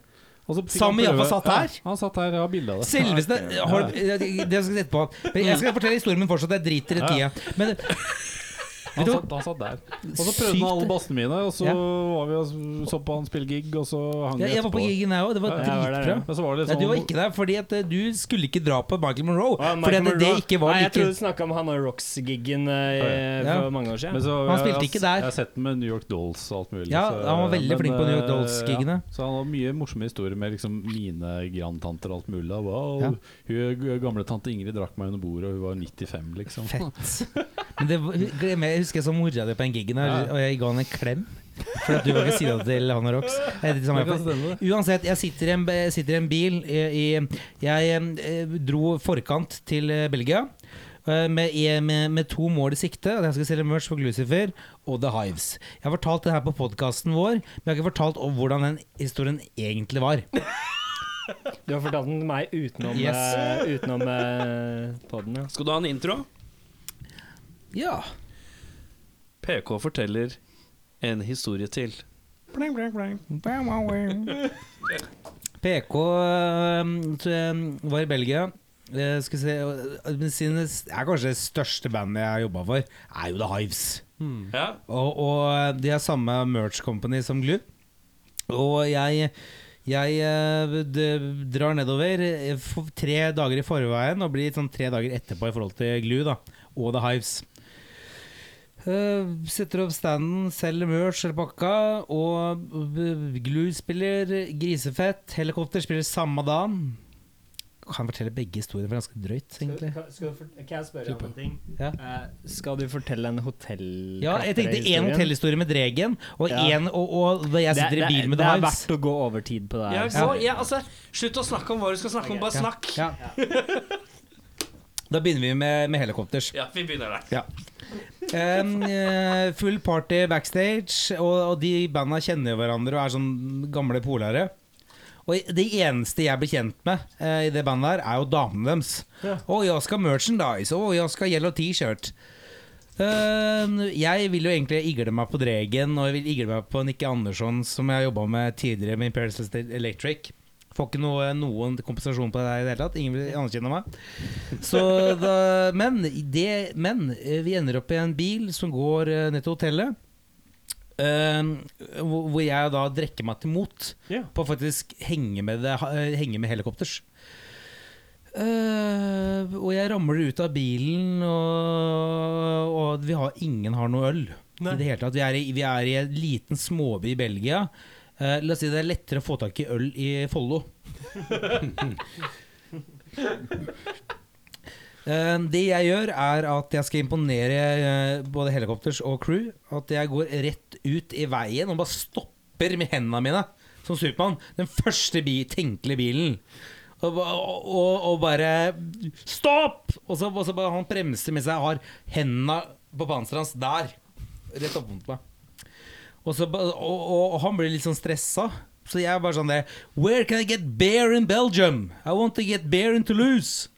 [SPEAKER 8] Og så fikk
[SPEAKER 6] Sami
[SPEAKER 8] han prøve-
[SPEAKER 6] Jaffa satt her.
[SPEAKER 8] Ja, han satt her, jeg har bilde av det.
[SPEAKER 6] Selveste har, Det det skal jeg sette på. Men Jeg skal fortelle historien min fortsatt. Jeg driter i tida. Men
[SPEAKER 8] Han
[SPEAKER 6] du hva?
[SPEAKER 8] satt, han satt der. Og så prøvde han
[SPEAKER 6] Sykt.
[SPEAKER 8] alle bassene mine, og så
[SPEAKER 6] Ja.
[SPEAKER 8] var vi og så på han spille gig, og så hang
[SPEAKER 6] jeg, jeg var på gigen, jeg òg. Det var
[SPEAKER 8] Ja, jeg var der,
[SPEAKER 6] dritbra.
[SPEAKER 8] Men så var det
[SPEAKER 6] Nei,
[SPEAKER 8] litt
[SPEAKER 6] du var
[SPEAKER 8] sånn
[SPEAKER 6] ikke der fordi at eh, du skulle ikke dra på Michael Monroe.
[SPEAKER 13] Ah,
[SPEAKER 6] fordi
[SPEAKER 13] Michael
[SPEAKER 6] at det
[SPEAKER 13] Monroe.
[SPEAKER 6] ikke var
[SPEAKER 13] Nei, Jeg
[SPEAKER 6] like
[SPEAKER 13] trodde du snakka om han og Rocks-giggen eh,
[SPEAKER 6] Ja.
[SPEAKER 13] for mange år siden.
[SPEAKER 8] Men så,
[SPEAKER 6] Han spilte ikke der.
[SPEAKER 8] Jeg har sett den med New York Dolls og alt mulig.
[SPEAKER 6] Ja,
[SPEAKER 8] så-
[SPEAKER 6] han var veldig flink på New York
[SPEAKER 8] eh,
[SPEAKER 6] Dolls-gigene.
[SPEAKER 8] Ja, så han hadde mye morsomme historier med liksom mine grandtanter og alt mulig. da. Wow,
[SPEAKER 6] Ja.
[SPEAKER 8] Hun gamle tante Ingrid drakk meg under bordet, og hun var 95, liksom.
[SPEAKER 6] fett. Men det, var- glem- jeg husker jeg så mora di på den gigen her, og jeg ga han en klem. Fordi at du var ved sida til han og Rox. Jeg heter Sam
[SPEAKER 8] Det kan
[SPEAKER 6] Jaffa.
[SPEAKER 8] stemme, det.
[SPEAKER 6] Uansett, jeg sitter i en, jeg sitter i en bil i, i, Jeg eh, dro forkant til eh, Belgia eh, med, i- med, med to mål i sikte. At jeg skal selge merch for Glucifer og The Hives. Jeg har fortalt det her på podkasten vår, men jeg har ikke fortalt om hvordan den historien egentlig var.
[SPEAKER 13] Du har fortalt den til meg utenom,
[SPEAKER 6] Yes.
[SPEAKER 13] eh, utenom poden, ja.
[SPEAKER 2] Skal du ha en intro?
[SPEAKER 6] Ja
[SPEAKER 2] PK forteller en historie til.
[SPEAKER 6] PK øhm, t- øhm, eh, var i Belgia. Eh, Skal vi se øh, men sine, er Kanskje det største bandet jeg har jobba for, er jo The Hives.
[SPEAKER 2] Ja.
[SPEAKER 6] Og, og de er samme merch company som Glu. Og jeg, jeg eh, d- drar nedover eh, f- tre dager i forveien og blir sånn tre dager etterpå i forhold til Glu da, og The Hives. Eh, setter opp standen, selger merch eller pakka, og b- Glu spiller grisefett. Helikopter spiller samme dagen. Kan fortelle begge historiene, for det er ganske drøyt, egentlig.
[SPEAKER 13] Kan jeg spørre om en ting?
[SPEAKER 6] Ja.
[SPEAKER 1] Eh,
[SPEAKER 13] skal du fortelle en hotell...
[SPEAKER 6] Ja, jeg tenkte én hotellhistorie med Dregen, og
[SPEAKER 13] Ja.
[SPEAKER 6] én og, og da jeg sitter i bil med
[SPEAKER 13] det
[SPEAKER 6] The
[SPEAKER 13] er
[SPEAKER 6] Hives.
[SPEAKER 13] verdt å gå over tid på det
[SPEAKER 2] Ja,
[SPEAKER 13] her.
[SPEAKER 2] så, ja, altså, slutt å snakke om hva du skal snakke om, bare
[SPEAKER 6] Ja.
[SPEAKER 2] snakk.
[SPEAKER 6] Ja. Da begynner vi med, med helikopters.
[SPEAKER 2] Ja, vi begynner der.
[SPEAKER 6] Em, eh, full party backstage, og, og de banda kjenner jo hverandre og er sånn gamle polare. Og det eneste jeg blir kjent med eh, i det bandet her, er jo damene deres. Å, jeg skal merchandise, å, jeg skal yellow T-shirt. Eh, jeg vil jo egentlig igle meg på Dregen, og jeg vil igle meg på Nikki Andersson, som jeg jobba med tidligere med Imperial State Electric. Får ikke noe, noen kompensasjon på det her i det hele tatt. Ingen vil anerkjenne meg. Så da, men, det, men eh, vi ender opp i en bil som går eh, ned til hotellet. eh, hvor hvor jeg da drikker meg til mot
[SPEAKER 13] Ja.
[SPEAKER 6] på å faktisk henge med, det, ha- eh, henge med helikopters. Eh, og jeg ramler ut av bilen, og, og vi har, ingen har noe øl. I det hele tatt. Vi er i, vi er i en liten småby i Belgia. Eh, la oss si det er lettere å få tak i øl i Follo. Eh, Det jeg gjør er at jeg skal imponere eh, både helikopters og crew. At jeg går rett ut i veien og bare stopper med hendene mine som Supermann. Den første bi tenkelige bilen. Og, ba- og, og bare Stopp! Og så, og så bare han bremser mens jeg har hendene på panseret hans der. Rett opp mot meg. Og, så, ba- og, og, og han blir litt sånn stressa. Så jeg er bare sånn det Where can I get beer in Belgium? I want to get beer in Toulouse.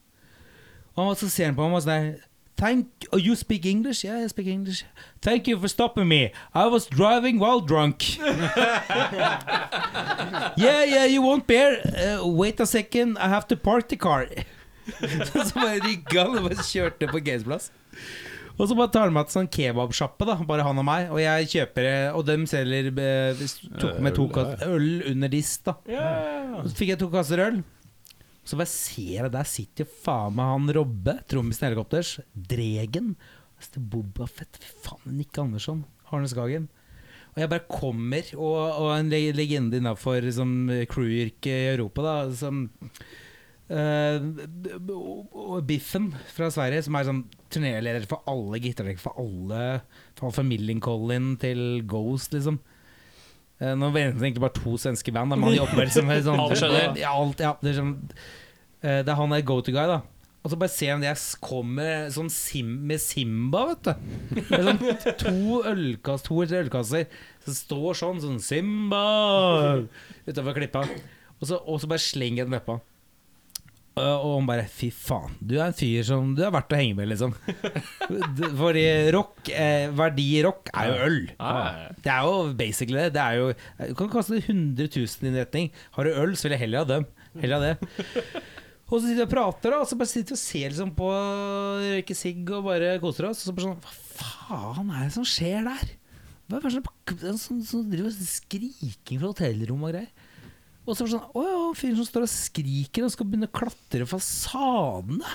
[SPEAKER 6] Og han- så ser han på meg og sånn der, Thank oh, You speak English? Yeah, I speak English. Thank you for stopping me. I was driving while drunk. yeah, yeah, you want beer? Uh, wait a second, I have to park the car. så bare rygga han og bare kjørte på gameplass. Og så bare tar han med til sånn kebabsjappe, da, bare han og meg. Og jeg kjøper eh, Og dem selger eh, hvis- Tok med to kass- øl under disk, da. Og så fikk jeg to kasser øl. Så bare ser jeg der sitter jo faen meg han Robbe, trommisen i Helikopters, Dregen. Altså, det er Boba Fett, fy faen, Nick Andersson, Harne Skagen. Og jeg bare kommer, og, og en le- legende innafor liksom, crew-yrket i Europa, da, som eh, b- b- og- og Biffen fra Sverige, som er sånn turnéleder for alle gitartrekker, for alle Fra Alfa Milling-Collin til Ghost, liksom. Eh, Nå venter egentlig bare to svenske band. Da, men han jobber som en sånn,
[SPEAKER 2] Alt skjønner.
[SPEAKER 6] Ja, alt, ja, det, er sånn, eh, det er han der go-to-guy, da. Og så bare ser han at jeg kommer sånn sim, med Simba, vet du. Med sånn to ølkass, to eller tre ølkasser som står sånn, sånn Simba utafor klippa. Og så, og så bare slenger jeg den nedpå. Og og han bare Fy faen, du er en fyr som Du er verdt å henge med, liksom. D- Fordi rock, eh, verdi i rock, er jo øl. Det er jo basically det. Det er jo Det kan koste 100 000 i en retning. Har du øl, så vil jeg heller ha dem. Heller ha det. Og så sitter vi og prater, da, og så bare sitter vi og ser liksom på røyke sigg og bare koser oss. Og så bare sånn Hva faen er det som skjer der? Hva er det som det er sånn, sånn, driver og skriking fra hotellrom og greier? Og så var det sånn Å ja, fyren som står og skriker og skal begynne å klatre fasadene.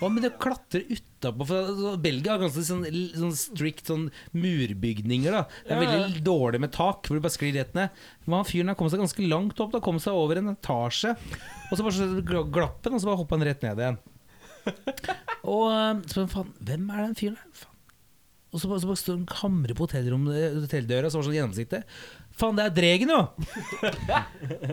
[SPEAKER 6] Og han begynner å klatre utapå for altså, Belgia har ganske sånn, sånn strict sånn murbygninger. da Det er veldig dårlig med tak, hvor du bare sklir rett ned. Men han fyren der kom seg ganske langt opp, da kom seg over en etasje. Og så bare så gl- glapp han, og så bare hoppa han rett ned igjen. Og eh, så bare, faen, hvem er den fyren der? Faen. Og så bare, så bare står han og hamrer på hotellrom- hotelldøra, som var sånn gjennomsiktig. Faen, det er Dregen, jo!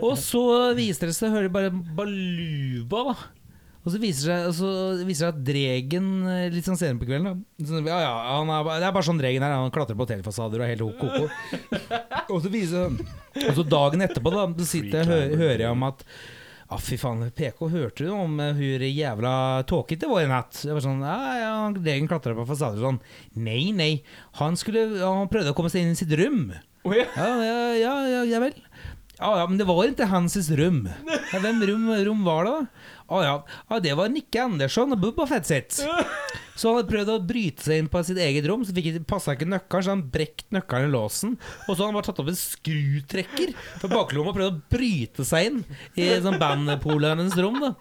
[SPEAKER 6] Og så viser det seg, hører de bare baluba, da. Og så viser det seg, og så viser det seg at Dregen eh, litt sånn senere på kvelden da, så, Ja, ja, han er, bare- Det er bare sånn Dregen er. Han klatrer på hotellfasader og er helt ho-ko-ko. Og så viser Og så dagen etterpå, da, så sitter jeg og hø- hører jeg om at ja, fy faen, PK, hørte du om eh, hvor jævla tåkete det var i natt? Det var sånn, ja, ja, han- Dregen klatra på fasader og sånn. Nei, nei, han skulle Han prøvde å komme seg inn i sitt rom. Ja, ja, ja, ja, ja vel. Ja, ja, men det var ikke hans rom. Ja, hvem rom, rom var det, da? Å ja. ja, det var Nikke Andersson og Bubba Fett sitt. Så han hadde prøvd å bryte seg inn på sitt eget rom, så fikk- passa ikke nøkkelen, så han brekt nøkkelen i låsen. Og så hadde han bare tatt opp en skrutrekker fra baklomma og prøvd å bryte seg inn i sånn bandpolernes rom. da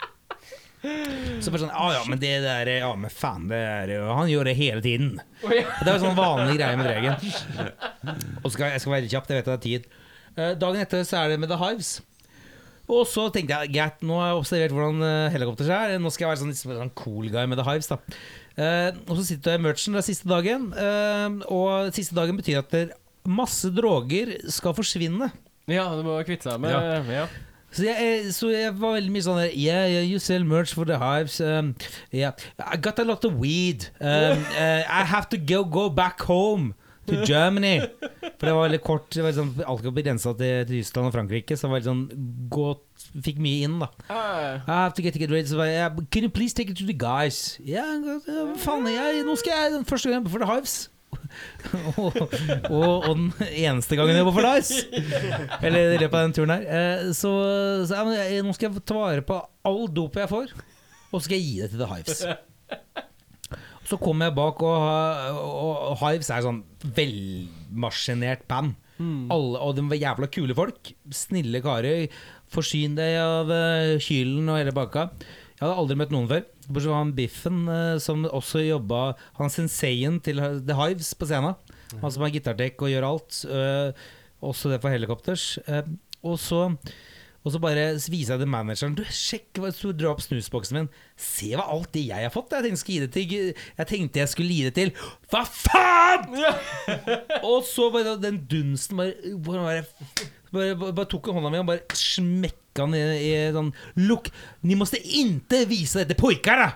[SPEAKER 6] så bare sånn, ja ja, men det der Ja, men faen, det er jo Han gjør det hele tiden. Det er jo sånn vanlig greie med Dregen. Og skal, jeg skal være kjapp, jeg vet at det er tid. Eh, dagen etter så er det med The Hives. Og så tenkte jeg greit, nå har jeg observert hvordan eh, helikopter er. Nå skal jeg være sånn, litt sånn cool guy med The Hives. da Eh, Og så sitter jeg i merchen det er siste dagen. eh, og siste dagen betyr at det- masse droger skal forsvinne.
[SPEAKER 7] Ja, du må kvitte deg med
[SPEAKER 6] Ja.
[SPEAKER 7] eh, ja.
[SPEAKER 6] Så jeg, eh, så jeg var veldig mye sånn der Yeah, yeah you sell merch for the hives. Um, yeah. I got a lot of weed. Um, uh, I have to go, go back home to Germany. For det var veldig kort. Det var sånn, alt var begrensa til til Tyskland og Frankrike, så det var litt sånn godt, fikk mye inn, da. I have to get, get ready. Så bare, yeah, Can you please take it to the guys? Ja, yeah, uh, faen, jeg, nå skal jeg den første gangen på For the hives. og, og, og den eneste gangen jeg var for nice. Eller i løpet av den turen her. Eh, Så, så ja, men jeg, nå skal jeg ta vare på all dop jeg får, og så skal jeg gi det til The Hives. Så kommer jeg bak, og, og, og Hives er sånn velmaskinert band. Alle, og de var jævla kule folk. Snille karer. Forsyn deg av eh, Kylen og hele bakka. Jeg hadde aldri møtt noen før. Bortsett fra han Biffen, eh, som også jobba Han senseien til The Hives på scenen. Han som har gitartek og gjør alt. eh, også det for helikopters. Eh, og så og så bare viser jeg til manageren Du, sjekk hva du drar opp snusboksen min. Se hva alt det jeg har fått. Jeg tenkte jeg, skulle gi det til, jeg tenkte jeg skulle gi det til Hva faen?! og så bare den dunsten bare Bare, bare, bare, bare tok han hånda mi og bare smekka den i, i sånn Look, ni måste inte vise dette pojkara!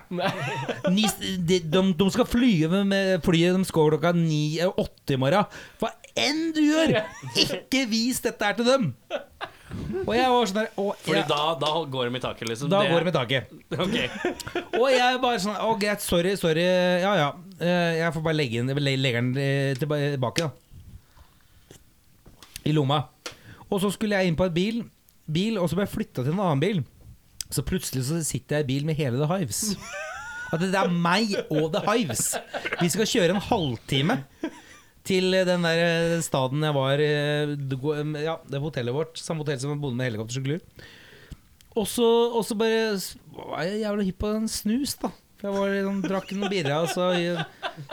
[SPEAKER 6] Ni, de, de, de skal fly med, med flyet de skal klokka ni eh, åtte i morgen. Hva enn du gjør, ikke vis dette her til dem! Og jeg var sånn der og
[SPEAKER 2] Fordi
[SPEAKER 6] jeg,
[SPEAKER 2] da, da går de i taket, liksom.
[SPEAKER 6] Da
[SPEAKER 2] Det-
[SPEAKER 6] går det med taket.
[SPEAKER 2] Ok.
[SPEAKER 6] Og jeg bare sånn Å, greit, sorry, sorry. Ja, ja. Eh, Jeg får bare legge den, le- legger den eh, tilba- tilbake, da. I lomma. Og så skulle jeg inn på et bil, bil og så ble jeg flytta til en annen bil. Så plutselig så sitter jeg i bil med hele The Hives. At det er meg og The Hives. Vi skal kjøre en halvtime til den der eh, staden jeg var eh, det go- Ja, det hotellet vårt. Samme hotell som jeg bodde med helikoptersykler. Og så og så bare s- var jeg jævla hypp på en snus, da. For jeg var liksom, drakk noen birra, og så,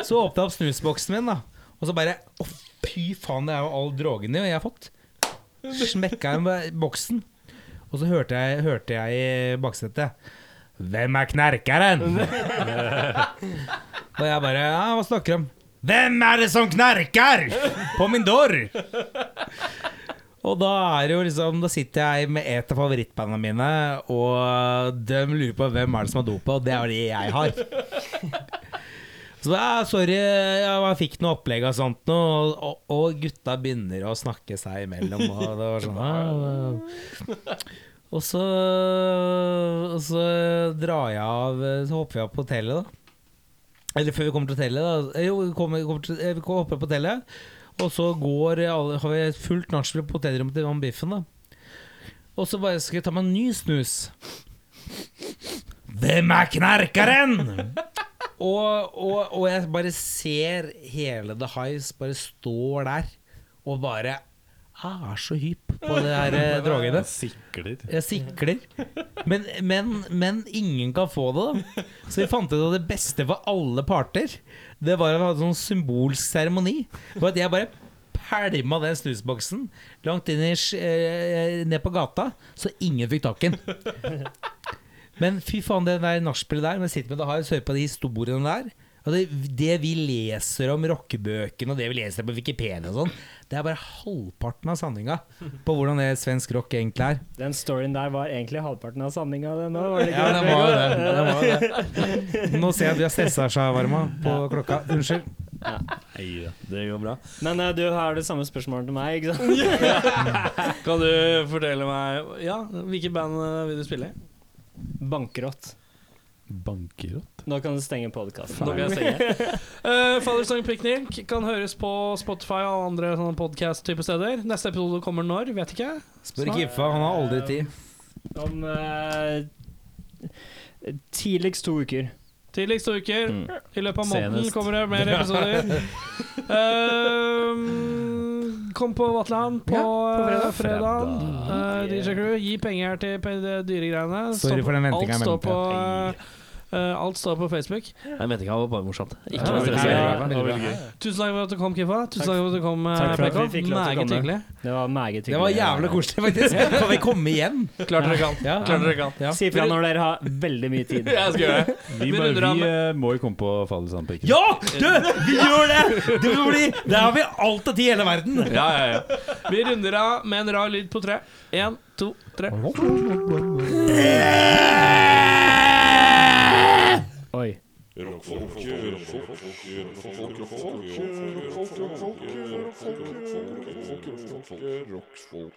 [SPEAKER 6] så åpna jeg opp snusboksen min, da. Og så bare Å, fy faen, det er jo all drogen jeg har fått. Smekka jeg med boksen. Og så hørte jeg, hørte jeg i baksetet Hvem er knerkeren? og jeg bare Ja, hva snakker du om? Hvem er det som knerker på min dør? Og da er det jo liksom Da sitter jeg med et av favorittbandene mine, og de lurer på hvem er det som har dopet, og det er det jeg har. Så da, «Ah, sorry, jeg fikk noe opplegg og sånt nå, og, og gutta begynner å snakke seg imellom, og det var sånn «Ah, ah». og så, og så drar jeg av Så hopper jeg opp på hotellet, da. Eller før vi kommer til hotellet, da. Eh, Jo, vi, kommer, kommer til, eh, vi hopper opp på hotellet, og så går alle, har vi fullt nachspiel på hotellrommet til han biffen, da. Og så bare skal jeg ta meg en ny snus. Hvem er knerkeren? og, og, og jeg bare ser hele The Highs bare står der og bare "Ah, er så hypp på de her eh, drogene.
[SPEAKER 8] Sikler.
[SPEAKER 6] Jeg sikler. Men, men, men ingen kan få det, da. Så vi fant ut at det beste for alle parter, det var at vi hadde sånn symbolsk seremoni. For at jeg bare pælma den snusboksen langt inn i, sk- eh, ned på gata, så ingen fikk tak i den. Men fy faen, det der nachspielet der, når jeg sitter med det har, hører på de historiene der og det, det vi leser om rockebøkene og det vi leser på Wikipedia og sånn, det er bare halvparten av sanninga på hvordan det svensk rock egentlig er.
[SPEAKER 13] Den storyen der var egentlig halvparten av sanninga, det nå. Var det
[SPEAKER 6] Ja,
[SPEAKER 13] ikke
[SPEAKER 6] det var jo det. det, var jo det. Nå ser jeg at vi har stressa seg varma på klokka. Unnskyld.
[SPEAKER 2] Det går bra.
[SPEAKER 13] Men eh, du har det samme spørsmålet til meg, ikke sant?
[SPEAKER 2] Kan du fortelle meg Ja, hvilke band eh, vil du spille i?
[SPEAKER 13] Bankrott.
[SPEAKER 8] Bankerott?
[SPEAKER 13] Nå kan du stenge podkasten.
[SPEAKER 2] Nå kan jeg stenge. Eh, Fatherstang Picnic kan høres på Spotify og andre sånne podcast-type steder. Neste episode kommer når, vet ikke.
[SPEAKER 6] Spør ikke Iffa, han har aldri tid.
[SPEAKER 13] Om eh, tidligst to uker.
[SPEAKER 2] Tidligst to uker.
[SPEAKER 13] Mm.
[SPEAKER 2] I løpet av måneden
[SPEAKER 13] Senest.
[SPEAKER 2] kommer det mer episoder. Ehm, kom på Vatland på, eh, fredag. Eh, DJ Crew, gi penger til pe- de dyre greiene. Stå
[SPEAKER 6] Sorry
[SPEAKER 2] på-
[SPEAKER 6] for den ventinga,
[SPEAKER 2] Alt
[SPEAKER 6] jeg
[SPEAKER 2] står
[SPEAKER 6] venter.
[SPEAKER 2] på eh, alt står på Facebook.
[SPEAKER 13] Jeg mente ikke det var bare morsomt.
[SPEAKER 2] Ikke noe stress.
[SPEAKER 8] gøy.
[SPEAKER 2] Tusen takk for at du kom, Kiffa. Tusen takk for at du kom, eh,
[SPEAKER 13] Takk for at
[SPEAKER 2] PK.
[SPEAKER 13] vi fikk lov til å
[SPEAKER 2] Meget
[SPEAKER 13] komme.
[SPEAKER 2] hyggelig.
[SPEAKER 13] Det var meget hyggelig.
[SPEAKER 6] Det var jævla koselig, faktisk. Kan vi komme igjen?
[SPEAKER 2] Klart dere kan.
[SPEAKER 6] Ja.
[SPEAKER 2] Klart dere kan.
[SPEAKER 6] Ja.
[SPEAKER 13] Si fra når dere har veldig mye tid.
[SPEAKER 2] Jeg skal gjøre det.
[SPEAKER 8] Vi,
[SPEAKER 2] Vi
[SPEAKER 8] må,
[SPEAKER 2] runder av
[SPEAKER 8] vi
[SPEAKER 2] med-
[SPEAKER 8] eh, må jo komme på Fallesandpikken.
[SPEAKER 6] Ja! Du, vi gjør det! Det blir, Der har vi alt av tid i hele verden.
[SPEAKER 2] Ja, ja, ja. Vi runder av med en rar lyd på tre. Én, to, tre.
[SPEAKER 13] Oi.
[SPEAKER 5] Rockfolk.